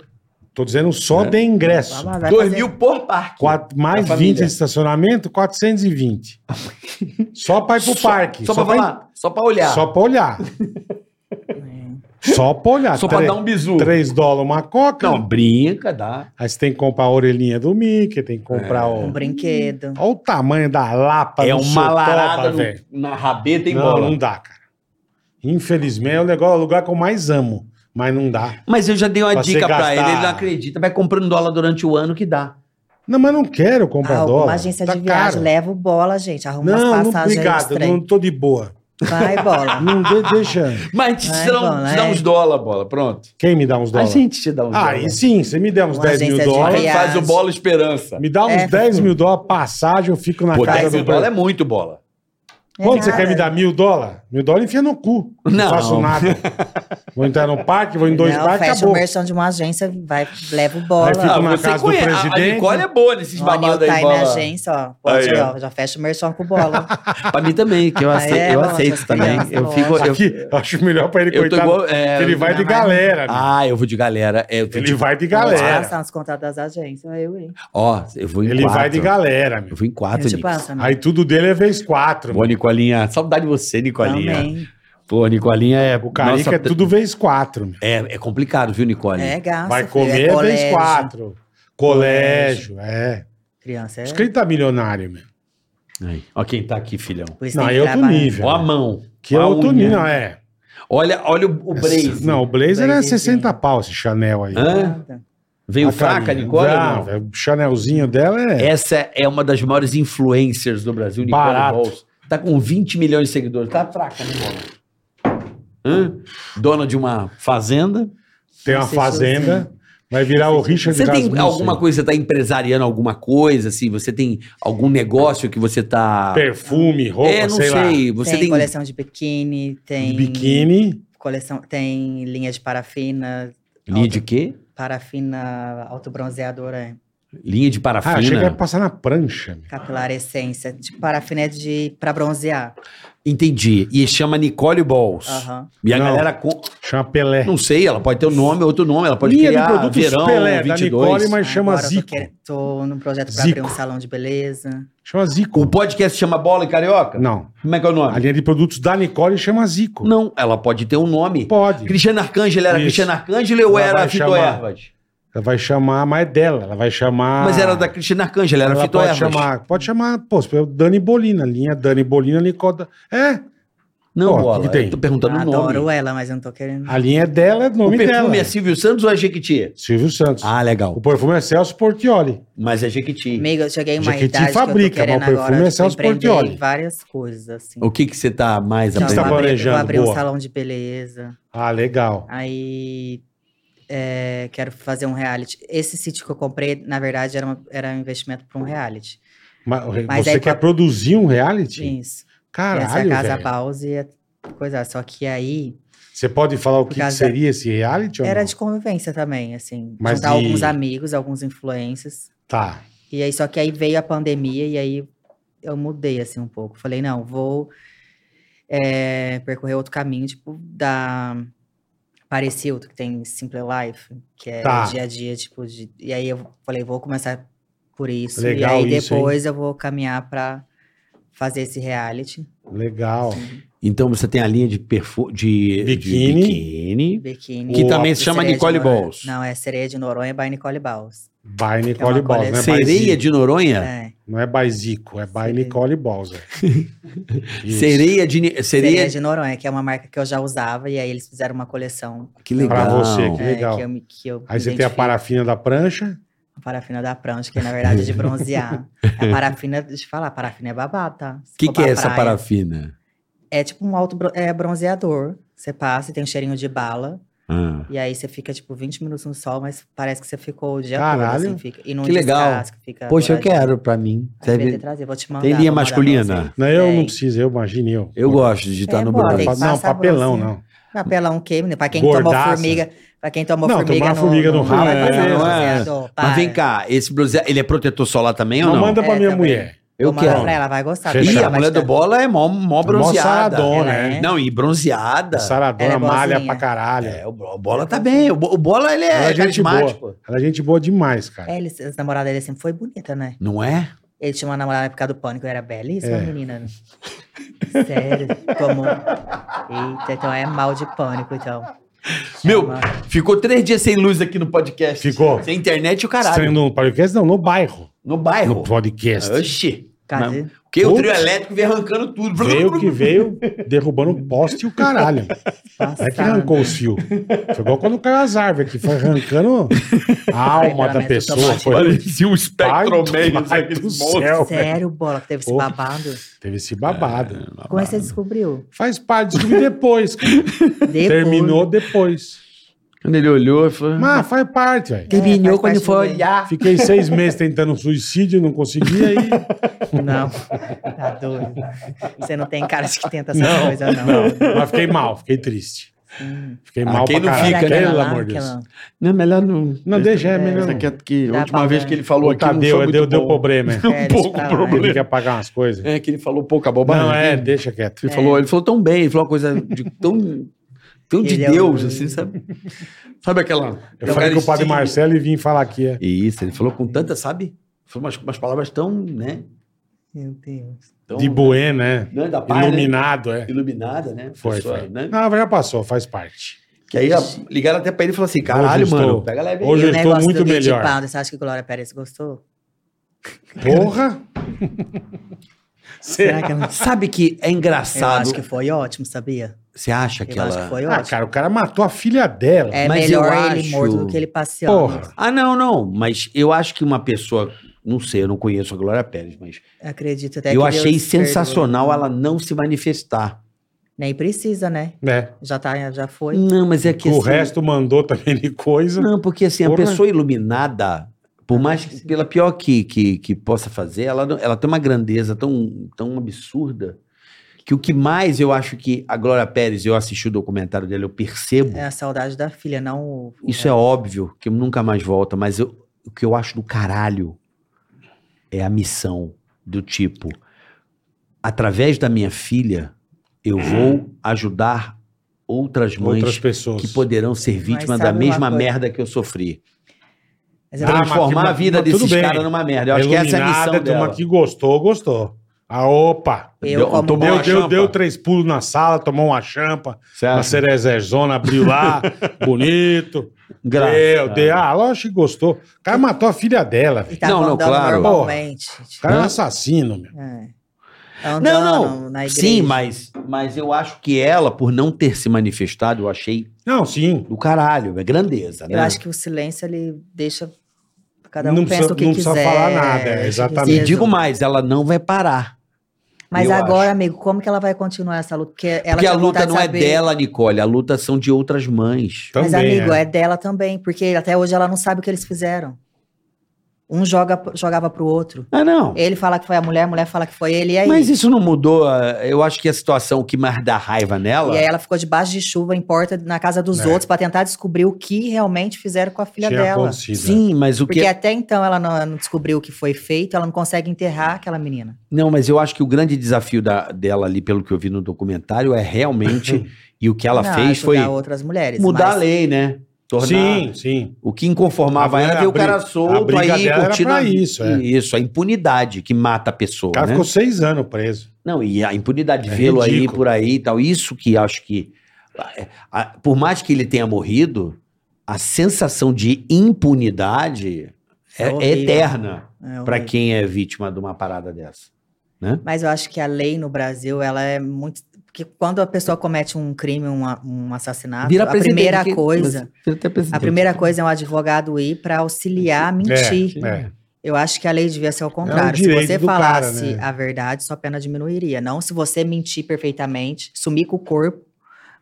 Speaker 3: Tô dizendo só de ingresso.
Speaker 5: Vai lá, vai
Speaker 4: dois
Speaker 5: fazer-
Speaker 4: mil por parque.
Speaker 3: Quatro- mais
Speaker 4: Da
Speaker 3: 20
Speaker 4: família.
Speaker 3: de estacionamento, 420. só pra ir pro
Speaker 4: Só-
Speaker 3: parque.
Speaker 4: Só, pra falar, só pra olhar.
Speaker 3: Só pra olhar.
Speaker 5: um-
Speaker 3: só pra olhar.
Speaker 4: Só pra dar um bizu.
Speaker 3: 3 dólares uma coca.
Speaker 4: Não, brinca, dá.
Speaker 3: Aí você tem que comprar a orelhinha do Mickey, tem que comprar
Speaker 5: Um
Speaker 3: o.
Speaker 5: brinquedo.
Speaker 3: Olha o tamanho da lapa
Speaker 4: é
Speaker 3: do
Speaker 4: uma
Speaker 3: Sotoba,
Speaker 4: larada no-
Speaker 3: um velho.
Speaker 4: na rabeta e
Speaker 3: Não,
Speaker 4: bola.
Speaker 3: não dá, cara. Infelizmente é o negócio, é o lugar que eu mais amo, mas não dá.
Speaker 4: Mas eu já dei uma
Speaker 3: Pra você
Speaker 4: dica pra
Speaker 3: gastar-
Speaker 4: ele, ele não acredita. Vai comprando dólar durante o ano que dá.
Speaker 3: Não, mas não quero
Speaker 5: Ah,
Speaker 3: comprar dólar.
Speaker 5: alguma agência
Speaker 3: tá
Speaker 5: de viagem,
Speaker 3: caro.
Speaker 5: leva o bola, gente. Arruma
Speaker 3: Não,
Speaker 5: umas
Speaker 3: não,
Speaker 5: passagens
Speaker 3: obrigado, eu
Speaker 5: trem.
Speaker 3: não tô de boa.
Speaker 5: Vai, bola.
Speaker 3: Não de- deixa.
Speaker 4: Mas te
Speaker 5: Vai,
Speaker 4: dão,
Speaker 5: bola,
Speaker 4: te dão
Speaker 5: é.
Speaker 4: uns dólar, bola, pronto.
Speaker 3: Quem me dá uns
Speaker 4: A
Speaker 3: dólares?
Speaker 4: gente te dá uns
Speaker 3: Ah, é
Speaker 4: dólar.
Speaker 3: e sim, você me der uns
Speaker 5: Uma
Speaker 3: 10 mil
Speaker 5: agência de
Speaker 4: A
Speaker 3: dólares.
Speaker 4: gente faz
Speaker 5: Viagem.
Speaker 4: o bola esperança.
Speaker 3: Me dá uns
Speaker 5: É.
Speaker 3: 10 mil dólares passagem, eu fico na
Speaker 4: Pô,
Speaker 3: casa
Speaker 4: 10
Speaker 3: do
Speaker 4: mil dólar é muito bola.
Speaker 3: Quanto você
Speaker 5: É nada.
Speaker 3: quer me dar? Mil dólares? Mil dólares enfia no cu. Não,
Speaker 4: Não.
Speaker 3: faço nada. vou entrar no parque, vou em dois
Speaker 5: não,
Speaker 3: parques,
Speaker 5: fecha
Speaker 3: acabou.
Speaker 5: o merchan de uma agência, vai, leva o bola.
Speaker 3: Aí fica um
Speaker 4: Ah,
Speaker 5: Ó,
Speaker 3: na casa do
Speaker 4: a- A
Speaker 3: presidente.
Speaker 4: Nicole é boa nesses
Speaker 5: o Anil
Speaker 4: babados
Speaker 5: tá
Speaker 4: aí, né,
Speaker 5: aí na
Speaker 4: bola.
Speaker 5: agência, ó. Pode,
Speaker 4: Aí, ó.
Speaker 5: ó. Já fecha o merchan com o bola.
Speaker 4: Pra mim também, que eu aceito,
Speaker 5: é,
Speaker 4: eu
Speaker 5: bola,
Speaker 4: aceito
Speaker 5: essas
Speaker 4: também.
Speaker 5: crianças,
Speaker 4: eu fico...
Speaker 5: lógico.
Speaker 4: Eu,
Speaker 3: Aqui, eu acho melhor pra ele,
Speaker 4: eu tô
Speaker 3: coitado.
Speaker 4: igual... é,
Speaker 3: ele
Speaker 4: eu-
Speaker 3: vai de
Speaker 5: Não, mas-
Speaker 3: galera. amigo.
Speaker 4: Ah, eu vou de galera. é, eu tô
Speaker 3: ele
Speaker 4: de-
Speaker 3: vai de
Speaker 5: Vou
Speaker 3: galera.
Speaker 5: passar nos contatos das agências, aí eu hein.
Speaker 4: Ó, eu vou em
Speaker 3: Ele
Speaker 4: quatro.
Speaker 3: vai de galera,
Speaker 4: Eu
Speaker 3: meu.
Speaker 4: vou
Speaker 5: Eu tipo,
Speaker 4: em
Speaker 5: né?
Speaker 4: quatro,
Speaker 5: te
Speaker 4: Nico.
Speaker 5: passo, amigo.
Speaker 3: Ah, Aí tudo dele é vez quatro.
Speaker 7: Boa, Nicolinha. Saudade de você, Nicolinha.
Speaker 5: Também. É
Speaker 7: Pô, Nicolinha é.
Speaker 3: O Carica
Speaker 7: nossa,
Speaker 3: é tudo vez quatro. meu.
Speaker 4: É, é complicado, viu, Nicole?
Speaker 5: É gasto.
Speaker 3: Vai
Speaker 5: filho,
Speaker 3: comer
Speaker 5: é
Speaker 3: é
Speaker 5: colégio.
Speaker 3: vez quatro. Colégio, é.
Speaker 5: Criança, é.
Speaker 3: Acho que ele tá milionário, meu.
Speaker 4: Aí. Ó quem tá aqui, filhão.
Speaker 5: Por isso
Speaker 3: Não,
Speaker 5: tem
Speaker 3: é outro
Speaker 5: trabalho.
Speaker 3: nível.
Speaker 4: Ó a mão.
Speaker 3: Que é
Speaker 4: Ó a
Speaker 3: outro
Speaker 4: unha.
Speaker 3: nível, não, é.
Speaker 4: Olha, olha o, o Blaze.
Speaker 3: Não, o Blazer é
Speaker 5: Blazerzinho.
Speaker 3: 60 pau esse Chanel aí.
Speaker 4: Hã?
Speaker 5: Nada.
Speaker 4: Veio
Speaker 3: A
Speaker 4: fraca,
Speaker 3: carinha.
Speaker 4: Nicole? ou
Speaker 3: Não,
Speaker 4: não?
Speaker 3: velho, o Chanelzinho dela é.
Speaker 4: Essa é uma das maiores influencers do Brasil, Nicole
Speaker 3: Barato.
Speaker 4: Barato. Tá com 20 milhões de seguidores. Tá fraca, né, Nicole? Hã? Dona de uma fazenda.
Speaker 3: Tem uma
Speaker 5: Esse
Speaker 3: fazenda, vai virar o Richard
Speaker 4: Você tem
Speaker 3: Rasmussen.
Speaker 4: alguma coisa, você tá empresariando alguma coisa, assim? Você tem algum negócio que você tá...
Speaker 3: Perfume, roupa,
Speaker 4: é, não
Speaker 3: sei,
Speaker 4: sei.
Speaker 3: lá.
Speaker 4: Você
Speaker 5: tem,
Speaker 4: tem...
Speaker 5: coleção de biquíni, tem.
Speaker 3: De biquíni.
Speaker 5: Coleção, tem linha de parafina,
Speaker 4: Linha de quê?
Speaker 5: parafina autobronzeadora,
Speaker 4: Linha de
Speaker 3: Ah, achei que
Speaker 4: parafina.
Speaker 3: ia passar na prancha. meu.
Speaker 5: capilar essência. De parafina é de pra bronzear.
Speaker 4: Entendi. E chama Nicole Balls.
Speaker 5: Aham.
Speaker 4: E a
Speaker 3: Não.
Speaker 4: galera... com-
Speaker 3: Chama Pelé.
Speaker 4: Não sei, ela pode ter um nome, outro nome. Ela pode
Speaker 3: Linha de
Speaker 4: criar
Speaker 3: produtos
Speaker 4: Verão
Speaker 3: Pelé, da
Speaker 4: 22.
Speaker 3: Nicole, mas chama
Speaker 5: Agora eu tô
Speaker 3: Zico.
Speaker 5: quer- Tô, num projeto pra
Speaker 3: Zico.
Speaker 5: abrir um salão de beleza.
Speaker 3: Chama Zico.
Speaker 4: O podcast chama Bola e Carioca?
Speaker 3: Não.
Speaker 4: Como é que é o nome?
Speaker 3: A linha de produtos da Nicole chama Zico.
Speaker 4: Não, ela pode ter um nome.
Speaker 3: Pode.
Speaker 4: Cristiano Arcângelo era
Speaker 3: Isso.
Speaker 4: Cristiano Arcângelo ou
Speaker 3: Ela
Speaker 4: era
Speaker 3: vai
Speaker 4: Fito
Speaker 3: chamar-
Speaker 4: Ervas?
Speaker 3: Ela vai chamar, mas é dela. Ela vai chamar.
Speaker 4: Mas era da Cristiano Arcângelo, era
Speaker 3: Ah. ela
Speaker 4: Fito
Speaker 3: pode
Speaker 4: Ervas.
Speaker 3: chamar. Pode chamar, pô, se for Dani Bolina. Linha Dani Bolina, Nicole. da- É.
Speaker 4: Não,
Speaker 3: Pô, o
Speaker 4: bola.
Speaker 3: que que tem?
Speaker 4: Eu tô perguntando o nome.
Speaker 5: Adoro ela, mas eu não tô querendo.
Speaker 3: A linha é dela, é o
Speaker 4: O
Speaker 3: nome
Speaker 4: perfume
Speaker 3: dela.
Speaker 4: é Silvio Santos ou é Jequiti?
Speaker 3: Silvio Santos.
Speaker 4: Ah, legal.
Speaker 3: O perfume é Celso Portioli.
Speaker 4: Mas é Jequiti.
Speaker 5: Amiga, eu cheguei em uma
Speaker 3: Jequiti
Speaker 5: idade
Speaker 3: fabrica,
Speaker 5: que eu tô querendo
Speaker 3: mas o perfume
Speaker 5: agora
Speaker 3: é
Speaker 5: tipo,
Speaker 3: Celso
Speaker 5: empreender
Speaker 3: Portiolli.
Speaker 5: várias coisas, assim.
Speaker 4: O que que você tá mais
Speaker 3: que você tá
Speaker 5: eu
Speaker 4: aprendendo?
Speaker 5: abri-
Speaker 3: planejando?
Speaker 5: Eu abri um
Speaker 3: Boa.
Speaker 5: salão de beleza.
Speaker 3: Ah, legal.
Speaker 5: Aí é, quero fazer um reality. Esse sítio que eu comprei, na verdade, era, uma- era um investimento para um reality.
Speaker 3: Mas,
Speaker 5: Mas
Speaker 3: você
Speaker 5: aí
Speaker 3: quer
Speaker 5: tá-
Speaker 3: produzir um reality?
Speaker 5: Isso. Essa é
Speaker 3: Caralho,
Speaker 5: a casa
Speaker 3: velho.
Speaker 5: Bause e a coisa. Só que aí
Speaker 3: Você pode falar o que,
Speaker 5: Por
Speaker 3: que
Speaker 5: causa
Speaker 3: seria esse reality? ou
Speaker 5: era
Speaker 3: não?
Speaker 5: de convivência também, assim.
Speaker 3: Mas
Speaker 5: juntar
Speaker 3: e-
Speaker 5: alguns amigos, alguns influencers.
Speaker 3: Tá.
Speaker 5: E aí, só que aí veio a pandemia e aí eu mudei assim um pouco. Falei, não, vou é, percorrer outro caminho, tipo, da Parecildo, que tem Simple Life, que é
Speaker 3: Tá.
Speaker 5: dia a dia, tipo, de- e aí eu falei, vou começar por isso.
Speaker 3: Legal
Speaker 5: e aí
Speaker 3: isso, hein?
Speaker 5: depois eu vou caminhar pra fazer esse reality.
Speaker 3: Legal.
Speaker 4: Então você tem a linha de perfume de de
Speaker 3: Biquíni.
Speaker 4: biquíni.
Speaker 5: Biquíni.
Speaker 4: Que
Speaker 3: Boa.
Speaker 4: também se
Speaker 5: e
Speaker 4: chama
Speaker 5: Sereia de
Speaker 4: Nicole
Speaker 5: Noronha.
Speaker 4: Balls.
Speaker 5: Não, é Sereia de Noronha by Nicole Balls.
Speaker 3: By Nicole
Speaker 5: É uma
Speaker 3: Balls, né?
Speaker 5: coleção.
Speaker 3: By
Speaker 4: Sereia
Speaker 3: Zico.
Speaker 4: de Noronha?
Speaker 5: É.
Speaker 3: Não é by Zico, é by
Speaker 5: Sereia.
Speaker 3: Nicole Balls. é. Isso.
Speaker 4: Sereia de Ni-
Speaker 5: Sereia
Speaker 4: sereia
Speaker 5: de Noronha, que é uma marca que eu já usava, e aí eles fizeram uma coleção
Speaker 4: que
Speaker 3: Pra
Speaker 4: legal.
Speaker 3: você, que
Speaker 5: é,
Speaker 3: legal.
Speaker 5: que eu me- que eu
Speaker 3: Aí
Speaker 5: me
Speaker 3: você tem a
Speaker 5: identifico.
Speaker 3: parafina da prancha.
Speaker 5: A parafina da prancha, que na verdade é de bronzear. a parafina, deixa eu falar, a parafina é babada, tá?
Speaker 4: O que, que é essa parafina?
Speaker 5: É tipo um alto bro- é bronzeador. Você passa e tem um cheirinho de bala.
Speaker 4: Ah,
Speaker 5: E aí você fica, tipo, 20 minutos no sol, mas parece que você ficou o dia
Speaker 3: Caralho.
Speaker 5: todo, assim, fica. E não
Speaker 4: Que legal.
Speaker 5: descasca, fica
Speaker 4: Poxa, eu
Speaker 5: douradinho.
Speaker 4: quero pra mim.
Speaker 5: Aí eu devia ter
Speaker 4: Deve-
Speaker 5: trazido, vou te mandar,
Speaker 4: Tem
Speaker 5: vou
Speaker 4: linha
Speaker 5: mandar pra
Speaker 4: masculina?
Speaker 5: você.
Speaker 3: Não, né? eu não
Speaker 5: Tem.
Speaker 3: preciso, eu imagine eu.
Speaker 4: Eu gosto de digitar
Speaker 5: É
Speaker 4: no
Speaker 5: bom,
Speaker 4: Brasil.
Speaker 5: tem que
Speaker 3: Pa- Não,
Speaker 5: passar a
Speaker 3: papelão
Speaker 5: bronzinha.
Speaker 3: não.
Speaker 5: Papelão queima, né? Pra quem tomou
Speaker 3: Gordaça.
Speaker 5: formiga, pra quem tomou
Speaker 3: Não,
Speaker 5: formiga
Speaker 3: tomar formiga no rabo,
Speaker 5: vai
Speaker 4: é,
Speaker 5: fazer
Speaker 4: não é.
Speaker 5: bronzeador, para.
Speaker 4: Mas vem cá, esse blusa, ele é protetor solar também ou
Speaker 3: Não
Speaker 4: não?
Speaker 3: manda pra
Speaker 5: É,
Speaker 3: minha
Speaker 5: também.
Speaker 3: mulher.
Speaker 4: Eu
Speaker 5: Vou mandar
Speaker 4: quero.
Speaker 5: pra ela, vai gostar.
Speaker 3: Fechado.
Speaker 5: porque
Speaker 4: Ih,
Speaker 5: ela
Speaker 4: a
Speaker 5: vai
Speaker 4: mulher
Speaker 5: te
Speaker 4: do
Speaker 5: dar-
Speaker 4: bola é mó, mó bronzeada.
Speaker 3: saradona,
Speaker 5: Ela
Speaker 3: né?
Speaker 5: é.
Speaker 4: Não, e bronzeada.
Speaker 3: Saradona,
Speaker 5: Ela é
Speaker 3: malha
Speaker 5: boazinha.
Speaker 3: pra caralho.
Speaker 4: É, o, Bo- o bola tá bem. O, Bo- o bola ele
Speaker 3: Ela
Speaker 4: é,
Speaker 3: é gente
Speaker 4: carismático.
Speaker 3: Ela é gente boa demais, cara.
Speaker 5: É, ele, a namorada dele sempre foi bonita, né?
Speaker 4: Não é?
Speaker 5: Ele tinha uma namorada na época do pânico, eu era belíssima
Speaker 3: É.
Speaker 5: menina. né? Sério, tomou. Eita, então é mal de pânico, então.
Speaker 4: Meu,
Speaker 5: Chama-
Speaker 4: ficou três dias sem luz aqui no podcast.
Speaker 3: Ficou.
Speaker 4: Sem internet e o caralho.
Speaker 3: Estando no podcast, não, no bairro.
Speaker 4: No bairro.
Speaker 3: No podcast.
Speaker 4: Oxi.
Speaker 5: Cadê?
Speaker 4: Porque o trio
Speaker 3: Putz.
Speaker 4: elétrico veio arrancando tudo.
Speaker 3: Veio que veio, derrubando o poste e o caralho. Não é que
Speaker 5: Passada.
Speaker 3: arrancou os fios. Foi igual quando caiu as árvores, que foi arrancando a alma
Speaker 5: Pelo
Speaker 3: da
Speaker 5: menos
Speaker 3: pessoa.
Speaker 5: tomate.
Speaker 3: Foi...
Speaker 4: um
Speaker 3: Pai do
Speaker 4: espectromeio.
Speaker 3: céu, velho.
Speaker 5: Sério, bola, que teve esse
Speaker 3: né? Porra. Tá
Speaker 5: babado.
Speaker 3: Teve esse babado.
Speaker 5: Como é que você descobriu?
Speaker 3: Faz parte, descobri depois. cara.
Speaker 5: Depois.
Speaker 3: Terminou depois.
Speaker 4: Quando ele olhou, ele falou... "Ah,
Speaker 3: Mas faz parte, velho.
Speaker 5: Terminou
Speaker 4: Terminou
Speaker 5: é, faz quando parte
Speaker 4: quando
Speaker 5: foi
Speaker 4: foi
Speaker 5: do
Speaker 4: olhar.
Speaker 3: Fiquei seis meses tentando suicídio, não consegui, aí
Speaker 5: Não, tá doido. Você não tem cara de que tenta essas
Speaker 3: Não,
Speaker 5: coisas, não.
Speaker 3: não. Mas fiquei mal, fiquei triste.
Speaker 5: Sim.
Speaker 3: Fiquei
Speaker 4: Ah,
Speaker 3: mal
Speaker 4: quem
Speaker 3: pra
Speaker 4: não
Speaker 3: caralho.
Speaker 4: fica, né?
Speaker 3: Pelo
Speaker 5: Aquela lá,
Speaker 3: amor de Deus.
Speaker 5: aquela-
Speaker 4: Não, melhor não...
Speaker 3: Não, deixa, é melhor.
Speaker 4: Essa
Speaker 3: não.
Speaker 4: aqui, que a
Speaker 5: Dá
Speaker 4: última
Speaker 5: pra
Speaker 4: vez
Speaker 5: ver.
Speaker 4: que ele falou
Speaker 3: O
Speaker 4: aqui não
Speaker 3: Tadeu
Speaker 4: foi
Speaker 3: tá, deu,
Speaker 4: muito
Speaker 3: deu
Speaker 4: bom.
Speaker 3: problema. hein?
Speaker 5: É,
Speaker 4: Um
Speaker 5: deixa
Speaker 4: pouco
Speaker 5: pra lá.
Speaker 3: Ele
Speaker 4: problema.
Speaker 3: quer pagar umas coisas.
Speaker 4: É que ele falou pouca bobagem.
Speaker 3: Não, é,
Speaker 4: Ele
Speaker 3: deixa quieto.
Speaker 4: falou, ele falou tão bem, ele falou uma coisa de- tão, tão de
Speaker 5: É. Ele é
Speaker 4: Deus,
Speaker 5: um-
Speaker 4: assim, sabe? Sabe aquela...
Speaker 3: Eu falei com o padre Marcelo e vim falar aqui. é.
Speaker 4: Isso, ele falou com tanta, sabe? Foi umas, umas palavras tão, né?
Speaker 5: Meu Deus.
Speaker 4: Tão,
Speaker 3: De Bué, né?
Speaker 4: né, da paz, né?
Speaker 3: Iluminado, é.
Speaker 4: Iluminada, né?
Speaker 3: Foi,
Speaker 4: Pessoa,
Speaker 3: foi.
Speaker 4: né?
Speaker 3: Não, já passou, faz parte.
Speaker 4: Que aí ó, ligaram até pra ele e falaram assim, caralho,
Speaker 3: Hoje eu
Speaker 4: mano,
Speaker 3: estou-
Speaker 4: pega leve aí.
Speaker 3: Hoje eu
Speaker 5: E o
Speaker 3: estou
Speaker 5: negócio
Speaker 3: muito
Speaker 5: do Guia de
Speaker 3: melhor.
Speaker 5: Pounder, você acha que Glória Pérez gostou?
Speaker 3: Porra!
Speaker 5: Será que ela...
Speaker 4: Sabe que é
Speaker 5: Eu
Speaker 4: engraçado.
Speaker 5: acho que foi ótimo, sabia?
Speaker 4: Você acha
Speaker 5: Eu
Speaker 4: que ela.
Speaker 5: acho que foi
Speaker 3: Ah,
Speaker 5: ótimo.
Speaker 3: cara, o cara matou a filha dela.
Speaker 5: É
Speaker 4: Mas
Speaker 5: melhor
Speaker 4: eu
Speaker 5: ele
Speaker 4: acho-
Speaker 5: morto do que ele passeando.
Speaker 3: Porra.
Speaker 4: Ah, não, não. Mas eu acho que uma pessoa. Não sei, eu não conheço a Glória Pérez, mas.
Speaker 5: Acredito até que
Speaker 4: eu
Speaker 5: né?
Speaker 4: achei
Speaker 5: Deus
Speaker 4: sensacional
Speaker 5: perdoe.
Speaker 4: ela não se manifestar.
Speaker 5: Nem precisa, né?
Speaker 3: né?
Speaker 5: Já, tá, já foi.
Speaker 4: Não, mas é que.
Speaker 3: O
Speaker 4: assim,
Speaker 3: resto mandou também de coisa.
Speaker 4: Não, porque assim, a
Speaker 3: Porra.
Speaker 4: pessoa iluminada, por mais que, pela pior que, que, que possa fazer, ela, não- ela tem uma grandeza tão, tão absurda que o que mais eu acho que a Glória Pérez, eu assisti o documentário dela, eu percebo.
Speaker 5: É a saudade da filha, não o...
Speaker 4: Isso é óbvio que nunca mais volta, mas eu- o que eu acho do caralho é a missão do tipo, através da minha filha, eu vou ajudar outras mães
Speaker 3: Outras pessoas.
Speaker 4: que poderão ser vítimas da
Speaker 5: sabe uma
Speaker 4: mesma
Speaker 5: coisa?
Speaker 4: merda que eu sofri.
Speaker 5: Mas
Speaker 3: Ah, mas-
Speaker 4: Transformar a
Speaker 3: mas-
Speaker 4: vida
Speaker 3: mas tudo
Speaker 4: desses
Speaker 3: bem.
Speaker 4: caras numa merda. Eu acho que essa é a
Speaker 3: Iluminada,
Speaker 4: missão
Speaker 3: turma
Speaker 4: dela.
Speaker 3: que gostou, gostou. Ah, opa!
Speaker 5: Eu,
Speaker 4: Deu-
Speaker 5: como mãe,
Speaker 4: tomou
Speaker 3: Deu,
Speaker 4: uma
Speaker 3: deu,
Speaker 4: champa. Ah.
Speaker 3: deu três pulos na sala, tomou uma champa,
Speaker 4: Você
Speaker 3: uma
Speaker 4: acha?
Speaker 3: cerezezona, abriu lá, bonito.
Speaker 4: Graça.
Speaker 3: Deu, deu. Ah, lógico que gostou. O cara matou a filha dela, velho.
Speaker 5: e tá
Speaker 4: Não, não,
Speaker 5: andando
Speaker 4: claro.
Speaker 5: normalmente. tipo,
Speaker 3: O cara é um
Speaker 4: Hã?
Speaker 3: assassino, meu.
Speaker 5: É.
Speaker 4: Não,
Speaker 9: andando
Speaker 4: não.
Speaker 9: na igreja.
Speaker 4: Sim, mas, mas eu acho que ela, por não ter se manifestado, eu achei
Speaker 3: Não, sim.
Speaker 4: do caralho. É grandeza, né?
Speaker 5: Eu acho que o silêncio ele deixa. Cada um
Speaker 3: Não
Speaker 5: pensa
Speaker 3: precisa-
Speaker 5: o que
Speaker 3: não
Speaker 5: quiser. né?
Speaker 3: precisa falar nada, é,
Speaker 5: deixa que
Speaker 3: exatamente.
Speaker 4: E
Speaker 5: seja.
Speaker 4: digo mais, ela não vai parar.
Speaker 5: Mas
Speaker 4: eu
Speaker 5: agora,
Speaker 4: acho.
Speaker 5: amigo, como que ela vai continuar essa luta? Porque ela tá
Speaker 4: Porque
Speaker 5: tinha
Speaker 4: a luta
Speaker 5: vontade de
Speaker 4: não é
Speaker 5: saber.
Speaker 4: dela, Nicole. A luta são de outras mães.
Speaker 3: Também,
Speaker 5: Mas, amigo,
Speaker 3: é.
Speaker 5: é. dela também, porque até hoje ela não sabe o que eles fizeram. Um joga, jogava pro outro.
Speaker 4: Ah, não.
Speaker 5: Ele fala que foi a mulher, a mulher fala que foi ele, e aí?
Speaker 4: Mas isso não mudou. ah, Eu acho que a situação que mais dá raiva nela.
Speaker 5: E é aí ela ficou debaixo de chuva em porta na casa dos
Speaker 3: É.
Speaker 5: outros pra tentar descobrir o que realmente fizeram com a filha
Speaker 3: Tinha
Speaker 5: dela.
Speaker 3: acontecido, né?
Speaker 4: Sim, mas o
Speaker 5: Porque
Speaker 4: que. é-
Speaker 5: até então ela não, não descobriu o que foi feito, ela não consegue enterrar aquela menina.
Speaker 4: Não, mas eu acho que o grande desafio da- dela ali, pelo que eu vi no documentário, é realmente. e o que ela
Speaker 5: Não,
Speaker 4: fez foi
Speaker 5: ajudar outras mulheres.
Speaker 4: mudar
Speaker 5: mas-
Speaker 4: a lei, né? Tornar.
Speaker 3: é. Sim, sim.
Speaker 4: O que inconformava
Speaker 3: A
Speaker 4: ela
Speaker 3: briga-
Speaker 4: era ver o
Speaker 3: a briga-
Speaker 4: cara
Speaker 3: a
Speaker 4: solto
Speaker 3: briga
Speaker 4: aí
Speaker 3: dela era
Speaker 4: curtindo
Speaker 3: pra
Speaker 4: a-
Speaker 3: isso, é.
Speaker 4: Isso, a impunidade que mata a pessoa.
Speaker 3: O cara
Speaker 4: né?
Speaker 3: ficou seis anos preso.
Speaker 4: Não, e a impunidade de
Speaker 3: É
Speaker 4: vê-lo aí
Speaker 3: ridículo.
Speaker 4: por aí e tal. Isso que acho que. a- a- por mais que ele tenha morrido, a sensação de impunidade é,
Speaker 5: É
Speaker 4: é
Speaker 5: horrível.
Speaker 4: eterna
Speaker 5: É,
Speaker 4: pra quem é vítima de uma parada dessa.
Speaker 5: Mas eu acho que a lei no Brasil, ela é muito. Porque quando a pessoa comete um crime, um, a- um assassinato, a
Speaker 4: presidente,
Speaker 5: primeira
Speaker 4: que-
Speaker 5: coisa.
Speaker 4: Vira até presidente.
Speaker 5: A primeira coisa é um advogado ir pra auxiliar a mentir.
Speaker 3: É. um
Speaker 5: Eu acho que a lei devia ser ao contrário. se
Speaker 3: direito
Speaker 5: você
Speaker 3: do cara,
Speaker 5: falasse
Speaker 3: né?
Speaker 5: a verdade, sua pena diminuiria. Não se você mentir perfeitamente, sumir com o corpo,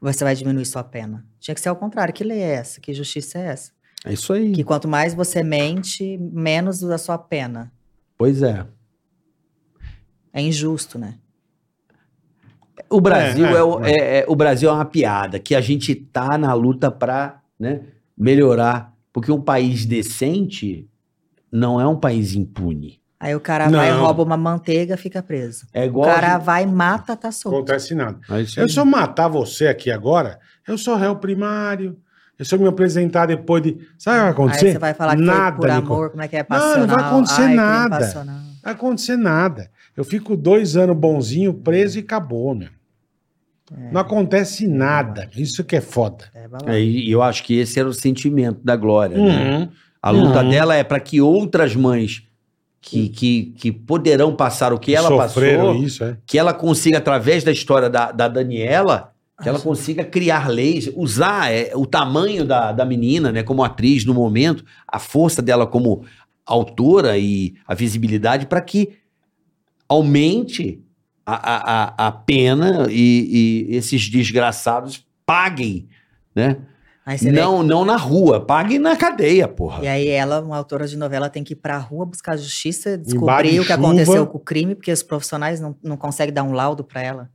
Speaker 5: você vai diminuir sua pena. Tinha que ser ao contrário. Que lei é essa? Que justiça é essa?
Speaker 4: É isso aí.
Speaker 5: Que quanto mais você mente, menos a sua pena.
Speaker 4: Pois é.
Speaker 5: É injusto, né?
Speaker 4: O Brasil é,
Speaker 3: É, é,
Speaker 4: o, é- é- o Brasil é uma piada que a gente tá na luta pra né, melhorar. Porque um país decente não é um país impune.
Speaker 5: Aí o cara vai,
Speaker 3: Não.
Speaker 5: rouba uma manteiga, fica preso.
Speaker 4: É
Speaker 5: O
Speaker 4: igual. a
Speaker 5: cara vai, mata, tá
Speaker 3: Não
Speaker 5: solto.
Speaker 3: acontece nada.
Speaker 4: gente- É isso
Speaker 3: Eu,
Speaker 4: aí.
Speaker 3: se eu matar você aqui agora, eu sou réu primário. Eu se eu me apresentar depois de. Sabe o que vai acontecer?
Speaker 5: Aí você vai falar que foi
Speaker 3: nada,
Speaker 5: por amor,
Speaker 3: Nicole.
Speaker 5: como é que é
Speaker 3: Não, não
Speaker 5: passional.
Speaker 3: vai acontecer
Speaker 5: Ai, crime
Speaker 3: nada.
Speaker 5: passional.
Speaker 3: Não vai acontecer nada. Eu fico dois anos bonzinho, preso e acabou, meu. Não acontece nada. Isso que é foda.
Speaker 5: É, vai lá.
Speaker 4: É, e eu acho que esse era o sentimento da Glória. né?
Speaker 3: Uhum.
Speaker 4: A luta
Speaker 3: Uhum.
Speaker 4: dela é para que outras mães que, que, que poderão passar o que ela
Speaker 3: Sofreram
Speaker 4: passou,
Speaker 3: isso, é.
Speaker 4: que ela consiga, através da história da, da Daniela, que ela consiga criar leis, usar é, o tamanho da, da menina né, como atriz no momento, a força dela como autora e a visibilidade para que aumente a, a, a, a pena e, e esses desgraçados paguem, né?
Speaker 5: Aí você vê
Speaker 4: Não, não na rua, pague na cadeia, porra.
Speaker 5: E aí ela, uma autora de novela, tem que ir pra rua buscar justiça,
Speaker 3: bar de
Speaker 5: descobrir o que
Speaker 3: chuva.
Speaker 5: aconteceu com o crime, porque os profissionais não, não conseguem dar um laudo pra ela.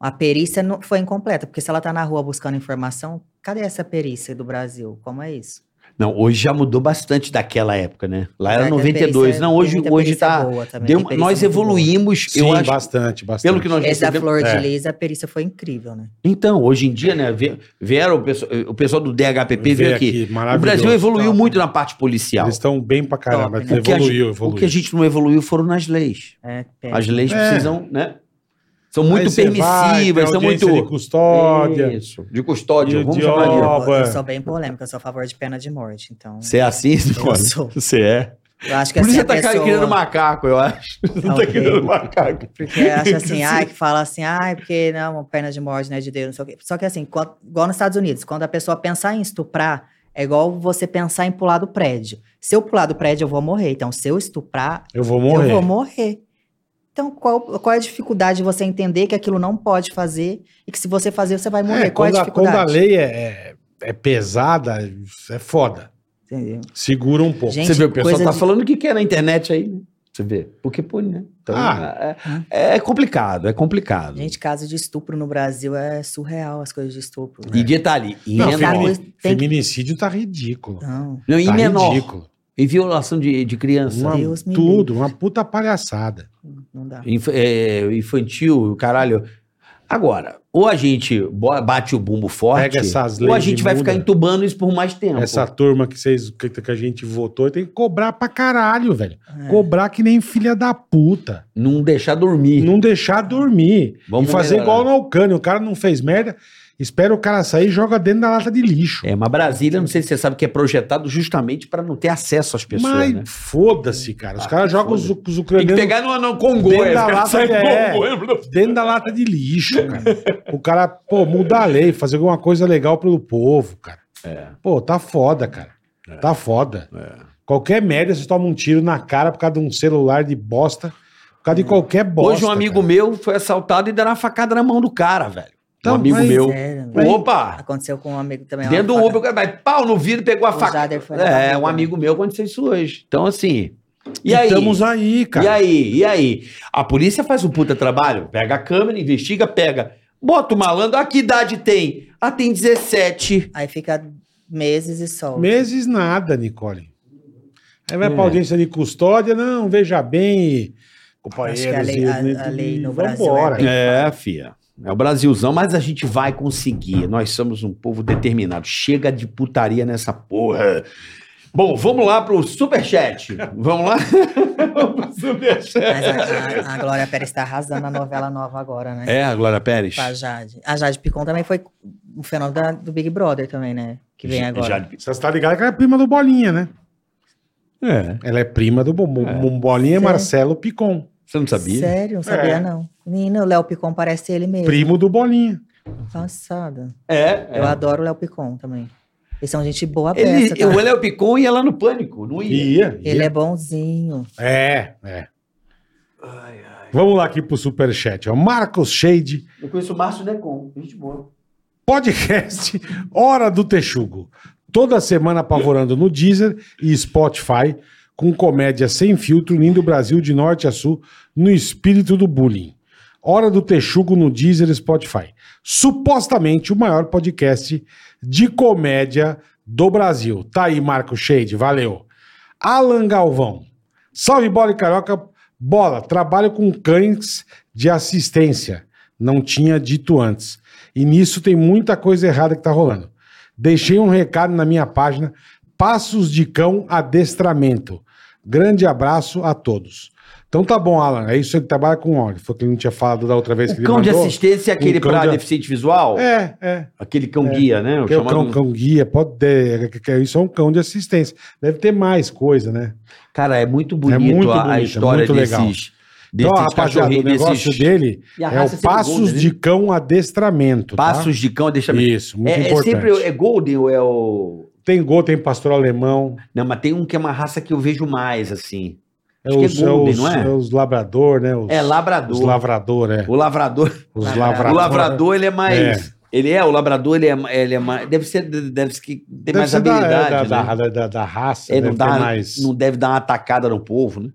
Speaker 5: A perícia não, foi incompleta, porque se ela tá na rua buscando informação, cadê essa perícia do Brasil? Como é isso?
Speaker 4: Não, hoje já mudou bastante daquela época, né? Lá era
Speaker 5: Será que a
Speaker 4: 92.
Speaker 5: perícia-
Speaker 4: Não,
Speaker 5: tem
Speaker 4: hoje,
Speaker 5: muita
Speaker 4: hoje
Speaker 5: perícia
Speaker 4: tá.
Speaker 5: boa também,
Speaker 4: deu-
Speaker 5: tem perícia
Speaker 4: nós
Speaker 5: muito boa.
Speaker 4: evoluímos,
Speaker 3: Sim,
Speaker 4: eu acho.
Speaker 3: bastante, bastante.
Speaker 4: Pelo que nós
Speaker 5: Esse da
Speaker 4: recebemos.
Speaker 5: Flor
Speaker 3: É.
Speaker 5: de Lis, a perícia foi incrível, né?
Speaker 4: Então, hoje em dia, né? vie- Vieram o pessoal, o pessoal do DHPP veio
Speaker 3: Vê
Speaker 4: aqui. O
Speaker 3: maravilhoso.
Speaker 4: Brasil é evoluiu
Speaker 5: Tá.
Speaker 3: Top.
Speaker 4: muito na parte policial.
Speaker 3: Eles estão bem pra caramba.
Speaker 5: Top, né?
Speaker 4: O que a
Speaker 3: Evoluiu,
Speaker 4: gente-
Speaker 3: evoluiu.
Speaker 4: O que é a gente não evoluiu foram nas leis.
Speaker 5: É,
Speaker 4: As leis
Speaker 3: É.
Speaker 4: precisam, né? São
Speaker 3: Aí
Speaker 4: muito
Speaker 3: você vai, tem
Speaker 4: permissivas, são muito.
Speaker 3: audiência De custódia.
Speaker 4: Isso, de custódia,
Speaker 3: E
Speaker 4: vamos
Speaker 3: de
Speaker 4: chamar de.
Speaker 3: ó-
Speaker 5: eu,
Speaker 3: Oba.
Speaker 5: eu sou bem polêmica, eu sou a favor de pena de morte, então...
Speaker 4: Você é assim,
Speaker 5: Eu sou.
Speaker 4: Você é.
Speaker 5: Eu acho que
Speaker 4: Por isso
Speaker 5: assim,
Speaker 4: você
Speaker 5: a
Speaker 4: tá
Speaker 5: pessoa...
Speaker 4: querendo macaco, eu acho. Você tá
Speaker 5: Ok.
Speaker 4: querendo macaco.
Speaker 5: Porque acha assim, ai, que fala assim, ai, porque não, pena de morte, né, de Deus, não sei o quê. Só que assim, quando- igual nos Estados Unidos, quando a pessoa pensar em estuprar, é igual você pensar em pular do prédio. Se eu pular do prédio, eu vou morrer. Então, se eu estuprar,
Speaker 3: Eu vou morrer.
Speaker 5: eu vou morrer. Então, qual, qual é a dificuldade de você entender que aquilo não pode fazer e que se você fazer, você vai morrer?
Speaker 3: É,
Speaker 5: qual é a
Speaker 3: quando, a, quando
Speaker 5: dificuldade?
Speaker 3: a lei é, é- é pesada, é foda.
Speaker 5: Entendeu?
Speaker 3: Segura um pouco.
Speaker 5: Gente,
Speaker 4: Você vê, o pessoal
Speaker 5: coisa
Speaker 4: tá
Speaker 5: de-
Speaker 4: falando o que quer na internet aí, né? Você vê. Porque pune, né? Então,
Speaker 3: Ah.
Speaker 4: é, é complicado, é complicado.
Speaker 5: Gente, caso de estupro no Brasil é surreal as coisas de estupro.
Speaker 8: né?
Speaker 4: e detalhe, e,
Speaker 3: é. Não,
Speaker 4: menor-
Speaker 3: femini-
Speaker 5: Tem que-
Speaker 3: Feminicídio tá ridículo.
Speaker 5: Não,
Speaker 4: não, e
Speaker 3: tá
Speaker 4: menor,
Speaker 3: ridículo.
Speaker 4: e violação de, de criança,
Speaker 3: Uma-
Speaker 5: Deus me
Speaker 3: tudo, uma puta palhaçada.
Speaker 5: não dá.
Speaker 4: Inf- é, infantil, caralho. Agora, Ou a gente bo- bate o bumbo forte,
Speaker 3: Pega essas
Speaker 4: ou a
Speaker 3: leis
Speaker 4: gente
Speaker 3: e
Speaker 4: vai
Speaker 3: muda.
Speaker 4: ficar entubando isso por mais tempo.
Speaker 3: Essa turma que, vocês, que, que a gente votou tem que cobrar pra caralho, velho.
Speaker 8: É.
Speaker 3: Cobrar que nem filha da puta.
Speaker 4: Não deixar dormir.
Speaker 3: E não deixar dormir.
Speaker 4: Vamos
Speaker 3: e fazer
Speaker 4: melhorar.
Speaker 3: igual no Alcântara. O cara não fez merda, espera o cara sair e joga dentro da lata de lixo.
Speaker 4: É, mas Brasília, não sei se você sabe que é projetado justamente para não ter acesso às pessoas,
Speaker 3: Mas
Speaker 4: né?
Speaker 3: foda-se, cara. Os
Speaker 4: Ah,
Speaker 3: caras jogam os,
Speaker 4: foda-se.
Speaker 3: os
Speaker 4: Tem que
Speaker 3: ucranianos
Speaker 4: pegar no, no Congoia.
Speaker 3: Dentro da
Speaker 4: cara,
Speaker 3: lata
Speaker 4: sai
Speaker 3: de- é.
Speaker 4: Congoia.
Speaker 3: dentro da lata de lixo, cara. o cara, pô, mudar a lei, fazer alguma coisa legal pelo povo, cara. Pô, tá foda, cara. Tá foda. Qualquer merda, você toma um tiro na cara por causa de um celular de bosta, por causa de qualquer bosta.
Speaker 4: Hoje um amigo meu foi assaltado e deram uma facada na mão do cara, velho.
Speaker 3: Então,
Speaker 4: um amigo
Speaker 3: mas-
Speaker 4: meu.
Speaker 8: Sério, né?
Speaker 4: Opa!
Speaker 8: Aconteceu com um amigo também. lá
Speaker 4: Dentro do
Speaker 8: fora.
Speaker 4: Uber, o cara vai pau no vidro, pegou a
Speaker 8: O
Speaker 4: facada.
Speaker 8: Jader foi lá
Speaker 4: É,
Speaker 8: pra
Speaker 4: um
Speaker 8: Uber.
Speaker 4: amigo meu aconteceu isso hoje. Então, assim. E, aí?
Speaker 3: Estamos aí, cara.
Speaker 4: E aí? E aí? A polícia faz um puta trabalho. Pega a câmera, investiga, pega. Bota o malandro. Ah, que idade tem? Ah, tem 17.
Speaker 8: Aí fica meses e sol.
Speaker 3: Meses nada, Nicole. Aí vai pra audiência de custódia, não, veja bem, companheiros.
Speaker 8: Acho que a lei- a-
Speaker 3: e-
Speaker 8: a lei no
Speaker 3: e
Speaker 8: Brasil
Speaker 3: vambora.
Speaker 4: É, fia. É o Brasilzão, mas a gente vai conseguir. Nós somos um povo determinado. Chega de putaria nessa porra. Bom, vamos lá pro superchat. Vamos lá? Vamos pro superchat.
Speaker 8: Mas a, a- a Glória Pérez tá arrasando a novela nova agora, né?
Speaker 4: É, Glória Pérez.
Speaker 8: Com a Jade. A Jade Picon também foi um fenômeno da- do Big Brother também, né? Que vem agora.
Speaker 4: Já-
Speaker 3: Você tá ligado que ela é prima do Bolinha, né?
Speaker 4: É.
Speaker 3: Ela é prima do Bo- Bo- Bolinha
Speaker 8: Sim.
Speaker 3: Marcelo Picon.
Speaker 4: Você não sabia?
Speaker 8: Sério? Não sabia,
Speaker 3: É.
Speaker 8: não. Menino, o Léo Picon parece ele mesmo.
Speaker 3: Primo do Bolinha.
Speaker 8: Passada.
Speaker 4: É.
Speaker 8: Eu
Speaker 4: é.
Speaker 8: adoro o Léo Picon também. Eles são gente boa
Speaker 4: Ele,
Speaker 8: peça, tá?
Speaker 4: o Léo Picon ia lá no pânico, não ia.
Speaker 3: Ia.
Speaker 8: Ele é bonzinho.
Speaker 3: É, é. Vamos lá aqui pro superchat. Ó. Marcos Shade,
Speaker 4: Eu conheço o Márcio Necon, gente boa.
Speaker 3: podcast Hora do Texugo. Toda semana apavorando no Deezer e Spotify, com comédia sem filtro, unindo o Brasil de norte a sul no espírito do bullying. Hora do Texugo no Deezer e Spotify. Supostamente o maior podcast de comédia do Brasil. Tá aí, Marco Shade, valeu. Alan Galvão. Salve, bola e caroca. Bola, trabalho com cães de assistência. Não tinha dito antes. E nisso tem muita coisa errada que tá rolando. Deixei um recado na minha página. Passos de cão adestramento. Grande abraço a todos. Então tá bom, Alan. É isso, ele trabalha com óleo. Foi o que ele não tinha falado da outra vez que
Speaker 4: O
Speaker 3: ele
Speaker 4: cão de
Speaker 3: mandou.
Speaker 4: assistência é aquele
Speaker 3: Um cão
Speaker 4: pra
Speaker 3: de-
Speaker 4: deficiente visual?
Speaker 3: É, é.
Speaker 4: Aquele cão guia, né? O
Speaker 3: Porque é o
Speaker 4: chamado-
Speaker 3: cão, cão guia pode ter, que- que- isso é um cão de assistência. Deve ter mais coisa, né?
Speaker 4: Cara, é muito bonito,
Speaker 3: muito
Speaker 4: a, a
Speaker 3: bonito, é
Speaker 4: história
Speaker 3: muito legal.
Speaker 4: desses,
Speaker 3: Então,
Speaker 4: desses
Speaker 3: rapaziada, o negócio dele
Speaker 4: E a
Speaker 3: é
Speaker 4: raça
Speaker 3: o
Speaker 4: é sempre
Speaker 3: passos
Speaker 4: gorda, né?
Speaker 3: de cão adestramento. tá?
Speaker 4: Passos de cão, deixa eu ver.
Speaker 3: Isso, muito
Speaker 4: é, é
Speaker 3: importante.
Speaker 4: sempre é Golden ou é o.
Speaker 3: Tem gol, tem pastor alemão.
Speaker 4: Não, mas tem um que é uma raça que eu vejo mais, assim.
Speaker 3: É
Speaker 4: Acho que é
Speaker 3: os, é
Speaker 4: Golden,
Speaker 3: os-
Speaker 4: não é?
Speaker 3: é os labrador, né? Os,
Speaker 4: É Ah, labrador.
Speaker 3: Os lavrador, é.
Speaker 4: O lavrador.
Speaker 3: Os
Speaker 4: O
Speaker 3: lavrador.
Speaker 4: lavrador, ele é mais. Ele é, o labrador, ele é, ele é mais. Deve ser. Deve ser que tem
Speaker 3: Deve
Speaker 4: mais
Speaker 3: ser da- é,
Speaker 4: habilidade.
Speaker 3: da, da,
Speaker 4: né?
Speaker 3: da, da- da raça,
Speaker 4: É,
Speaker 3: deve
Speaker 4: não,
Speaker 3: ter
Speaker 4: dá,
Speaker 3: mais...
Speaker 4: não deve dar uma atacada no povo, né?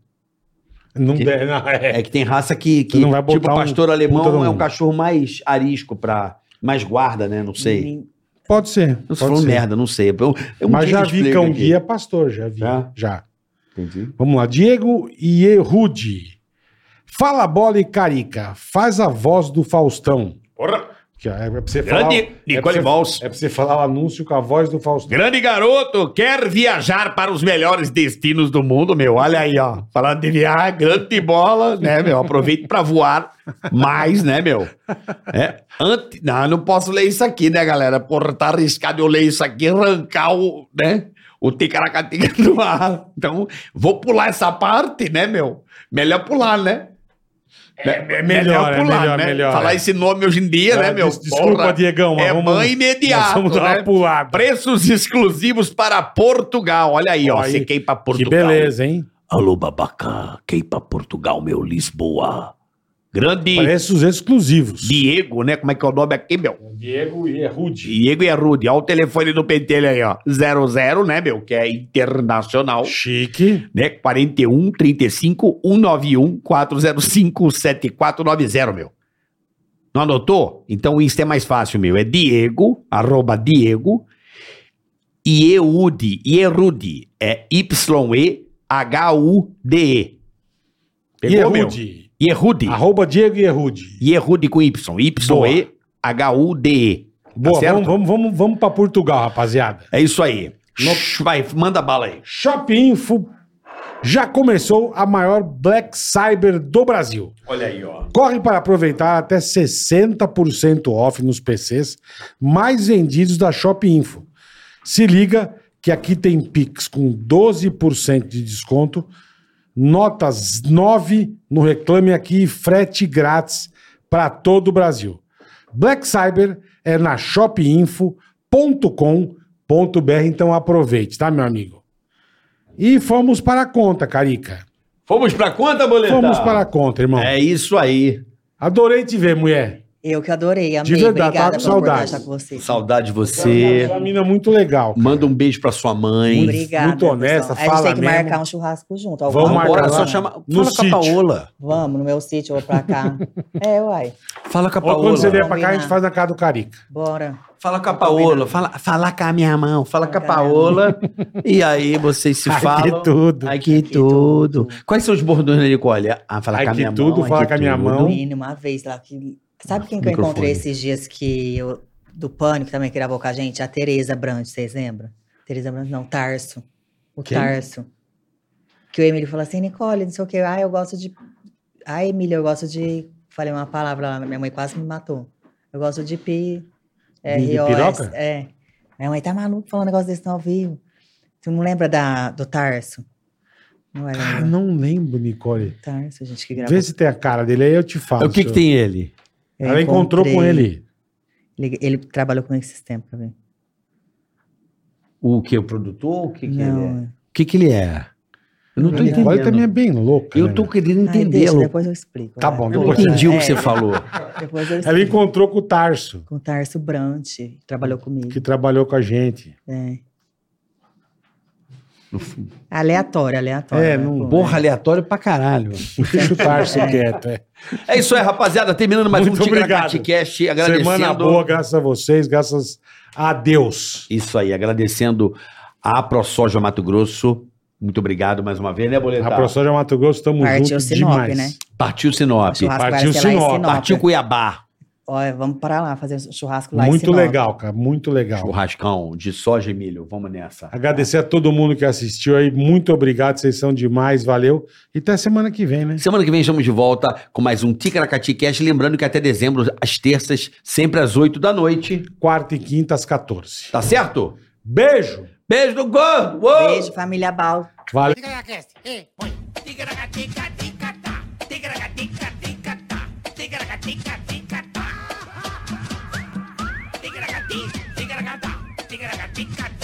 Speaker 3: Não
Speaker 4: que-
Speaker 3: deve, não, é.
Speaker 4: É que tem raça que, que
Speaker 3: não vai
Speaker 4: tipo,
Speaker 3: botar
Speaker 4: o
Speaker 3: um
Speaker 4: pastor
Speaker 3: puta
Speaker 4: alemão
Speaker 3: no
Speaker 4: é um
Speaker 3: mundo.
Speaker 4: cachorro mais arisco para mais guarda, né? Não sei.
Speaker 8: Menino-
Speaker 3: Pode ser.
Speaker 4: Não
Speaker 3: pode
Speaker 4: se falou
Speaker 3: ser.
Speaker 4: merda, não sei. Eu, eu um
Speaker 3: Mas
Speaker 4: dia
Speaker 3: já vi
Speaker 4: explico
Speaker 3: cão
Speaker 4: aqui.
Speaker 3: guia pastor, já vi.
Speaker 4: Já?
Speaker 3: já.
Speaker 4: Entendi.
Speaker 3: Vamos lá, Diego Ierudi. Fala bola e carica, faz a voz do Faustão.
Speaker 2: Porra,
Speaker 3: Que é pra você falar,
Speaker 2: grande
Speaker 3: é pra
Speaker 2: Nicole
Speaker 3: você-
Speaker 2: Valls.
Speaker 3: é pra você falar o anúncio com a voz do Faustão.
Speaker 2: Grande garoto, quer viajar para os melhores destinos do mundo, meu? Olha aí, ó. Falando de viajar, grande bola, né, meu? Aproveite para voar mais, né, meu? É, ante... Não, eu não posso ler isso aqui, né, galera? Porra, tá arriscado eu ler isso aqui, arrancar o, né? O ticaracatica do ar. Então, vou pular essa parte, né, meu? Melhor pular, né? É,
Speaker 3: melhor, é melhor, melhor,
Speaker 2: Falar
Speaker 3: é.
Speaker 2: esse nome hoje em dia, né, meu?
Speaker 3: Ah, Des- Desculpa,
Speaker 2: Porra,
Speaker 3: Diegão, mas
Speaker 2: É
Speaker 3: vamos-
Speaker 2: mãe imediato,
Speaker 3: nós Vamos dar
Speaker 2: né?
Speaker 3: uma pulada.
Speaker 2: Preços exclusivos para Portugal. Olha aí, ó.
Speaker 3: Olha aí.
Speaker 2: Você quer ir pra
Speaker 3: Que
Speaker 2: Portugal.
Speaker 3: beleza, hein?
Speaker 2: Alô, babaca. Quer ir pra Portugal, meu? Lisboa. Grande
Speaker 3: Preços exclusivos.
Speaker 2: Diego, né? Como é que é o nome aqui, meu?
Speaker 3: Diego Ierudi.
Speaker 2: Diego e a Rude. Olha o telefone do pentelho aí, ó. 00, né, meu? Que é internacional.
Speaker 3: Chique.
Speaker 2: Né? 41 35 191 405 7490, meu. Não anotou? Então o Insta é mais fácil, meu. É Diego, arroba Diego, Ieude, Ierude, é Y-E-H-U-D-E. Pegou, meu?
Speaker 3: Ierudi.
Speaker 2: Ierude,
Speaker 3: Arroba Diego Ierudi.
Speaker 2: Ierude com Y,
Speaker 3: Ah. Boa.
Speaker 2: Y-E,
Speaker 4: H-U-D-E. Tá
Speaker 3: Boa,
Speaker 4: certo?
Speaker 3: vamos, vamos, vamos, vamos pra Portugal, rapaziada.
Speaker 4: É isso aí. Shhh, Vai, manda bala aí.
Speaker 3: Shopinfo já começou a maior Black Cyber do Brasil.
Speaker 4: Olha aí, ó.
Speaker 3: Corre para aproveitar até 60% off nos PCs mais vendidos da Shop Info. Se liga que aqui tem Pix com 12% de desconto, notas 9 no Reclame Aqui e frete grátis para todo o Brasil. Black Cyber é na shopinfo.com.br, então aproveite, tá, meu amigo? E fomos para a conta, Carica.
Speaker 4: Fomos pra conta, boletar?
Speaker 3: Fomos para a conta, irmão.
Speaker 4: É isso aí.
Speaker 3: Adorei te ver, mulher.
Speaker 5: Eu que adorei, amei.
Speaker 3: De verdade, tava
Speaker 5: Obrigada
Speaker 3: com
Speaker 5: pela
Speaker 3: saudade.
Speaker 5: oportunidade de estar com você.
Speaker 4: Saudade de você.
Speaker 3: Uma mina é muito legal. cara.
Speaker 4: Manda um beijo pra sua mãe.
Speaker 5: Obrigada.
Speaker 3: muito honesta,
Speaker 5: pessoal. Aí A
Speaker 3: fala
Speaker 5: gente tem que
Speaker 3: mesmo.
Speaker 5: marcar um churrasco junto.
Speaker 3: Vamos
Speaker 5: alguma
Speaker 3: marcar
Speaker 5: coisa.
Speaker 4: Bora,
Speaker 3: lá.
Speaker 4: só chama.
Speaker 3: No
Speaker 4: Fala com a
Speaker 3: sítio.
Speaker 4: Paola.
Speaker 5: Vamos, no meu sítio ou pra cá. é, uai.
Speaker 4: Fala com a
Speaker 3: Ó, quando
Speaker 4: Paola.
Speaker 3: você vier pra
Speaker 5: Vamos
Speaker 3: cá, a gente
Speaker 5: combinar.
Speaker 3: faz na casa do Carica.
Speaker 5: Bora.
Speaker 4: Fala com a Paola. Fala, fala com a minha mão. Fala com a
Speaker 5: Caramba.
Speaker 4: Paola. E aí vocês se
Speaker 3: Ai, que
Speaker 4: falam.
Speaker 3: tudo.
Speaker 4: Ai, que tudo. Quais são os bordões da Nicole? Ah, fala
Speaker 3: Ai,
Speaker 4: com a
Speaker 3: que
Speaker 4: minha
Speaker 3: tudo,
Speaker 4: mão.
Speaker 3: fala
Speaker 4: ai, que
Speaker 3: com a minha
Speaker 4: tudo.
Speaker 3: mão.
Speaker 5: Menino, uma vez lá. Que...
Speaker 3: Ah,
Speaker 5: Sabe quem que eu
Speaker 4: Microfone.
Speaker 5: encontrei esses dias que eu... do Pânico também que gravou com a gente? A Tereza Brandt, vocês lembram? Tereza Brandt, não, Tarso. O
Speaker 4: Quem?
Speaker 5: Tarso. Que o Emílio falou assim, Nicole, não sei o quê. Ah, eu gosto de... Ah, Emílio, eu gosto de... Falei uma palavra lá, minha mãe quase me matou. Eu gosto de pi... É,
Speaker 3: De- de
Speaker 5: ROS,
Speaker 3: piroca?
Speaker 5: É. Minha mãe tá maluca falando um negócio desse não ao vivo. Tu não lembra da, do Tarso? Não era
Speaker 3: Cara,
Speaker 5: o
Speaker 3: não lembro, Nicole.
Speaker 5: Tarso, gente, que gravou.
Speaker 3: Vê se tem a cara dele aí, eu te falo.
Speaker 4: É O que, que
Speaker 3: seu-
Speaker 4: tem ele?
Speaker 5: Eu
Speaker 3: Ela encontrou com
Speaker 5: encontrei-
Speaker 3: ele.
Speaker 5: Ele, ele trabalhou comigo esses tempos, tá quer ver?
Speaker 4: O que? O produtor? O que, que ele é?
Speaker 5: Não,
Speaker 4: O que, que ele é? Eu não tô
Speaker 3: A Nicole
Speaker 4: entendendo.
Speaker 3: também é bem louca.
Speaker 4: Eu
Speaker 3: né,
Speaker 4: tô
Speaker 3: meu?
Speaker 4: querendo
Speaker 5: Ai, deixa,
Speaker 4: entendê-lo.
Speaker 5: depois eu explico.
Speaker 3: Tá
Speaker 5: vai.
Speaker 3: bom,
Speaker 4: Eu não
Speaker 3: depois eu-
Speaker 4: entendi o que
Speaker 5: É,
Speaker 4: você falou.
Speaker 5: Depois eu
Speaker 3: Ela
Speaker 5: explico.
Speaker 3: encontrou com o Tarso,
Speaker 5: Com o Tarso Brant, que trabalhou comigo.
Speaker 3: que trabalhou com a gente.
Speaker 5: É. Aleatório, aleatório.
Speaker 3: É,
Speaker 5: né,
Speaker 3: não-
Speaker 5: pô?
Speaker 10: Porra, aleatório pra caralho.
Speaker 3: Deixa o Tarso quieto. É.
Speaker 4: É isso aí, rapaziada. Terminando mais
Speaker 3: Muito
Speaker 4: um
Speaker 3: obrigado.
Speaker 4: Cast, agradecendo.
Speaker 3: Semana boa, graças a vocês, graças a Deus.
Speaker 4: Isso aí, agradecendo a ProSoja Mato Grosso. Muito obrigado mais uma vez, né, Boletar?
Speaker 3: A professora Mato Grosso, tamo
Speaker 5: Partiu
Speaker 3: junto
Speaker 5: Sinop,
Speaker 3: demais.
Speaker 5: né?
Speaker 4: Partiu Sinop.
Speaker 5: Churrasco vai
Speaker 3: Partiu
Speaker 5: ser lá em
Speaker 3: Sinop,
Speaker 5: Sinop.
Speaker 4: Partiu Cuiabá.
Speaker 5: Olha, vamos para lá fazer um churrasco lá em
Speaker 3: Muito
Speaker 5: Sinop.
Speaker 3: legal, cara, muito legal.
Speaker 4: Churrascão de soja e milho. Vamos nessa.
Speaker 3: Agradecer a todo mundo que assistiu aí. Muito obrigado, vocês são demais, valeu. E até semana que vem, né?
Speaker 4: Semana que vem estamos de volta com mais um Ticaracati Cast. Lembrando que até dezembro, às terças, sempre às 8 da noite.
Speaker 3: Quarta e quinta às 14.
Speaker 4: Tá certo?
Speaker 3: Beijo!
Speaker 4: Beijo do gordo! Uou!
Speaker 5: Beijo, família Bal.
Speaker 3: Valeu!
Speaker 11: Tigra-tica-tica-tica.